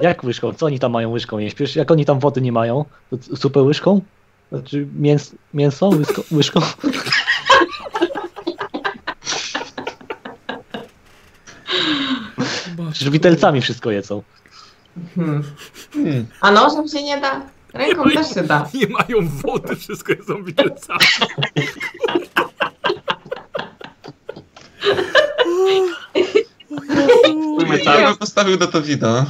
Jak łyżką? Co oni tam mają łyżką jeść? Przecież jak oni tam wody nie mają, to c- supę łyżką? Znaczy mięs, mięso łysko, łyżką? Przecież widelcami wszystko jedzą. Hmm. Hmm. A nożem się nie da? Ręką Nie ma- też się da. Nie mają wody, wszystko jest widelcami. Ja bym postawił na to wino.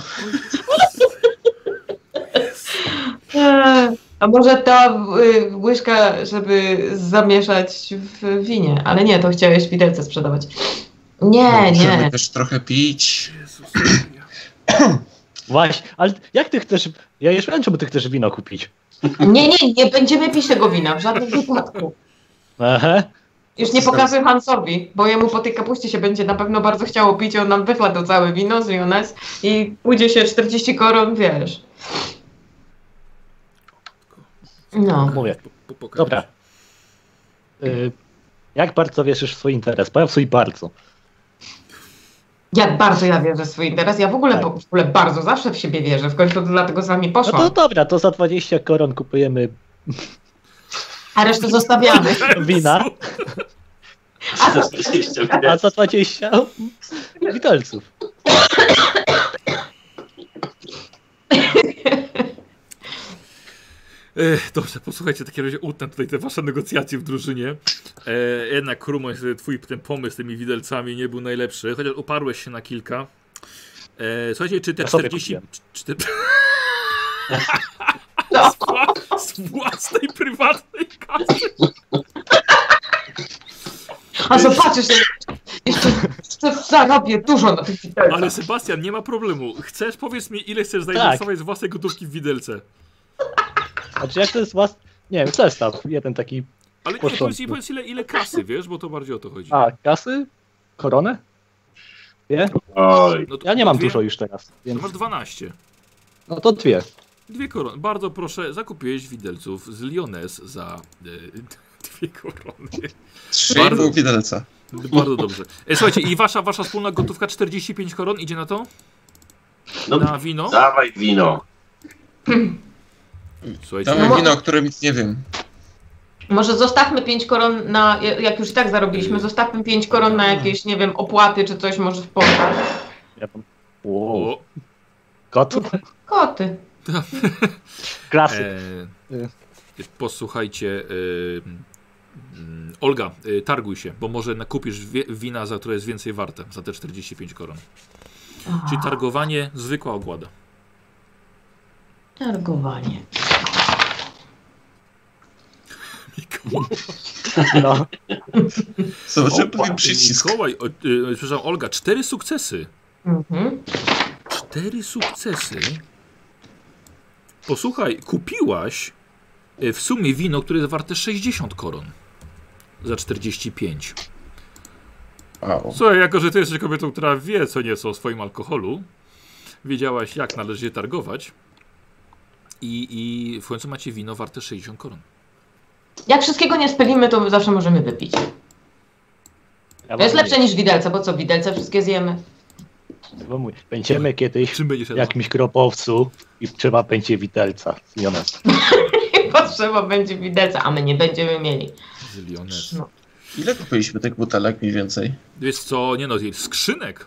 Eee, A może ta y, łyżka, żeby zamieszać w winie, ale nie, to chciałeś widelce sprzedawać. Nie, Możemy nie. No, też trochę pić. Jezus, Właśnie, ale jak ty chcesz... Ja jeszcze wiem, czemu ty chcesz wino kupić. Nie, nie, nie będziemy pić tego wina w żadnym wypadku. Ehe. Już nie pokazuj Hansowi, bo jemu po tej kapuście się będzie na pewno bardzo chciało pić, on nam wychladł całe wino z Jonas i pójdzie się 40 koron, wiesz. No. Mówię. Po, po, Dobra. Y, Jak bardzo wierzysz w swój interes? Powiem swój bardzo. Ja bardzo ja wierzę w swój interes, ja w ogóle, Tak. w ogóle bardzo zawsze w siebie wierzę, w końcu dlatego z wami No poszłam, to dobra, to za 20 koron kupujemy a resztę zostawiamy. wina, Jeszcze a widać. za 20 widelców. Ech, e, dobrze, posłuchajcie, w takim razie utnę tutaj te wasze negocjacje w drużynie. E, jednak Krumo, niestety twój ten pomysł z tymi widelcami nie był najlepszy, chociaż oparłeś się na kilka. E, słuchajcie, czy te Ja sobie 40... kupiłem. Czy te... No. z, wła- z własnej, prywatnej kasy. A zobaczysz, jeszcze- jeszcze, jeszcze zarobię dużo na tych widelcach. Ale Sebastian, nie ma problemu. Chcesz, powiedz mi, ile Tak. chcesz zainwestować z własnej gotówki w widelce? Znaczy jak to jest własny... Nie wiem, zestaw, jeden taki... Ale nie, Porządku. powiedz, mi, powiedz ile, ile kasy, wiesz, bo to bardziej o to chodzi. A, kasy? Koronę? Nie? Oj, No to- Ja nie mam dwie- dużo już teraz, To więc masz 12. no to dwie. Dwie korony. Bardzo proszę, zakupiłeś widelców z Lyonez za y, dwie korony. Trzy Bardzo- Bardzo... widelca. Bardzo dobrze. E, Słuchajcie, i wasza, wasza wspólna gotówka 45 koron idzie na to? no Na wino? dawaj wino. Słuchajcie, Damy wino, o którym nic nie wiem. Może zostawmy 5 koron na, jak już i tak zarobiliśmy, zostawmy 5 koron na jakieś, nie wiem, opłaty czy coś może w portach. Ja mam... Wow. o, Kot? Koty. Klasy. e, posłuchajcie, y, mm, Olga, y, targuj się, bo może nakupisz wie, wina, za które jest więcej warte, za te 45 koron. Czyli targowanie, zwykła ogłada. Targowanie. No. Zobaczymy Opa, pewien przycisk. Mikołaj, o, y, przepraszam, Olga, cztery sukcesy. Mhm. Cztery sukcesy. Posłuchaj, kupiłaś e, w sumie wino, które jest warte 60 koron. Za 45. Wow. Słuchaj, jako że ty jesteś kobietą, która wie co nieco o swoim alkoholu, wiedziałaś jak należy je targować i, i w końcu macie wino warte 60 koron. Jak wszystkiego nie spylimy, to zawsze możemy wypić. Ja To jest wam lepsze niż widelce, bo co, widelce wszystkie zjemy. mówię, wam mówię. Będziemy kiedyś Czym będziesz w jadła? jakimś gropowcu i trzeba będzie widelca z Jonem. Potrzeba będzie widelca, a my nie będziemy mieli. Zyliones. No. Ile kupiliśmy tych butelek mniej więcej? Wiesz co, nie no, skrzynek.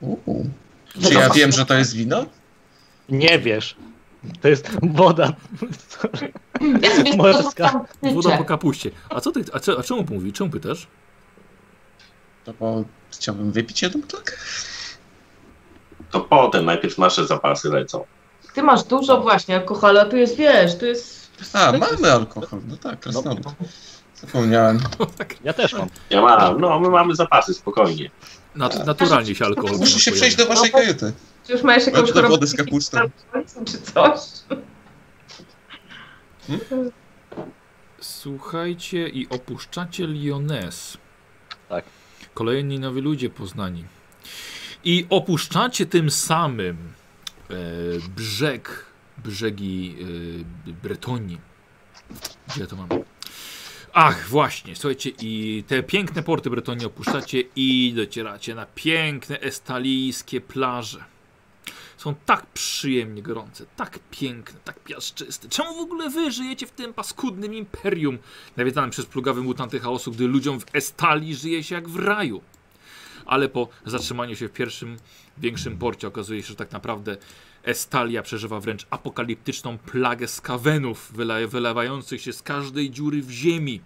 Uuu. Czy ja wiem, że tak. to jest wino? Nie wiesz. To jest woda. Ja sobie Morska. zostawiam Woda po tyczę. kapuście. A co ty, a, co, a czemu mówi, czemu pytasz? No bo chciałbym wypić jedną butelkę. To potem najpierw nasze zapasy lecą. Ty masz dużo właśnie alkoholu, a tu jest, wiesz, tu jest A, mamy alkohol, no tak, krasnolud. Zapomniałem. tak. Ja też mam. Ja mam, no my mamy zapasy, spokojnie. Nat naturalnie się alkohol. Tak. Muszę się przejść do waszej kajuty. Czy już masz jakąś Chodź do chorobę wody z kapustą. psychiczną, czy coś? Słuchajcie i opuszczacie Lyoness. Tak. Kolejni nowi ludzie poznani. I opuszczacie tym samym e, brzeg, brzegi e, Bretonii. Gdzie ja to mam? Ach, właśnie, słuchajcie, i te piękne porty Bretonii opuszczacie i docieracie na piękne estalijskie plaże. Są tak przyjemnie gorące, tak piękne, tak piaszczyste. Czemu w ogóle wy żyjecie w tym paskudnym imperium, nawiedzanym przez plugawy mutanty chaosu, gdy ludziom w Estalii żyje się jak w raju? Ale po zatrzymaniu się w pierwszym, większym porcie okazuje się, że tak naprawdę Estalia przeżywa wręcz apokaliptyczną plagę skawenów, wyla- wylewających się z każdej dziury w ziemi.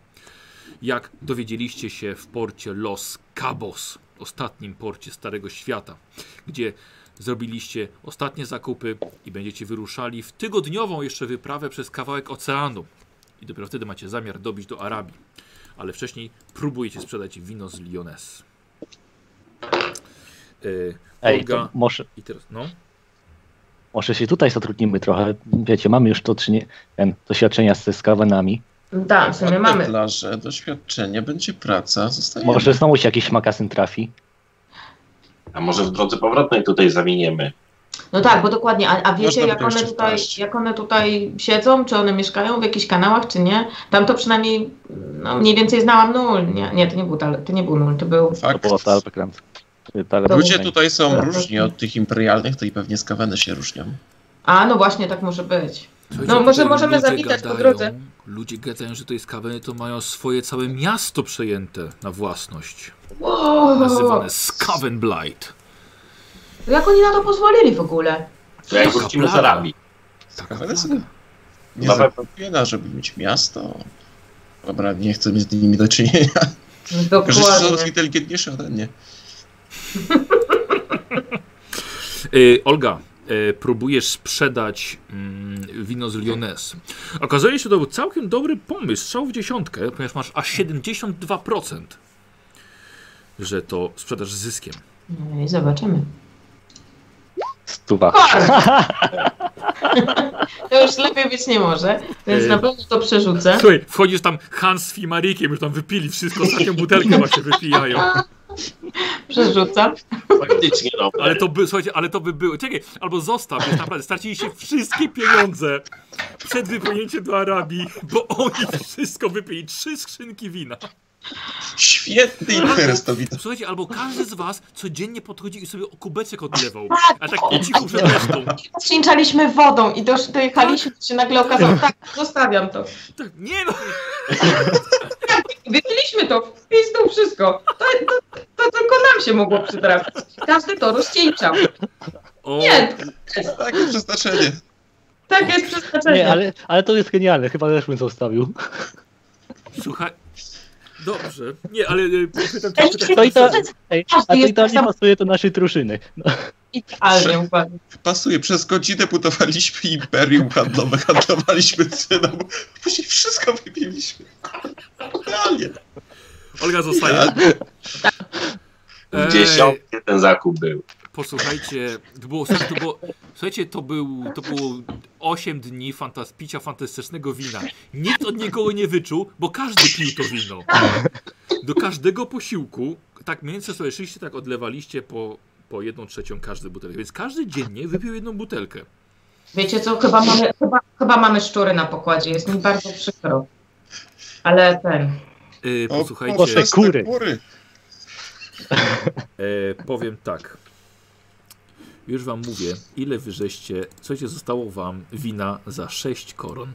Jak dowiedzieliście się w porcie Los Cabos, ostatnim porcie Starego Świata, gdzie zrobiliście ostatnie zakupy i będziecie wyruszali w tygodniową jeszcze wyprawę przez kawałek oceanu. I dopiero wtedy macie zamiar dobić do Arabii. Ale wcześniej próbujecie sprzedać wino z Lyoness. Yy, Ej, Olga- to może, I teraz, no. może się tutaj zatrudnimy trochę. Wiecie, mamy już to czy nie, ten, doświadczenia ze skawenami. Tak, w sumie mamy. Plaże, doświadczenie, będzie praca, zostajemy. Może znowu się jakiś makasyn trafi. A może w drodze powrotnej tutaj zawiniemy? No tak, bo dokładnie. A, a wiecie, Można by jak to one, jeszcze tutaj, wpaść. jak one tutaj siedzą, czy one mieszkają w jakichś kanałach, czy nie? Tam to przynajmniej no, mniej więcej znałam nul. Nie, nie to, nie był, dal- to nie był nul, to był. To Fakt. było tak. Talbekrant. Tak. Ludzie tutaj są Tak. różni od tych imperialnych, to i pewnie skaweny się różnią. A no właśnie, tak może być. Słuchajcie, No, może tutaj możemy ludzie zawitać po drodze. Ludzie gadają, że to jest kaweny, to mają swoje całe miasto przejęte na własność. Wow. Nazywane Skaven Blight. Jak oni na to pozwolili w ogóle? To jak Taka wrócimy z plaga. Arabii. Skaweny sobie nie Na pewno. zapowiada, żeby mieć miasto. Dobra, nie chcę mieć z nimi do czynienia. Że są Dokładnie. inteligentniejsze ode mnie. Y, Olga, y, próbujesz sprzedać mm, wino z Lyoness. Okazuje się, że to był całkiem dobry pomysł, strzał w dziesiątkę, ponieważ masz aż 72%, że to sprzedaż z zyskiem. No i zobaczymy. Stuwa. To już lepiej być nie może, więc Y- Yy. na pewno to przerzucę. Słuchaj, wchodzisz tam Hans z Marikiem, już tam wypili wszystko, ostatnią butelkę właśnie wypijają. Przerzucam. Faktycznie, no. Ale to by, słuchajcie, ale to by było. Czekaj, albo zostaw, bo naprawdę straciliście wszystkie pieniądze przed wypłynięciem do Arabii, bo oni wszystko wypili, trzy skrzynki wina. Świetny interes to widzę. Słuchajcie, albo każdy z was codziennie podchodził i sobie o kubeczek odlewał, a tak po cichu przed resztą. Zcieńczaliśmy wodą i dosz- dojechaliśmy, się nagle okazało, tak, zostawiam to. Tak, nie no, Wiedzieliśmy to, w pizdu wszystko. To, to, to tylko nam się mogło przytrafić. Każdy to rozcieńczał. o, Nie, Takie przeznaczenie. tak jest przeznaczenie. Nie, ale, ale to jest genialne. Chyba też bym zostawił. słuchaj, dobrze, nie, ale y, pytam Ej, cię, To i to, Każdy ej, jest a to i to tak nie samo pasuje do naszej drużyny. No, idealnie, uważam. Pasuje, przez godzinę budowaliśmy imperium handlowe, handlowaliśmy ceną, później wszystko wybiliśmy. Realnie. Olga Tak. zostaje. e, W dziesiątce ten zakup był. Posłuchajcie, to było, słuchajcie, to było, słuchajcie, to był, to było 8 dni fantas, picia fantastycznego wina. Nikt od nikogo nie wyczuł, bo każdy pił to wino. Do każdego posiłku, tak mniej więcej sobie szliście, tak odlewaliście po, po jedną trzecią każdej butelki. Więc każdy dziennie wypił jedną butelkę. Wiecie co, chyba mamy, chyba, chyba mamy szczury na pokładzie, jest mi bardzo przykro. Ale ten, Yy, O, posłuchajcie, Boże. poszczęsne kury. kury. e, powiem tak. Już wam mówię, ile wyżeście, słuchajcie, zostało wam wina za 6 koron.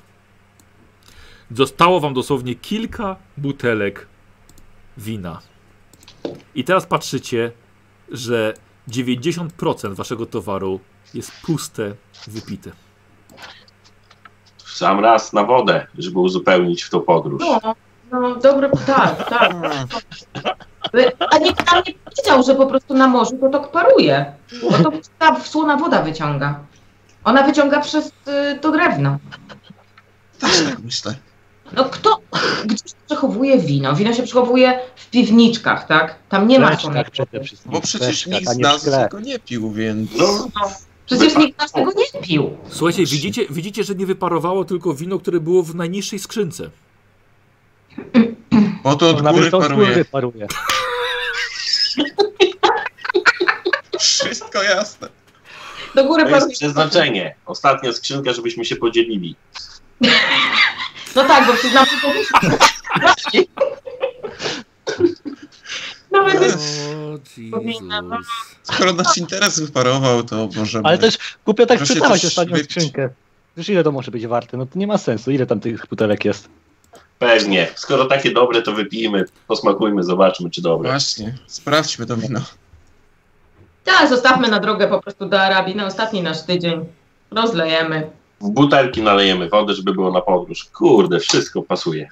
Zostało wam dosłownie kilka butelek wina. I teraz patrzycie, że 90% waszego towaru jest puste, wypite. W sam raz na wodę, żeby uzupełnić w tą podróż. no, no dobry, tak, tak. A nikt nam nie powiedział, że po prostu na morzu to tak paruje, bo to ta słona woda wyciąga. Ona wyciąga przez y, to drewno. Też tak myślę. No kto, gdzie się przechowuje wino? Wino się przechowuje w piwniczkach, tak? Tam nie ma Kleczkach przede wszystkim. Bo przecież Kleczkach, nikt a z nie w nas szkle. tego nie pił, więc... No, no, Przecież nikt nas tego nie pił. Słuchajcie, widzicie, widzicie, że nie wyparowało tylko wino, które było w najniższej skrzynce. Bo to od Nawet góry to z paruje. góry paruje. Wszystko jasne. Do góry to jest paruje. przeznaczenie. Ostatnia skrzynka, żebyśmy się podzielili. No tak, bo przyznam, że to wyszło. Nawet jest... O, Jezus. Skoro nasz interes wyparował, to możemy... Ale też głupio tak Proszę sprzedawać coś ostatnią wypić. skrzynkę. Wiesz ile to może być warte? No to nie ma sensu. Ile tam tych butelek jest? Pewnie. Skoro takie dobre, to wypijmy, posmakujmy, zobaczmy, czy dobre. Właśnie, sprawdźmy to wino. Tak, zostawmy na drogę po prostu do Arabii na ostatni nasz tydzień. Rozlejemy. W butelki nalejemy wody, żeby było na podróż. Kurde, wszystko pasuje.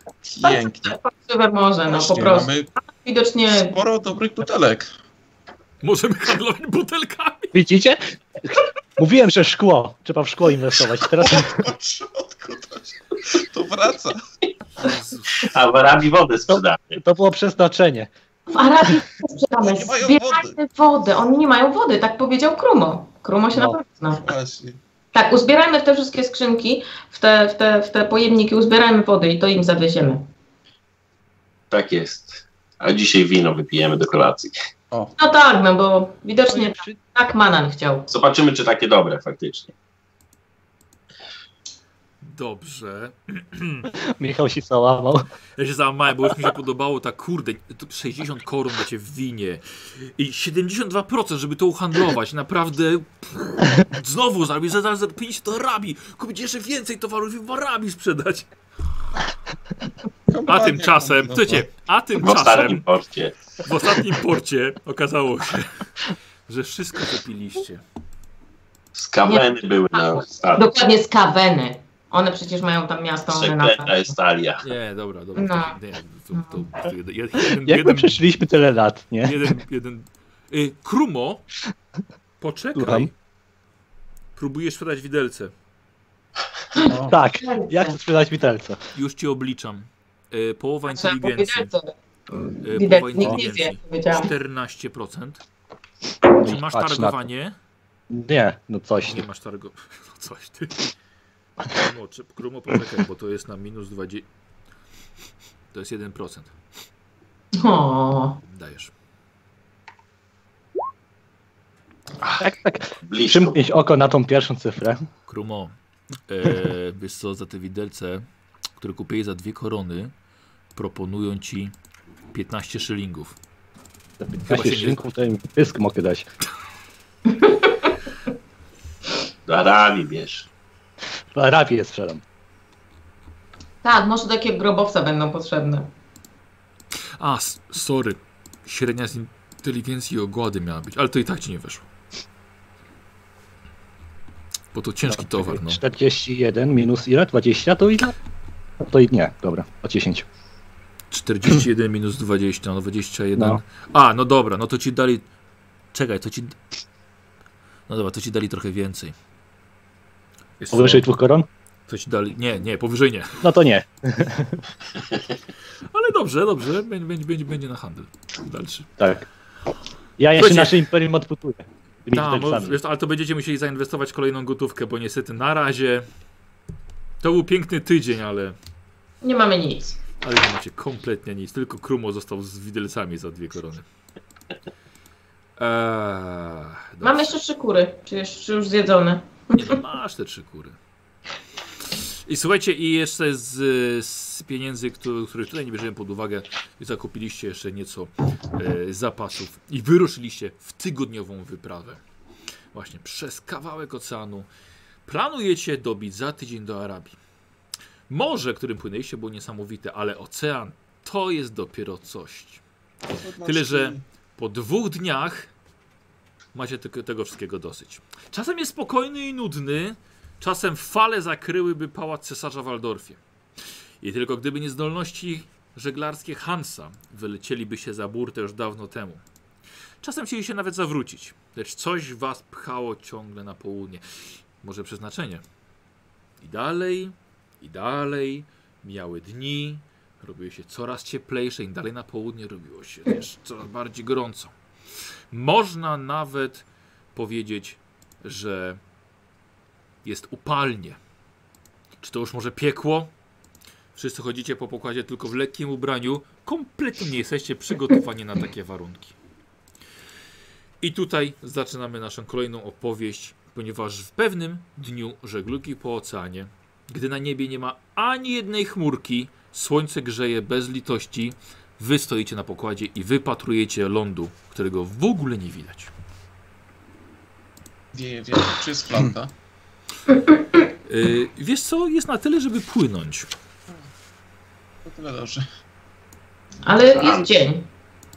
Pięknie. Patrzywe morze, no Tak, po Właśnie, prostu. Mamy Widocznie sporo dobrych butelek. Możemy handlować butelkami. Widzicie? Mówiłem, że szkło. Trzeba w szkło inwestować. Teraz Po środku to, się- to wraca. A w Arabii wodę sprzedamy. to było przeznaczenie. w Arabii nie sprzedamy. Nie mają Zbierajmy wodę. Oni nie mają wody, tak powiedział Krumo. Krumo się No. na pewno zna. Właśnie. Tak, uzbierajmy w te wszystkie skrzynki, w te, w te, w te pojemniki, uzbierajmy wody i to im zawieziemy. Tak jest. A dzisiaj wino wypijemy do kolacji. No tak, no bo widocznie tak, tak Manan chciał. Zobaczymy, czy takie dobre faktycznie. Dobrze. Michał się załamał. Ja się załamałem, bo już mi się podobało tak, kurde, tu 60 koron macie w winie i 72%, żeby to uhandlować, naprawdę pff, znowu zarobić, zaraz za 50 to rabi, kupić jeszcze więcej towarów i w rabi sprzedać. A Kompletnie tymczasem, kompletnie. słuchajcie, a No, W ostatnim tymczasem porcie. w ostatnim porcie okazało się, że wszystko wypiliście. Skaweny były na statku. Tak. Dokładnie z Kaweny. One przecież mają tam miasto. One na... Przeklęta jest talia. Nie, dobra, dobra. No. Nie, to, to, to jeden, jeden, Jak my jeden, przeżyliśmy tyle lat, nie? jeden, jeden. Y, Krumo, poczekaj. Słucham. Próbujesz sprzedać widelce. No. O, Tak. Jak chcę sprzedać widelce? Już ci obliczam. Y, połowa Trzeba inteligencji. powiedzieć, co Y, widać, połowa nikt nie wie, inteligencji. jak powiedziałam. 14%. Czy masz Patrz na to. targowanie? Nie, no coś. Nie masz targo. No coś ty. Krumo, czy, krumo poczekaj, bo to jest na minus 20. To jest 1%. O, Dajesz. Tak, tak. Blisko. Przymknąć oko na tą pierwszą cyfrę. Krumo, e, wiesz co, za te widelce, które kupiłeś za dwie korony, proponują ci 15 szylingów. Chyba się się nie- dźwięków, to im pysk mogę dać. Do Arabii bierz. W Arabii je sprzedam. tak, może takie grobowce będą potrzebne. A, s- sorry. Średnia z inteligencji i ogłady miała być, ale to i tak ci nie weszło. Bo to ciężki towar, no. 41 minus ile? 20 to i To i nie, dobra, o 10. 41 minus 20, no 21. No. A, no dobra, no to ci dali... Czekaj, to ci... No dobra, to ci dali trochę więcej. Wiesz co? Powyżej dwóch koron? To ci dali... Nie, nie, powyżej nie. No to nie. Ale dobrze, dobrze, będzie, będzie, będzie, będzie na handel dalszy. Tak. Ja jeszcze Słuchajcie. nasze imperium odputuję. Tymi Ta, tak, mo- wiesz, ale to będziecie musieli zainwestować kolejną gotówkę, bo niestety na razie... To był piękny tydzień, ale... Nie mamy nic. Ale nie macie kompletnie nic, tylko Krumo został z widelcami za dwie korony. Eee, dobrze. Mamy jeszcze trzy kury, czy, jeszcze, czy już zjedzone. Nie, no masz te trzy kury. I słuchajcie, i jeszcze z, z pieniędzy, których, których tutaj nie bierzemy pod uwagę, zakupiliście jeszcze nieco e, zapasów i wyruszyliście w tygodniową wyprawę. Właśnie przez kawałek oceanu. Planujecie dobić za tydzień do Arabii. Morze, którym płynęliście, było niesamowite, ale ocean to jest dopiero coś. no, znaczy- Tyle, że- Po dwóch dniach macie tylko tego wszystkiego dosyć. Czasem jest spokojny i nudny, czasem fale zakryłyby pałac cesarza w Waldorfie. I tylko gdyby nie zdolności żeglarskie Hansa, wylecieliby się za burtę już dawno temu. Czasem chcieli się nawet zawrócić, lecz coś was pchało ciągle na południe. Może przeznaczenie. I dalej, I dalej mijały dni, robiły się coraz cieplejsze, im dalej na południe robiło się też coraz bardziej gorąco. Można nawet powiedzieć, że jest upalnie. Czy to już może piekło? Wszyscy chodzicie po pokładzie tylko w lekkim ubraniu. Kompletnie nie jesteście przygotowani na takie warunki. I tutaj zaczynamy naszą kolejną opowieść, ponieważ w pewnym dniu żeglugi po oceanie, gdy na niebie nie ma ani jednej chmurki, słońce grzeje bez litości, wy stoicie na pokładzie i wypatrujecie lądu, którego w ogóle nie widać. Wieje wiatr, no, czy jest flauta? Yy, wiesz co, jest na tyle, żeby płynąć. No to dobrze. Ale jest dzień.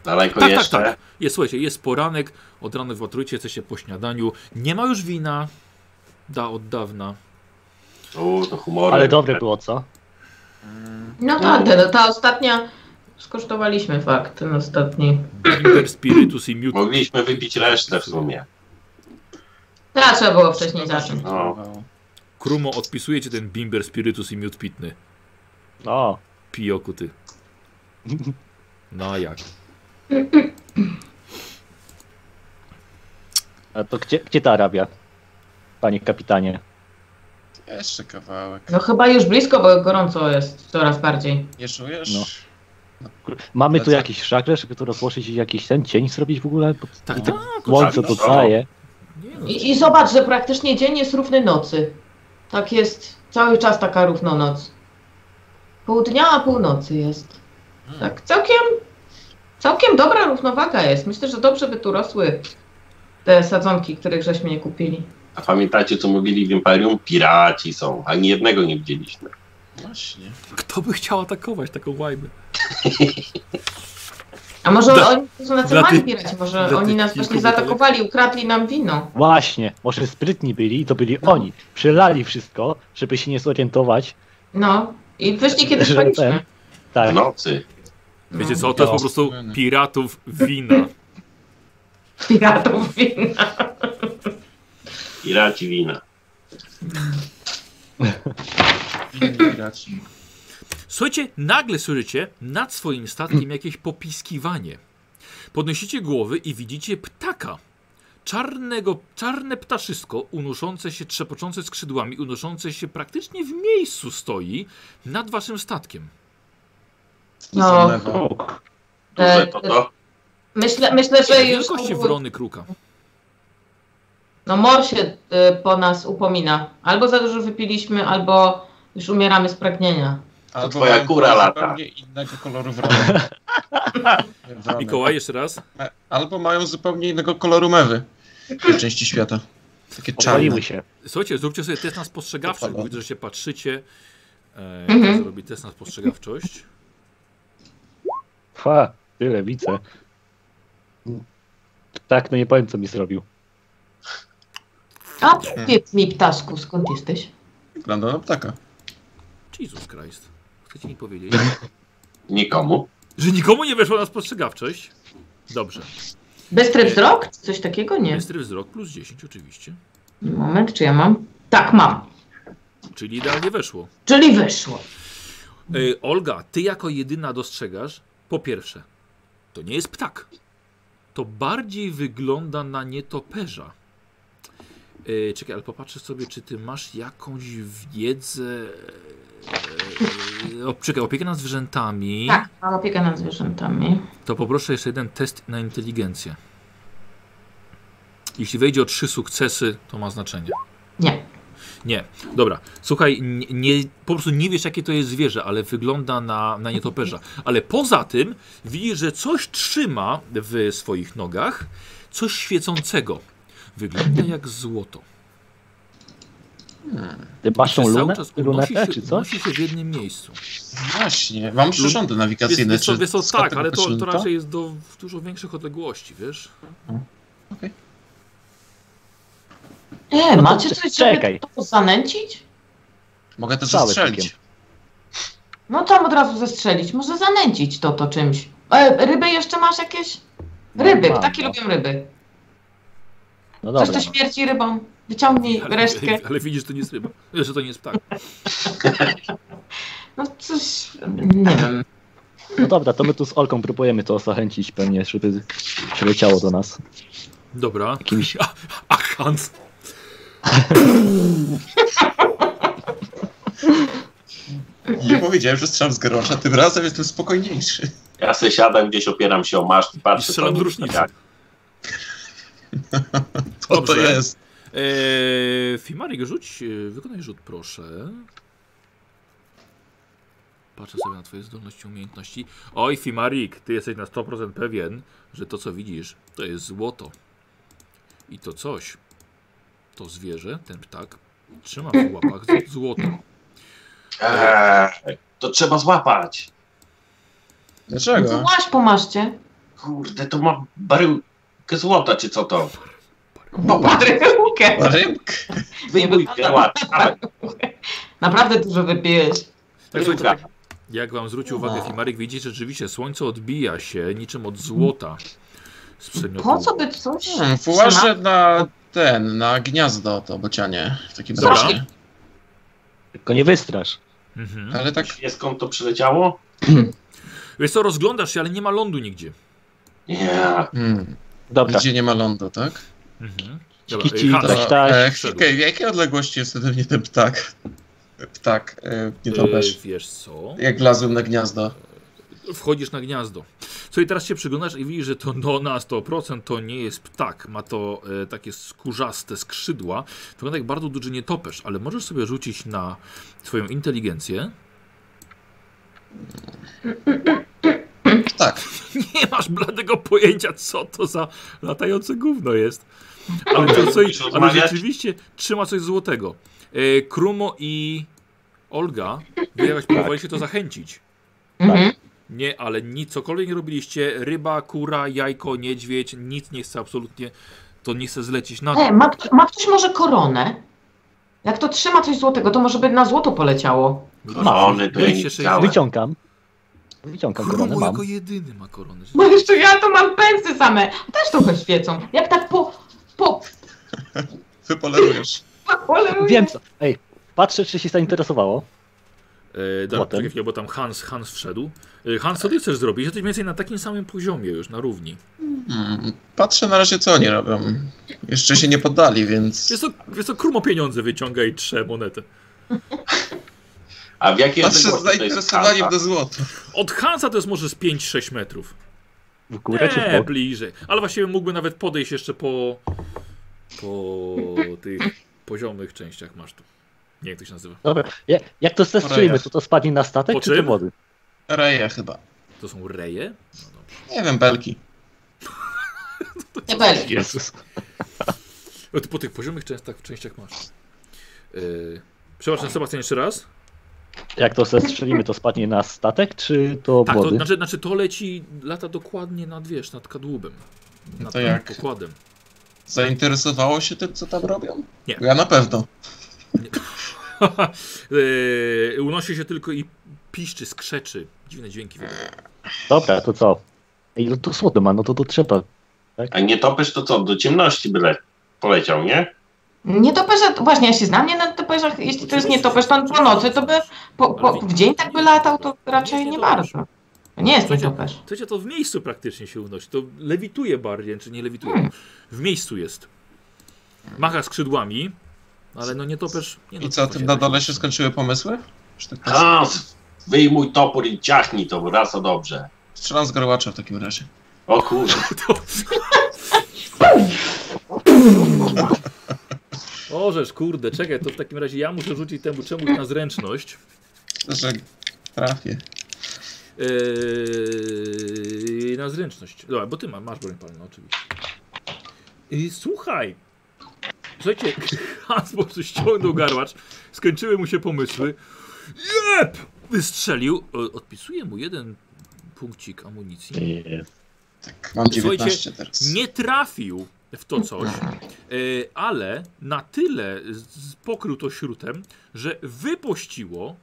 Daleko Tak, tak, jeszcze. tak. Jest, słuchajcie, jest poranek, od rana wypatrujecie, jesteście po śniadaniu. Nie ma już wina, da od dawna. U, to humory. Ale dobre było, co? Mm, No tak, ta, ta ostatnia. Skosztowaliśmy fakt, ten ostatni. Bimber, spirytus i miód. Mogliśmy wypić resztę w sumie. Teraz trzeba było wcześniej zacząć. No. Krumo, odpisujecie ten bimber, spirytus i miód pitny. O, Pijoku ty. No a jak? a to gdzie, gdzie ta Arabia? Panie kapitanie. Jeszcze kawałek. No chyba już blisko, bo gorąco jest coraz bardziej. Nie czujesz? No. Mamy tu Lecę. jakiś szakle, żeby tu rozłożyć i jakiś ten cień zrobić w ogóle? Bo Tak, i tak. Słońce tak, tu tak. daje. Nie, no, I, I zobacz, że praktycznie dzień jest równy nocy. Tak jest cały czas taka równonoc. Pół dnia, a północy jest. Hmm. Mm. Tak, całkiem, całkiem dobra równowaga jest. Myślę, że dobrze by tu rosły te sadzonki, których żeśmy nie kupili. A pamiętacie, co mówili w Imperium? Piraci są. Ani jednego nie widzieliśmy. Właśnie. kto by chciał atakować taką łajbę? A może Dla- oni to są na celowani tych- piraci, może dla oni tych nas kilku właśnie zaatakowali, ukradli nam wino. Właśnie, może sprytni byli i to byli oni. Przelali wszystko, żeby się nie zorientować. No i Znaczy, wyszli kiedy Że ten- spaliśmy. W Tak, nocy. No. Wiecie co, to jest po prostu piratów wina. Piratów wina. Piraci wina. Winni piraci. Słuchajcie, nagle słyszycie nad swoim statkiem jakieś popiskiwanie. Podnosicie głowy i widzicie ptaka. Czarnego, czarne ptaszysko unoszące się, trzepoczące skrzydłami, unoszące się praktycznie w miejscu stoi nad waszym statkiem. No. Zalewa. Duże E, to to. Myślę, myślę że już Wielkości wrony kruka. no, mor się y, po nas upomina. Albo za dużo wypiliśmy, albo już umieramy z pragnienia. Albo twoja mają kura dwa lata. Zupełnie innego koloru wrony. Wrony. Mikołaj, jeszcze raz. Me- E, Albo mają zupełnie innego koloru mewy w tej części świata. Takie czarne. powaliły się. Słuchajcie, zróbcie sobie test na spostrzegawczość, bo Dokładnie. widzę, że się patrzycie. E, Mhm. Zrobi test na spostrzegawczość. Ha, tyle widzę. Tak, no nie powiem, co mi zrobił. A powiedz mi, ptaszku, skąd jesteś? Wygląda na ptaka. Jesus Christ. Chcecie mi powiedzieć? Nikomu. Że nikomu nie weszło na spostrzegawczość? Dobrze. Bystry wzrok? czy Coś takiego? Nie. Bystry wzrok plus 10 oczywiście. Moment, czy ja mam? Tak, mam. Czyli idealnie weszło. Czyli wyszło. E, Olga, ty jako jedyna dostrzegasz, po pierwsze, to nie jest ptak. To bardziej wygląda na nietoperza. E, czekaj, ale popatrzę sobie, czy ty masz jakąś wiedzę. E, o, czekaj, opiekę nad zwierzętami. Tak, mam opiekę nad zwierzętami. To poproszę jeszcze jeden test na inteligencję. Jeśli wejdzie o trzy sukcesy, to ma znaczenie. Nie. Nie, dobra. Słuchaj, nie, nie, po prostu nie wiesz, jakie to jest zwierzę, ale wygląda na, na nietoperza. Ale poza tym widzisz, że coś trzyma w swoich nogach, coś świecącego. Wygląda jak złoto. Ty masz tą Przez lunę? unosi lunetę, się, czy coś? unosi się w jednym miejscu. Właśnie. Mam przyrządy nawigacyjne. wiesz, co, czy wiesz co, z tak, kartą ale to, to poczynka? raczej jest do dużo większych odległości, wiesz? E, No to macie c- coś, czekaj. żeby to zanęcić? Mogę to Całe zastrzelić. tykiem. No tam od razu zestrzelić. Może zanęcić to to czymś. E, ryby jeszcze masz jakieś? Ryby, No, mam, ptaki no. lubią ryby. No Coś dobra. to śmierci rybą. Wyciągnij resztkę. ale widzisz, to nie jest ryba. Że to nie jest ptak. No coś. Nie wiem. No dobra, to my tu z Olką próbujemy to zachęcić pewnie, żeby przyleciało do nas. Dobra. Jakimś... A, a Hans. Nie powiedziałem, że strzelam z grocza, tym razem jestem spokojniejszy. Ja se siadam gdzieś, opieram się o maszt i I patrzę. strzelam co z oni różnicy. stawiają. Co to Dobrze. jest? Eee, e, Fimarik, rzuć, e, wykonaj rzut, proszę. Patrzę sobie na twoje zdolności, umiejętności. Oj, Fimarik, ty jesteś na 100% pewien, że to, co widzisz, to jest złoto. I to coś, to zwierzę, ten ptak, trzyma w łapach z- złoto. Eee, to trzeba złapać. No to Dlaczego? łaź po maszcie. Kurde, to ma baryłkę złota, czy co to? Baryłkę. Rybk? Wyjmuj wygląda na ładnie. dawaj, no. Naprawdę dużo wypiłeś. no, Tak, słuchajcie, wyjmuj. Jak wam zwrócił uwagę Fimarik, widzicie, rzeczywiście słońce odbija się niczym od złota. Z przedmiotu. Po co by coś. Hmm, Fułażę na ten, na gniazdo to bocianie. W takim Dobra. razie. Tylko nie wystrasz. Mhm. Ale tak, Wie skąd to przyleciało? Wiesz co, rozglądasz się, ale nie ma lądu nigdzie. Nie. hmm, Dobra, gdzie nie ma lądu, tak? Mhm. Kici, Hans, To, Coś tak. e, chwilkę, w jakiej odległości jest ode mnie ten ptak? Ptak, e, nie Yy, topesz. wiesz co? Jak wlazłem na gniazdo. Wchodzisz na gniazdo. Co i teraz się przyglądasz i widzisz, że to no, na 100% to nie jest ptak. Ma to e, takie skórzaste skrzydła. Wygląda jak bardzo duży nietoperz, ale możesz sobie rzucić na swoją inteligencję. Tak. Nie masz bladego pojęcia, co to za latające gówno jest. Ale, No, to coś, ale Rozmawiać? rzeczywiście trzyma coś złotego. E, Krumo i Olga, wy jakoś próbowaliście to zachęcić. Mhm. Nie, ale nic, cokolwiek nie robiliście, ryba, kura, jajko, niedźwiedź, nic nie chce absolutnie, to nie chce zlecić na to. E, ma, ma ktoś może koronę? Jak to trzyma coś złotego, to może by na złoto poleciało. Korony to ja nie Byliście sześć- chciałem. wyciągam. Wyciągam koronę, Krumo mam. jako jedyny ma koronę. Bo jeszcze ja to mam pensy same. Też trochę świecą. Jak tak po... po... Wypolerujesz. poleruję. Wiem co. Ej, patrzę, czy się zainteresowało. E, dobra, Potem. czekaj chwilę, bo tam Hans, Hans wszedł. E, Hans, co ty chcesz zrobić? Jesteś mniej więcej na takim samym poziomie już, na równi. Hmm, patrzę na razie, co oni robią. Jeszcze się nie poddali, więc... Wiesz co, wiesz co Krumo pieniądze wyciąga i trze monetę. A w jakiej Patrzę z odległości to jest zainteresowaniem skala? do złota. Od Hansa to jest może z 5-6 metrów. W górę czy w nie, bok? bliżej. Ale właściwie mógłby nawet podejść jeszcze po, po tych poziomych częściach masztu. Nie wiem, jak to się nazywa. Dobra, ja- jak to zestreamy? Czy to spadnie na statek, Po czy do czym? wody? Reje chyba. To są reje? No dobrze. Nie wiem, belki. Nie byli. Jezus. O, ty Znaczy, po tych poziomych częstach, częściach masztu. Yy, przepraszam, Sebastian, jeszcze raz. Tak, Jak to zestrzelimy, to spadnie na statek, czy do Tak, to wody? znaczy, znaczy to leci, lata dokładnie nad, wiesz, nad kadłubem. Nad No to tym jak? pokładem. Zainteresowało się tym, co tam robią? Nie. Ja na pewno. yy, unosi się tylko i piszczy, skrzeczy. Dziwne dźwięki. wydaje. Dobra, to co? Ej, no to słodo ma, no to to trzeba. A nie topesz to co? Do ciemności byle poleciał, nie? Nietoperze, właśnie ja się znam nie na nietoperzach, jeśli to jest nietoperz, to on po nocy, to by po, po, w dzień tak by latał, to raczej nie bardzo. To Nie jest nietoperz. Słuchajcie, to w miejscu praktycznie się unosi. To lewituje bardziej, czy nie lewituje. Hmm. W miejscu jest. Macha skrzydłami, ale no nie topesz. Nie no, I co, tym na dole się skończyły pomysły? Czy tak patrzę? Hans, wyjmuj topór i ciachnij to, raz to dobrze. Strzelam z growacza w takim razie. O kurde. Orzesz, kurde, czekaj, to w takim razie ja muszę rzucić temu czemuś na zręczność. Że trafię. Eee, na zręczność. Dobra, bo ty ma, masz broń palną, oczywiście. I słuchaj. Słuchajcie, Hans po prostu ściągnął garłacz, skończyły mu się pomysły. Jep! Wystrzelił. O, Odpisuje mu jeden punkcik amunicji. Jest. Tak, mam Słuchajcie, 19 teraz. Nie trafił w to coś, e, ale na tyle z- pokrył to śrutem, że wypościło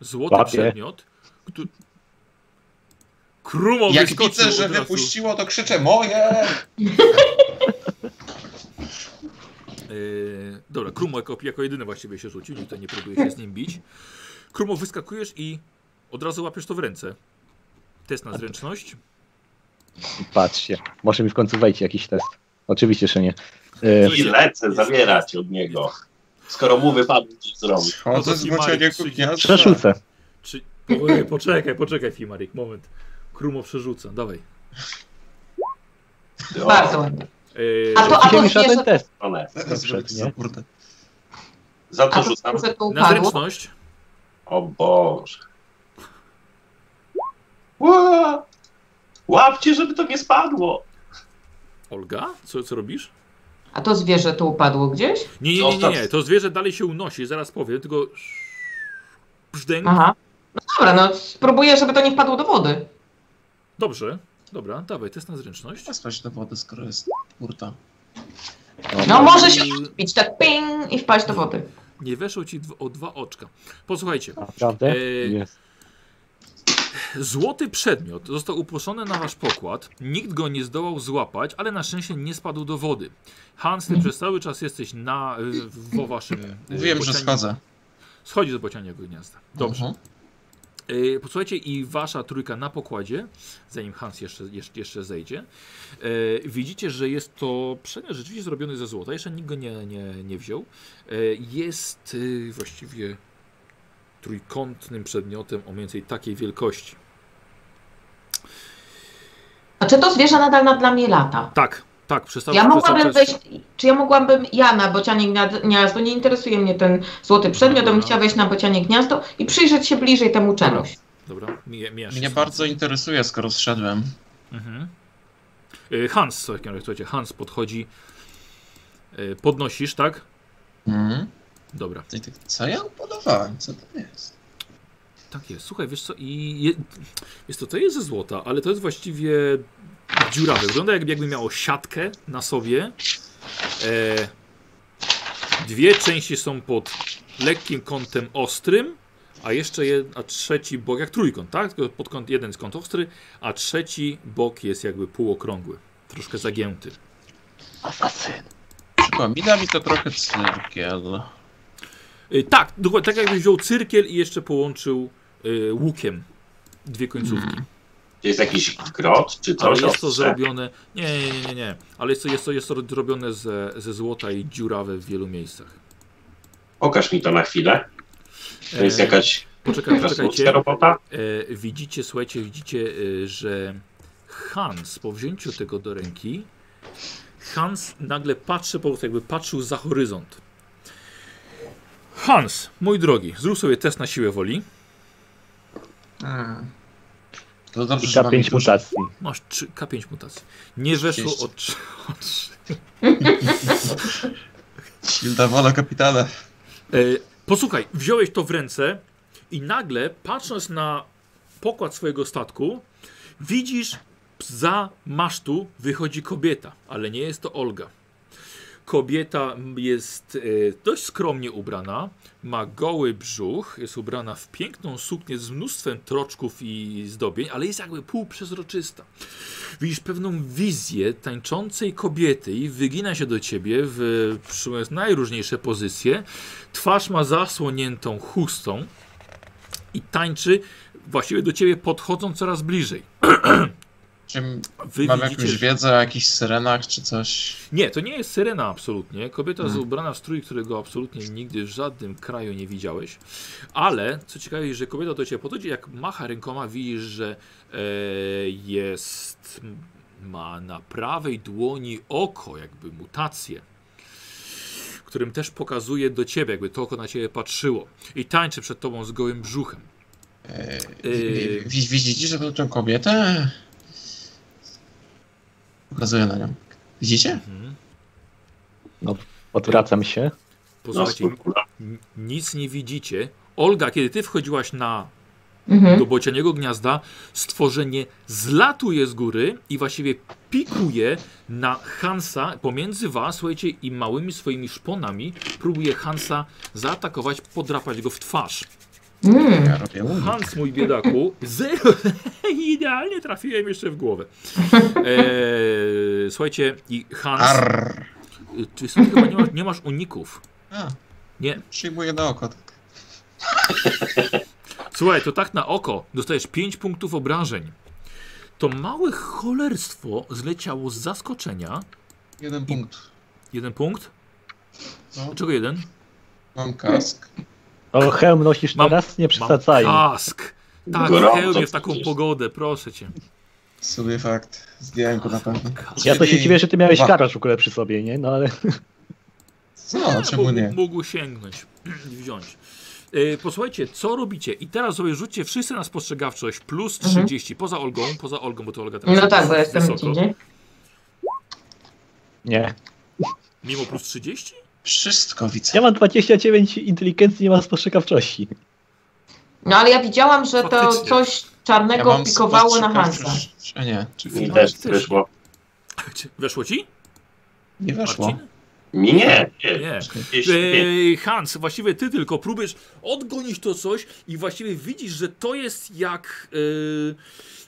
złoty Łapie. przedmiot, który... Krumo Jak wyskoczył widzę, że od razu. wypuściło, to krzyczę moje! Yy, dobra, Krumo jako, jako jedyny właściwie się rzucił, nikt tutaj nie próbuje się z nim bić. Krumo, wyskakujesz i od razu łapiesz to w ręce. Test na zręczność. Patrzcie, może mi w końcu wejdzie jakiś test. Oczywiście, że nie. E, Słuchajcie, I lecę jest- zabierać od niego. Skoro mu wypadnie coś zrobi. No to Chodzę z mocionego Marek, gniazda. Przerzucę. Czy... Ojej, poczekaj, poczekaj Fimarik, moment. Krumo przerzuca, dawaj. E, O, Bardzo ładnie. Yy, A to- Dzisiaj mi odbierzesz- żaden test. one. Zaraz Przed, zrobię nie? to, kurde. Za A to to rzucam. że to Na upadło. zręczność. O Boże. Ła! Łapcie, żeby to nie spadło. Olga, co, co robisz? A to zwierzę to upadło gdzieś? Nie, nie, nie, nie, nie, to zwierzę dalej się unosi, zaraz powiem, tylko... Brzdęk. Aha. No dobra, no spróbuję, żeby to nie wpadło do wody. Dobrze, dobra, dawaj, test na zręczność. Nie spać do wody, skoro jest kurta. No może się I bić tak ping i wpaść do wody. Nie weszło ci dw- o dwa oczka. Posłuchajcie, Naprawdę? Eee, Jest. Złoty przedmiot został uproszony na wasz pokład. Nikt go nie zdołał złapać, ale na szczęście nie spadł do wody. Hans, ty przez cały czas jesteś na, w- w waszym. y, Mówiłem, że bocianie- schodzę. Schodzi do bocianiego gniazda. Dobrze. Mhm. Y, Posłuchajcie, i wasza trójka na pokładzie, zanim Hans jeszcze, jeszcze, jeszcze zejdzie, y, widzicie, że jest to przedmiot rzeczywiście zrobiony ze złota. Jeszcze nikt go nie, nie, nie wziął. Y, Jest y, właściwie trójkątnym przedmiotem o mniej więcej takiej wielkości. A czy to zwierzę nadal nad nami lata? Tak, tak, przestał Ja przestał mogłabym czas- wejść, czy ja mogłabym, ja na bocianie gna- gniazdo, nie interesuje mnie ten złoty przedmiot, ja bym Dobra. chciała wejść na bocianie gniazdo i przyjrzeć się bliżej temu czemuś. Dobra, mija, mijasz się Mnie z- bardzo interesuje, skoro zszedłem. Mhm. Y, Hans, co takiego, słuchajcie, Hans podchodzi. Y, Podnosisz, tak? Mhm. Dobra, I tak, co ja upodobałem? Co to jest? tak jest. Słuchaj, wiesz co, i je, jest to, to jest ze złota, ale to jest właściwie dziurawe. Wygląda jakby, jakby miało siatkę na sobie. E, dwie części są pod lekkim kątem ostrym, a jeszcze jed, a trzeci bok, jak trójkąt, tak? Tylko pod kąt, jeden jest kąt ostry, a trzeci bok jest jakby półokrągły, troszkę zagięty. Asasyn. Przypomina mi to trochę cyrkiel. Y, Tak, dokładnie tak jakbyś wziął cyrkiel i jeszcze połączył y, łukiem dwie końcówki. Czy jest jakiś grot, czy Ale coś? E, jest to Ostrze? zrobione. Nie, nie, nie, nie, nie. Ale jest to, jest to, jest to zrobione ze, ze złota i dziurawe w wielu miejscach. Pokaż mi to na chwilę. To jest E, jakaś Poczekaj, krasnoludzka poczekajcie. robota? No, E, widzicie, słuchajcie, widzicie, e, że Hans po wzięciu tego do ręki, Hans nagle patrzy po prostu, jakby patrzył za horyzont. Hans, mój drogi, zrób sobie test na siłę woli. Hmm. To dobrze, I że ta mam pięć dużo. mutacji. Masz 3, K5 mutacji. Nie weszło o 3. Silda wola kapitana. E, posłuchaj, wziąłeś to w ręce i nagle, patrząc na pokład swojego statku, widzisz za masztu wychodzi kobieta, ale nie jest to Olga. Kobieta jest e, dość skromnie ubrana, ma goły brzuch, jest ubrana w piękną suknię z mnóstwem troczków i zdobień, ale jest jakby półprzezroczysta. Widzisz pewną wizję tańczącej kobiety i wygina się do ciebie w przyjmując najróżniejsze pozycje. Twarz ma zasłoniętą chustą i tańczy właściwie do ciebie podchodzą coraz bliżej. Czy Wy mam widzicie, jakąś że- wiedzę o jakichś syrenach czy coś? Nie, to nie jest syrena absolutnie. Kobieta Mhm. jest ubrana w strój, którego absolutnie nigdy w żadnym kraju nie widziałeś. Ale co ciekawe, że kobieta do ciebie podchodzi, jak macha rękoma, widzisz, że e, jest. Ma na prawej dłoni oko, jakby mutację, którym też pokazuje do ciebie, jakby to oko na ciebie patrzyło. I tańczy przed tobą z gołym brzuchem. Eee, Eee. wi- Widzicie że to tę kobietę? Pokazuję na nią. Widzicie? Mhm. Odwracam się. No, Pozwólcie, skurkula. n- nic nie widzicie. Olga, kiedy ty wchodziłaś na Mhm. do bocianiego gniazda stworzenie zlatuje z góry i właściwie pikuje na Hansa pomiędzy was, słuchajcie, i małymi swoimi szponami próbuje Hansa zaatakować, podrapać go w twarz. Mm. Ja robię unik. Hans, mój biedaku, zero, idealnie trafiłem jeszcze w głowę. Eee, słuchajcie, i E, Hans Arr. Y, Czy są chyba nie masz, nie masz uników? A, Nie. przyjmuję na oko. tak. Słuchaj, to tak na oko. Dostajesz 5 punktów obrażeń. To małe cholerstwo zleciało z zaskoczenia. Jeden punkt. Jeden punkt? No. Dlaczego jeden? Mam kask. O, hełm nosisz Mam- teraz? Nie Mam przesadzaj. Kask! Tak, w Gorąco hełmie w taką przecież. pogodę, proszę cię. W sumie fakt. Zdjąłem go na pewno. Kask. Ja to się Czyli- dziwię, że ty miałeś Dwa. karasz w ogóle przy sobie, nie? No ale No, czemu nie? Mógł, mógł sięgnąć i wziąć. E, Posłuchajcie, co robicie? I teraz sobie rzućcie wszyscy na spostrzegawczość plus Mhm. 30. Poza Olgą, poza Olgą, bo to Olga teraz No tak, jest bo jestem wysoko. gdzie indziej. nie. Mimo plus 30? Wszystko widzę. Ja mam 29 inteligencji, nie mam spostrzegawczości. No ale ja widziałam, że to Faktycznie. coś czarnego pikowało na Hansa. spostrzegawczość- A nie, Mi No, też też. wyszło. Weszło ci, nie weszło. Marcin? Mi nie. nie. Nie. 45. Eee, Hans, właściwie ty tylko próbujesz odgonić to coś i właściwie widzisz, że to jest jak eee,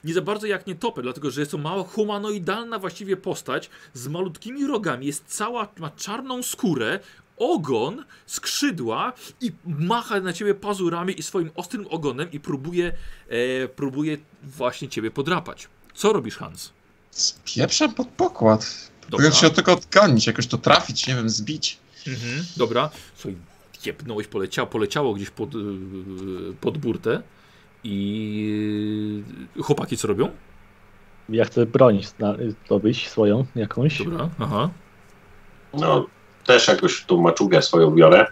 nie za bardzo jak nietoper, dlatego że jest to mała humanoidalna właściwie postać z malutkimi rogami, jest cała, ma czarną skórę, ogon, skrzydła i macha na ciebie pazurami i swoim ostrym ogonem i próbuje, eee, próbuje właśnie ciebie podrapać. Co robisz, Hans? Spieprzam pod pokład. Dobra. Próbuję się tylko odgonić, jakoś to trafić, nie wiem, zbić. Mhm. Dobra. Słuchaj, jebnąłeś, poleciało, poleciało gdzieś pod, yy, pod burtę i yy, chłopaki co robią? Ja chcę broń zna- zdobyć swoją jakąś. Dobra, aha. No, też jakoś tą maczugę swoją biorę.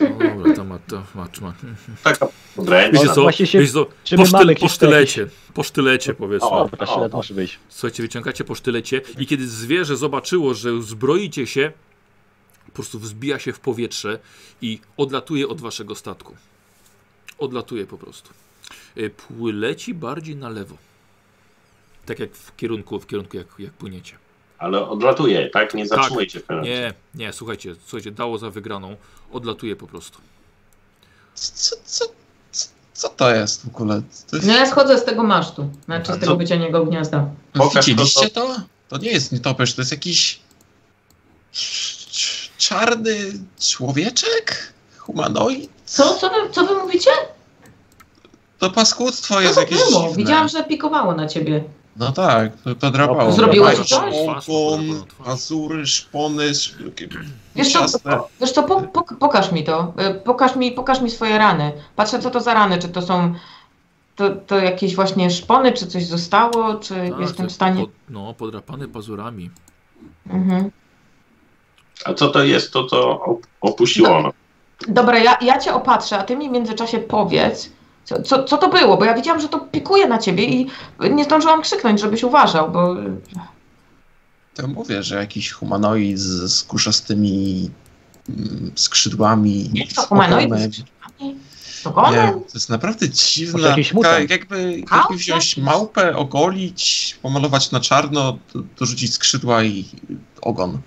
Dobra, to ma, to ma, to ma. Taka podręczna. Wiecie co, właśnie się- wiecie co czy my po, mamy sztyl, jakieś po sztylecie, po sztylecie powiedzmy. O. Dobra, sztylet może być. Słuchajcie, wyciągacie po sztylecie i kiedy zwierzę zobaczyło, że zbroicie się, po prostu wzbija się w powietrze i odlatuje od waszego statku. Odlatuje po prostu. Y, pły- Leci bardziej na lewo. Tak jak w kierunku, w kierunku jak, jak płyniecie. Ale odlatuje, tak? Nie zatrzymujcie tak. Nie, nie, słuchajcie, słuchajcie, dało za wygraną. Odlatuje po prostu. Co, co, co, co to jest w ogóle? To jest... No ja schodzę z tego masztu, znaczy A z tego co- wycianiego gniazda. Pokaż, Widzieliście to? To nie jest nietoperz, to jest jakiś cz- czarny człowieczek? Humanoid? Co, co, wy, co wy mówicie? To paskudztwo No jest to jakieś było. dziwne. Widziałam, że pikowało na ciebie. No tak, to, to drapało. Zrobiłeś Drapało coś? Twarz, Ogon, twarz. pazury, szpony, sz- takie Wiesz co, ciasne. po, wiesz co po, po, pokaż mi to. Y, Pokaż mi, pokaż mi swoje rany. Patrzę, co to za rany. Czy to są to, to jakieś właśnie szpony, czy coś zostało, czy Tak, jestem że w stanie... Pod, no, podrapane pazurami. Mhm. A co to jest to, co op- Tak. opuściło ono? Dobra, ja, ja cię opatrzę, a ty mi w międzyczasie powiedz, co, co, co to było, bo ja widziałam, że to pikuje na ciebie i nie zdążyłam krzyknąć, żebyś uważał, bo... To mówię, że jakiś humanoid z z kurzastymi mm, skrzydłami. Jak to z humanoid? ogonem. To Nie, golem? to jest naprawdę Może dziwne. jakiś Taka, mutant. jakby, Małpa? jakby wziąć małpę, ogolić, pomalować na czarno, do- dorzucić skrzydła i ogon.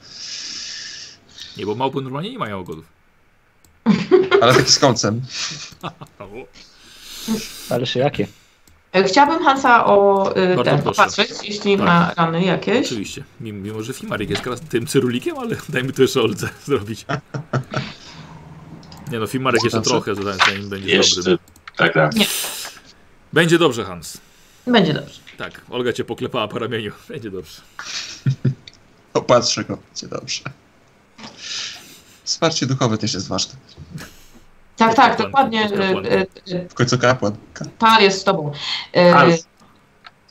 Nie, bo małpy normalnie nie mają ogodów. Ale taki z kolcem. Ale jeszcze jakie? E, Chciałabym Hansa o y, Bardzo ten proszę. popatrzeć, jeśli Tak. ma rany jakieś. Oczywiście. Mimo, mimo że Fimarik jest teraz tym cyrulikiem, ale dajmy to jeszcze Olce zrobić. Nie no, Fimarek jeszcze Znaczy? trochę, zanim zanim będzie Jeszcze. dobry. Tak, tak. Będzie dobrze, Hans. Będzie dobrze. Tak, Olga cię poklepała po ramieniu. Będzie dobrze. Opatrzę go, będzie dobrze. Wsparcie duchowe też jest ważne. Pod Tak, tak, kapłanką, dokładnie. pod kapłanką. y, y, y, W końcu kapłan. Tar jest z tobą. E, Hans,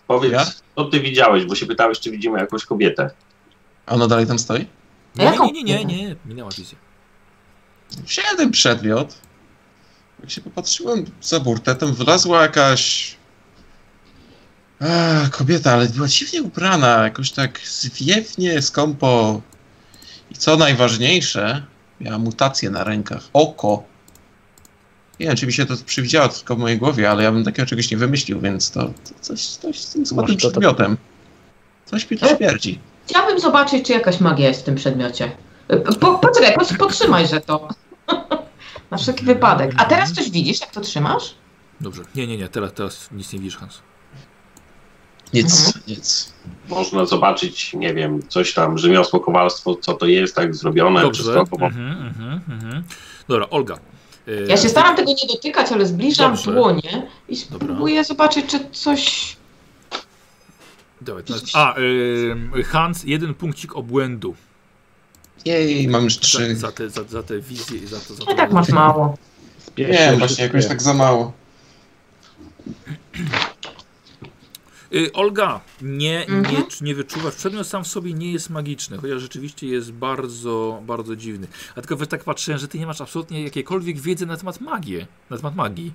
powiedz, Ja? co ty widziałeś, bo się pytałeś, czy widzimy jakąś kobietę. A ona dalej tam stoi? Nie, Jaką nie, nie, nie, nie. minęła wizja. Wziąłem przedmiot. Jak się popatrzyłem za burtę, tam wlazła jakaś. Ach, kobieta, ale była dziwnie ubrana, jakoś tak zwiewnie, skąpo. I co najważniejsze, miała mutację na rękach. Oko. Nie wiem, czy mi się to przywidziało tylko w mojej głowie, ale ja bym takiego czegoś nie wymyślił, więc to, to coś, coś z tym złotym Masz to- to- przedmiotem. Coś mi to śmierdzi. Chciałabym zobaczyć, czy jakaś magia jest w tym przedmiocie. Y, Po, poczekaj, po, potrzymaj, że to. Na wszelki wypadek. A teraz coś widzisz, jak to trzymasz? Dobrze. Nie, nie, nie, teraz, teraz nic nie widzisz, Hans. Nic, nic. Można zobaczyć, nie wiem, coś tam, rzemiosło, kowalstwo, co to jest, tak zrobione, Dobrze. wszystko. Bo... Mhm, mhm, mhm. Dobra, Olga. E, Ja się staram tego nie dotykać, ale zbliżam Dobrze. dłonie i spróbuję zobaczyć, czy coś. Dawaj, to jest- a, y, Hans, jeden punkcik obłędu Jej, mam już za, trzy. za, te, za, za te wizje i za to. Za to No i tak masz mało. Nie, Spieszę właśnie jakoś tak za mało. Y, Olga, nie, nie, Mhm. nie wyczuwasz. Przedmiot sam w sobie nie jest magiczny, chociaż rzeczywiście jest bardzo, bardzo dziwny. A tylko wy tak patrzyłem, że ty nie masz absolutnie jakiejkolwiek wiedzy na temat magii. Na temat magii.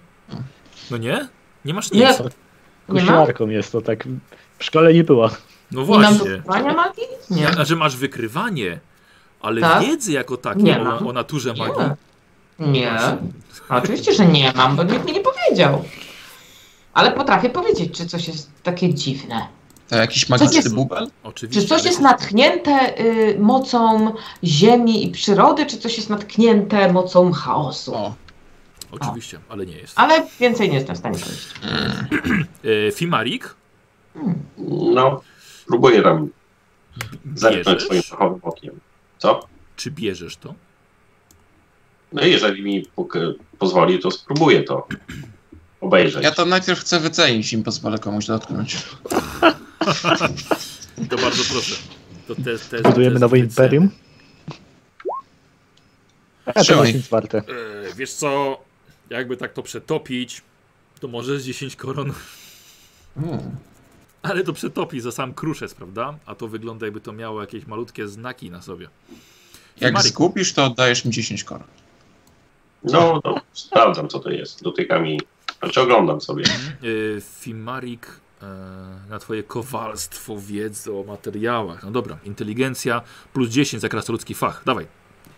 No nie? Nie masz nic. Nie, Nie ma? Kuślarką jest to tak. W szkole nie była. No Nie mam właśnie. dokonywania magii? Nie. A że masz wykrywanie, ale Tak. wiedzy jako takiej Nie o, mam. o naturze magii. Nie. Nie. A Oczywiście, że nie mam, bo nikt mi nie powiedział. Ale potrafię powiedzieć, czy coś jest takie dziwne. To jest- jakiś magiczny bubel? Oczywiście. Czy coś ale- jest natchnięte y, mocą ziemi i przyrody, czy coś jest natchnięte mocą chaosu. O, Oczywiście, ale nie jest. Ale więcej nie jestem w stanie powiedzieć. mm, E, Fimarik, Hmm. No, próbuję tam zerknąć bierzesz? swoim fachowym okiem. Co? Czy bierzesz to? No jeżeli mi puk- pozwoli, to spróbuję to obejrzeć. ja to najpierw chcę wycenić, im pozwolę komuś dotknąć. To bardzo proszę. To te, te, Budujemy te- nowe te ceny. imperium. A to Trzymaj. jest nic warte. E, wiesz co, jakby tak to przetopić, to może z 10 koron, Hmm. Mm. ale to przetopi za sam kruszec, prawda? A to wygląda jakby to miało jakieś malutkie znaki na sobie. Jak Marek. zgubisz, to oddajesz mi 10 koron. No, no, sprawdzam co to jest. Dotykam i... Znaczy oglądam sobie. E, Fimarik e, na twoje kowalstwo wiedzy o materiałach. No dobra, inteligencja plus 10 za krasnoludzki fach. Dawaj.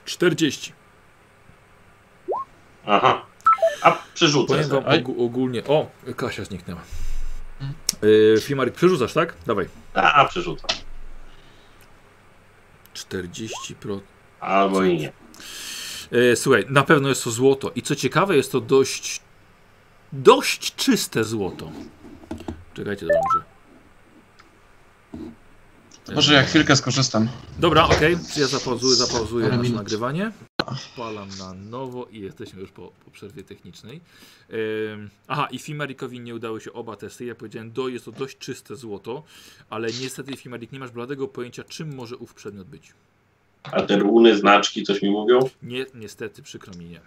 40. Aha. A przerzucę. Powiem wam sobie. Oj. og ogólnie. O, Kasia zniknęła. Mm. E, Fimarik, przerzucasz, tak? Dawaj. A, a przerzucam. 40%. Albo i nie. E, Słuchaj, na pewno jest to złoto. I co ciekawe, jest to dość. dość czyste złoto. Czekajcie, dobrze. Może ja chwilkę skorzystam. Dobra, okej. Ja zapauzuję, zapauzuję Parę nasze minut. nagrywanie. Odpalam na nowo i jesteśmy już po, po przerwie technicznej. Ym, aha, i Fimarikowi nie udały się oba testy. Ja powiedziałem, do, jest to dość czyste złoto, ale niestety Fimarik nie masz bladego pojęcia, czym może ów przedmiot być. A te runy, znaczki coś mi mówią? Nie, niestety, przykro mi nie.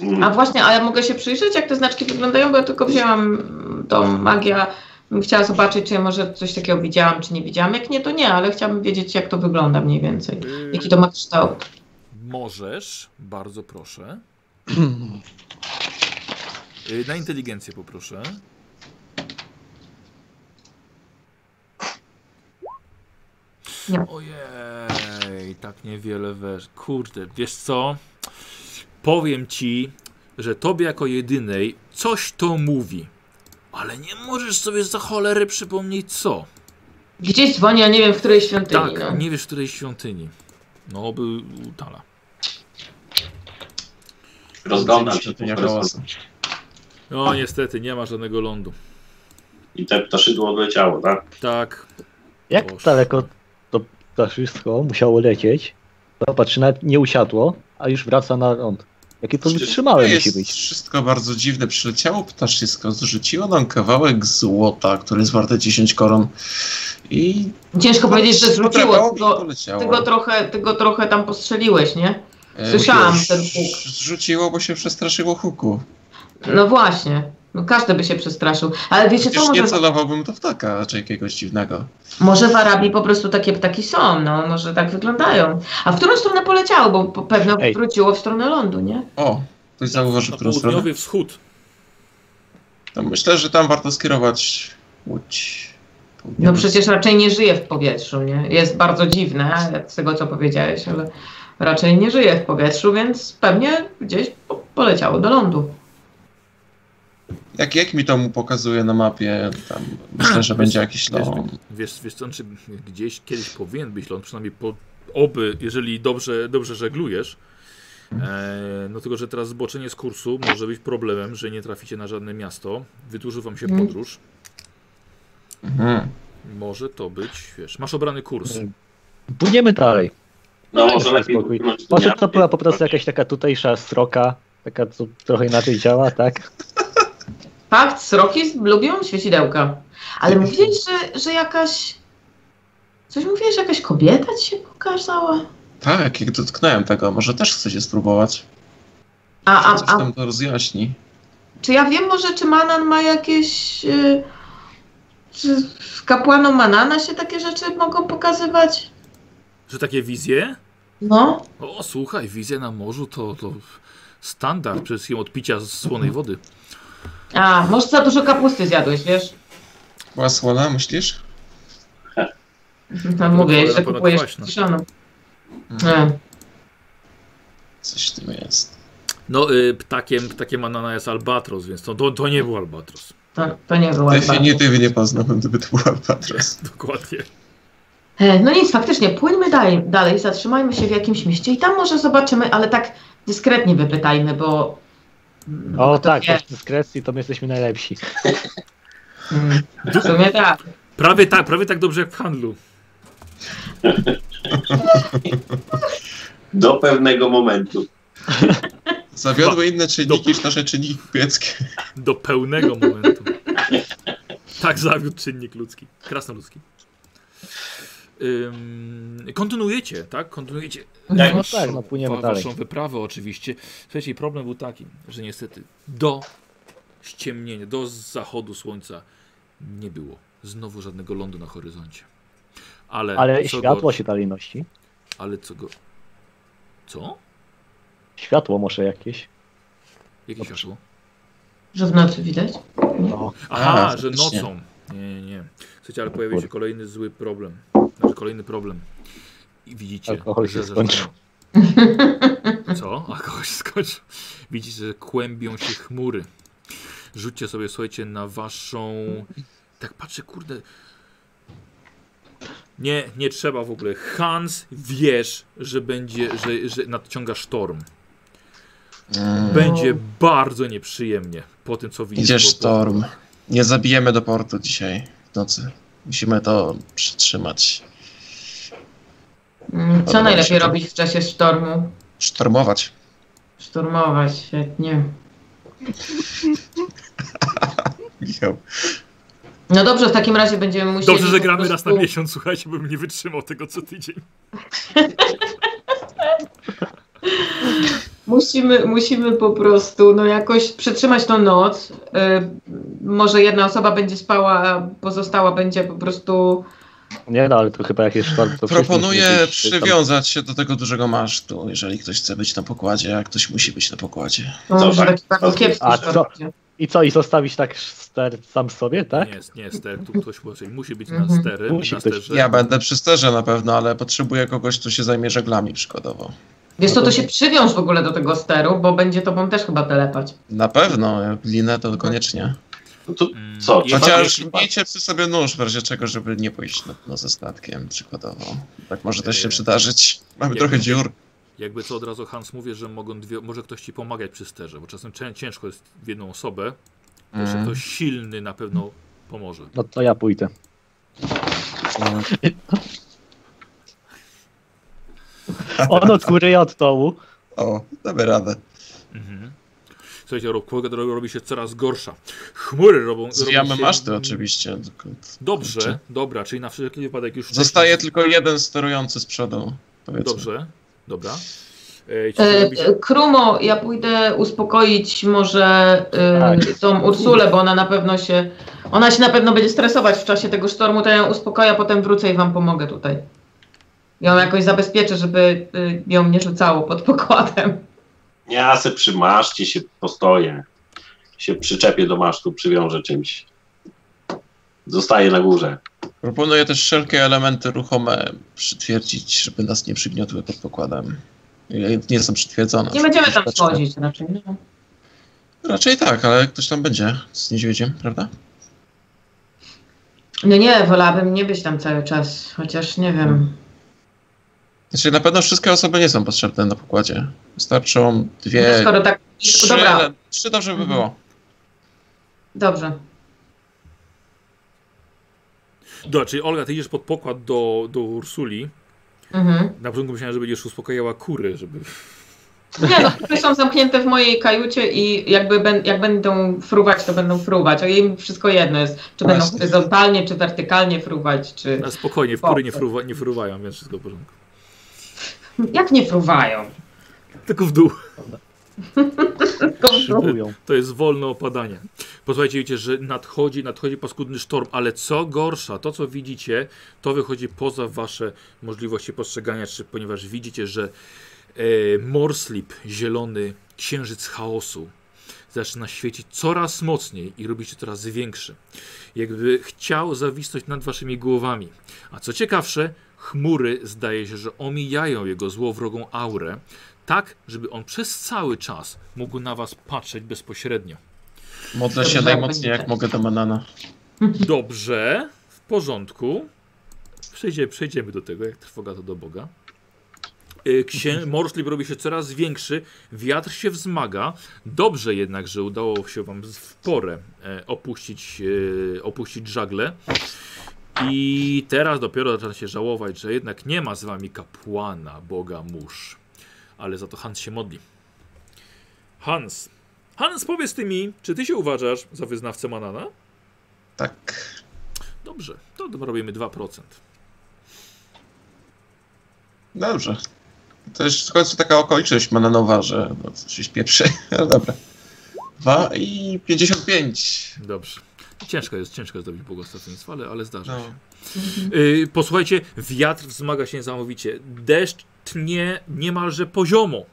Mm. A właśnie, ale mogę się przyjrzeć, jak te znaczki wyglądają, bo ja tylko wzięłam tą magię. Bym Chciała zobaczyć, czy ja może coś takiego widziałam, czy nie widziałam. Jak nie, to nie, ale chciałabym wiedzieć, jak to wygląda mniej więcej. Yy, Jaki to ma kształt. Możesz, bardzo proszę. Hmm. Y, Na inteligencję poproszę. Nie. Ojej, tak niewiele wesz. Kurde, wiesz co? Powiem ci, że tobie jako jedynej coś to mówi. Ale nie możesz sobie za cholery przypomnieć co. Gdzieś dzwoni, a nie wiem, w której świątyni. Tak, no. nie wiesz której świątyni. No, oby u Tala. Rozglądam się po Świątynia prostu. hałasu. No, niestety, nie ma żadnego lądu. I te ptaszydło odleciało, tak? Tak, Jak Boże. daleko to ptaszysko musiało lecieć? Zobacz, nawet nie usiadło, a już wraca na ląd. Jakie to To wytrzymałe musi jest być. wszystko bardzo dziwne. Przyleciało ptaszysko, zrzuciło nam kawałek złota, który jest warte 10 koron i... no, no, Ciężko powiedzieć, że zrzuciło, tak, Podrapało i tylko poleciało. ty go, trochę, ty go trochę tam postrzeliłeś, nie? E, słyszałam mówię, ten ż- huk. Zrzuciło, bo się przestraszyło huku. No właśnie. No każdy by się przestraszył. Ale wiecie co, Przecież nie może, celowałbym do ptaka, czy jakiegoś dziwnego. może w Arabii po prostu takie ptaki są, no może tak wyglądają. A w którą stronę poleciało, bo po- pewno Ej. wróciło w stronę lądu, nie? O, ktoś zauważył na którą stronę? południowy wschód. To myślę, że tam warto skierować łódź. No Południowy. przecież raczej nie żyje w powietrzu, nie? Jest bardzo dziwne jak z tego, co powiedziałeś, ale raczej nie żyje w powietrzu, więc pewnie gdzieś po- poleciało do lądu. Jak, jak mi to mu pokazuje na mapie, tam myślę, że będzie jakiś Wiesz, no, Wiesz, wiesz co, czy gdzieś kiedyś powinien być ląd, przynajmniej po, oby, jeżeli dobrze, dobrze żeglujesz. E, no tylko, że teraz zboczenie z kursu może być problemem, że nie traficie na żadne miasto. Wydłuży wam się Mhm. podróż. Mhm. Może to być, wiesz, masz obrany kurs. Mhm. Płyniemy dalej. No, Daj może sobie lepiej. Tak. spokój. wypłynąć dnia. Może to była po prostu jakaś taka tutejsza sroka, taka co trochę inaczej działa, tak? Fakt, sroki z- lubią świecidełka. Ale mówiłeś, że, że jakaś... Coś mówiłeś, że jakaś kobieta ci się pokazała? Tak, jak dotknąłem tego, może też chcecie spróbować. A, Coś a, a tam to rozjaśni. czy ja wiem może, czy Manan ma jakieś... y, Czy kapłanom Manana się takie rzeczy mogą pokazywać? Że takie wizje? No. O, słuchaj, wizje na morzu to, to standard przede wszystkim odpicia z słonej wody. A, może za dużo kapusty zjadłeś, wiesz? Była słona, myślisz? No, mówię, była że na pewno kupujesz kwaśna. kiszoną. E, Mhm. Coś w tym jest. No, y, ptakiem, ptakiem Anana jest albatros, więc to, to, to nie był albatros. To, to nie była Definitywnie poznałbym, gdyby to był albatros. Dokładnie. E, No nic, faktycznie, płyńmy dalej, dalej, zatrzymajmy się w jakimś mieście i tam może zobaczymy, ale tak dyskretnie wypytajmy, bo... mm, O kto tak, wie. w dyskrecji to my jesteśmy najlepsi. Tak, Mm, W sumie tak. Prawie tak, prawie tak dobrze jak w handlu. Do pewnego momentu. Zawiodły inne czynniki niż nasze czynniki kupieckie. Do pełnego momentu. Tak zawiódł czynnik ludzki. Krasnoludzki. Ym, kontynuujecie, tak? Kontynuujecie. Jak- No tak, no płyniemy Wa- dalej. Waszą wyprawę oczywiście. Słuchajcie, problem był taki, że niestety do ściemnienia, do zachodu słońca nie było. Znowu żadnego lądu na horyzoncie. Ale, Ale co światło go, się dalej nosi. Ale co go... Co? Światło może jakieś. Jakie światło? Że w nocy widać? No. Aha, A, że faktycznie. nocą. Nie, nie, nie. Słuchajcie, ale pojawił się kolejny zły problem. Znaczy kolejny problem. I widzicie, Alkohol się że zaczyna- skończył. Co? Alkohol się skończył. Widzicie, że kłębią się chmury. Rzućcie sobie, słuchajcie, na waszą... Tak patrzę, kurde... Nie, nie trzeba w ogóle. Hans, wiesz, że będzie, że, że nadciąga sztorm. Mm. Będzie bardzo nieprzyjemnie po tym, co widzisz. Idzie po- po- sztorm. Nie zabijemy do portu dzisiaj w nocy. Musimy to przytrzymać. Mm, Co Podoba mi najlepiej się to. robić w czasie sztormu? Sztormować. Szturmować, świetnie. Michał. No dobrze, w takim razie będziemy musieli... Dobrze, że po gramy raz na prostu- miesiąc, słuchajcie, bym nie wytrzymał tego co tydzień. Musimy, musimy po prostu no jakoś przetrzymać tą noc. Y, może jedna osoba będzie spała, a pozostała będzie po prostu... Nie no, ale to chyba jakieś sztorm. To wszyscy musimy Proponuję być, y, tam- przywiązać się do tego dużego masztu, jeżeli ktoś chce być na pokładzie, a ktoś musi być na pokładzie. No, Co, może tak? taki bardzo kiepski A, sztorm co? będzie. I co, i zostawić tak ster sam sobie, tak? Nie, nie ster, tu ktoś musi, musi być na Mhm. stery, Musi na być. sterze. Ja będę przy sterze na pewno, ale potrzebuję kogoś, kto się zajmie żeglami przykładowo. Wiesz co, to się przywiąż w ogóle do tego steru, bo będzie tobą też chyba telepać. Na pewno, jak linę to koniecznie. No to Mm, co? i- Chociaż Jeśli- miejcie przy sobie nóż w razie czego, żeby nie pójść na dno ze statkiem przykładowo. Tak może też się Eee. przydarzyć. Mamy Jak trochę będzie- dziur. Jakby co od razu Hans mówię, że mogą dwie, może ktoś ci pomagać przy sterze, bo czasem cię- ciężko jest w jedną osobę, mm. że Mm. ktoś silny na pewno pomoże. No to ja pójdę. Mm. On od góry, ja od dołu. O, damy radę. Mhm. Słuchajcie, ro- pogoda robi się coraz gorsza. Chmury robią, robią Zwijamy się... maszty oczywiście. tylko- Dobrze, Czy- dobra, czyli na wszelki wypadek już... Zostaje tylko jeden sterujący z przodu. Powiedzmy. Dobrze, dobra. Ej, ci E, robicie- e, Krumo, ja pójdę uspokoić może e, Tak. tą Ursulę, bo ona na pewno się. Ona się na pewno będzie stresować w czasie tego sztormu, to ja ją uspokoję, a potem wrócę i wam pomogę tutaj. Ją jakoś zabezpieczę, żeby e, ją nie rzucało pod pokładem. Ja se przy maszcie się postoję. Się przyczepię do masztu, przywiążę czymś. Zostaję na górze. Proponuję też wszelkie elementy ruchome przytwierdzić, żeby nas nie przygniotły pod pokładem. Ile Nie są przytwierdzone. Nie będziemy tam Troszeczkę. schodzić raczej. No. Raczej tak, ale ktoś tam będzie z niedźwiedziem, prawda? no nie, wolałabym nie być tam cały czas, chociaż nie wiem. Znaczy na pewno wszystkie osoby nie są potrzebne na pokładzie. Wystarczą No dwie, skoro tak. trzy, Dobra, ale trzy dobrze by Mhm. było. dobrze. Dobra, czyli Olga, ty idziesz pod pokład do, do Ursuli. Mhm. Na początku myślałem, że będziesz uspokajała kury, żeby... Nie, no, które są zamknięte w mojej kajucie i jakby ben, jak będą fruwać, to będą fruwać. A jej wszystko jedno jest, czy będą Właśnie. horyzontalnie, czy wertykalnie fruwać, czy... A spokojnie, w kury nie, fruwa, nie fruwają, więc wszystko w porządku. Jak nie fruwają? Tylko w dół. Szybują. To jest wolne opadanie. Posłuchajcie, wiecie, że nadchodzi, nadchodzi paskudny sztorm, ale co gorsza, to co widzicie, to wychodzi poza wasze możliwości postrzegania, czy, ponieważ widzicie, że e, morslip, zielony księżyc chaosu, zaczyna świecić coraz mocniej i robi się coraz większy. Jakby chciał zawisnąć nad waszymi głowami. A co ciekawsze, chmury zdaje się, że omijają jego złowrogą aurę, tak, żeby on przez cały czas mógł na was patrzeć bezpośrednio. Modlę się Dobrze, najmocniej będzie. jak tak. mogę do Manana. Dobrze, w porządku. Przejdzie, przejdziemy do tego, jak trwoga to do Boga. Y, Księ... Morszlip robi się coraz większy, wiatr się wzmaga. Dobrze jednak, że udało się wam w porę e, opuścić, e, opuścić żagle. I teraz dopiero zaczyna się żałować, że jednak nie ma z wami kapłana Boga mórz. Ale za to Hans się modli. Hans. Hans, powiedz ty mi, czy ty się uważasz za wyznawcę Manana? Tak. Dobrze, to d- robimy 2%. No Dobrze. To jest w końcu taka okoliczność mananowa, że no, coś pieprzy. No dobra. 2 i 55. Dobrze. Ciężko jest, ciężko jest zrobić błogosławieństwo, ale, ale zdarza No. się. Yy, posłuchajcie, wiatr wzmaga się niesamowicie. Deszcz tnie niemalże poziomo.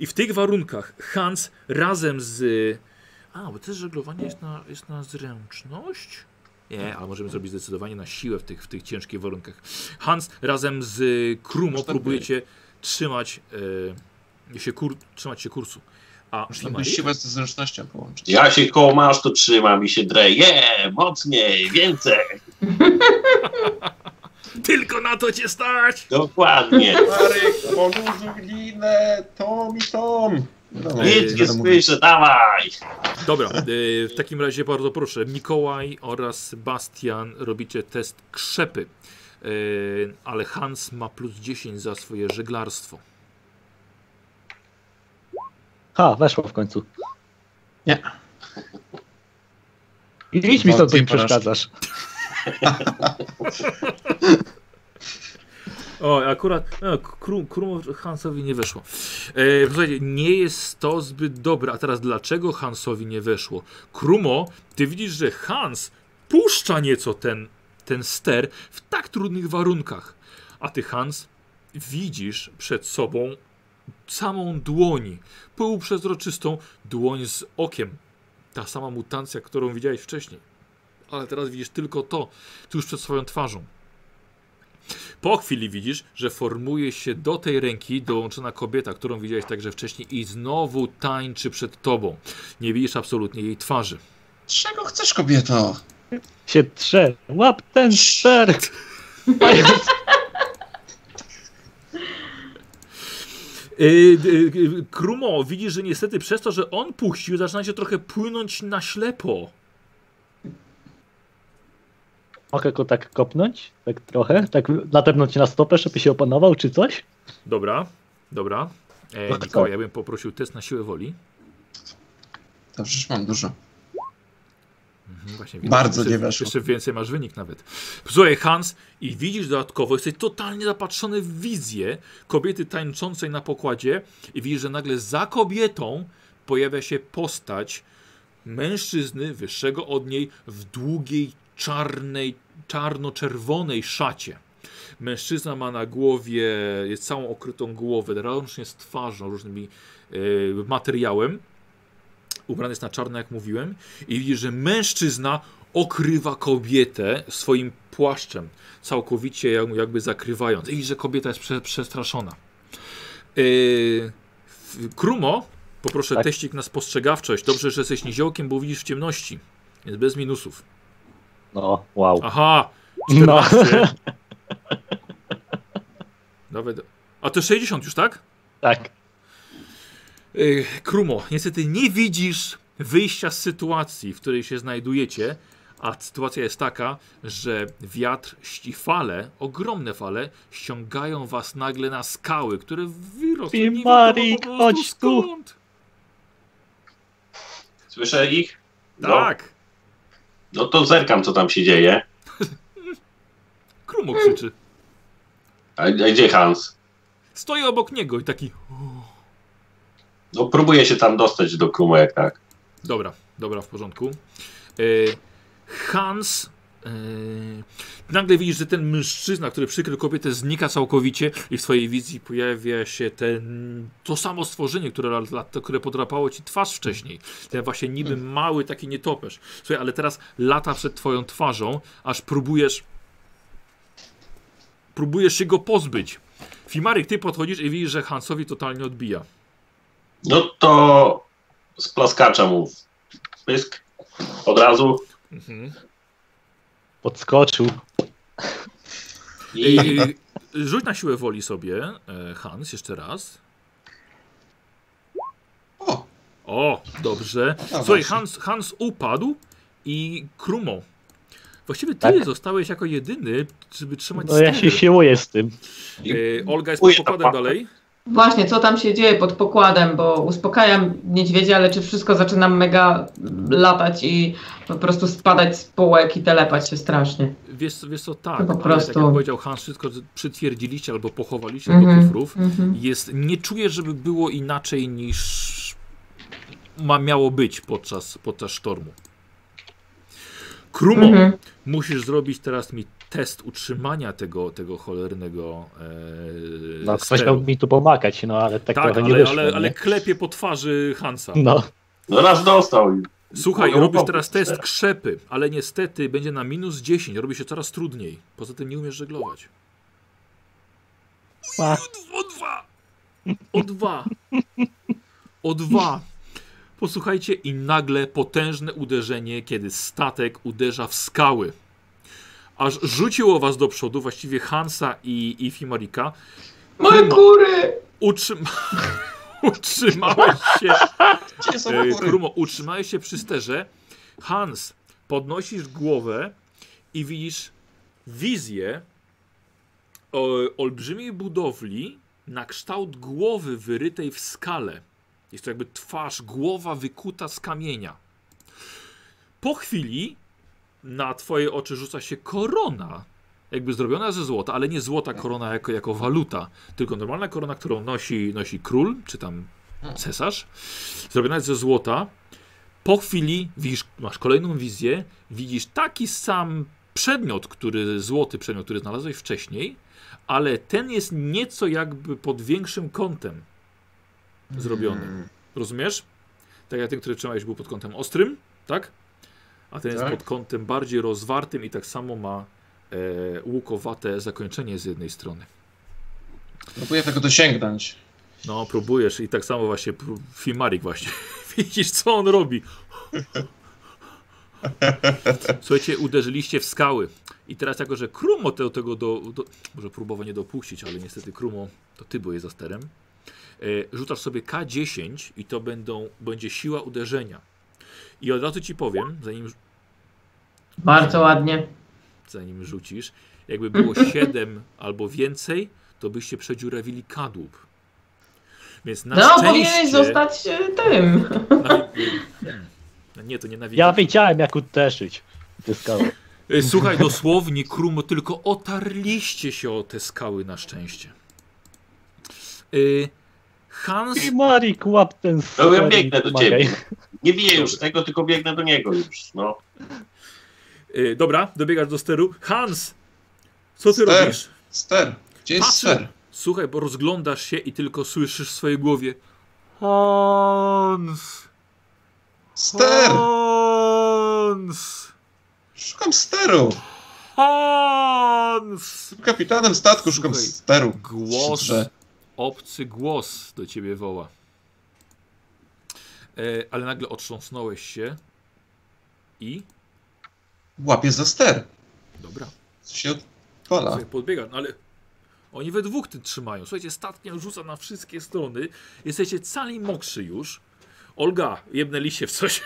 I w tych warunkach Hans razem z... A, bo też żeglowanie jest na, jest na zręczność? Nie, ale możemy zrobić zdecydowanie na siłę w tych, w tych ciężkich warunkach. Hans razem z y, Krumo Można próbujecie trzymać, yy, się kur, trzymać się kursu. A Można by Imari? siłę ze zręcznością połączyć. Ja się koło masztu trzymam i się drę. Je, mocniej, więcej. Tylko na to cię stać! Dokładnie. Marek, poluzuj linę, Tom i Tom. No, Nic nie będę mówił. słyszę, dawaj. Dobra, y, w takim razie bardzo proszę, Mikołaj oraz Sebastian robicie test krzepy, Y, ale Hans ma plus 10 za swoje żeglarstwo. Ha, weszło w końcu. Nie. Idź No, mi stąd, bo mi Dwa, dwie przeszkadzasz. O, akurat no, kru, kru, Hansowi nie weszło. E, słuchajcie, nie jest to zbyt dobre. A teraz dlaczego Hansowi nie weszło? Krumo, ty widzisz, że Hans puszcza nieco ten, ten ster w tak trudnych warunkach. A ty, Hans, widzisz przed sobą samą dłoń, półprzezroczystą dłoń z okiem. Ta sama mutancja, którą widziałeś wcześniej. Ale teraz widzisz tylko to, tuż przed swoją twarzą. Po chwili widzisz, że formuje się do tej ręki dołączona kobieta, którą widziałeś także wcześniej i znowu tańczy przed tobą. Nie widzisz absolutnie jej twarzy. Czego chcesz, kobieto? Się trze. Łap ten ster. Yy, yy, yy, Krumo, widzisz, że niestety przez to, że on puścił, zaczyna się trochę płynąć na ślepo. Mogę go tak kopnąć? Tak trochę? Tak natepnąć na stopę, żeby się opanował, czy coś? Dobra, dobra. E, Ach, Mikołaj, co? ja bym poprosił test na siłę woli. To przecież mam dużo. Mhm, Właśnie, Bardzo jeszcze, nie weszło. Jeszcze więcej masz wynik nawet. Słuchaj, Hans, i widzisz dodatkowo, jesteś totalnie zapatrzony w wizję kobiety tańczącej na pokładzie i widzisz, że nagle za kobietą pojawia się postać mężczyzny wyższego od niej w długiej, czarnej, czarno-czerwonej szacie. Mężczyzna ma na głowie, jest całą okrytą głowę, łącznie z twarzą, różnymi e, materiałem. Ubrany jest na czarno, jak mówiłem i widzisz, że mężczyzna okrywa kobietę swoim płaszczem, całkowicie ją jakby zakrywając. I widzisz, że kobieta jest prze, przestraszona. Yy, w- Krumo, poproszę Tak. teścik na spostrzegawczość. Dobrze, że jesteś niziołkiem, bo widzisz w ciemności, więc bez minusów. No, wow. Aha, No. 14. Nawet... A to 60 już, tak? tak. Yy, Krumo, niestety nie widzisz wyjścia z sytuacji, w której się znajdujecie, A sytuacja jest taka, że wiatr i fale, ogromne fale, ściągają was nagle na skały, które wyrosły. nie wiadomo Marik, po prostu chodź tu. skąd. Słyszę ich? No, Tak! no to zerkam, co tam się dzieje. Krumo krzyczy. A, a gdzie Hans? Stoję obok niego i taki. No próbuję się tam dostać do Krumo, jak tak. Dobra, dobra, w porządku. Y, Hans. y, Nagle widzisz, że ten mężczyzna, który przykrył kobietę, znika całkowicie i w swojej wizji pojawia się ten, to samo stworzenie, które, lat- lat- które podrapało ci twarz wcześniej. Ten właśnie niby mały taki nietoperz. Słuchaj, ale teraz lata przed twoją twarzą, aż próbujesz próbujesz się go pozbyć. Fimaryk, ty podchodzisz i widzisz, że Hansowi totalnie odbija. No to splaskacza mu w pysk od razu Mhm. Podskoczył. i Y, Rzuć na siłę woli sobie, e, Hans, jeszcze raz. O, O, dobrze. no Słuchaj, właśnie. Hans, Hans upadł i Krumo. Właściwie ty Tak. zostałeś jako jedyny, żeby trzymać No ja się stery. siłuję z tym. E, Olga jest pod Dziękuję, pokładem papa. dalej. Właśnie, co tam się dzieje pod pokładem, bo uspokajam niedźwiedzia, ale czy wszystko zaczynam mega latać i po prostu spadać z półek i telepać się strasznie. Wiesz, wiesz co, tak, No po ale tak prostu. jak powiedział Hans, wszystko przytwierdziliście albo pochowaliście do Mhm, kufrów. mhm. Jest, nie czuję, żeby było inaczej niż ma, miało być podczas, podczas sztormu. Krumo, Mhm. Musisz zrobić teraz mi test utrzymania tego, tego cholernego e, No ktoś steru. miał mi tu pomagać, no ale tak, Tak, trochę nie ale, wyszło. ale, ale nie? klepie po twarzy Hansa. No, no raz dostał. Słuchaj, Mogę robisz upobiec teraz test teraz. krzepy, ale niestety będzie na minus 10, robi się coraz trudniej. Poza tym nie umiesz żeglować. Ma. O dwa! O dwa! O dwa! Posłuchajcie, i nagle potężne uderzenie, kiedy statek uderza w skały. Aż rzuciło was do przodu, właściwie Hansa i, i Fimarika. Moje No. góry! Utrzyma... utrzymałeś się. Gdzie są E, góry? Krumo, utrzymałeś się przy sterze. Hans, podnosisz głowę i widzisz wizję o, olbrzymiej budowli na kształt głowy wyrytej w skale. Jest to jakby twarz, głowa wykuta z kamienia. Po chwili na twoje oczy rzuca się korona, jakby zrobiona ze złota, ale nie złota korona jako, jako waluta, tylko normalna korona, którą nosi, nosi król, czy tam cesarz, zrobiona jest ze złota. Po chwili widzisz, masz kolejną wizję, widzisz taki sam przedmiot, który, złoty przedmiot, który znalazłeś wcześniej, ale ten jest nieco jakby pod większym kątem zrobiony. Mm. Rozumiesz? Tak jak ten, który trzymałeś, był pod kątem ostrym, tak? A ten Tak. jest pod kątem bardziej rozwartym i tak samo ma e, łukowate zakończenie z jednej strony. Próbuję tego dosięgnąć. No, próbujesz i tak samo właśnie pró- Fimarik właśnie. Widzisz, co on robi. Słuchajcie, uderzyliście w skały. I teraz jako, że Krumo do tego do, do... Może próbował nie dopuścić, ale niestety Krumo, to ty byłeś za sterem. E, rzucasz sobie K10 i to będą, będzie siła uderzenia. I od razu ci powiem, zanim Bardzo ładnie. zanim rzucisz. Jakby było 7 albo więcej, to byście przedziurawili kadłub. Więc na no, szczęście... powinieneś zostać e, tym. Na... Hmm. Nie, to nie na ja wilka. wiedziałem jak uderzyć. Te skały. Y, Słuchaj, dosłownie, Krumo, tylko otarliście się o te skały na szczęście. Y, Hans... I Marik, łap ten No ja ster i biegnę do pomagaj. ciebie. Nie biję już tego, tylko biegnę do niego już. No. y, Dobra, dobiegasz do steru. Hans! Co ty Ster. robisz? Ster. Gdzie jest Patrzę. ster? Słuchaj, bo rozglądasz się i tylko słyszysz w swojej głowie Hans! Ster! Hans! Szukam steru! Hans! Jestem kapitanem statku, szukam Słuchaj. steru. Głos, Że- obcy głos do ciebie woła. E, ale nagle otrząsnąłeś się i... Łapię za ster. Dobra, Co się odpala? sobie podbiegasz, no ale... Oni we dwóch ty trzymają. Słuchajcie, statkiem rzuca na wszystkie strony. Jesteście cali mokrzy już. Olga, jebnęliście w coś.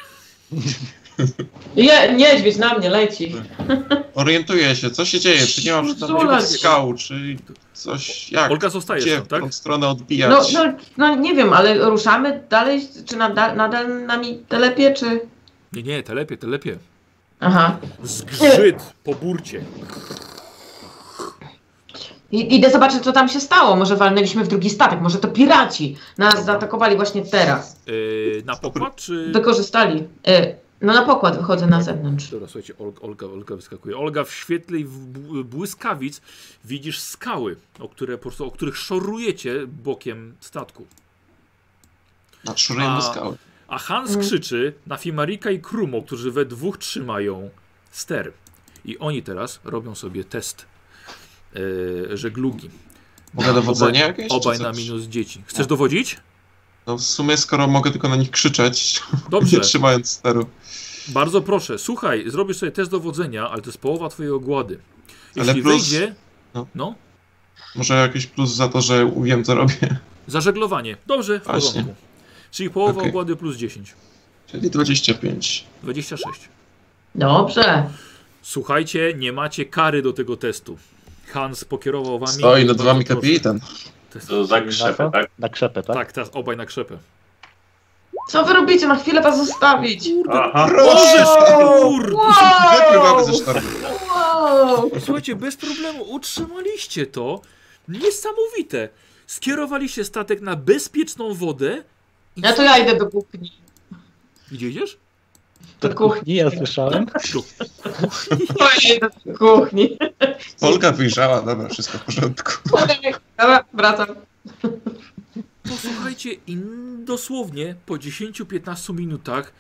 Je, niedźwiedź na mnie leci. Orientuję się, co się dzieje, czy nie mam Zula żadnych się. skał, czy coś, jak, Olga zostaje gdzie, tam, w tak? którą stronę odbijać. No, no, no nie wiem, ale ruszamy dalej, czy nadal, nadal nami telepie, czy... Nie, nie, telepie, telepie. Aha. Zgrzyt po burcie. I, idę zobaczyć, co tam się stało. Może walnęliśmy w drugi statek, może to piraci nas zaatakowali właśnie teraz. Yy, na pokład czy... Wykorzystali. E, no na pokład wychodzę na zewnątrz. Dobra, słuchajcie, Olga, Olga, Olga wyskakuje. Olga w świetle i w bł- błyskawic widzisz skały, o, które, po prostu, o których szorujecie bokiem statku. Nadszurujemy A- skały. A Hans Mm. krzyczy na Fimarika i Krumo, którzy we dwóch trzymają ster. I oni teraz robią sobie test yy, żeglugi. Mogę dowodzenie jakieś? czy Obaj coś? na minus dzieci. Chcesz dowodzić? No w sumie, skoro mogę tylko na nich krzyczeć, nie Dobrze. trzymając steru. Bardzo proszę, słuchaj, zrobisz sobie test dowodzenia, ale to jest połowa twojej ogłady. Ale Jeśli plus- wyjdzie, no. no, Może jakiś plus za to, że wiem, co robię. zażeglowanie. Dobrze, w Właśnie. porządku. Czyli połowa Okej. ogłady plus 10. Czyli 25. 26. Dobrze. Słuchajcie, nie macie kary do tego testu. Hans pokierował wami. Stoi nad Bardzo wami proszę. no kapitan. To jest- To za krzepę, tak? Na krzepę, tak? Tak, teraz obaj na krzepę. Co wy robicie? Na chwilę was zostawić. Aha. Możesz, Wow! kur... Wypływamy ze Wow! sztormu. wow. Słuchajcie, bez problemu utrzymaliście to. Niesamowite. Skierowaliście statek na bezpieczną wodę. I... Ja to ja idę do kuchni. Gdzie idziesz? Do kuchni. Nie, ja słyszałem. Do Ja idę do kuchni. Olga wyjrzała, dobra, wszystko w porządku. Dobra, wracam. Posłuchajcie, i dosłownie po 10-15 minutach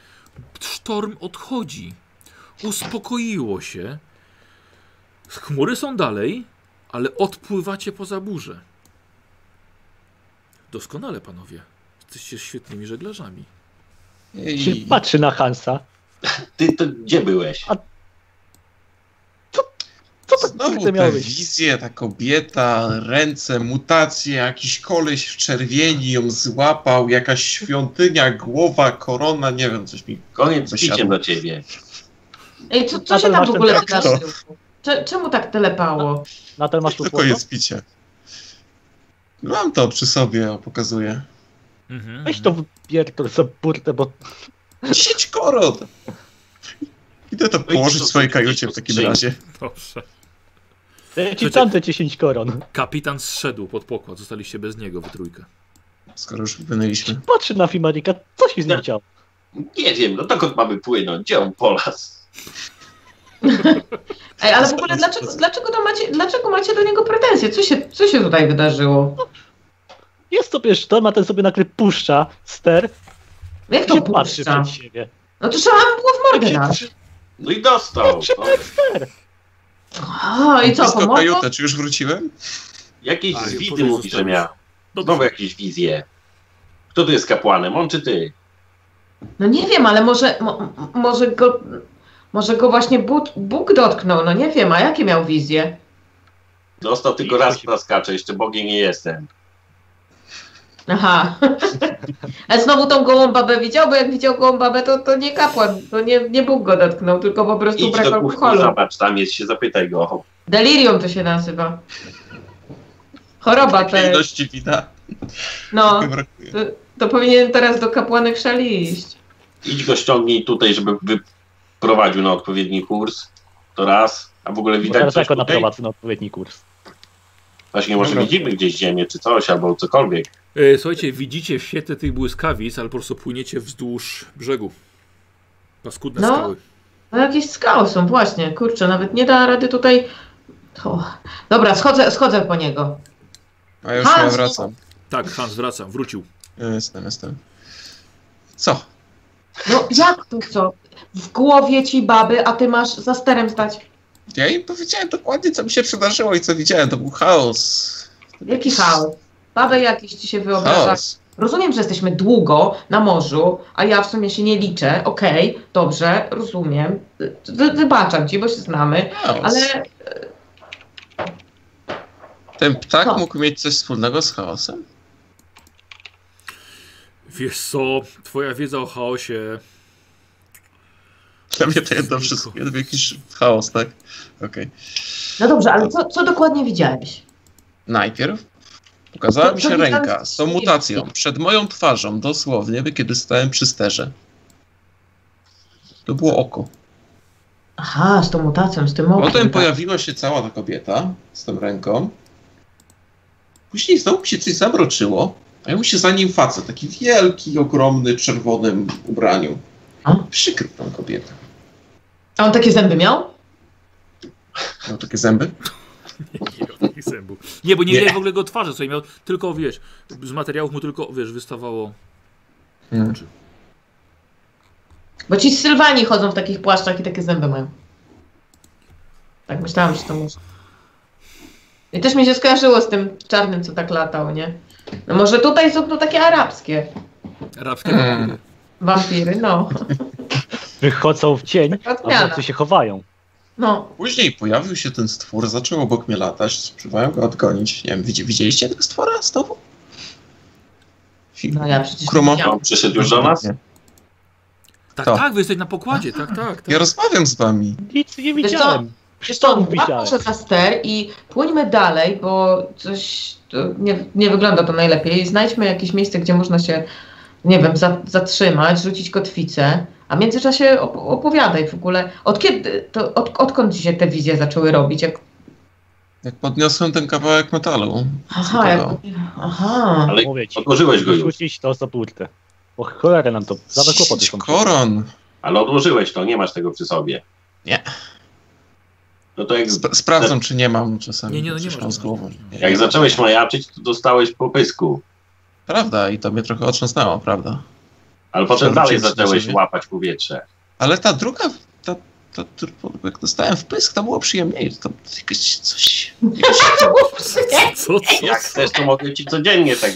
sztorm odchodzi. Uspokoiło się. Chmury są dalej, ale odpływacie poza burzę. Doskonale, panowie. Jesteście świetnymi żeglarzami. Czy Ej, patrzy na Hansa? Ty to gdzie byłeś? Co tak to Znowu kurde miało te być? wizje, ta kobieta, ręce, mutacje, jakiś koleś w czerwieni ją złapał, jakaś świątynia, głowa, korona, nie wiem, coś mi... Koniec Zasiadł. piciem do ciebie. Ej, co, co Na się ten tam w masz ogóle ten traktor. wydarzyło? Cze- Czemu tak telepało? Nadal masz tu Tylko jest picie. Mam to przy sobie, o, pokazuję. Mhm. Weź to wpierdol za burtę, bo Dziesięć koron! Idę to położyć w swojej kajucie w takim razie. Dobrze. daję ci Słuchajcie. tamte 10 koron. Kapitan zszedł pod pokład. Zostaliście bez niego we trójkę. Skoro już wynęliśmy. Patrzy na Fimarika, co się z nim Tak. Nie. działo? Nie wiem, no dokąd mamy płynąć? Gdzie on polas? Ej, ale w ogóle dlaczego, dlaczego, to macie, dlaczego macie do niego pretensje? Co się, co się tutaj wydarzyło? Jest sobie sztorm, a ten sobie nagle puszcza ster Jak i to się patrzy puszcza? przed siebie. No to trzeba mu było w mordę dać. No i dostał. No, A, i co, Blisko pomogło? kajuta, czy już wróciłem? jakieś A, zwidy powiedz, mówi, że zostawisz. miał. Znowu jakieś wizje. Kto tu jest kapłanem? On czy ty? No nie wiem, ale może, mo, m- może go... Może go właśnie Bóg, Bóg dotknął, no nie wiem, a jakie miał wizje? Dostał tylko raz na skacze, jeszcze bogiem nie jestem. Aha. A znowu tą gołą babę widział, bo jak widział gołą babę, to, to nie kapłan, to nie, nie Bóg go dotknął, tylko po prostu Idź brak do kuchni, alkoholu. zobacz, tam jest się, zapytaj go. Delirium to się nazywa. Choroba Takiej te. ilości wina. No, Chyba brakuje. to, to powinien teraz do kapłanek szali iść. Idź go ściągnij tutaj, żeby wyprowadził na odpowiedni kurs. To raz. A w ogóle Bo widać teraz coś jako tutaj? naprowadzę na odpowiedni kurs. Właśnie może Dobra. widzimy gdzieś ziemię czy coś, albo cokolwiek. E, Słuchajcie, widzicie w świetle tych błyskawic, ale po prostu płyniecie wzdłuż brzegu. Paskudne No. skały. No jakieś skały są, właśnie, kurczę, nawet nie da rady tutaj... O. Dobra, schodzę, schodzę po niego. A ja już Hans! chyba wracam. Tak, Hans wraca, wrócił. Jestem, jestem. Co? No jak to co? W głowie ci baby, a ty masz za sterem stać. Ja im powiedziałem dokładnie, co mi się przydarzyło i co widziałem. To był chaos. Jaki chaos. Babę jakiś ci się wyobraża. Chaos. Rozumiem, że jesteśmy długo na morzu, a ja w sumie się nie liczę. Okej, dobrze, rozumiem. Wy- Wybaczam ci, bo się znamy, chaos. ale Ten ptak Co? mógł mieć coś wspólnego z chaosem? Wiesz co, twoja wiedza o chaosie Prawie to jedno wszystko. Jakiś chaos, tak? Okej. No dobrze, ale co, co dokładnie widziałeś? Najpierw pokazała To- mi to się widziałem- ręka z tą mutacją przed moją twarzą, dosłownie, kiedy stałem przy sterze. To było oko. Aha, z tą mutacją, z tym okiem. Potem tak. pojawiła się cała ta kobieta z tą ręką. Później znowu mi się coś zamroczyło, a ja mu się za nim facet, taki wielki, ogromny, czerwonym ubraniu. A? Przykrył tą kobietę. A on takie zęby miał? Miał takie zęby? Nie, miał takich zębów. nie, bo nie Nie. widać w ogóle jego twarzy, co miał tylko, wiesz, z materiałów mu tylko, wiesz, wystawało. Hmm. Bo ci z Sylwanii chodzą w takich płaszczach i takie zęby mają. Tak myślałam, że to może. I też mi się skojarzyło z tym czarnym, co tak latał, nie? No może tutaj są to takie arabskie Arabskie Hmm. wampiry, no. których chodzą w cień, a Odmiana. obcy się chowają. No, Później pojawił się ten stwór, zaczął obok mnie latać, spróbowałem go odgonić. Nie wiem, widzi- widzieliście tego stwora znowu? Film. no ja przecież Kroma. nie widziałam. On przyszedł już do nas? Nie. Tak, To. tak, wy jesteś na pokładzie, tak, tak. tak. Ja rozmawiam z wami. Nic nie co? widziałem. Wiesz co, Stąd łap widziałem. może za ster i płyńmy dalej, bo coś to nie, nie wygląda to najlepiej. Znajdźmy jakieś miejsce, gdzie można się, nie wiem, za, zatrzymać, rzucić kotwicę, a w międzyczasie op- opowiadaj w ogóle, od kiedy, to od, odkąd ci się te wizje zaczęły robić? Jak, Jak podniosłem ten kawałek metalu. aha, jak, aha. Ale Mówię ci, odłożyłeś go już. rzucić to za burtę. O cholerę nam to, za kłopoty Dziesięć są. koron. Ale odłożyłeś to, nie masz tego przy sobie. Nie. No to jak, Sp- sprawdzam, czy nie mam czasami. Nie, nie, no nie coś tam można. z głową. Nie. jak zacząłeś majaczyć, to dostałeś po pysku. Prawda, i to mnie trochę otrząsnęło, prawda. Ale potem Przerzuciłeś dalej na zacząłeś siebie. łapać powietrze. Ale ta druga, ta, ta, dru- jak dostałem w pysk, to było przyjemniej. To jakieś coś... Jakoś, Co, co? Jak chcesz, to mogę ci codziennie tak.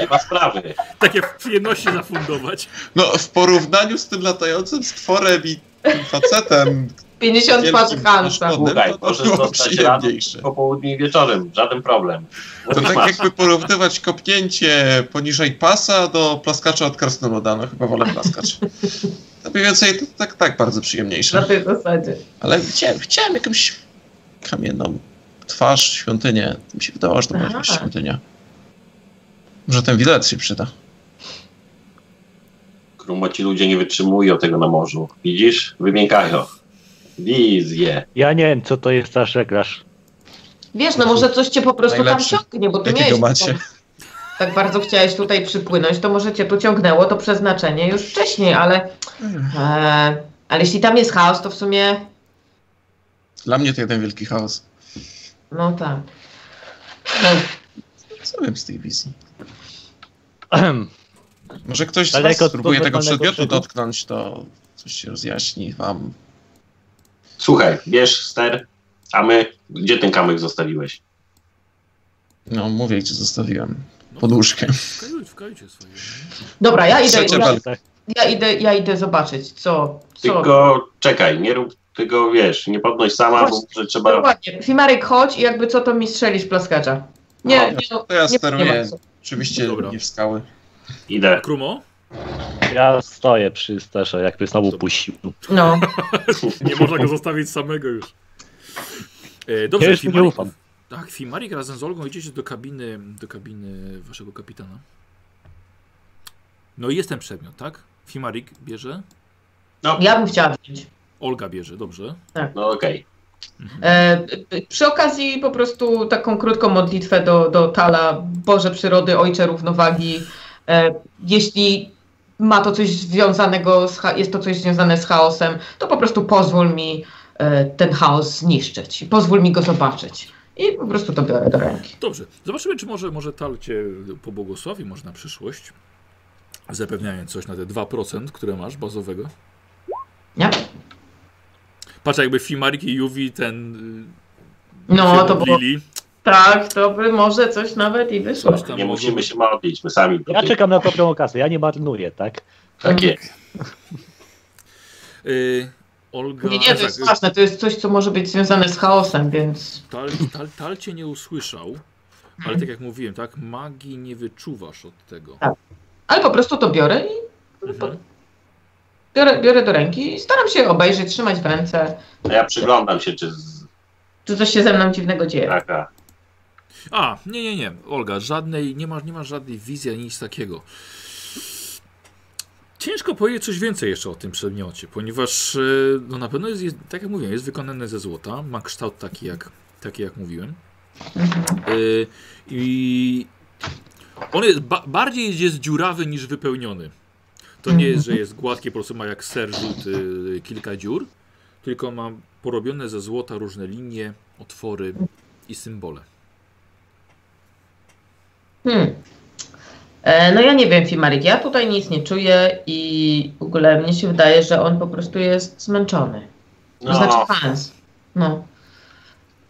Nie ma sprawy. Takie przyjemności zafundować. no, w porównaniu z tym latającym stworem i tym facetem... 50 twarzy wielkim Hansa. paszkodem, Słuchaj, to to możesz było dostać radę przyjemniejsze. po południu i wieczorem, żaden problem. To tak Masz. jakby porównywać kopnięcie poniżej pasa do plaskacza od krasnoluda. No chyba wolę plaskacz. To mniej więcej to tak, tak bardzo Na przyjemniejsze. tej zasadzie. Ale chciałem, chciałem jakąś kamienną twarz, świątynię. Mi się wydawało, że to była Aha. jakaś świątynia. Może ten widelec się przyda. Krumo ci ludzie nie wytrzymują tego na morzu. Widzisz? Wymiękają. Wizje. Ja nie wiem, co to jest za żeglarz. Wiesz, no może coś cię po prostu Najlepszy. tam ciągnie, bo ty Jakiego miałeś macie? tak bardzo chciałeś tutaj przypłynąć, to może cię tu ciągnęło to przeznaczenie już wcześniej, ale, e, ale jeśli tam jest chaos, to w sumie Dla mnie to jeden wielki chaos. no tak. Co wiem z tej wizji? Może ktoś z Tak Daleko was od spróbuje tego normalnego przedmiotu krzyku. dotknąć, to coś się rozjaśni wam. Słuchaj, bierz ster, a my, gdzie ten kamyk zostawiłeś? No mówię, gdzie zostawiłem. No, Pod łóżkiem. W kajucie, w kajucie swojej. Dobra, ja idę, Trzecia ja, walka. ja idę, ja idę zobaczyć, co, co. Tylko czekaj, nie rób tego, wiesz, nie podnoś sama, No bo Właśnie, może trzeba... Dokładnie. Fimarek, chodź i jakby co, to mi strzelisz plaskacza. Nie, No, nie, no, To ja nie, nie, ma steruję. co. Oczywiście Dobra. nie w skały. Idę. Krumo? Ja stoję przy sterze, jakby znowu puścił. no. Nie można go zostawić samego już. E, Ja dobrze, już mu nie Fimarik. ufam. Tak, Fimarik razem z Olgą idziecie do kabiny, do kabiny waszego kapitana. No i jest ten przedmiot, tak? Fimarik bierze, Ja bym chciała wziąć. Olga bierze, dobrze. No okej. E, e, przy okazji po prostu taką krótką modlitwę do, do Tala, Boże Przyrody, Ojcze Równowagi. E, jeśli ma to coś związanego, z, cha- jest to coś związane z chaosem, to po prostu pozwól mi e, ten chaos zniszczyć. Pozwól mi go zobaczyć. I po prostu to biorę do ręki. Dobrze, zobaczymy, czy może, może Tal cię pobłogosławi, może na przyszłość. Zapewniając coś na te 2%, które masz bazowego. Nie? Patrz, jakby Fimarik i Juwi ten. y, No, się to było modlili. tak, to by może coś nawet i wyszło. Coś tam Nie mogło musimy być. się modlić, my sami. Ja czekam na dobrą okazję, ja nie marnuję, tak? Tak jest. Y, Olga. Nie, nie, to jest tak, ważne, to jest coś, co może być związane z chaosem, więc Tal, tal, tal cię nie usłyszał, Mhm. ale tak jak mówiłem, tak, magii Tak. nie wyczuwasz od tego. Ale po prostu to biorę i Mhm. Biorę, biorę do ręki i staram się obejrzeć, trzymać w ręce. A No ja przyglądam się, czy z... Czy coś się ze mną dziwnego dzieje? taka... A, nie, nie, nie. Olga, żadnej, nie masz nie masz żadnej wizji ani nic takiego. Ciężko powiedzieć coś więcej jeszcze o tym przedmiocie, ponieważ e, no na pewno jest, jest tak jak mówiłem, jest wykonane ze złota, ma kształt taki jak, taki jak mówiłem. Mhm. E, I on jest ba bardziej jest dziurawy niż wypełniony. To nie jest, że jest gładkie, po prostu ma jak ser żółty e, kilka dziur, tylko ma porobione ze złota różne linie, otwory i symbole. Hmm. E, No ja nie wiem, Fimarik, ja tutaj nic nie czuję i w ogóle mnie się wydaje, że on po prostu jest zmęczony. To znaczy No, fans. No.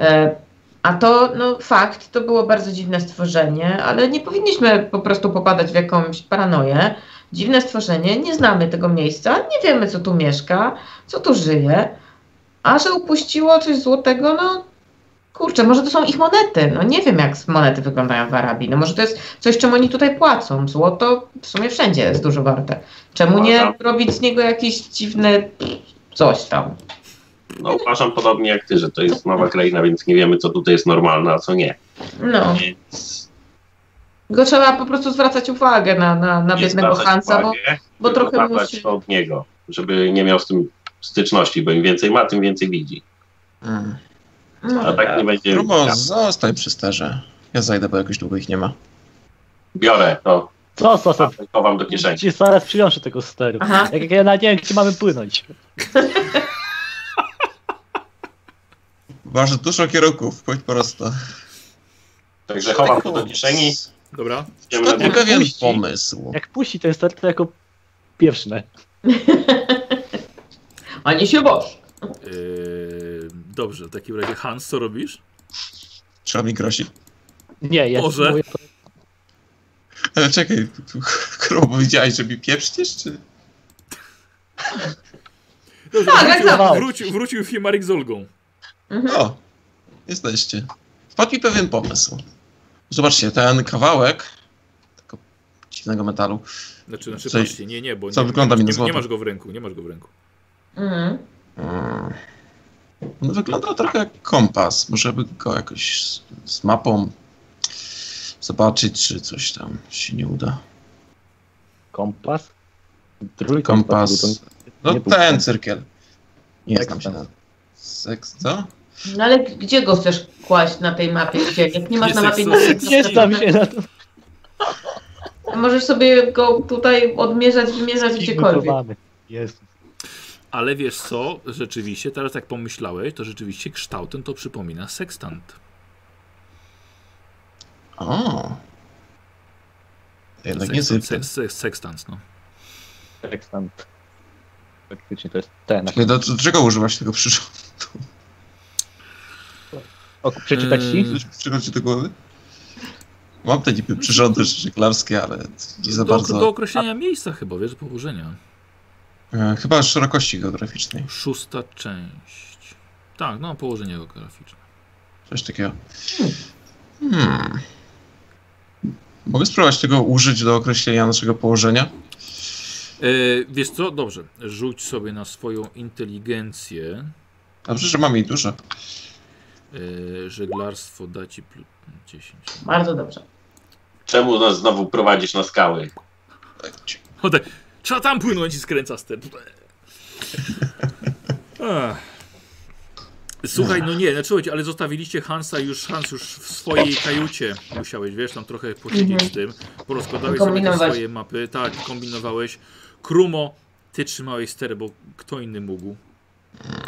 E, a to, no fakt, to było bardzo dziwne stworzenie, ale nie powinniśmy po prostu popadać w jakąś paranoję. Dziwne stworzenie, nie znamy tego miejsca, nie wiemy co tu mieszka, co tu żyje, a że upuściło coś złotego, no kurczę, może to są ich monety, no nie wiem jak monety wyglądają w Arabii, no może to jest coś, czym oni tutaj płacą, złoto w sumie wszędzie jest dużo warte. Czemu nie Uważam. robić z niego jakieś dziwne coś tam? no uważam podobnie jak ty, że to jest nowa kraina, więc nie wiemy, co tutaj jest normalne, a co nie. No, Więc tylko trzeba po prostu zwracać uwagę na, na, na nie biednego zwracać Hansa, bo, uwagi, bo tylko trochę zabrać musi... to od niego, żeby nie miał z tym styczności, bo im więcej ma, tym więcej widzi. Mm. A No, tak nie będzie... Rumo, Ja zostań przy sterze. Ja zajdę, bo jakoś długo ich nie ma. Biorę to, Co, co, co? chowam do kieszeni. Ci zaraz przyjąszę tego steru. Aha. Jak ja na nie wiem, gdzie mamy płynąć. Masz dużo kierunków, pójdź prosto. Także chowam to do kieszeni, Dobra? idziemy tak na To był drugą pewien pójść i- pomysł. Jak puści ten ster, to jako pierwszy. ne? Ani się boż. Yy, dobrze, w takim razie Hans, co robisz? Trzeba mi grozi. Nie, ja Boże. spróbuję- Ale czekaj, Rumo, widziałeś, że mi pieprzniesz, czy... Dobrze, Tak, wrócił, tak, tak. wrócił, wrócił Fimarik z Olgą. Mhm. O, jesteście. Wpadł mi pewien pomysł. Zobaczcie, ten kawałek tego dziwnego metalu. Znaczy, znaczy Co- patrzcie, nie, nie, bo co nie, wygląda mi nie, na nie, złoto. masz go w ręku, nie masz go w ręku. Mhm. Mm. On wygląda trochę jak kompas. Może by go jakoś z, z mapą zobaczyć, czy coś tam się nie uda. Kompas? Trójkompas. Kompas. No nie był ten kompas. cyrkiel. Nie znam się na... Sextant. Seks, co? No ale g- gdzie go chcesz kłaść na tej mapie? Gdzie? Jak nie masz na mapie Jesteś nic, Nie znam się na to. Możesz sobie go tutaj odmierzać, wymierzać gdziekolwiek. Zignorowany. Jest. Ale wiesz co, rzeczywiście, teraz jak pomyślałeś, to rzeczywiście kształtem to przypomina sekstant. O. Jednak nie Sekstant, cyrkiel. seks, seks, sekstant, no. Sextant. Tak Faktycznie to jest ten. Czekaj, do, do czego używasz tego przyrządu? O, przeczytać ci? Yy, Coś przychodzi do głowy? Mam te niby przyrządy żeglarskie, ale nie za Do, bardzo. do określenia miejsca chyba, wiesz, położenia. E, Chyba szerokości geograficznej. Szósta część. Tak, no, położenie geograficzne. Coś takiego. Hmm. Mogę spróbować tego użyć do określenia naszego położenia? Yy, wiesz co, dobrze, rzuć sobie na swoją inteligencję. Dobrze, że mam jej dużo. Yy, żeglarstwo da ci plus 10. Bardzo dobrze. Czemu nas znowu prowadzisz na skały? O tak, trzeba tam płynąć i skręca ster. Ach. Słuchaj, no nie, znaczy, słuchajcie, ale zostawiliście Hansa już, Hans już w swojej kajucie musiałeś, wiesz, tam trochę posiedzieć Mhm. z tym, porozkładałeś sobie te Kombinować. swoje mapy, tak, kombinowałeś. Krumo, ty trzymałeś stery, bo kto inny mógł?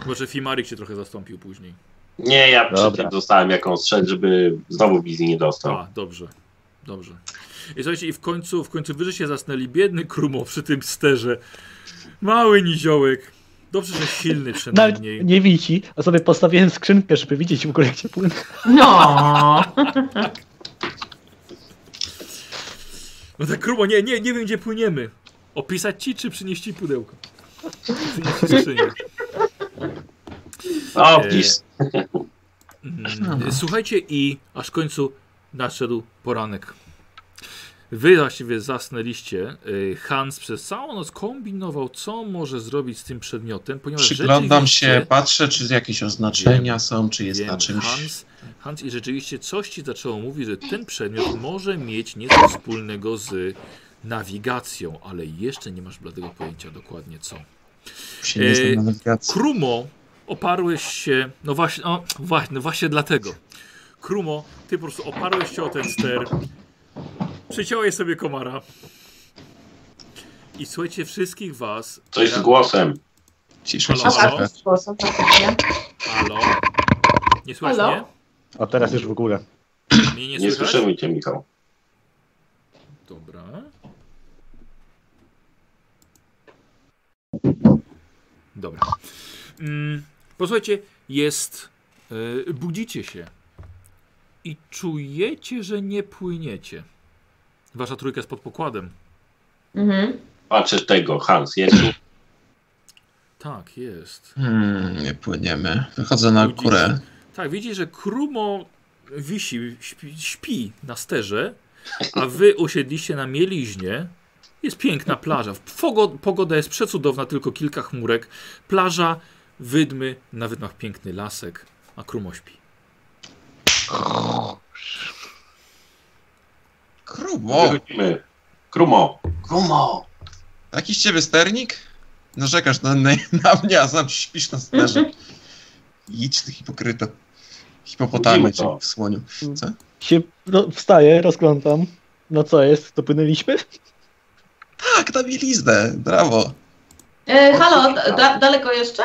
Chyba, że Fimarik cię trochę zastąpił później. Nie, ja przy Dobra. tym dostałem jakąś strzel, żeby znowu wizji nie dostał. A, dobrze, dobrze. I słuchajcie, i w końcu, w końcu wyżej się zasnęli. Biedny Krumo przy tym sterze. Mały niziołek. Dobrze, że silny Nawet przynajmniej. nie widzi, a sobie postawiłem skrzynkę, żeby widzieć w ogóle gdzie płynę. No. No tak, Krumo, nie, nie, nie wiem gdzie płyniemy. Opisać ci, czy przynieść ci pudełko? Przynieść ci skrzynię. O, E, pis. Mm, Słuchajcie, i aż w końcu nadszedł poranek. Wy właściwie zasnęliście. Y, Hans przez całą noc kombinował, co może zrobić z tym przedmiotem, ponieważ Przyglądam się, rzeczywiście- patrzę, czy jakieś oznaczenia są, czy jest Wiem, na czymś. Hans, Hans i rzeczywiście coś ci zaczęło mówić, że ten przedmiot może mieć nieco wspólnego z nawigacją, ale jeszcze nie masz bladego pojęcia dokładnie co. Się nie znam Yy, na nawigacji. Krumo, oparłeś się. No właśnie, no, właśnie, no właśnie dlatego. Krumo, ty po prostu oparłeś się o ten ster. Przyciąłeś sobie komara. I słuchajcie, wszystkich was. Coś z głosem. Cisza Halo, No się halo? trochę. Sposób, tak, faktycznie. Halo? Nie słychać Halo? mnie? A teraz już w ogóle. Mnie nie, Nie słychać? słyszymy cię, Michał. Dobra. Dobra. Mm, posłuchajcie, jest. y, budzicie się i czujecie, że nie płyniecie. Wasza trójka jest pod pokładem. Mhm. Patrzysz tego, Hans, jest tu. Tak, jest. Hmm, nie płyniemy. Wychodzę na Budzicie. górę. Tak, widzisz, że Krumo wisi, śpi, śpi na sterze, a wy usiedliście na mieliźnie. Jest piękna plaża. Pogo- Pogoda jest przecudowna, tylko kilka chmurek. Plaża, wydmy, na wydmach piękny lasek, a Krumo śpi. Krumo! Wychodzimy. Krumo. Krumo. Taki z ciebie sternik? Narzekasz na, na, na mnie, a sam śpisz na sterze. Idź ty hipokryto. Hipopotamie Mówimy cię to. w słoniu. Co? Się ro- wstaję, rozglądam. No co jest, dopłynęliśmy? Tak, na bieliznę, brawo. E, halo, da, daleko jeszcze?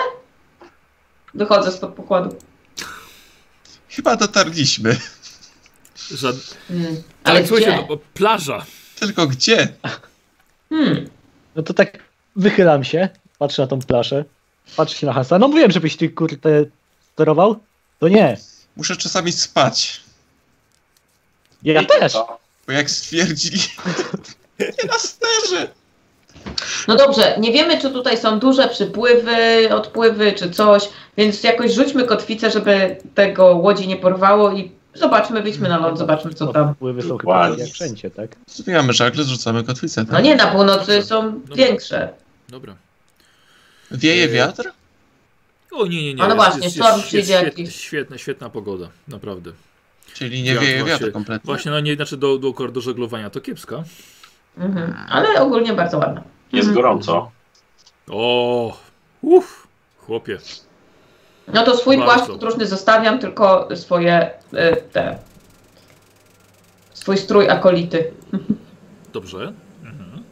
Dochodzę spod pokładu. Chyba dotarliśmy. Żad... Mm. Ale Ale tak, słuchajcie, gdzie? no, bo plaża. Tylko gdzie? Hmm. No to tak wychylam się, patrzę na tą plaszę, patrzę się na Hansa. No mówiłem, żebyś ty kurde sterował. To nie, Muszę czasami spać. ja Wiecie no, też. co? Bo jak stwierdzili... nie na sterze! No dobrze, nie wiemy, czy tutaj są duże przypływy, odpływy, czy coś, więc jakoś rzućmy kotwicę, żeby tego łodzi nie porwało i zobaczmy, wyjdźmy na ląd, no, zobaczmy, co tam. Wpływy są chyba Dokładnie. takie jak wszędzie, tak? Zbijamy żagle, zrzucamy kotwicę. No Tak? nie, na północy są większe. Dobra. Wieje Eee, wiatr? O nie, nie, nie. A no jest- właśnie, jest, storm jest, jest, przyjdzie świetna, jakiś. świetna, świetna pogoda, naprawdę. Czyli nie Wiatr wieje właśnie- wiatr kompletnie. Właśnie, no nie, znaczy do, do, do żeglowania to kiepska. Mhm. Ale ogólnie bardzo ładne. Jest Mhm. gorąco. O, uff, chłopie. No to swój Bardzo. płaszcz podróżny zostawiam, tylko swoje y, te. Swój strój akolity. Dobrze. Mhm.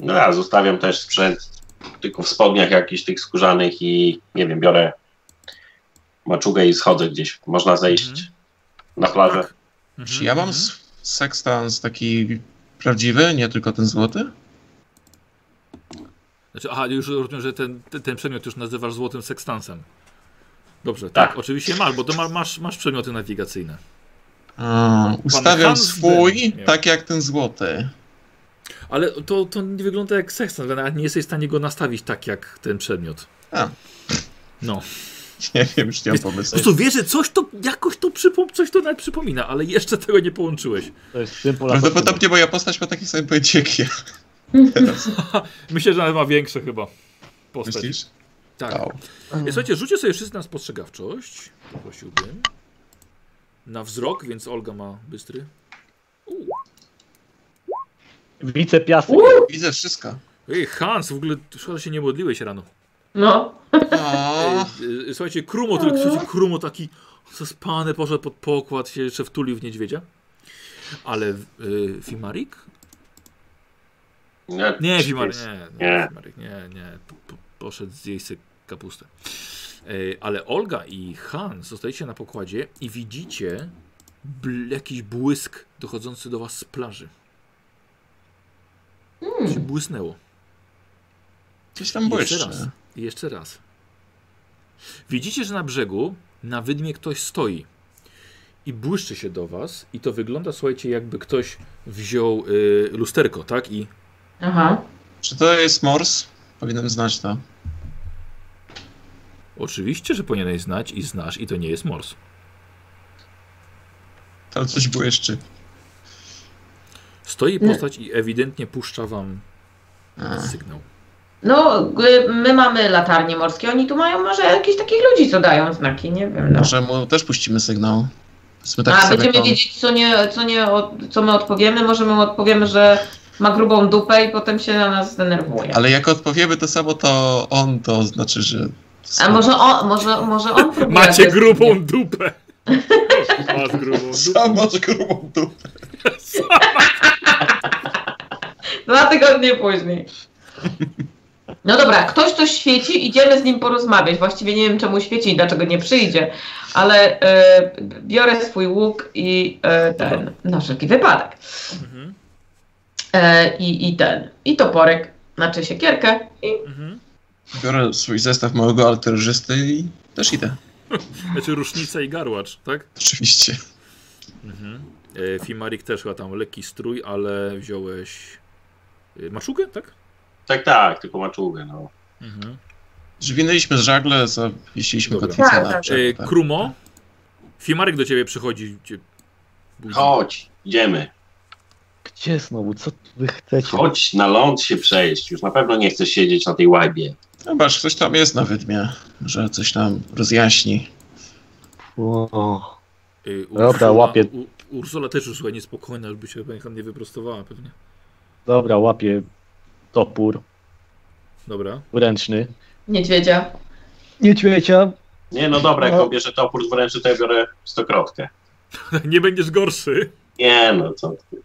No ja zostawiam też sprzęt, tylko w spodniach jakichś tych skórzanych i nie wiem, biorę maczugę i schodzę gdzieś. Można zejść Mhm. na plażę. Tak. Mhm, Czy ja mam mhm. s- sekstans taki prawdziwy, nie tylko ten złoty? Znaczy, aha, już rozumiem, że ten, ten, ten przedmiot już nazywasz złotym sekstansem. Dobrze, tak, Tak. oczywiście masz, bo to ma, masz, masz przedmioty nawigacyjne. A, ustawiam Hans swój, Dym miał. tak jak ten złoty. Ale to, to nie wygląda jak sekstans, bo nawet nie jesteś w stanie go nastawić tak jak ten przedmiot. A. No. Nie wiem, już nie mam Po pomysłu. prostu wiesz, że coś to jakoś to przypom coś to nawet przypomina, ale jeszcze tego nie połączyłeś. To jest symbol. Prawdopodobnie moja postać ma takie same pojęcie jak ja. Myślę, że nawet ma większe chyba. Postać. Myślisz? Tak. Wow. Ja, Słuchajcie, rzućcie sobie wszyscy na spostrzegawczość. Poprosiłbym. Na wzrok, więc Olga ma bystry. Widzę piasek. Widzę wszystko. Ej, Hans, w ogóle szkoda, że się nie modliłeś rano. No. O, Ej, e, Słuchajcie, Krumo, tylko słuchajcie, Krumo taki zaspany poszedł pod pokład, się jeszcze wtulił w niedźwiedzia. Ale y, Fimarik? Nie, Fimarik, nie, nie, Nie. Fimarik, nie, nie. Po- po- Poszedł zjeść sobie kapustę. Ej, Ale Olga i Hans zostajecie na pokładzie i widzicie bl- jakiś błysk dochodzący do was z plaży. Coś Hmm. Błysnęło. coś tam Jeszcze raz. błyszczy. I jeszcze raz. Widzicie, że na brzegu, na wydmie ktoś stoi i błyszczy się do was i to wygląda, słuchajcie, jakby ktoś wziął y, lusterko, tak? I Aha. Czy to jest mors? Powinienem znać to. oczywiście, że powinieneś znać i znasz i to nie jest mors. Tam coś błyszczy. Stoi postać i ewidentnie puszcza wam A, sygnał. No, y, my mamy latarnie morskie, oni tu mają może jakichś takich ludzi, co dają znaki, nie wiem. No. Może mu też puścimy sygnał. Powiedzmy tak A sobie będziemy to- wiedzieć, co, nie, co, nie, od- co my odpowiemy. Może my odpowiemy, że ma grubą dupę i potem się na nas zdenerwuje. Ale jak odpowiemy to samo, to on to znaczy, że. A może on, może, może on próbuje Macie agresywnie. grubą dupę! Masz grubą dupę. Sam masz grubą dupę. Dwa tygodnie później. No dobra, ktoś coś świeci, idziemy z nim porozmawiać. Właściwie nie wiem, czemu świeci i dlaczego nie przyjdzie, ale e, biorę swój łuk i e, ten, na wszelki wypadek. Mhm, E, i, I ten, i toporek, znaczy siekierkę i mhm. Biorę swój zestaw małego alterżysty i też idę. Znaczy rusznica i garłacz, tak? Oczywiście. Mhm. E, Fimarik też chyba tam lekki strój, ale wziąłeś e, maczugę, tak? Tak, tak, tylko maczugę, no. Mhm. Zwinęliśmy z żagle, zawieśliśmy Dobra. kotwicę Tak, na tak. E, brzeg. tak. Krumo, Fimarik do ciebie przychodzi. Cię budzi. Chodź, idziemy. Gdzie znowu? Co wy chcecie? Chodź na ląd się przejść. Już na pewno nie chcesz siedzieć na tej łajbie. Zobacz, ktoś tam jest na wydmie, że coś nam rozjaśni. O, Y, Dobra, łapię. U, Ursula też już słuchaj niespokojna, żeby się pani nie wyprostowała pewnie. dobra, łapię topór Dobra. ręczny. niedźwiedzia. Niedźwiedzia. Nie, no dobra, jak No. on bierze topór w ręce, to ja biorę stokrotkę. nie będziesz gorszy. Nie, no co ty.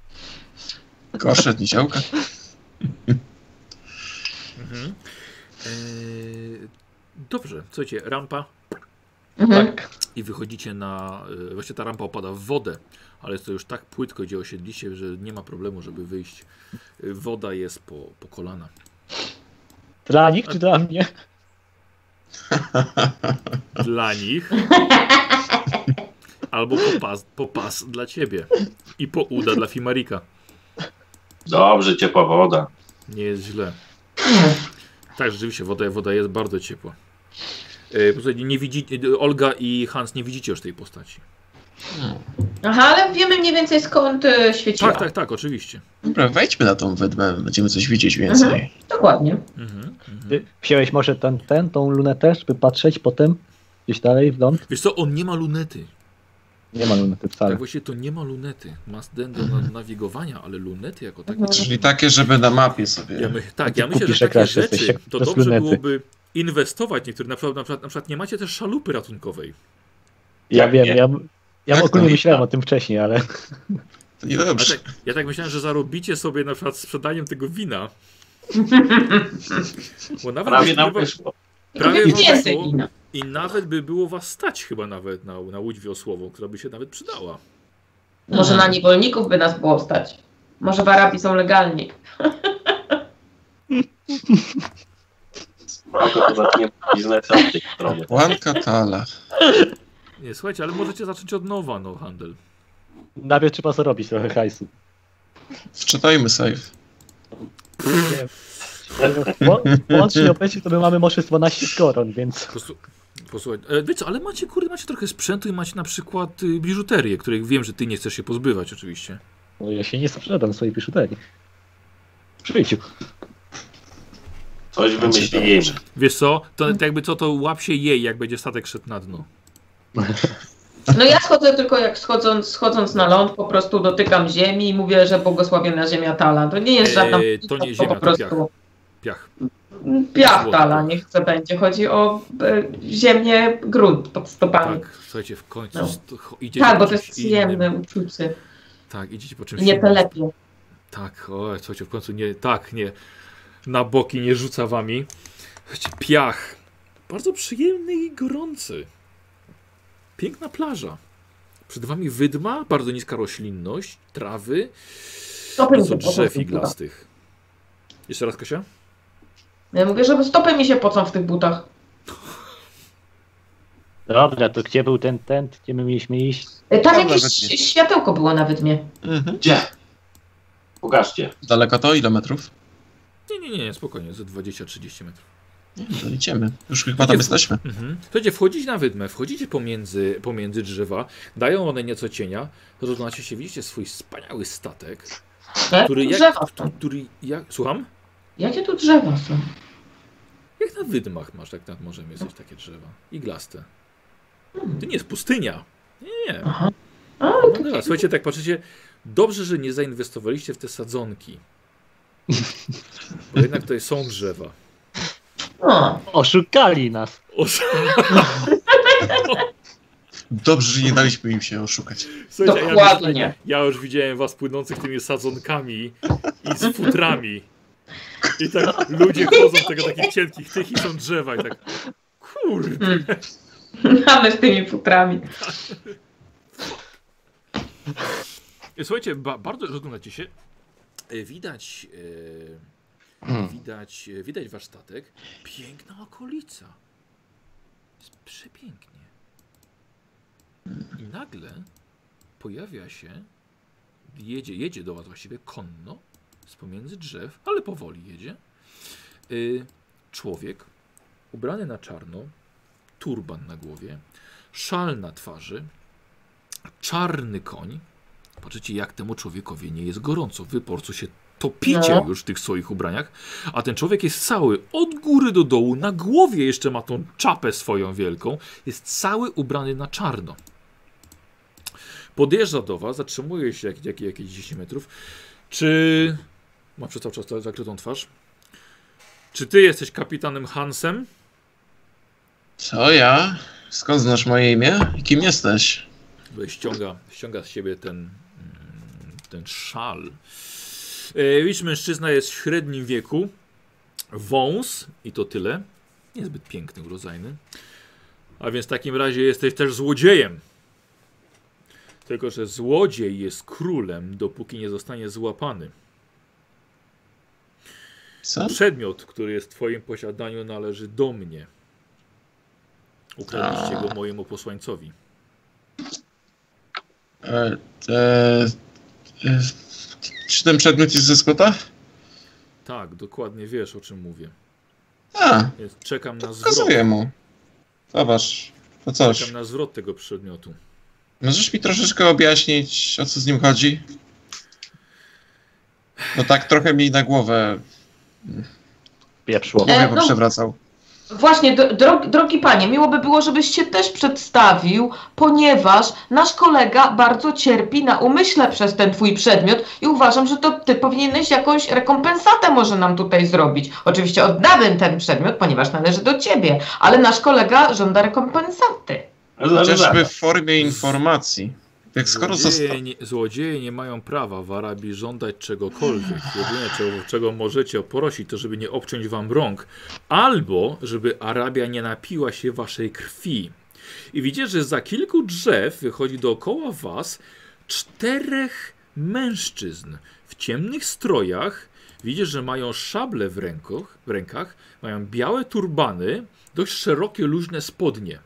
Gorsze niż działka. Mhm. Yy, dobrze, słuchajcie, rampa Mhm. Tak. i wychodzicie na... Yy, właśnie ta rampa opada w wodę, ale jest to już tak płytko, gdzie osiedliście, że nie ma problemu, żeby wyjść. Y, woda jest po, po kolana. Dla nich czy dla mnie? Dla nich. Albo po pas, po pas dla ciebie. I po uda dla Fimarika. Dobrze, ciepła woda. Nie jest źle. Tak, rzeczywiście, woda, woda jest bardzo ciepła. E, Posłuchajcie, nie widzi, e, Olga i Hans nie widzicie już tej postaci. Hmm. Aha, ale wiemy mniej więcej skąd y, świeciła. Tak, tak, tak, oczywiście. Dobra, wejdźmy na tą wydmę, będziemy coś widzieć więcej. Dokładnie. Mhm, mhm. Ty Wziąłeś może ten, ten, tą lunę też, by patrzeć potem gdzieś dalej w ląd? Wiesz co, on nie ma lunety. Nie ma lunety wcale. Tak właściwie to nie ma lunety. Ma den do Mhm. na- nawigowania, ale lunety jako takie. Mhm. Czyli takie, żeby na mapie Ja sobie. my, tak, ja Ty myślę, kupisz że takie ekran, że jesteś rzeczy jak to bez dobrze lunety. byłoby inwestować w niektóre. Na przykład, na, przykład, na przykład nie macie też szalupy ratunkowej. Ja wiem, tak, Nie. ja, ja Jak ogólnie to? myślałem o tym wcześniej, ale To nie A dobrze. tak, ja tak myślałem, że zarobicie sobie na przykład sprzedaniem tego wina. Bo nawet Prawie byś nam próbował- wyszło. Prawie Kupię wam więcej wyszło. wina. I nawet by było was stać chyba nawet na, na łódź wiosłową, która by się nawet przydała. Może na niewolników by nas było stać. Może w Arabii są legalni. No to zaczniemy biznes od tej strony. Juan Catala. Nie, słuchajcie, ale możecie zacząć od nowa, no, handel. najpierw trzeba zrobić trochę hajsu. Wczytajmy save. Bo- Łącznie obecnie to my mamy może 12 koron, więc Posłu- Posłuchaj, e, wiecie, co, ale macie, kurde, macie trochę sprzętu i macie na przykład y, biżuterię, której wiem, że ty nie chcesz się pozbywać oczywiście. no, ja się nie sprzedam swojej biżuterii. W życiu. Coś wymyślimy. Wiesz co, to to jakby co, to łap się jej, jak będzie statek szedł na dno. No ja schodzę tylko jak schodząc, schodząc na ląd, po prostu dotykam ziemi i mówię, że błogosławiona ziemia Tala. To nie jest żadna Eee, modlitwa, to nie ziemia, po to prostu Piach. piach Złoto. Tala, niech chce będzie. Chodzi o e, ziemię, grunt pod stopami. Tak, słuchajcie, w końcu No. st- cho- idziecie Tak, po bo to jest czymś innym. przyjemne uczucie. Tak, idziecie po czymś Nie innym. telepie. Tak, o, słuchajcie, w końcu nie, tak, nie, na boki nie rzuca wami. Słuchajcie, piach, bardzo przyjemny i gorący. Piękna plaża. Przed wami wydma, bardzo niska roślinność, trawy, Stopy mi nieco się pocą w drzew tych butach. iglastych. Jeszcze raz, Kasia? Ja mówię, żeby stopy mi się pocą w tych butach. Dobra, to gdzie był ten tent, gdzie my mieliśmy iść? E, Tam Ja jakieś nawet nie- światełko było na wydmie. Mhm. Gdzie? Pokażcie. Daleko to? Ile metrów? Nie, nie, nie, spokojnie, ze 20-30 metrów. Nie, no to idziemy. Już chyba tam jesteśmy. Mhm. Słuchajcie, wchodzić na wydmę, wchodzicie pomiędzy, pomiędzy drzewa, dają one nieco cienia, rozglądacie się, widzicie swój wspaniały statek, Który jak, Drzewa są. który jak... Słucham? Jakie tu drzewa są? Jak na wydmach masz, tak tam może mieć coś takie drzewa. Iglaste. To nie jest pustynia. Nie, nie. Aha. A, No to- dobra, słuchajcie, tak patrzycie, dobrze, że nie zainwestowaliście w te sadzonki. Bo jednak tutaj są drzewa. a, Oszukali nas. O, Dobrze, że nie daliśmy im się oszukać. słuchajcie, ja, dokładnie. ja już widziałem was płynących tymi sadzonkami i z futrami. I tak ludzie chodzą z tego takich cienkich tych i są drzewa i tak kurde. Mm. Mamy z tymi futrami. Słuchajcie, ba bardzo rozglądacie się. E, Widać, e, widać, e, widać wasz statek. Piękna okolica. Jest przepięknie. I nagle pojawia się, jedzie, jedzie do was właściwie konno, z pomiędzy drzew, ale powoli jedzie. E, człowiek ubrany na czarno, turban na głowie, szal na twarzy, czarny koń, Patrzycie, jak temu człowiekowi nie jest gorąco. Wy po prostu się topicie No. już w tych swoich ubraniach, a ten człowiek jest cały od góry do dołu, na głowie jeszcze ma tą czapę swoją wielką, jest cały ubrany na czarno. Podjeżdża do was, zatrzymuje się jak, jak, jakieś 10 metrów. Czy... Ma przez cały czas ta- zakrytą twarz. Czy ty jesteś kapitanem Hansem? Co ja? Skąd znasz moje imię? I Kim jesteś? ściąga, ściąga z siebie ten, mm, ten szal. E, Widzisz, mężczyzna jest w średnim wieku. Wąs i to tyle. Niezbyt piękny, urodzajny. A więc w takim razie jesteś też złodziejem. Tylko, że złodziej jest królem, dopóki nie zostanie złapany. Co? Przedmiot, który jest w twoim posiadaniu, należy do mnie. Ukradliście go mojemu posłańcowi. E, e, e, czy ten przedmiot jest ze Scotta? Tak, dokładnie wiesz, o czym mówię. A, Więc czekam na zwrot. pokazuję mu. Zobacz, to Czekam coś. na zwrot tego przedmiotu. Możesz mi troszeczkę objaśnić, o co z nim chodzi? No tak trochę mi na głowę, Pieprzło. głowę E, no. poprzewracał. Właśnie, do, drog, drogi panie, miło by było, żebyś się też przedstawił, ponieważ nasz kolega bardzo cierpi na umyśle przez ten twój przedmiot i uważam, że to ty powinieneś jakąś rekompensatę może nam tutaj zrobić. Oczywiście oddałem ten przedmiot, ponieważ należy do ciebie, ale nasz kolega żąda rekompensaty. No, no Chociażby w formie informacji. Jak skoro został... złodzieje, nie, złodzieje nie mają prawa w Arabii żądać czegokolwiek. Jedyne, czego, czego możecie prosić, to żeby nie obciąć wam rąk. Albo, żeby Arabia nie napiła się waszej krwi. I widzicie, że za kilku drzew wychodzi dookoła was czterech mężczyzn w ciemnych strojach. Widzisz, że mają szable w, rękoch, w rękach, mają białe turbany, dość szerokie, luźne spodnie.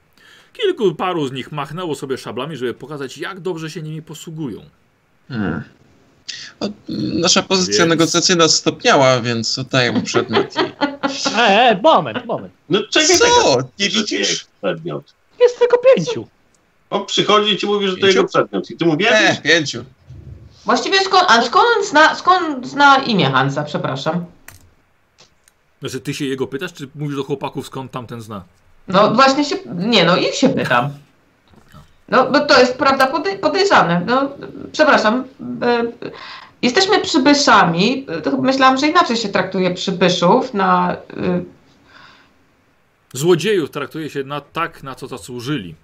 Kilku paru z nich machnęło sobie szablami, żeby pokazać, jak dobrze się nimi posługują. Hmm. O, nasza pozycja Więc- negocjacyjna stopniała, więc oddaję mu przedmiot. i- E, e, moment, moment. No czekaj, tak, Co? Nie że to widzisz? jest Przedmiot. Jest tylko pięciu. On przychodzi i ci mówi, że to Pięciu? jego przedmiot. I ty mu E, wierzysz? pięciu. Właściwie skąd, a skąd on zna, skąd zna imię Hansa, przepraszam? Znaczy, ty się jego pytasz, czy mówisz do chłopaków, skąd tamten zna? Mhm. No właśnie się, nie no, ich się pytam. No bo to jest prawda podej- podejrzane. No przepraszam. e, Jesteśmy przybyszami. To chyba myślałam, że inaczej się traktuje przybyszów na. y, Złodziejów traktuje się na tak, na co zasłużyli.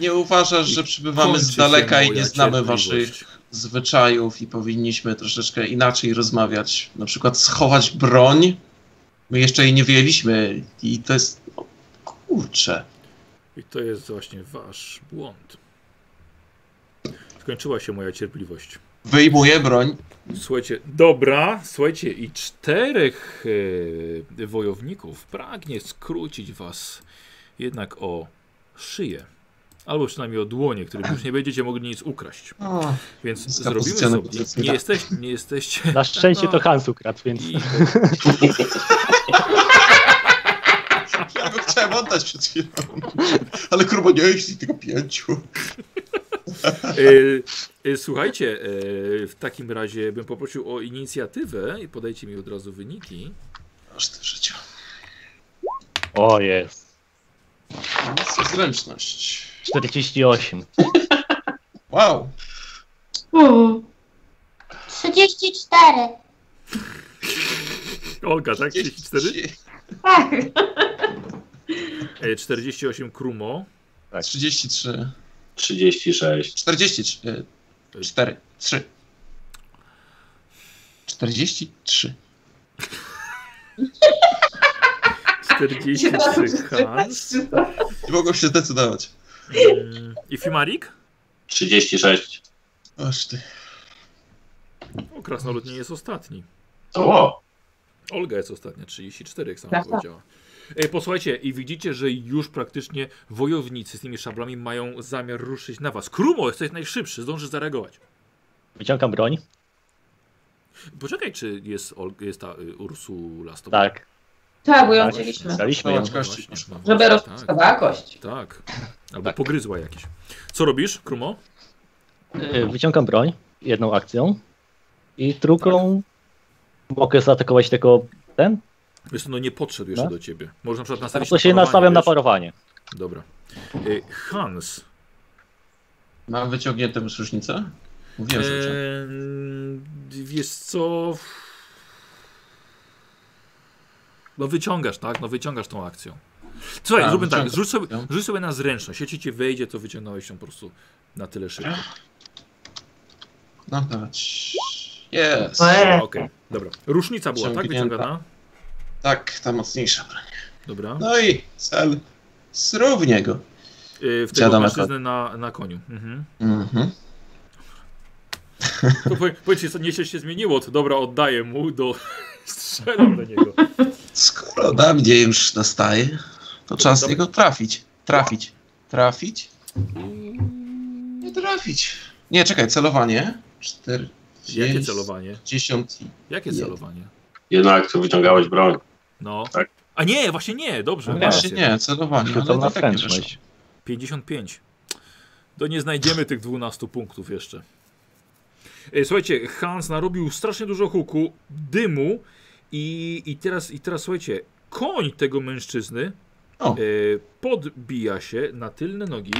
Nie uważasz, że przybywamy Kończy z się daleka i moja nie znamy cierpliwość. waszych zwyczajów i powinniśmy troszeczkę inaczej rozmawiać? Na przykład schować broń? My jeszcze jej nie wyjęliśmy i to jest... o, Kurczę. I to jest właśnie wasz błąd. Skończyła się moja cierpliwość. Wyjmuję broń. Słuchajcie, dobra, słuchajcie, i czterech e, wojowników pragnie skrócić was jednak o szyję. Albo przynajmniej o dłonie, którym już nie będziecie mogli nic ukraść. Więc Niska zrobimy pozycja sobie. negocjacyjna. Nie, jesteś, nie jesteście. Na szczęście to Hans ukradł, więc I, Ja go chciałem oddać przed chwilą. Ale kurwa nie jeśli tylko pięciu. Y, y, Słuchajcie, y, w takim razie bym poprosił o inicjatywę i podajcie mi od razu wyniki. Aż ty życia. O jest. Zręczność. 48. Wow. O, 34. Olga, tak? 34? tak. Y, 48 Krumo. 33. 36. 43. 4. 3. 43. 43 Hans. Nie mogą się zdecydować. Mm, I Fimarik? 36. Aż ty. O, Krasnolud nie jest ostatni. O, Olga jest ostatnia, 34, jak sama Tak, tak. powiedziała. E, Posłuchajcie, i widzicie, że już praktycznie wojownicy z tymi szablami mają zamiar ruszyć na was. Krumo, jesteś najszybszy, zdążysz zareagować. Wyciągam broń? Poczekaj, czy jest, Olga, jest ta y, Ursula z tobą? Tak. Tak, bo ją Tak. wzięliśmy. Daliśmy ją. No właśnie, Kości. no właśnie, Żeby tak, rozstawała kość. tak. Albo pogryzła jakieś. Co robisz, Krumo? Y, Wyciągam broń jedną akcją i drugą mogę zaatakować tylko ten? Wiesz, co, no nie podszedł jeszcze No. do ciebie. Może na przykład No nastawić to się parowanie, nastawiam na wiesz? parowanie. Dobra. Y, Hans, Mam wyciągniętą już różnicę? Mówiłem, że wyciągnę. Eee, wiesz co? No wyciągasz, tak? No wyciągasz tą akcją. Słuchaj, Tak, zróbmy tak, wyciągam. rzuć sobie, rzuć sobie na zręczność. Jeśli ci wejdzie, to wyciągnąłeś ją po prostu na tyle szybko. No dawać. Jest. Okej, Eee, dobra. Różnica była, tak? Wyciągnięta. Wyciągana? Tak, ta mocniejsza broń. Dobra. No i cel. Zrównie go. Yy, w tego Wiadomo, mężczyznę na, na koniu. Mhm. Mhm. To powie- Powiedzcie, co niesie się zmieniło, to dobra, oddaję mu do... Strzelam do niego. Skoro da mnie już nastaje, to czas Dobra. jego trafić. Trafić. Trafić. Nie trafić. Nie, czekaj, celowanie. 40. Jakie celowanie? Jakie Nie. celowanie? jedną akcją wyciągałeś broń. No. Tak. A nie, właśnie nie, dobrze. No Właśnie macie. nie, celowanie. Rzucam Ale na to tak nie wyszło. zręczność. 55. To nie znajdziemy tych 12 punktów jeszcze. E, Słuchajcie, Hans narobił strasznie dużo huku, dymu i, i, teraz, i teraz słuchajcie, koń tego mężczyzny e, O. podbija się na tylne nogi.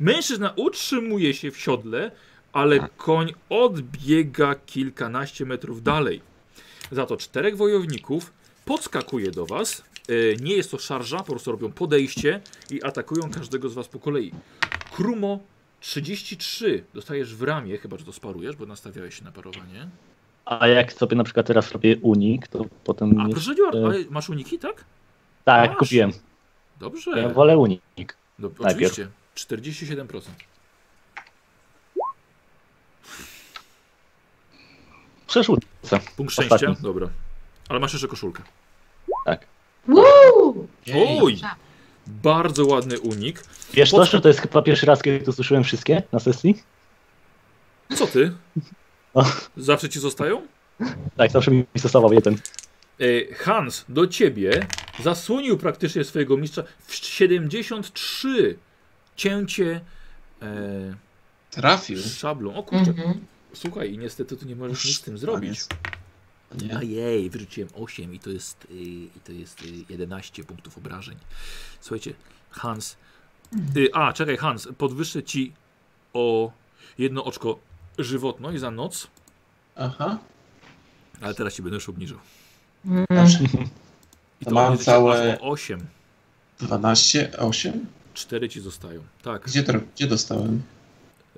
Mężczyzna utrzymuje się w siodle, ale koń odbiega kilkanaście metrów dalej. Za to czterech wojowników podskakuje do was. E, Nie jest to szarża, po prostu robią podejście i atakują każdego z was po kolei. Krumo 33 dostajesz w ramię, chyba że to sparujesz, bo nastawiałeś się na parowanie. A jak sobie na przykład teraz robię unik, to potem... A nie- proszę działa, e, ale masz uniki, tak? tak, masz. kupiłem. Ja Dobrze. wolę unik. No, najpierw. oczywiście. 47%. Przerzucę. Punkt szczęścia. Ostatni. Dobra. Ale masz jeszcze koszulkę. Woo! Jej. Oj! Bardzo ładny unik. Wiesz Podska- to, że to jest chyba pierwszy raz, kiedy tu słyszałem wszystkie na sesji? Co ty? O. Zawsze ci zostają? Tak, zawsze mi stosował jeden. E, Hans do ciebie zasłonił praktycznie swojego mistrza w 73 cięcie e, Trafił. szablą. O kurczę, Mhm. słuchaj, i niestety tu nie możesz nic z tym A zrobić. więc- Nie. Ajej, wyrzuciłem 8 i to jest, y, i to jest y, 11 punktów obrażeń. Słuchajcie, Hans. Y, a, czekaj, Hans, podwyższę ci o jedno oczko żywotność za noc, Aha. ale teraz ci będę już obniżał. Mhm. I To mam obniżę ci całe- aż o 8. 12, 8? 4 ci zostają. Tak. Gdzie, to, gdzie dostałem?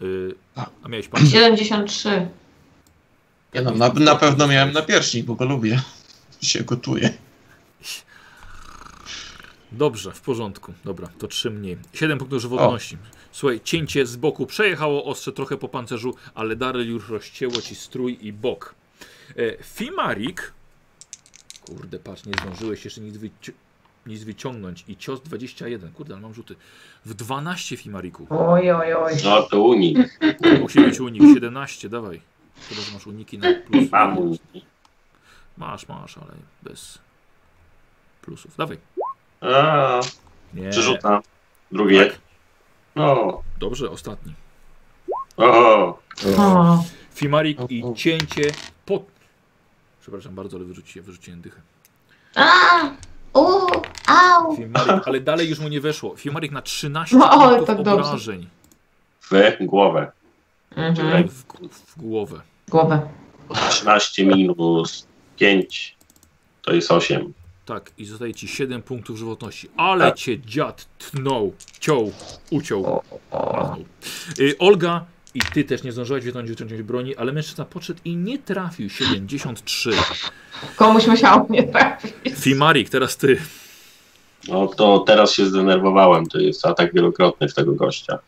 Y, A. a miałeś pan. 73. Ja no, na, na pewno miałem na pierśnik, bo go lubię. Się gotuje. Dobrze, w porządku. Dobra, to trzy mniej. 7 punktów żywotności. Słuchaj, cięcie z boku przejechało ostrze trochę po pancerzu, ale Daryl już rozcięło ci strój i bok. E, Fimarik. Kurde, patrz, nie zdążyłeś jeszcze nic, wyci nic wyciągnąć. I cios 21. Kurde, ale mam rzuty. W 12 Fimariku. Oj, oj, oj. No to uni. Musi być unik. 17, dawaj. Chyba, że masz uniki na plus. Mam uni. Masz, masz, ale bez plusów. Dawaj. A, Nie. przerzuta. Drugie. Tak. No, Dobrze, ostatni. O, No. O, Fimarik i cięcie po... Przepraszam bardzo, ale wyrzuciłem, wyrzuciłem dychę. A! U! Au! Fimarik, ale dalej już mu nie weszło. Fimarik na 13 No, ale punktów tak dobrze. obrażeń w głowę. Mhm. w, g- w głowę. Głowę. 13 minus 5 to jest 8. Tak, i zostaje ci 7 punktów żywotności. Ale cię dziad tnął, ciął, uciął. machnął. Y, Olga, i ty też nie zdążyłaś wyciągnąć wyciągnąć broni, ale mężczyzna podszedł i nie trafił. 73. Komuś musiało mnie trafić. Fimarik, teraz ty. No to teraz się zdenerwowałem. To jest atak wielokrotny w tego gościa.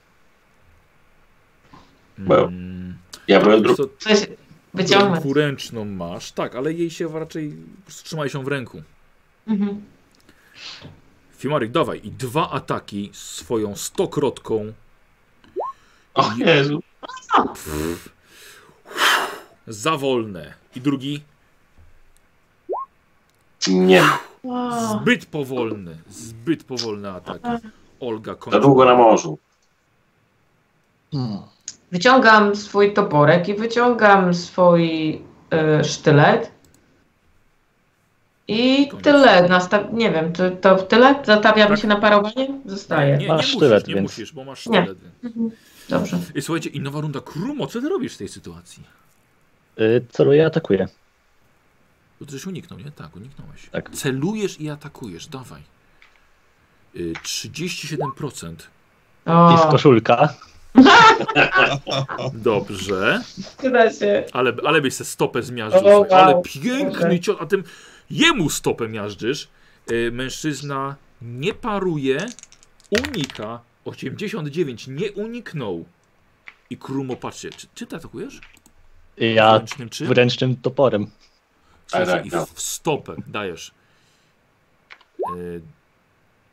Bo- Mm, Ja byłem wiesz drugi. co, Coś wyciągnąć. ręku ręczną masz, tak, ale jej się raczej po prostu trzymaj się w ręku. Mhm. Fimarik, dawaj. I dwa ataki swoją stokrotką O Jezu. za wolne. I drugi Nie. Wow. Zbyt powolny, zbyt powolny atak. Olga kończy. Za długo na morzu. Wyciągam swój toporek i wyciągam swój e, sztylet. I Koniec. tyle. Nastaw... Nie wiem, to, to w tyle? Zatawiam Tak. się na parowanie? Nie, Zostaje. nie Masz musisz, sztylet, nie więc- musisz, bo masz Nie. sztylet. Mhm. Dobrze. I słuchajcie, i nowa runda. Krumo, co ty robisz w tej sytuacji? Y, Celuję, atakuję. Bo ty żeś uniknął, nie? Tak, uniknąłeś. Tak. Celujesz i atakujesz, dawaj. Y, 37%. O, Jest koszulka. Dobrze. przyda się. Ale, ale byś se stopę zmiażdżył. O, wow. słuchaj. Ale piękny Boże. cios, a tym jemu stopę miażdżysz. Y, Mężczyzna nie paruje, unika. 89 nie uniknął. I Krumo, patrzcie, czy, czy ty atakujesz? Ja Wręcznym czym? wręcznym toporem. Słuchaj, Tak, tak, i no. w stopę dajesz. Yy,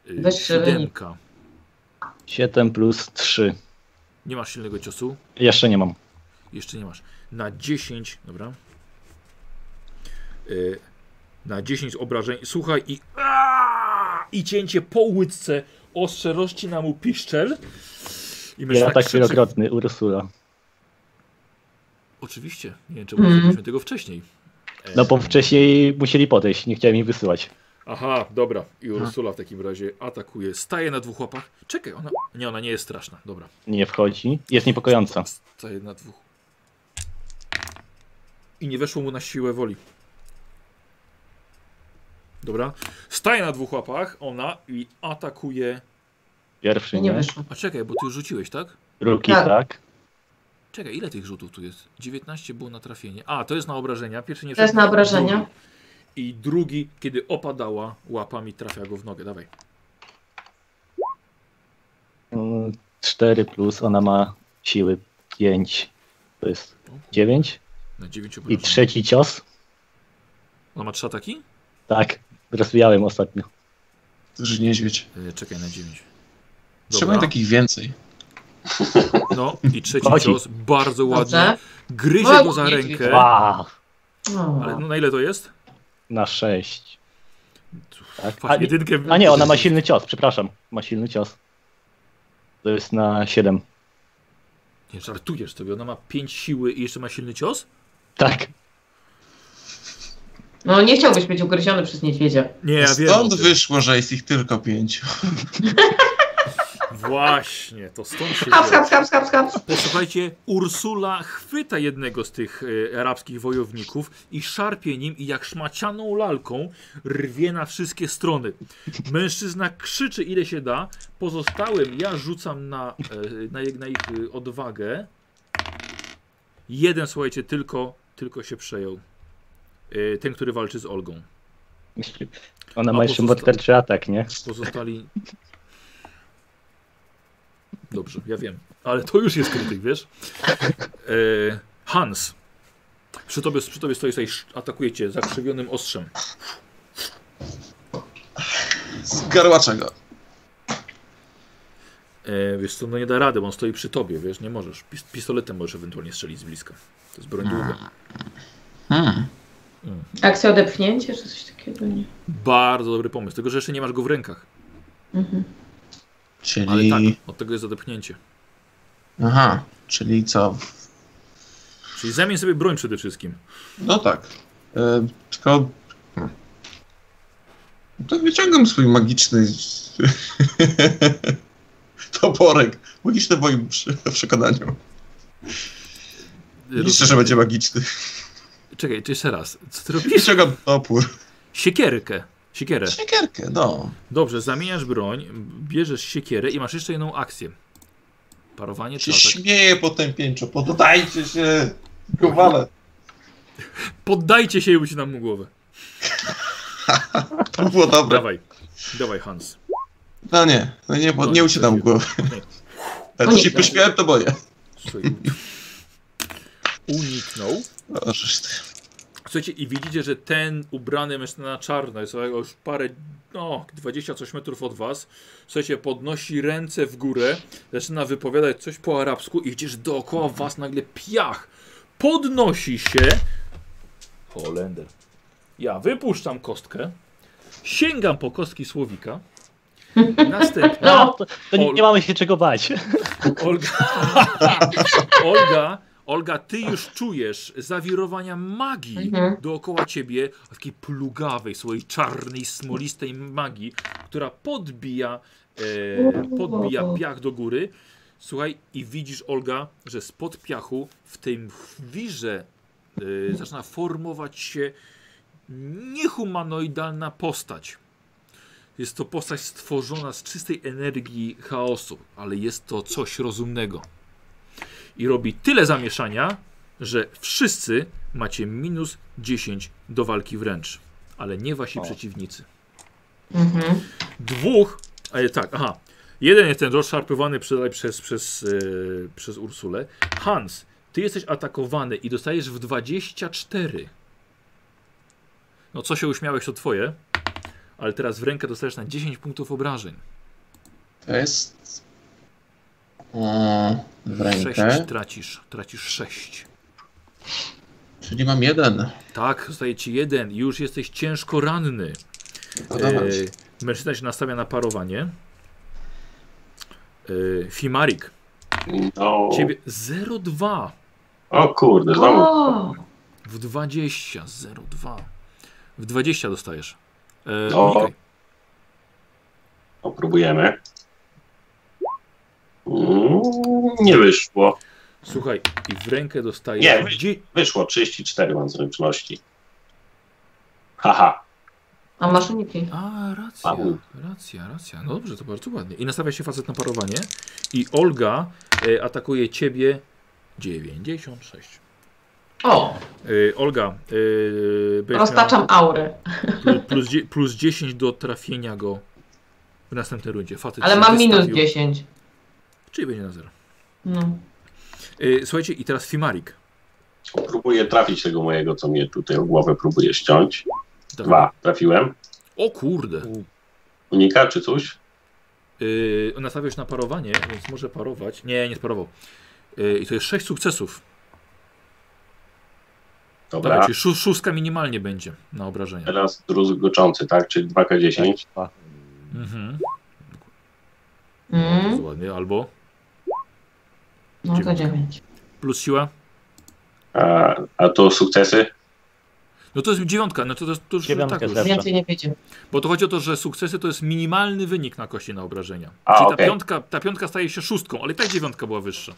yy, Weź siódemka. 7 plus 3. Nie masz silnego ciosu? Jeszcze nie mam. Jeszcze nie masz. Na 10, dobra. Yy, na 10 obrażeń. Słuchaj i. Aaaa! I cięcie po łydce. Ostrze rozcina mu piszczel. I Ja mężczyzna atak tak krzyczy. wielokrotny, tak Ursula. Oczywiście. Nie wiem, czemu nie Mm. zrobiliśmy tego wcześniej. E, No bo wcześniej musieli podejść, nie chciałem ich wysyłać. Aha, dobra. I Ursula w takim razie atakuje. Staje na dwóch łapach. Czekaj, ona. Nie, ona nie jest straszna. Dobra. Nie wchodzi. Jest niepokojąca. Staje na dwóch. I nie weszło mu na siłę woli. Dobra. Staje na dwóch łapach, ona i atakuje. Pierwszy Nie nie. wyszło. A czekaj, bo ty już rzuciłeś, tak? Drugi Tak. tak. Czekaj, ile tych rzutów tu jest? 19 było na trafienie. A, to jest na obrażenia. Pierwszy nie To jest wszedł, na obrażenia. drugi. I drugi, kiedy opadała łapami, trafia go w nogę. Dawaj. Mm, 4 plus, ona ma siły 5. To jest 9. Na 9 I obrażeń. trzeci cios. Ona ma trzy ataki? Tak, rozwijałem ostatnio. Duży niedźwiedź. E, Czekaj, na 9. Trzeba takich więcej. No i trzeci Chodzi. cios. Bardzo ładnie. Dobrze. Gryzie go za rękę. Wow, O. Ale no, na ile to jest? na 6. Tak. Patrz, A, nie- jedynkę... a nie, ona ma silny cios, przepraszam. Ma silny cios. To jest na 7. Nie żartujesz sobie, ona ma 5 siły i jeszcze ma silny cios? Tak. No nie chciałbyś być ugryziony przez niedźwiedzia. Nie, ja wiem. o Stąd tym. wyszło, że jest ich tylko pięciu. Właśnie, to stąd się Haps, wzięło. haps, haps, haps, haps. Posłuchajcie, Ursula chwyta jednego z tych e, arabskich wojowników i szarpie nim i jak szmacianą lalką rwie na wszystkie strony. Mężczyzna krzyczy ile się da, pozostałym ja rzucam na, e, na, ich- na ich e, odwagę. Jeden, słuchajcie, tylko, tylko się przejął. E, Ten, który walczy z Olgą. Ona A, ma jeszcze pozosta- morderczy atak, nie? Pozostali. Dobrze, ja wiem. Ale to już jest krytyk, wiesz? E, Hans. Przy tobie, przy tobie stoi, stoi, atakujecie zakrzywionym ostrzem. Z garłaczego. E, wiesz co, no nie da rady, bo on stoi przy tobie, wiesz, nie możesz. Pis pistoletem możesz ewentualnie strzelić z bliska. To jest broń długa. Hmm. Akcja odepchnięcie czy coś takiego? Nie. Bardzo dobry pomysł, tylko że jeszcze nie masz go w rękach. tak, Mhm. Ale Czyli... tak, od tego jest zadepchnięcie. Aha. Czyli co? Czyli zamień sobie broń przede wszystkim. No tak. E, tylko. Hmm. To wyciągam swój magiczny. toporek. Magiczny w moim przy- przekonaniu. Liczę, że będzie magiczny. Czekaj, czy jeszcze raz. Co ty robisz? Wyciągam topór. Siekierkę. Siekierę. Siekierkę, no. Dobrze, zamieniasz broń, bierzesz siekierę i masz jeszcze jedną akcję. Parowanie Się czaszek. śmieje po tym pięciu. Poddajcie się. Kowale. Poddajcie się i ubić nam mu głowę. To było dobre. Dawaj. Dawaj, Hans. No nie, no nie, bo No, nie ucinam nie. głowy. Nie. Ale Unikam. się pośmiałem, to boję. Słuchaj. Uniknął. O, żeż ty. Słuchajcie, i widzicie, że ten ubrany mężczyzna na czarno, jest już parę, no, 20 coś metrów od was, słuchajcie, podnosi ręce w górę, zaczyna wypowiadać coś po arabsku i widzicie, że dookoła was nagle piach podnosi się. Holender. Ja wypuszczam kostkę, sięgam po kostki słowika, następnie No, to, to nie, Ol- nie mamy się czego bać. Olga, Olga, Olga, ty już czujesz zawirowania magii Mhm. dookoła ciebie, takiej plugawej, swojej czarnej, smolistej magii, która podbija, e, podbija piach do góry. Słuchaj, i widzisz, Olga, że spod piachu w tym wirze e, zaczyna formować się niehumanoidalna postać. Jest to postać stworzona z czystej energii chaosu, ale jest to coś rozumnego. I robi tyle zamieszania, że wszyscy macie minus 10 do walki wręcz. Ale nie wasi przeciwnicy. Mhm. Dwóch, ale tak, aha. Jeden jest ten rozszarpywany przez, przez, przez, yy, przez Ursulę. Hans, ty jesteś atakowany i dostajesz w 24. No co się uśmiałeś, to twoje. Ale teraz w rękę dostajesz na 10 punktów obrażeń. To jest. O, w rękę. 6 tracisz, tracisz 6. Czyli mam jeden. Tak, zostaje ci jeden. Już jesteś ciężko ranny. Podoba mi się. E, Mężczyzna się nastawia na parowanie. E, Fimarik, No. ciebie 0,2 O kurde, znowu. O, w 20, 0,2 w 20 dostajesz. E, O. unikaj. No, próbujemy. Mm, nie wyszło. Słuchaj, i w rękę dostajesz. Nie, wy- Dzie- Wyszło 34 mam zręczności. Haha. a masz uniki. A, racja, Paweł. racja, racja. No dobrze, to bardzo ładnie. I nastawia się facet na parowanie. I Olga e, atakuje ciebie 96. O, E, Olga, e, będziesz roztaczam aurę. Plus, plus, dzie- plus 10 do trafienia go w następnej rundzie. Facet Ale się mam minus wystawił, 10. Czyli będzie na zero. No. Y, słuchajcie, i teraz Fimarik. Próbuję trafić tego mojego, co mnie tutaj o głowę próbuje ściąć. Dawaj. Dwa. Trafiłem. O kurde. Unika czy coś? Y, nastawiasz na parowanie, więc może parować. Nie, nie sparował. Y, I to jest 6 sukcesów. Dobra. Dobra, czyli szó szóstka minimalnie będzie na obrażenia. Teraz druzgoczący, tak? Czyli 2K10. Mhm. Mm. Mhm. Bardzo ładnie. Albo No to 9. plus siła. A, a to sukcesy? No to jest dziewiątka, no to, to, to już Dziewiątka tak już. zero. Więcej nie wiedział. Bo to chodzi o to, że sukcesy to jest minimalny wynik na kości na obrażenia. A, czyli ta, okej. piątka, ta piątka staje się szóstką, ale i tak dziewiątka była wyższa.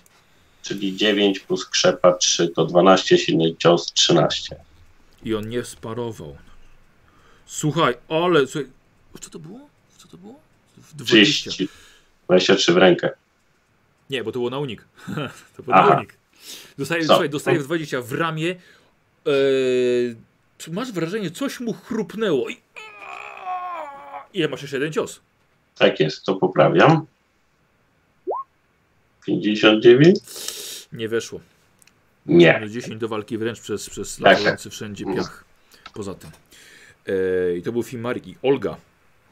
Czyli 9 plus krzepa 3 to 12, silny cios 13. I on nie sparował. Słuchaj, ale. Słuchaj, co to było? Co to było? W 20. 30. 23 w rękę. Nie, bo to było na unik. to było Aha. na unik. Dostaje, Co? No. słuchaj, dostaje w 20 w ramię. Eee, czy masz wrażenie, coś mu chrupnęło. I... Ile masz jeszcze jeden cios? Tak jest, to poprawiam. 59? Nie weszło. Nie. Minus 10 do walki wręcz przez, przez Tak, tak. latający wszędzie piach. Poza tym. Eee, I to był film Marki. Olga.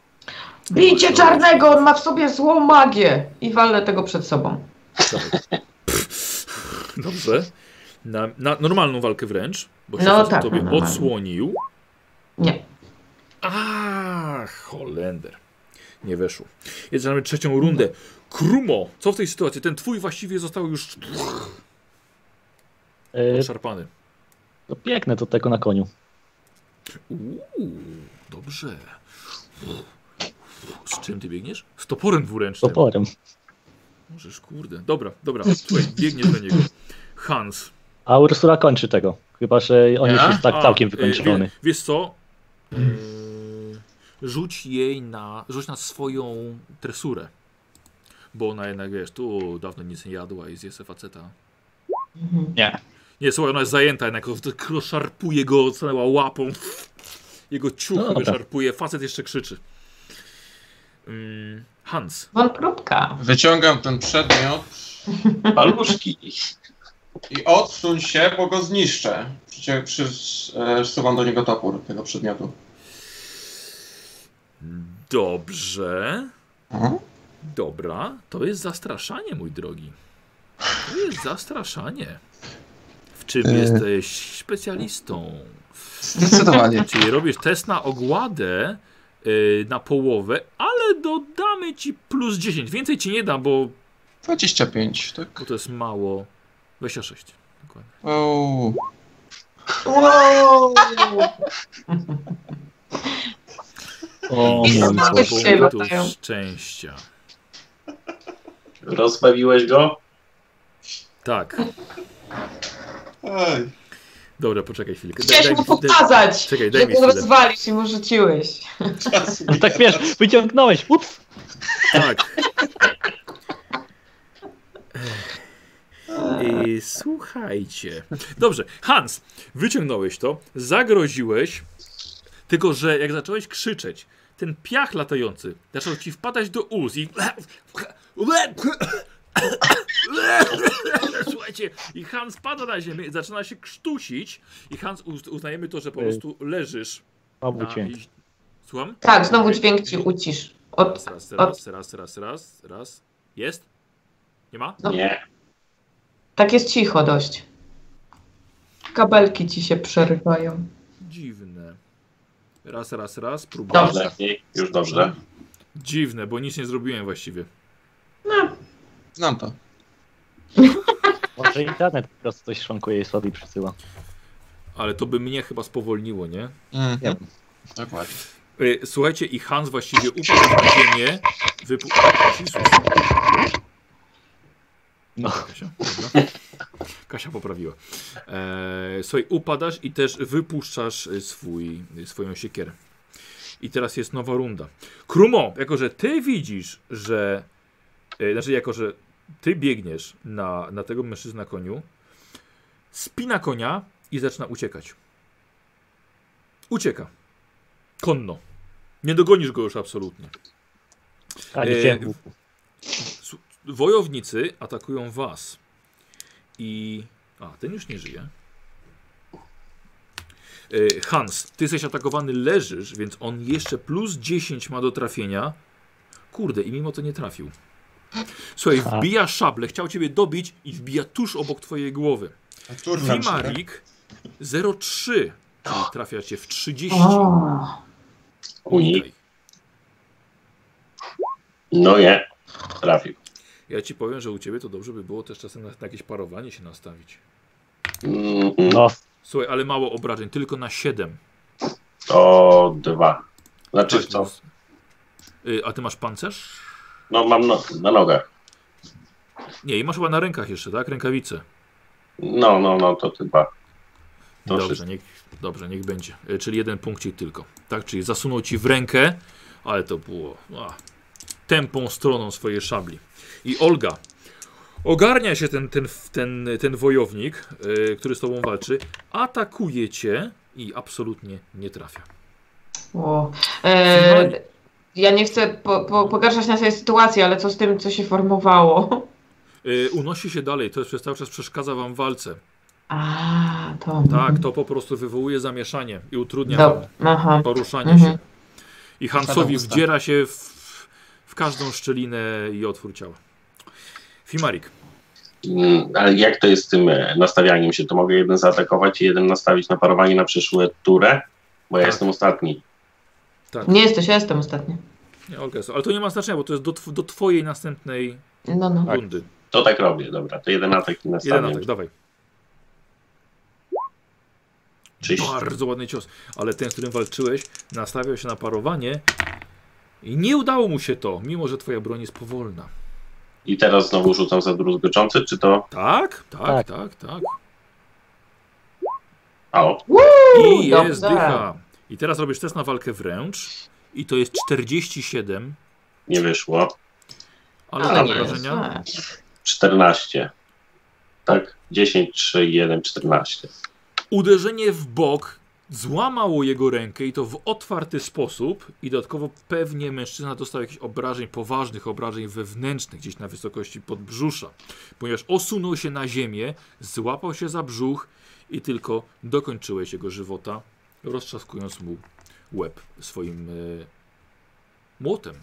Bijcie czarnego, on ma w sobie złą magię. I walę tego przed sobą. Dobrze. Na, na normalną walkę wręcz, bo się No facet tak, tobie normalnie. odsłonił. Nie. A, Holender. nie weszło. Jest zaczynamy trzecią rundę. Krumo, co w tej sytuacji? Ten twój właściwie został już E, szarpany. to biegnę do tego na koniu. Uuu, dobrze. Z czym ty biegniesz? Z toporem dwuręcznym. Toporem. Możesz, kurde. Dobra, dobra. Słuchaj, biegniesz do niego. Hans. A Ursula kończy tego. Chyba, że on już Ja? jest tak A, całkiem y, wykończony. wie- Wiesz co? Y, Rzuć jej na, rzuć na swoją tresurę. Bo ona jednak, wiesz, tu dawno nic nie jadła i zje se faceta. Mhm. Nie. Nie, słuchaj, ona jest zajęta jednak, tylko szarpuje go, odstanęła łapą. Jego ciuch No no, dobra. szarpuje, facet jeszcze krzyczy. Mm, Hans. Wol próbka. Wyciągam ten przedmiot Paluszki. i odsuń się, bo go zniszczę. Przycię- Przy, e, wsuwam do niego topór tego przedmiotu. Dobrze. Mhm. Dobra, to jest zastraszanie, mój drogi. To jest zastraszanie. W czym E. jesteś specjalistą? Zdecydowanie. Czyli robisz test na ogładę y, na połowę, ale dodamy ci plus 10. Więcej ci nie dam, bo, 25, tak? bo to jest mało. 26. Dokładnie. Ouu. O no. I mój znowu Boże. się Punktów latają. szczęścia. Rozbawiłeś go? Tak. Ej. Dobra, poczekaj chwilkę. Daj- Chciałeś daj- mu daj- pokazać, Czekaj, że daj mi go chwilę. rozwalisz i mu rzuciłeś. Czas No tak wiesz, wyciągnąłeś. Ups. Tak. I słuchajcie. Dobrze, Hans, wyciągnąłeś to, zagroziłeś, tylko że jak zacząłeś krzyczeć, ten piach latający zaczął ci wpadać do ust i... Słuchajcie, i Hans pada na ziemię, i zaczyna się krztusić i Hans uz- uznajemy to, że po prostu leżysz. Mam Na... ucięć. i- Słucham? Tak, znowu dźwięk ci ucisz. Od... Raz, raz, raz, raz, raz, raz, raz. Jest? Nie ma? Nie. Tak jest cicho dość. Kabelki ci się przerywają. Dziwne. Raz, raz, raz, próbuję. Dobrze. Lepiej. Już dobrze. Dziwne, bo nic nie zrobiłem właściwie. Znam to. Może internet po prostu coś szwankuje i słabiej przysyła. Ale to by mnie chyba spowolniło, nie? Mhm. Wiem. Dokładnie. Y, Słuchajcie, i Hans właściwie upadł na ziemię. Wypu- Jezus. No. Kasia, dobra. Kasia poprawiła. Eee, słuchaj, upadasz i też wypuszczasz y, swój, y, swoją siekierę. I teraz jest nowa runda. Krumo, jako że ty widzisz, że. Yy, znaczy, jako że ty biegniesz na, na tego mężczyznę na koniu, spina konia i zaczyna uciekać. Ucieka. Konno. Nie dogonisz go już absolutnie. A, Yy, nie Wojownicy atakują was. I. A, ten już nie żyje. E, Hans, ty jesteś atakowany, leżysz, więc on jeszcze plus 10 ma do trafienia. Kurde, i mimo to nie trafił. Słuchaj, Ha. wbija szablę, chciał ciebie dobić i wbija tuż obok twojej głowy. Turlam się. Primarik 03, czyli trafia cię w 30. O, Unik. No nie. Trafił. Ja ci powiem, że u ciebie to dobrze by było też czasem na, na jakieś parowanie się nastawić. Mm, No, Słuchaj, ale mało obrażeń, tylko na 7. To dwa. Znaczy Tak, co? więc- Y, A ty masz pancerz? No mam no, na nogach. Nie, i masz chyba na rękach jeszcze, tak? Rękawice. No, no, no, to ty dwa. To Dobrze, wszystko. niech, dobrze, niech będzie. Y, Czyli jeden punkcik tylko. Tak, czyli zasunął ci w rękę, ale to było a, tępą stroną swojej szabli. I Olga. Ogarnia się ten, ten, ten, ten wojownik, y, który z tobą walczy, atakuje cię i absolutnie nie trafia. o. E, ja nie chcę po, po, pogarszać na sobie sytuacji, ale co z tym, co się formowało? Y, unosi się dalej, to jest przez cały czas przeszkadza wam w walce. A, to. Mhm. Tak, to po prostu wywołuje zamieszanie i utrudnia wam Dob- Aha. poruszanie Mhm. się. I Hansowi Siadam tak. usta. wdziera się w, w każdą szczelinę i otwór ciała. Fimarik. Mm, Ale jak to jest z tym e, nastawianiem się? To mogę jeden zaatakować i jeden nastawić na parowanie na przyszłe turę? Bo ja Tak. jestem ostatni. Tak. Nie jesteś, ja jestem ostatni. Nie, orkestr. Ale to nie ma znaczenia, bo to jest do, tw- do twojej następnej No, no. Tak. rundy. To tak robię, dobra. To jeden atak i Jeden następny. atak, dawaj. Czyś. Bardzo ładny cios. Ale ten, z którym walczyłeś, nastawiał się na parowanie i nie udało mu się to, mimo że twoja broń jest powolna. I teraz znowu rzucam za druzgoczące, czy to... Tak, tak, Tak. tak, tak. A, o, Uuu, I dobrze. jest dycha. I teraz robisz test na walkę wręcz i to jest 47, nie wyszło. ale Ale na nie jest wrażenia. 14. Tak? 10, 3, 1, 14. Uderzenie w bok złamało jego rękę i to w otwarty sposób i dodatkowo pewnie mężczyzna dostał jakichś obrażeń, poważnych obrażeń wewnętrznych gdzieś na wysokości podbrzusza, ponieważ osunął się na ziemię, złapał się za brzuch i tylko dokończyłeś jego żywota, roztrzaskując mu łeb swoim e, młotem.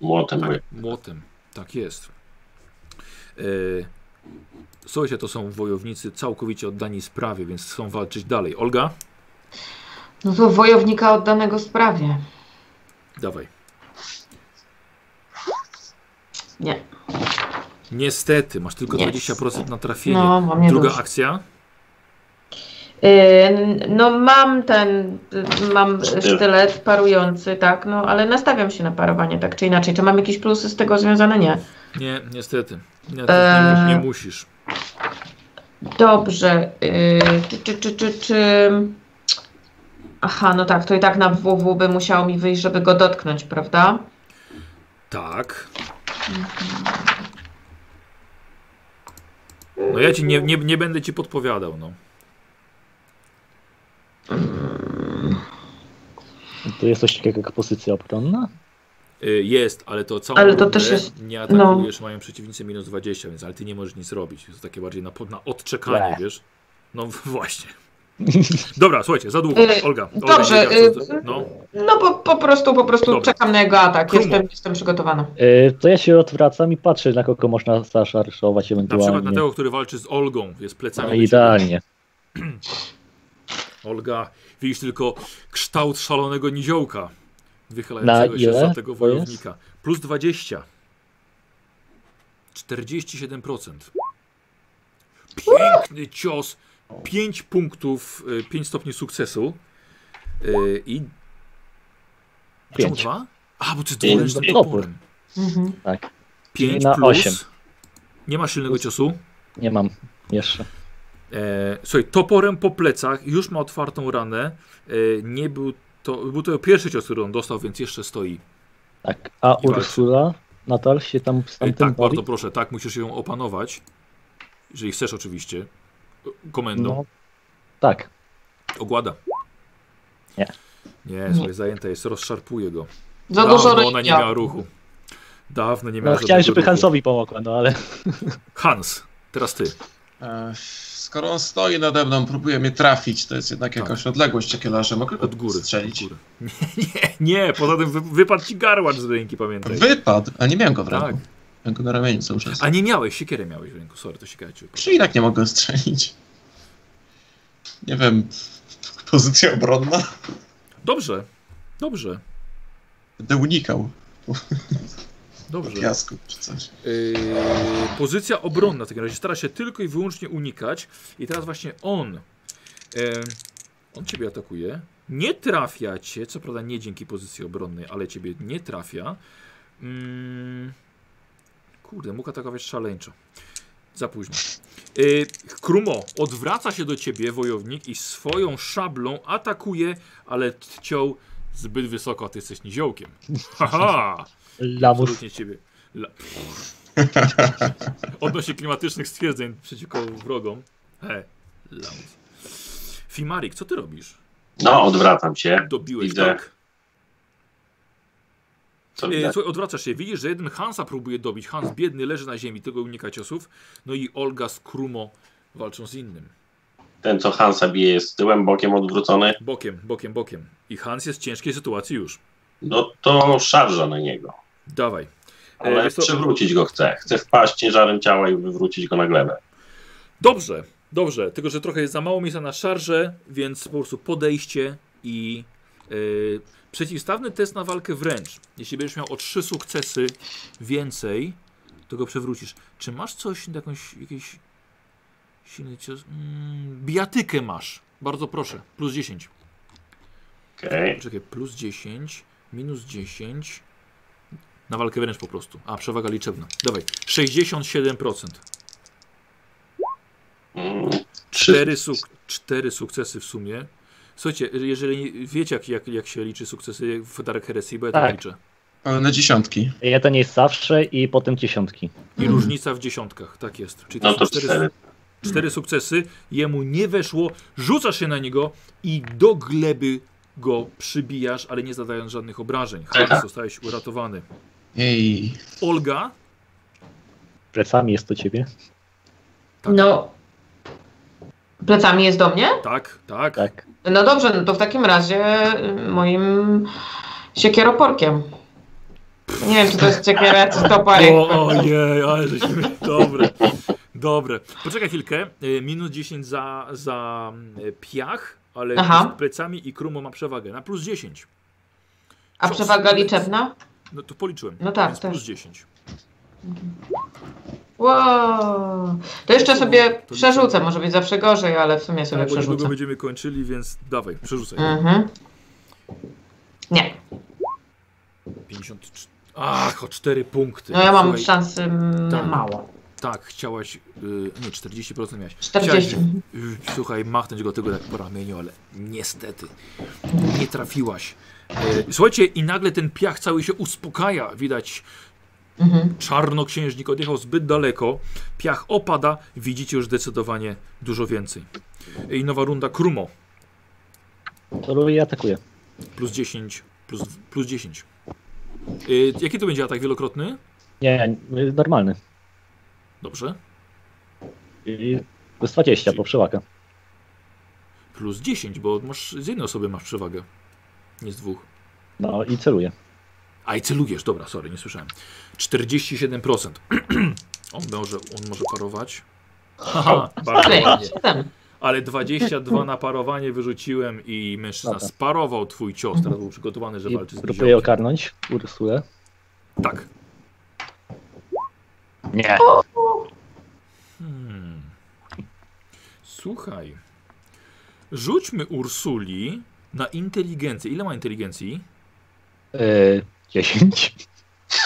Młotem. Tak, mówię. młotem. Tak jest. E, słuchajcie, to są wojownicy całkowicie oddani sprawie, więc chcą walczyć dalej. Olga, No to wojownika oddanego sprawie. dawaj. Nie. Niestety, masz tylko Nie. 20% na trafienie. No, mam nie Druga dużo. akcja. Yy, No mam ten, y, mam Sztylet. sztylet parujący, tak, no ale nastawiam się na parowanie, tak czy inaczej. Czy mam jakieś plusy z tego związane? Nie. Nie, niestety. Nie, to Eee. nie, mu- nie musisz. Dobrze. y, Czy, czy, czy, czy, czy... Aha, no tak, to i tak na WW by musiało mi wyjść, żeby go dotknąć, prawda? Tak. No ja ci nie, nie, nie będę ci podpowiadał, no. To jest coś takiego jak pozycja obronna? Y, Jest, ale to całą Ale to rundę też jest- nie no. atakujesz, mają przeciwnicy minus 20, więc ale ty nie możesz nic robić. To jest takie bardziej na, pod- na odczekanie, Ble. wiesz? No właśnie. Dobra, słuchajcie, za długo. Y, Olga. Olga dobrze, nie wiedziała, co- y, no, No po, po prostu, po prostu Dobra. czekam na jego atak. Krumo. Jestem, jestem przygotowana. E, To ja się odwracam i patrzę, na kogo można zaszarżować na przykład na ewentualnie. tego, który walczy z Olgą, jest plecami. No, do ciebie. idealnie. Olga, widzisz tylko kształt szalonego niziołka wychylającego Na się ile za tego to jest? wojownika. Plus 20. 47%. Piękny cios. 5 punktów, 5 stopni sukcesu. Y, I. A Czemu Pięć. dwa? A, bo ty Pięć. dwuręcznym Pięć. toporem. Mhm. Tak, 5 Na plus. osiem. Nie ma silnego ciosu. nie mam jeszcze. E, słuchaj, toporem po plecach, już ma otwartą ranę. E, nie był to, był to pierwszy cios, który on dostał, więc jeszcze stoi. Tak. A I walczy. Ursula nadal się tam z E, tamtym tak, boi? bardzo proszę, tak, musisz ją opanować. Jeżeli chcesz, oczywiście. Komendą. No, tak. Ogłada. Nie. Nie, słuchaj, zajęta jest, rozszarpuje go. Za dużo Dawno ona nie miała ryzyka. ruchu. Dawno nie miała No, chciałem, żadnego żeby ruchu. Hansowi pomogła, no ale Hans, teraz ty. E, Skoro on stoi nade mną, próbuje mnie trafić, to jest jednak Tak. jakaś odległość ciekielarza, mogę go Od góry. strzelić. Od góry. Nie, nie, poza tym wy, wypadł ci garłacz z ręki, pamiętaj. Wypadł, a nie miałem go w ręku. Tak. Miałem go na ramieniu cały czas. A nie miałeś, siekierę miałeś w ręku, sorry, to siekierę ci Czy i tak nie mogę strzelić? Nie wiem, pozycja obronna? Dobrze, dobrze, Będę unikał po dobrze. piasku czy coś. Yy, pozycja obronna w takim razie stara się tylko i wyłącznie unikać. I teraz właśnie on. Yy, on ciebie atakuje. Nie trafia cię, co prawda nie dzięki pozycji obronnej, ale ciebie nie trafia. Mm, kurde, mógł atakować szaleńczo. Za późno. Yy, Krumo odwraca się do ciebie, wojownik, i swoją szablą atakuje, ale ciął zbyt wysoko, a ty jesteś niziołkiem. Haha! Lamus. Absolutnie ciebie. La... Odnośnie klimatycznych stwierdzeń przeciwko wrogom. He, lamus. Fimarik, co ty robisz? No, odwracam się. Dobiłeś, Widzę. tak? Co E, widać? Słuchaj, odwracasz się. Widzisz, że jeden Hansa próbuje dobić. Hans biedny leży na ziemi, tego unika ciosów. No i Olga z Krumo walczą z innym. Ten, co Hansa bije, jest tyłem, bokiem odwrócony. Bokiem, bokiem, bokiem. I Hans jest w ciężkiej sytuacji już. No to szarża na niego. Dawaj. E, Ale wiesz co- przywrócić go chcę. Chcę wpaść ciężarem ciała i wywrócić go na glebę. Dobrze, dobrze. Tylko, że trochę jest za mało miejsca na szarże, więc po prostu podejście i Yy, przeciwstawny test na walkę wręcz. Jeśli będziesz miał o trzy sukcesy więcej, to go przewrócisz. Czy masz coś, jakąś, jakiś silny cios? Mm, bijatykę masz. Bardzo proszę. Plus 10. Okej. Czekaj, plus 10, minus 10. Na walkę wręcz po prostu. A, przewaga liczebna. Dawaj. 67%. Mm, trzy. Cztery, suk cztery sukcesy w sumie. Słuchajcie, jeżeli wiecie, jak, jak, jak się liczy sukcesy w Dark Heresy, bo ja tak, Tak. liczę. Pełne dziesiątki. Jeden jest zawsze i potem dziesiątki. I różnica w dziesiątkach, tak jest. Czyli to No są to cztery, cztery. cztery sukcesy, jemu nie weszło, rzucasz się na niego i do gleby go przybijasz, ale nie zadając żadnych obrażeń. Hans, Aha. zostałeś uratowany. Ej, Olga, Plecami jest to ciebie. Tak. No. Plecami jest do mnie? tak, tak. Tak. No dobrze, no to w takim razie y, moim siekieroporkiem. Nie wiem, czy to jest siekiera, czy stopa. O, ojej, ale żeśmy... Dobre, dobre. Poczekaj chwilkę. Y, Minus 10 za, za y, piach, ale Aha. z plecami i krumą ma przewagę. Na plus 10. A przewaga liczebna? No to policzyłem. No tak, Więc tak. plus 10. Wow. To jeszcze sobie przerzucę, może być zawsze gorzej, ale w sumie sobie Tak, Bo niedługo przerzucę. będziemy kończyli, więc dawaj, przerzucaj. Mhm. Nie, 54. Ach, o 4 punkty. no ja mam Słuchaj, szansy mm, Tak. mało. Tak, chciałaś. y, Nie, 40% miałaś. 40. Chciałaś, y, słuchaj, machnąć go tego tak po ramieniu, ale niestety nie trafiłaś. Y, Słuchajcie, i nagle ten piach cały się uspokaja. Widać, Mhm. czarnoksiężnik odjechał zbyt daleko. Piach opada, widzicie już zdecydowanie dużo więcej. I nowa runda Krumo. Troluje i atakuje. Plus 10, plus, plus 10. Y, Jaki to będzie atak wielokrotny? Nie, y, normalny. Dobrze. I Plus 20 po przewaga. Plus 10, bo masz, z jednej osoby masz przewagę. Nie z dwóch. No i celuje. A i celujesz, dobra, sorry, nie słyszałem. 47%. on, może, on może parować. Haha, bardzo Okej, ładnie. siedem. Ale 22 na parowanie wyrzuciłem i mężczyzna Dobra. sparował twój cios. Teraz był przygotowany, że I walczy z próbuje niziołkiem. okarnąć Ursulę. Tak. Nie. Hmm. Słuchaj. Rzućmy Ursuli na inteligencję. Ile ma inteligencji? Y, 10.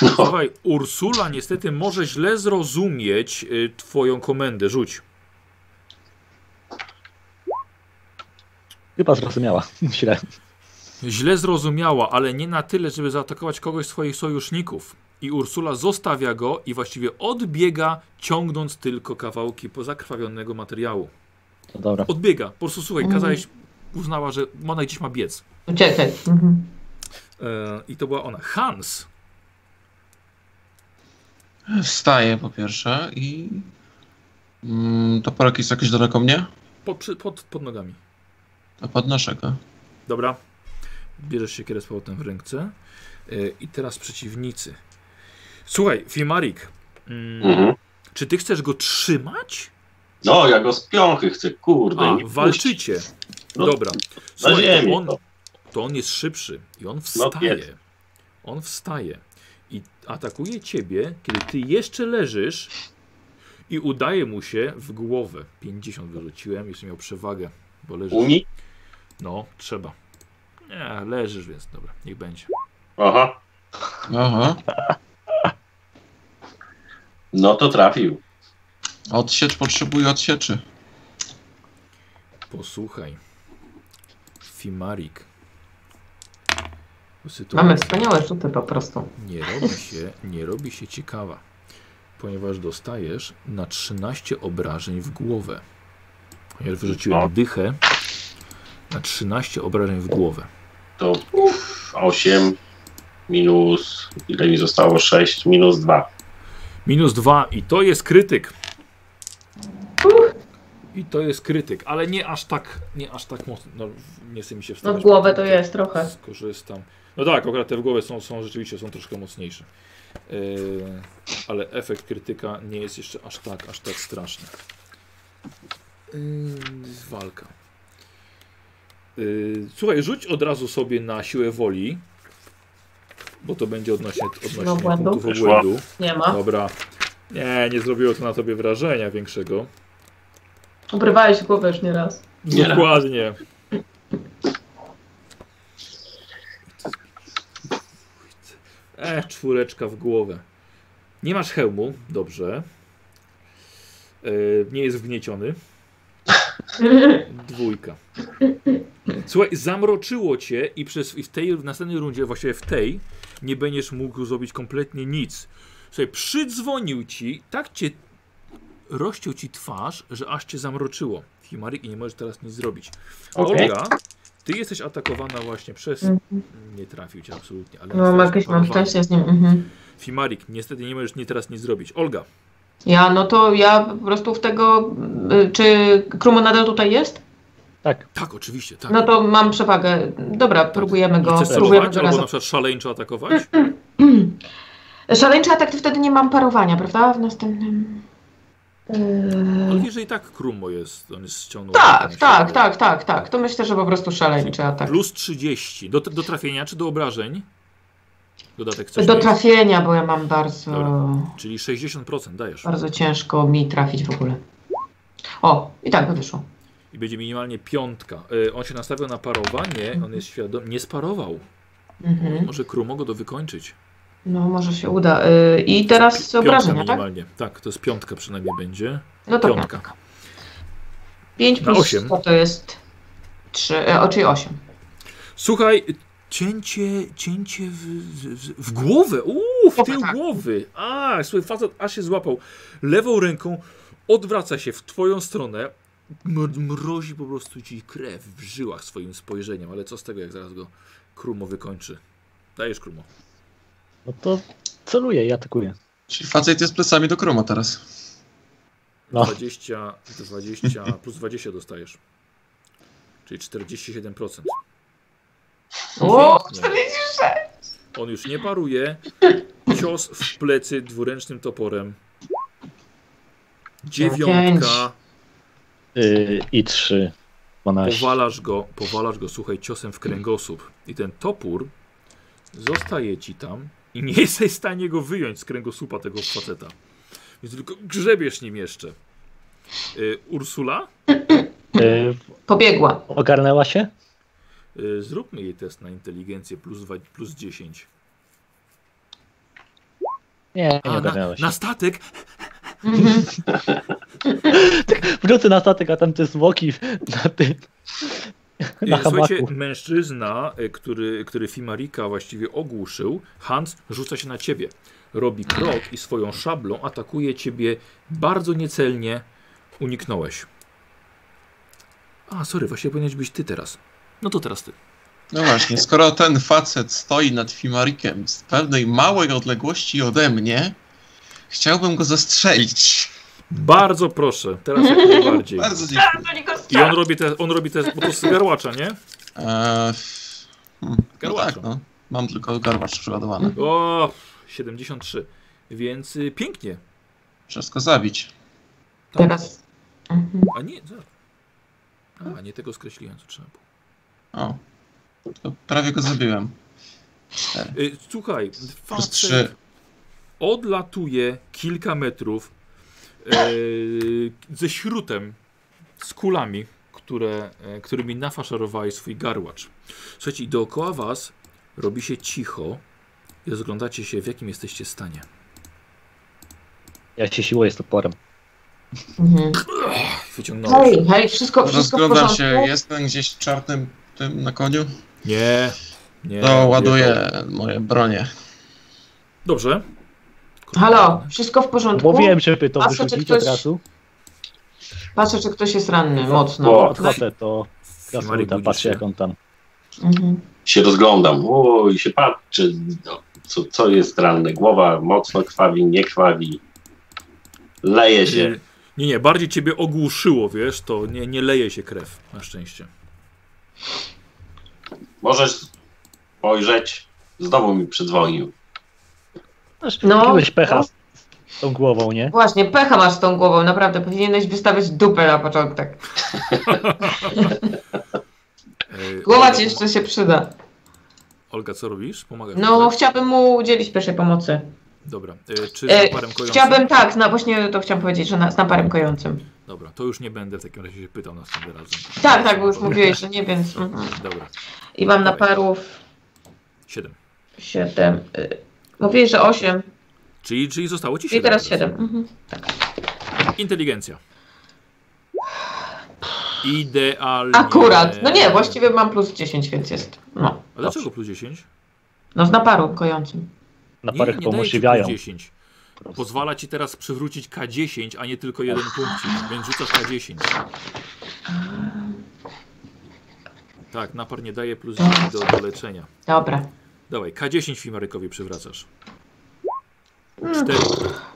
No, Słuchaj, Ursula niestety może źle zrozumieć y, twoją komendę. Rzuć. Chyba zrozumiała. Źle. Źle zrozumiała, ale nie na tyle, żeby zaatakować kogoś z swoich sojuszników. I Ursula zostawia go i właściwie odbiega, ciągnąc tylko kawałki pozakrwawionego materiału. No dobra. Odbiega. Po prostu słuchaj, Mhm. kazałeś, uznała, że ona gdzieś ma biec. Uciekaj. Mhm. E, I to była ona. Hans. wstaję po pierwsze i... Mm, to parek jest jakoś daleko mnie? Pod, przy- pod, pod nogami. To podnoszę go. Dobra. Bierzesz siekierę z powrotem w ręce. E, I teraz przeciwnicy. Słuchaj, Fimarik. Mm, mhm. Czy ty chcesz go trzymać? no ja go z piąchy chcę, kurde. A, nie puść. walczycie. No, Dobra. Na Słuchaj, ziemi. to on, no. to on jest szybszy i on No, wstaje. On wstaje i atakuje ciebie, kiedy ty jeszcze leżysz i udaje mu się w głowę. 50 wyrzuciłem, jeszcze miał przewagę, bo leżysz. Uni? No, trzeba. Nie, leżysz, więc dobra, niech będzie. Aha. Aha, No to trafił. odsiecz potrzebuje odsieczy. Posłuchaj. Fimarik. Sytuacja- Mamy wspaniałe rzuty po prostu. Nie robi się, nie robi się ciekawa, ponieważ dostajesz na 13 obrażeń w głowę. Ponieważ wyrzuciłem No. dychę na 13 obrażeń w głowę. To uff, 8 minus, ile mi zostało? 6 minus 2. Minus 2 i to jest krytyk. I to jest krytyk, ale nie aż tak, nie aż tak mocno. No, nie chce mi się No wstawać. w głowę to jest trochę. Skorzystam. No tak, akurat te w głowę są, są rzeczywiście są troszkę mocniejsze. Yy, ale efekt krytyka nie jest jeszcze aż tak, aż tak E, straszny. Yy, walka. Yy, słuchaj, rzuć od razu sobie na siłę woli, bo to będzie odnośnie, odnośnie No, błędu. punktów Wyszło. obłędu. Nie ma. Dobra. Nie, nie zrobiło to na tobie wrażenia większego. Obrywałeś głowę już nieraz. Nie. Dokładnie. E, czwóreczka w głowę. Nie masz hełmu, dobrze. E, nie jest wgnieciony. Dwójka. Słuchaj, zamroczyło cię i, przez, i w tej w następnej rundzie, właściwie w tej, nie będziesz mógł zrobić kompletnie nic. Słuchaj, przydzwonił ci, tak cię rościł ci twarz, że aż cię zamroczyło. Himarik i nie możesz teraz nic zrobić. Okej. Olga, ty jesteś atakowana właśnie przez. Nie trafił cię absolutnie, ale. Mhm. No, mam jesteś jakieś mam atakowana. szczęście z nim. Mhm. Fimarik, niestety nie możesz nie teraz nic zrobić. Olga, Ja, no to ja po prostu w tego. y, Czy Krumo nadal tutaj jest? Tak, tak, oczywiście, tak. No to mam przewagę. Dobra, próbujemy go. Chcesz Próbujemy celować go albo na razem. przykład szaleńczo atakować? Mhm. Mm. Szaleńczy atak to wtedy nie mam parowania, prawda? W następnym. Ale Yy... wiesz, że i tak Krumo jest, on jest ściągnął. Tak, jakąś tak, siłę. tak, tak, tak. To myślę, że po prostu szaleńczy atak. Plus 30. Do, do trafienia czy do obrażeń? Dodatek coś. Do jest? trafienia, bo ja mam bardzo, Dobra. Czyli 60% dajesz. bardzo ciężko mi trafić w ogóle. O, i tak by wyszło. I będzie minimalnie piątka. Y, On się nastawiał na parowanie, on jest świadom, nie sparował. Mhm. Może Krumo go do wykończyć. No, może się uda. Y, I teraz Piątka obrażenia, tak? minimalnie. Tak? to jest piątka przynajmniej będzie. No to Piątka. piątka. 5 Na plus osiem. 100 to jest 3, e, o, czyli 8. Słuchaj, cięcie, cięcie w, w, w głowę. Uuu, w Głowę, tył tak. głowy. A, słuchaj, facet aż się złapał. Lewą ręką odwraca się w twoją stronę. Mr- Mrozi po prostu ci krew w żyłach swoim spojrzeniem, ale co z tego, jak zaraz go Krumo wykończy. Dajesz Krumo. no to celuję i atakuję. Czyli facet jest plecami do kroma teraz. No, 20, 20 plus 20 dostajesz. Czyli 47%. O, Pięknie. 46! On już nie paruje. Cios w plecy dwuręcznym toporem. Dziewiątka. yy, i trzy, dwanaście. Powalasz go, powalasz go, słuchaj, ciosem w kręgosłup. I ten topór zostaje ci tam i nie jesteś w stanie go wyjąć z kręgosłupa tego faceta. Więc tylko grzebiesz nim jeszcze. Y, Ursula, Yy, Pobiegła. ogarnęła się? y, zróbmy jej test na inteligencję plus, dwa, plus 10. Nie, nie A, na, ogarnęła się. na statek Mhm. Wrócę na statek, a tam te zwłoki na tym. Na E, Słuchajcie, hamaku. mężczyzna, e, który, który Fimarika właściwie ogłuszył, Hans rzuca się na ciebie. Robi krok i swoją szablą atakuje ciebie bardzo niecelnie. Uniknąłeś. A, sorry, właśnie powinieneś być ty teraz. No to teraz ty. No właśnie, skoro ten facet stoi nad Fimarikiem z pewnej małej odległości ode mnie, chciałbym go zastrzelić. Bardzo proszę, teraz jak najbardziej. Bardzo dziękuję. Do niego I on robi te, on robi te, bo to z garłacza, nie? Eee, f- hmm, no Garłaczu. tak, no. Mam tylko garłacz przeładowany. O, 73. Więc y, pięknie. Wszystko zabić. Tak. Teraz. Mhm. A nie, za- a, nie tego skreśliłem, co trzeba było. O. To prawie go zabiłem. Cztery. Y, Słuchaj, Plus facet trzy. odlatuje kilka metrów yy, ze śrutem, z kulami, które, e, którymi nafaszerowałeś swój garłacz. Słuchajcie, i dookoła was robi się cicho i rozglądacie się, w jakim jesteście stanie. Ja się siłuję z toporem. Mhm. Wyciągnąłeś. Hej, hej, wszystko, wszystko w Rozglądam porządku. się, jest ten gdzieś w czarnym tym na koniu? Nie, nie. To wjechał. No, ładuję moje bronie. Dobrze. Halo, wszystko w porządku? Mówiłem, żeby to A co, czy wyrzucić ktoś- od razu. Patrzę, czy ktoś jest ranny, mocno. O. Odchodzę, to Marek krasnoluda budzi patrzy się. jak on tam. Mhm. Się rozglądam. O, i się patrzy. No, co, co jest ranne? Głowa mocno krwawi, nie krwawi. Leje Y- się. Nie, nie, bardziej ciebie ogłuszyło, wiesz, to nie, nie leje się krew, na szczęście. Możesz spojrzeć. Znowu mi przydzwonił. Masz No. jakiegoś pecha z z tą głową, nie? Właśnie, pecha masz z tą głową, naprawdę. Powinieneś wystawiać dupę na początek. Yy, Głowa Olga, ci jeszcze się przyda. Olga, co robisz? Pomagasz? No, tak? chciałabym mu udzielić pierwszej pomocy. Dobra. Yy, czy E, z parem kojącym? Chciałabym tak, no właśnie to chciałam powiedzieć, że na, z naparem kojącym. Dobra, to już nie będę w takim razie się pytał następnym razem. Tak, tak, bo już mówiłeś, że nie, więc... mhm. Dobra, I mam naparów siedem. 7. Mówiłeś, że 8. Czyli, czyli zostało ci I siedem. teraz 7. Mhm. Inteligencja. Idealnie. Akurat. No nie, właściwie mam plus 10, więc jest. No, A dlaczego plus 10? no z naparu kojącym. Na parę nie, nie chyba daje ci umożliwiają. plus 10. Pozwala ci teraz przywrócić K10, a nie tylko jeden punkcik, więc rzucasz K10. Tak, napar nie daje plus 10 do, do leczenia. Dobra. Dawaj, K10 Fimarykowi przywracasz. Mm. 4.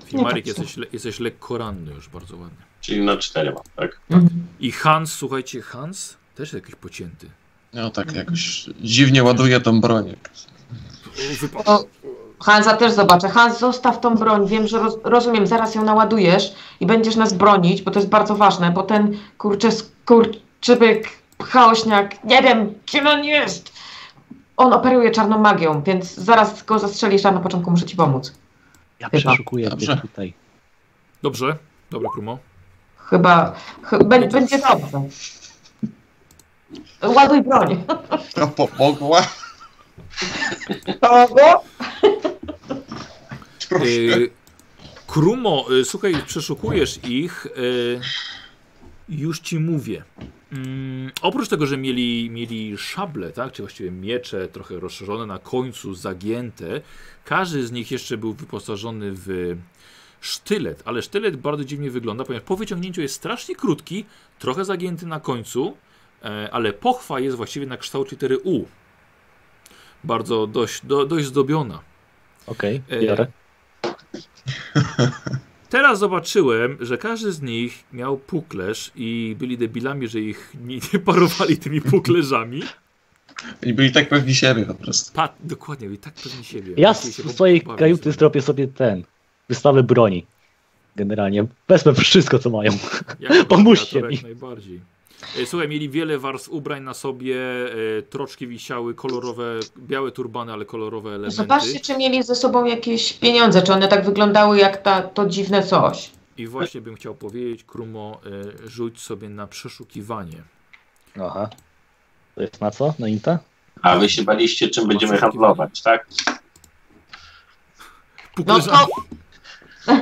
Fimaryk, patrzę. jesteś, le, jesteś lekko ranny już, bardzo ładnie. Czyli na cztery mam, tak? Mhm. I Hans, słuchajcie, Hans też jakiś pocięty. No tak jakoś dziwnie ładuje tą broń. O, Wypadł. O, Hansa też zobaczę. Hans, zostaw tą broń. Wiem, że roz, rozumiem, zaraz ją naładujesz i będziesz nas bronić, bo to jest bardzo ważne, bo ten kurczę skurczybyk, chaośniak, nie wiem, kim on jest. On operuje czarną magią, więc zaraz go zastrzelisz, a na początku muszę ci pomóc. Ja Chyba. przeszukuję Dobrze. tych tutaj. Dobrze, dobra Krumo. Chyba, ch bę- będzie dobrze. Ładuj broń. To pomogła. Kogo? Y, Krumo, y, słuchaj, przeszukujesz ich. y, Już ci mówię. Mm, oprócz tego, że mieli, mieli szable, tak, czy właściwie miecze, trochę rozszerzone na końcu, zagięte, każdy z nich jeszcze był wyposażony w sztylet, ale sztylet bardzo dziwnie wygląda, ponieważ po wyciągnięciu jest strasznie krótki, trochę zagięty na końcu, e, ale pochwa jest właściwie na kształt litery U. Bardzo dość, do, dość zdobiona. Okej, E, biorę. Teraz zobaczyłem, że każdy z nich miał puklerz i byli debilami, że ich nie, nie parowali tymi puklerzami. I byli tak pewni siebie po prostu. Pat, dokładnie, byli tak pewni siebie. Ja Musieli z się po- swojej pobawić kajuty sobie. zrobię sobie ten. Wystawę broni. Generalnie. Wezmę wszystko, co mają. Jak Pomóżcie operator, jak mi. najbardziej. E, Słuchaj, mieli wiele warstw ubrań na sobie, e, troczki wisiały, kolorowe, białe turbany, ale kolorowe elementy. Zobaczcie, czy mieli ze sobą jakieś pieniądze, czy one tak wyglądały jak ta, to dziwne coś. I właśnie bym chciał powiedzieć, Krumo, e, rzuć sobie na przeszukiwanie. No Aha. To jest na co? Na Inta? A wy się baliście, czym będziemy handlować, tak? No Puklerzami. to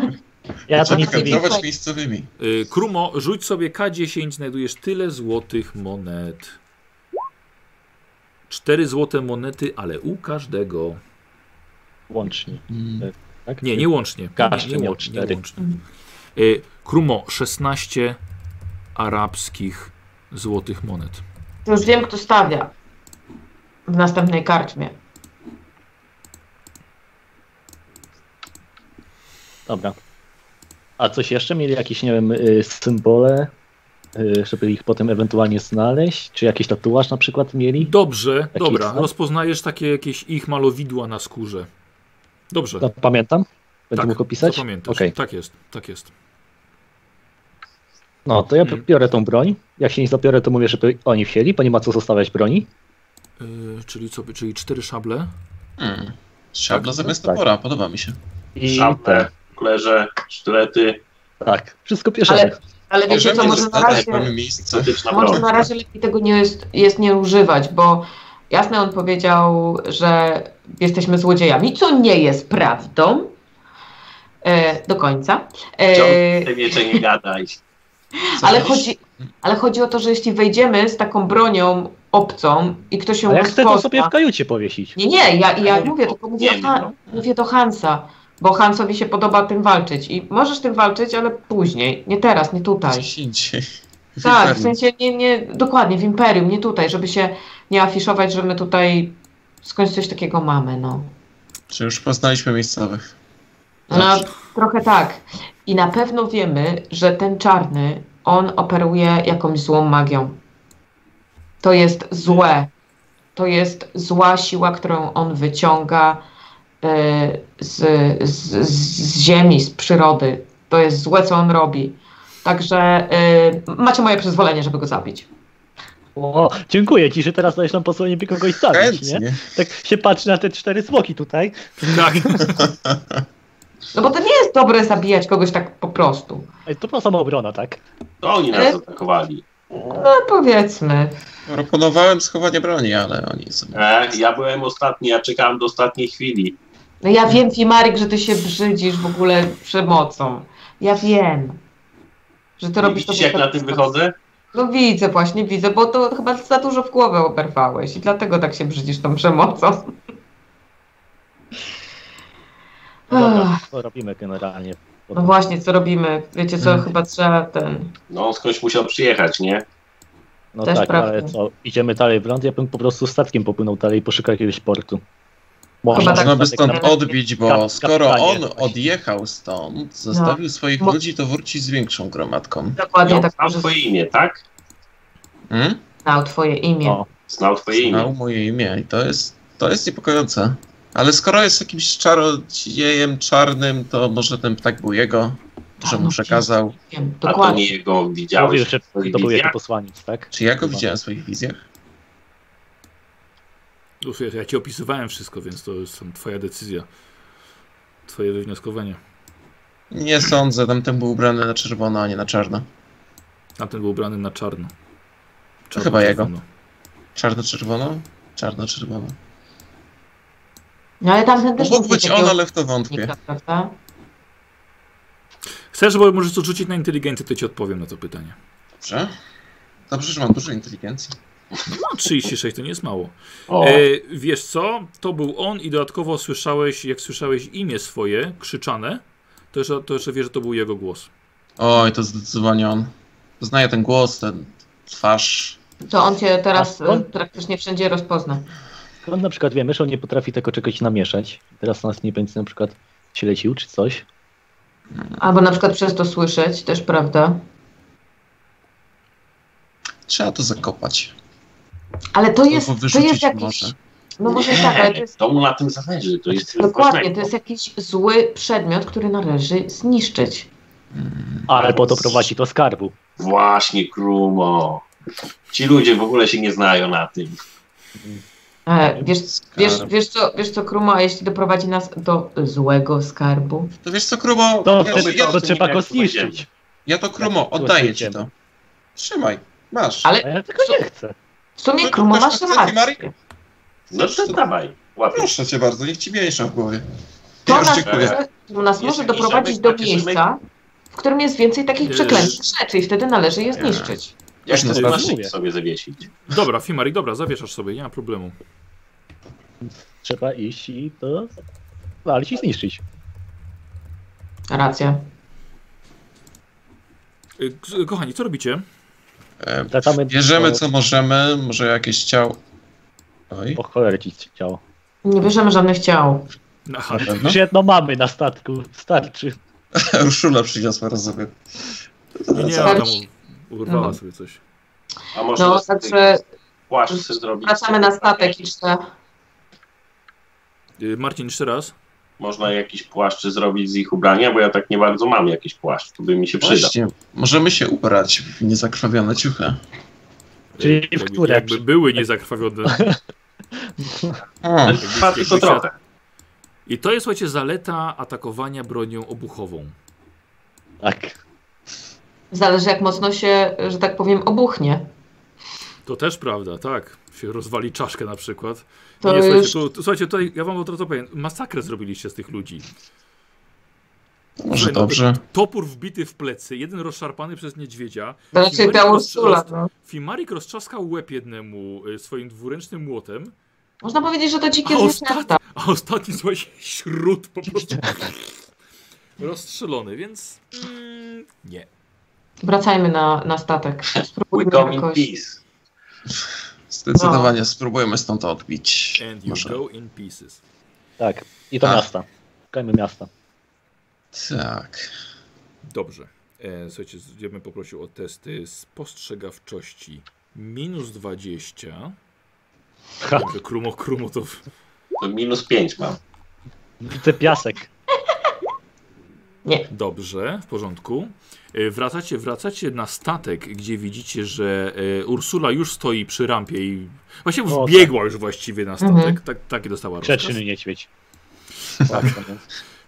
Ja to Trzeba nic nie wiem. handlować miejscowymi. Y, Krumo, rzuć sobie K10, znajdujesz tyle złotych monet. Cztery złote monety, ale u każdego. Łącznie. Mm. Tak? Nie, nie łącznie. Każdy nie, nie, miał łącznie, nie cztery. łącznie. Y, Krumo, 16 arabskich złotych monet. To już wiem, kto stawia w następnej karczmie. Dobra. A coś jeszcze? Mieli jakieś, nie wiem, y, symbole, y, żeby ich potem ewentualnie znaleźć? Czy jakiś tatuaż na przykład mieli? Dobrze, Taki dobra. znak? Rozpoznajesz takie jakieś ich malowidła na skórze. Dobrze. To No, pamiętam? Będę tak, mógł opisać? to pamiętasz. Okej. Tak jest, tak jest. No, to ja Mhm. biorę tą broń. Jak się nie zabiorę, to mówię, żeby oni wzięli, bo nie ma co zostawiać broni. Y, czyli co, czyli cztery szable? Mm. Szabla zamiast Tak. topora, podoba mi się. I Szample, klerze, sztylety, Tak, wszystko bierzemy. Ale- Ale wiecie Możemy co, może na zostawiać, razie, mamy miejsce. egzotyczna może broń. na razie lepiej tego nie jest, jest nie używać, bo jasne on powiedział, że jesteśmy złodziejami, co nie jest prawdą e, do końca. E, Ciągle wiecie, nie gadaj. Co ale, robisz? chodzi, ale chodzi o to, że jeśli wejdziemy z taką bronią obcą i ktoś ją A ja chcę to rozpozna- sobie w kajucie powiesić. Nie, nie, ja, ja Ale mówię, po- tylko mówię, nie, o Han, mówię do Hansa, bo Hansowi się podoba tym walczyć i możesz tym walczyć, ale później, nie teraz, nie tutaj. Gdzieś indziej. Tak, w Inferno. sensie nie, nie, dokładnie, w Imperium, nie tutaj, żeby się nie afiszować, że my tutaj skądś coś takiego mamy, no. Czy już poznaliśmy miejscowych? Znaczy, No, Zawsze. trochę tak. I na pewno wiemy, że ten czarny, on operuje jakąś złą magią. To jest złe. To jest zła siła, którą on wyciąga e, z, z, z, z ziemi, z przyrody. To jest złe, co on robi. Także e, macie moje przyzwolenie, żeby go zabić. O, dziękuję ci, że teraz dajesz nam posłanie, by kogoś zabić, nie? Chętnie. Tak się patrzy na te cztery smoki tutaj. Tak. No bo to nie jest dobre zabijać kogoś tak po prostu. Ej, To była samoobrona, tak? To oni E? nas atakowali. No powiedzmy. Proponowałem schowanie broni, ale oni sobie... E, ja byłem ostatni, ja czekałem do ostatniej chwili. No ja wiem, Fimarik, że ty się brzydzisz w ogóle przemocą. Ja wiem. Że ty To robisz tak- Widzisz, jak po- na tym wychodzę? No widzę właśnie, widzę, bo to chyba za dużo w głowę oberwałeś i dlatego tak się brzydzisz tą przemocą. No Dobra, Ach. to robimy generalnie. No właśnie, co robimy? Wiecie co, Hmm. Mm. chyba trzeba ten... No, on skądś musiał przyjechać, nie? No Też tak, prawda. ale co, idziemy dalej w ląd, ja bym po prostu statkiem popłynął dalej i poszukał jakiegoś portu. Chyba tak. Można by statek na- stąd odbić, Kap- bo skoro kapitanie on właśnie. odjechał stąd, zostawił swoich No. Mo- ludzi, to wróci z większą gromadką. Dokładnie No, tak Znał może twoje imię, tak? Hmm? znał twoje imię. No. O. Znał twoje Znał imię. moje imię i to jest, to jest niepokojące. Ale skoro jest jakimś czarodziejem czarnym, to może ten ptak był jego, Tak, że no, mu przekazał. Wiem, A to dokładnie. nie jego Mówił, widziałeś. że to był jego posłaniec, tak? Czy ja go Chyba. widziałem w swoich wizjach? No, słuchaj, ja ci opisywałem wszystko, więc to jest twoja decyzja. Twoje wywnioskowanie. Nie sądzę, tamten był ubrany na czerwono, a nie na czarno. Tamten był ubrany na czarno. To chyba jego. czerwono. Czarno-czerwono? Czarno-czerwono. No ale tamten też Mógł był być takiego on, ale w to wątpię. uczestnika, prawda? Chcesz, bo możesz to rzucić na inteligencję, to ci odpowiem na to pytanie. Dobrze? Dobrze, że mam dużo inteligencji. No, 36 to nie jest mało. O, E, wiesz co? To był on i dodatkowo słyszałeś, jak słyszałeś imię swoje krzyczane, to jeszcze, to jeszcze wiesz, że to był jego głos. Oj, to zdecydowanie on. Znaję ten głos, ten twarz. To on cię teraz A skąd? e, praktycznie wszędzie rozpozna. Skąd na przykład wiemy, że on nie potrafi tego czegoś namieszać? Teraz nas nie będzie na przykład śledził czy coś. Albo na przykład przez to słyszeć, też prawda. Trzeba to zakopać. Ale to jest, Albo to jest wyrzucić jakiś... może. No może i tak, ale to nie, jest to mu na tym zależy. To jest Dokładnie, to jest jakiś zły przedmiot, który należy zniszczyć. Ale po to prowadzi do skarbu. Właśnie, Krumo. Ci ludzie w ogóle się nie znają na tym. E, wiesz, Skarb. wiesz, wiesz, co, wiesz co, Kruma, a jeśli doprowadzi nas do złego skarbu? To wiesz co, Krumo? To, ja, to, ja, to, trzeba go zniszczyć. ja Tak, to, Krumo, oddaję ci to. Trzymaj, masz. Ale- A ja tego nie chcę. W sumie, No, Krumo, masz masz na cechy, rację. Marek? No to dawaj, łapiesz. Proszę cię bardzo, niech ci mięśnia w głowie. To Ja już nas dziękuję. może, to nas Jest może jakiś doprowadzić zamek, do taki zamek? miejsca, w którym jest więcej takich Jest. przeklętych rzeczy i wtedy należy je Nie. zniszczyć. Jak no, to tak na szyję mówię. sobie zawiesić? Dobra, Fimari, dobra, zawieszasz sobie, nie ma problemu. Trzeba iść i to walić i zniszczyć. Racja. Y, k- Kochani, co robicie? E, Wracamy Bierzemy do... co możemy, może jakieś ciało. Oj, O cholerę ci chciało. Nie bierzemy żadnych ciał. Aha, na pewno. Już jedno mamy na statku, starczy. Urszula przyniosła, rozumiem. nie, ona tam u- urwała No. sobie coś. A może No, z tym także płaszcz chce zrobić? tak, wracamy na statek i trzeba... Y, Marcin, jeszcze raz. Można jakiś płaszcz zrobić z ich ubrania, bo ja tak nie bardzo mam jakiś płaszcz, to by mi się no. przydał. Właśnie, możemy się ubrać w niezakrwawione ciuchy. Y, Czyli w jakby, które? jakby były niezakrwawione. O, Trwa tylko trochę. I to jest, słuchajcie, zaleta atakowania bronią obuchową. Tak. Zależy jak mocno się, że tak powiem, obuchnie. To też prawda, tak. Się rozwali czaszkę na przykład. To nie, już... słuchajcie, tu, tu, słuchajcie, tutaj ja wam od razu powiem, masakrę zrobiliście z tych ludzi. może dobrze. Topór wbity w plecy, jeden rozszarpany przez niedźwiedzia. To raczej ta Maria Ursula, Ursula. no. Fimarik roztrzaskał łeb jednemu y, swoim dwuręcznym młotem, Można powiedzieć, że to dzikie A zwierzęta. a ostatni słuchajcie, śród po prostu rozstrzelony, więc mm, nie. Wracajmy na, na statek. We Spróbujmy come in jakoś. peace. Zdecydowanie spróbujemy stąd to odbić. And you Może. go in pieces. Tak. I to A. miasta. Szukajmy miasta. Tak. Dobrze. E, słuchajcie, z- ja bym poprosił o testy spostrzegawczości. Minus 20. Ha, Dobrze, Krumo, Krumo to... To minus 5 mam. widzę piasek. Nie. Dobrze, w porządku. E, Wracacie, wracacie na statek, gdzie widzicie, że e, Ursula już stoi przy rampie i właśnie O, tak. wbiegła już właściwie na statek. Mhm. Tak, taki dostała rozkaz. Grzeczny niedźwiedź.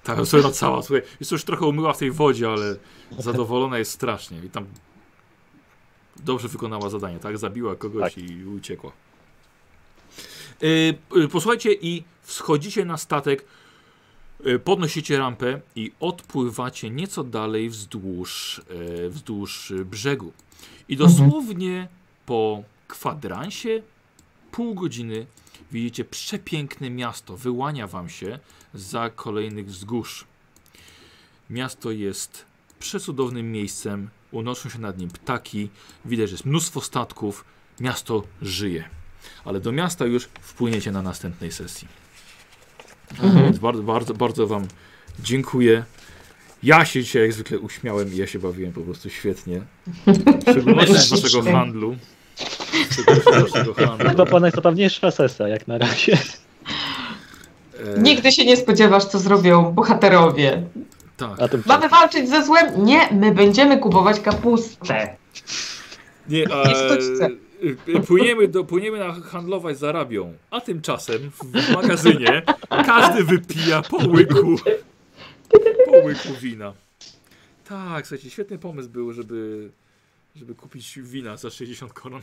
Tak, Ursula cała, słuchaj, jest już trochę umyła w tej wodzie, ale zadowolona jest strasznie i tam dobrze wykonała zadanie, tak? Zabiła kogoś i uciekła. Y, y, posłuchajcie i wschodzicie na statek, y, podnosicie rampę i odpływacie nieco dalej wzdłuż, y, wzdłuż y, brzegu. I dosłownie po kwadransie, pół godziny, widzicie przepiękne miasto, wyłania wam się za kolejnych wzgórz. Miasto jest przecudownym miejscem, unoszą się nad nim ptaki, widać, że jest mnóstwo statków, miasto żyje. Ale do miasta już wpłyniecie na następnej sesji. Mhm. Więc bardzo, bardzo, bardzo Wam dziękuję. Ja się dzisiaj jak zwykle uśmiałem i ja się bawiłem po prostu świetnie. W szczególności z waszego handlu. W szczególności z waszego handlu. Chyba pana jest najpewniejsza sesja jak na razie. E, Nigdy się nie spodziewasz, co zrobią bohaterowie. tak. A tym Mamy walczyć ze złem? Nie, my będziemy kupować kapustę. Nie, a, Nie sztućce. y, płyniemy, do, płyniemy na handlować z Arabią, a tymczasem w magazynie każdy wypija po łyku, po łyku wina. Tak, słuchajcie, świetny pomysł był, żeby, żeby kupić wina za 60 koron.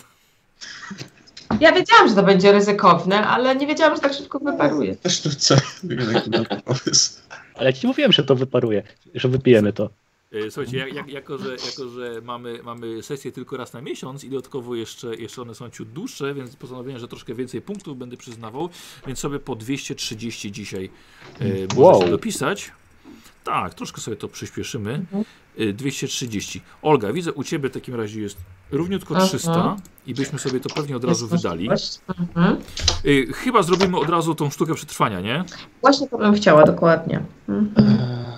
Ja wiedziałam, że to będzie ryzykowne, ale nie wiedziałam, że tak szybko wyparuje. Też tu co? Taki dobry pomysł. Ale ci mówiłem, że to wyparuje, że wypijemy to. Y, Słuchajcie, jak, jak, jako że, jako, że mamy, mamy sesję tylko raz na miesiąc i dodatkowo jeszcze, jeszcze one są ciut dłuższe, więc postanowiłem, że troszkę więcej punktów będę przyznawał, więc sobie po 230 dzisiaj e, Wow. możecie dopisać. Tak, troszkę sobie to przyspieszymy. E, 230. Olga, widzę u Ciebie w takim razie jest równiutko Aha. 300 i byśmy sobie to pewnie od razu Jest wydali. możliwość. Mhm. E, Chyba zrobimy od razu tą sztukę przetrwania, nie? Właśnie to bym chciała, dokładnie. Mhm. E,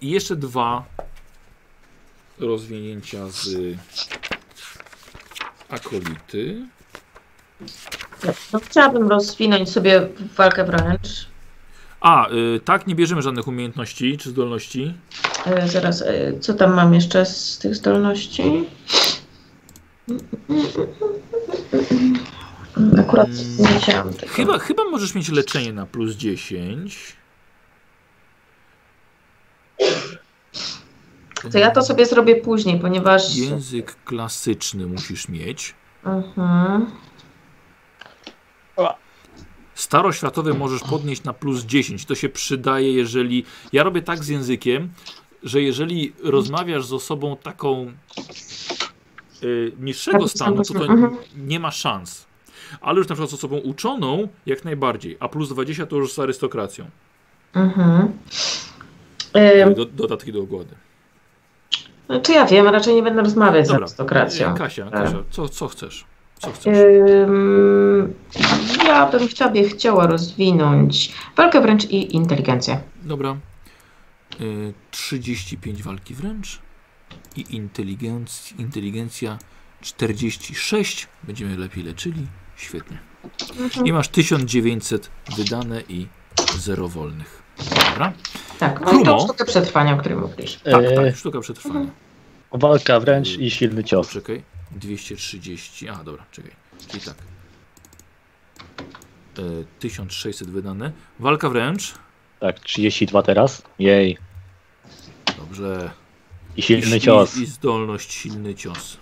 I jeszcze dwa rozwinięcia z akolity. No, chciałabym rozwinąć sobie walkę wręcz. A, y, tak, nie bierzemy żadnych umiejętności czy zdolności. E, zaraz, e, co tam mam jeszcze z tych zdolności? Akurat nie wzięłam tego. Chyba, chyba możesz mieć leczenie na plus 10. To ja to sobie zrobię później, ponieważ... Język klasyczny musisz mieć. Mhm. Staroświatowy możesz podnieść na plus 10. To się przydaje, jeżeli. Ja robię tak z językiem, że jeżeli rozmawiasz z osobą taką y, niższego Tak, stanu, to tak, to mhm. nie ma szans. Ale już na przykład z osobą uczoną, jak najbardziej. A plus 20 to już z arystokracją. Mhm. Ym, Do, dodatki do ogłady. Czy no ja wiem, raczej nie będę rozmawiać z Dobra. arystokracją. E, Kasia, Kasia, co, co chcesz? Co chcesz? Ym, ja bym w tobie chciała rozwinąć walkę wręcz i inteligencję. Dobra. Y, 35 walki wręcz i inteligenc, inteligencja 46. Będziemy lepiej leczyli. Świetnie. I masz 1900 wydane i 0 wolnych. Dobra? Tak, no i tą Krumo. sztukę przetrwania, o której mówisz. Tak, E, tak, sztuka przetrwania. Walka wręcz i silny cios. Czekaj. 230. A, dobra, czekaj. Czyli tak. Y, 1600 wydane. Walka wręcz. Tak, 32 teraz. Jej. Dobrze. I silny I- cios. I, I zdolność silny cios.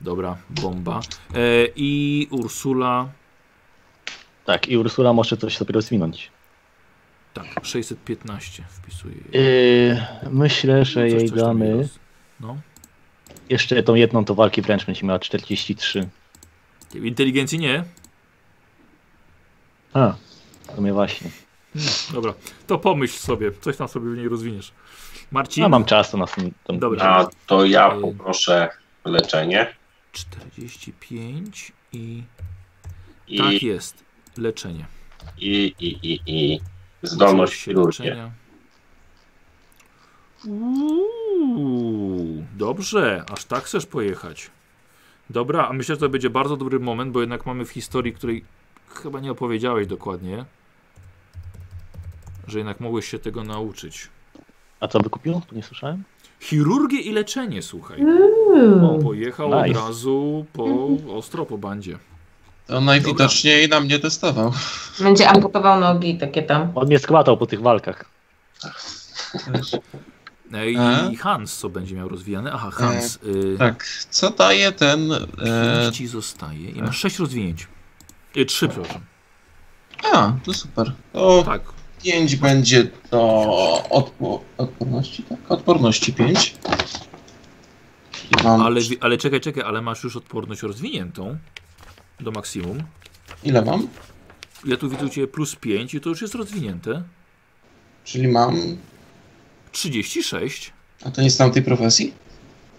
Dobra, bomba. E, I Ursula, Tak, i Ursula może coś sobie rozwinąć. tak, 615 wpisuje. jej. Yy, myślę, że Coś- jej coś tam jej damy. roz- No. Jeszcze tą jedną to walki wręcz będzie miała 43. Inteligencji nie. A, to mnie właśnie. Dobra, to pomyśl sobie, coś tam sobie w niej rozwiniesz. Marcin, Ja No, mam czas to nas. To... Dobra. A to ja poproszę leczenie 45 i... i, Tak jest, leczenie. i, i, i, i zdolność Oczywiście chirurgię. leczenia. Uuu, dobrze, aż tak chcesz pojechać. Dobra, a myślę, że to będzie bardzo dobry moment, bo jednak mamy w historii, której chyba nie opowiedziałeś dokładnie, że jednak mogłeś się tego nauczyć. A co by kupił? Nie słyszałem. Chirurgię i leczenie, słuchaj. Uuu. O, pojechał od Nice. razu po ostro po bandzie. To najwidoczniej na mnie testował. Będzie amputował nogi, takie tam. On mnie składał po tych walkach. E, A? I Hans, co będzie miał rozwijane? Aha, Hans. Y, Tak, co daje ten... E, Pięć ci zostaje i masz sześć rozwinięć. Y, Trzy, przepraszam. a, to super. To Tak. 5 będzie do odpo- odporności, tak? Odporności 5. Mam, Ale, wi- ale czekaj, czekaj, ale masz już odporność rozwiniętą do maksimum. Ile mam? Ja tu widzę u Ciebie plus 5 i to już jest rozwinięte. Czyli mam... 36 A to nie z tamtej profesji?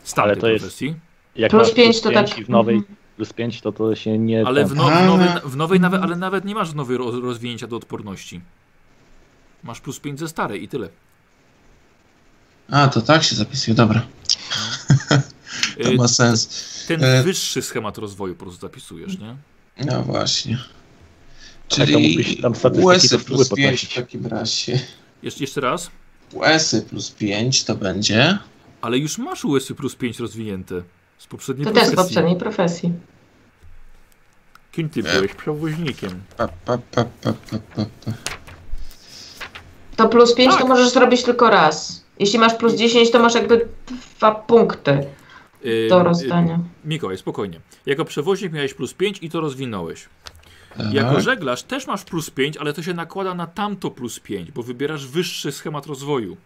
z tamtej to jest- profesji. Jak Plus masz pięć to pięć tak- i w nowej plus 5 to to się nie... Ale ten- w, no, w A. nowej, w nowej nawet, ale nawet nie masz nowej roz, rozwinięcia do odporności. Masz plus 5 ze starej i tyle. A, to tak się zapisuje, dobra. To Y, ma sens. Ten e- wyższy schemat rozwoju po prostu zapisujesz, nie? No właśnie. Tak, to mógłbyś Czyli tam statystyki USy do plus wpływu 5 w podnosić. takim razie. Jesz, jeszcze raz. USy plus 5 to będzie. Ale już masz USY plus 5 rozwinięte. Z poprzedniej To też z profesji. poprzedniej profesji. Kim ty byłeś? Przewoźnikiem. Pa, pa, pa, pa, pa, pa, pa. To plus 5 Tak. to możesz zrobić tylko raz. Jeśli masz plus 10, to masz jakby dwa punkty Yy, do rozdania. Mikołaj, spokojnie. Jako przewoźnik miałeś plus 5 i to rozwinąłeś. Tak. Jako żeglarz też masz plus 5, ale to się nakłada na tamto plus 5, bo wybierasz wyższy schemat rozwoju.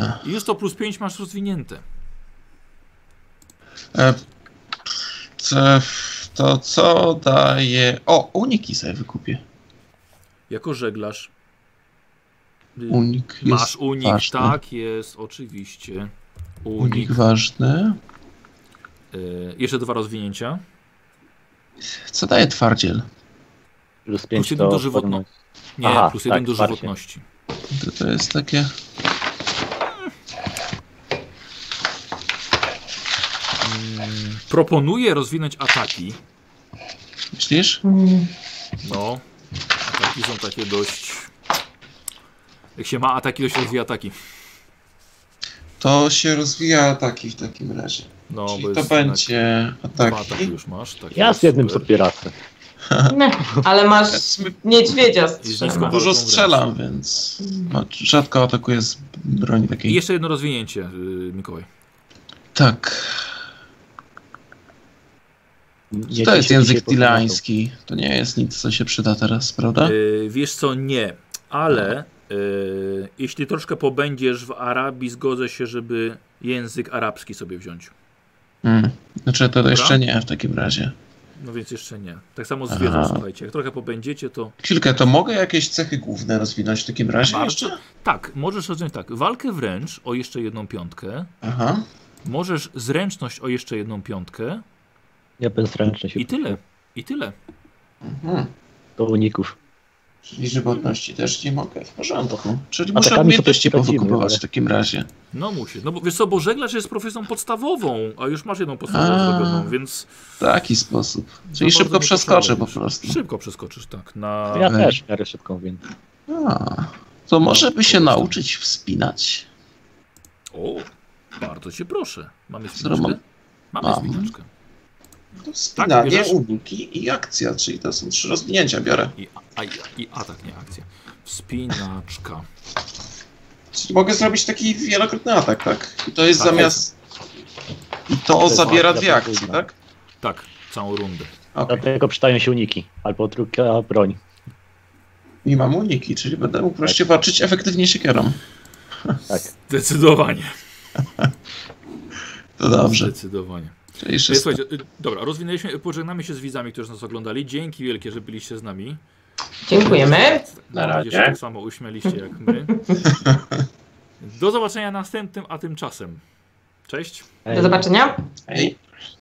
Ach. I już to plus 5 masz rozwinięte. E, co- To co daje... O, uniki sobie wykupię. Jako żeglarz. y, Unik jest masz unik, ważny. tak jest, oczywiście. Unik. Unik ważny. Y, jeszcze dwa rozwinięcia. Co daje twardziel? Plus 5 jeden to... do żywotno- odporność. Nie, Aha, plus jeden tak, do wsparcie. żywotności. To, to jest takie... Mm, proponuję rozwinąć ataki. Myślisz? Mm. No, ataki są takie dość. Jak się ma ataki, to się rozwija ataki. To się rozwija ataki w takim razie. No, Czyli bo to jest będzie jednak dwa ataki ataki. już masz. Tak Ja jest, z jednym super. sobie radzę. Ne, ale masz niedźwiedzia Nisko. strzela. Dużo strzelam, więc no, rzadko atakuję z broni I takiej. jeszcze jedno rozwinięcie, yy, Mikołaj. Tak. Nie to ci jest się język dzisiaj podobał. tilański. To nie jest nic, co się przyda teraz, prawda? Yy, wiesz co, nie, ale yy, jeśli troszkę pobędziesz w Arabii, zgodzę się, żeby język arabski sobie wziąć. Hmm. Znaczy to jeszcze Dobra. nie w takim razie. No więc jeszcze nie. Tak samo z Aha. wiedzą, słuchajcie. Jak trochę pobędziecie, to Chwilkę, to mogę jakieś cechy główne rozwinąć w takim razie Bardzo. jeszcze? tak, możesz rozwinąć tak. Walkę wręcz o jeszcze jedną piątkę. Aha. Możesz zręczność o jeszcze jedną piątkę. Ja bezręczny się... I tyle. I tyle. Mhm. Do uników. Czyli żywotności też nie mogę. W porządku. Czyli Atakami muszę sobie umiejętności poradzimy, powykupować ale- w takim razie. No musisz. No bo wiesz co, bo żeglarz jest profesją podstawową, a już masz jedną podstawową A. zrobioną, więc W taki sposób. Czyli bardzo szybko mi przeskoczę po potrzebujesz. prostu. szybko przeskoczysz, tak. Na... Ja Okej. też w miarę szybką, więc... A, to może by się nauczyć wspinać. O, bardzo cię proszę. Mamy Którą spinaczkę? Mamy Mam. spinaczkę. Tak, Wspinanie, bierzesz? uniki i akcja, czyli to są trzy rozwinięcia, biorę. I, a, i, I atak, nie akcja. Wspinaczka. Czyli mogę zrobić taki wielokrotny atak, tak? I to jest Tak. zamiast... I to jest zabiera akcja Tak. dwie akcje, podwójna. tak? Tak, całą rundę. Okay. Dlatego przydają się uniki. Albo druga broń. I mam uniki, czyli będę mógł wreszcie walczyć efektywnie siekierą. Tak. Zdecydowanie. To dobrze. Zdecydowanie. Czyli Czyli, szósta. słuchajcie, y, dobra, rozwinęliśmy, pożegnamy się z widzami, którzy nas oglądali. Dzięki wielkie, że byliście z nami. Dziękujemy. Na Mam nadzieję, razie. że tak samo uśmieliście jak my. Do zobaczenia następnym, a tymczasem. Cześć. Do zobaczenia. Hej.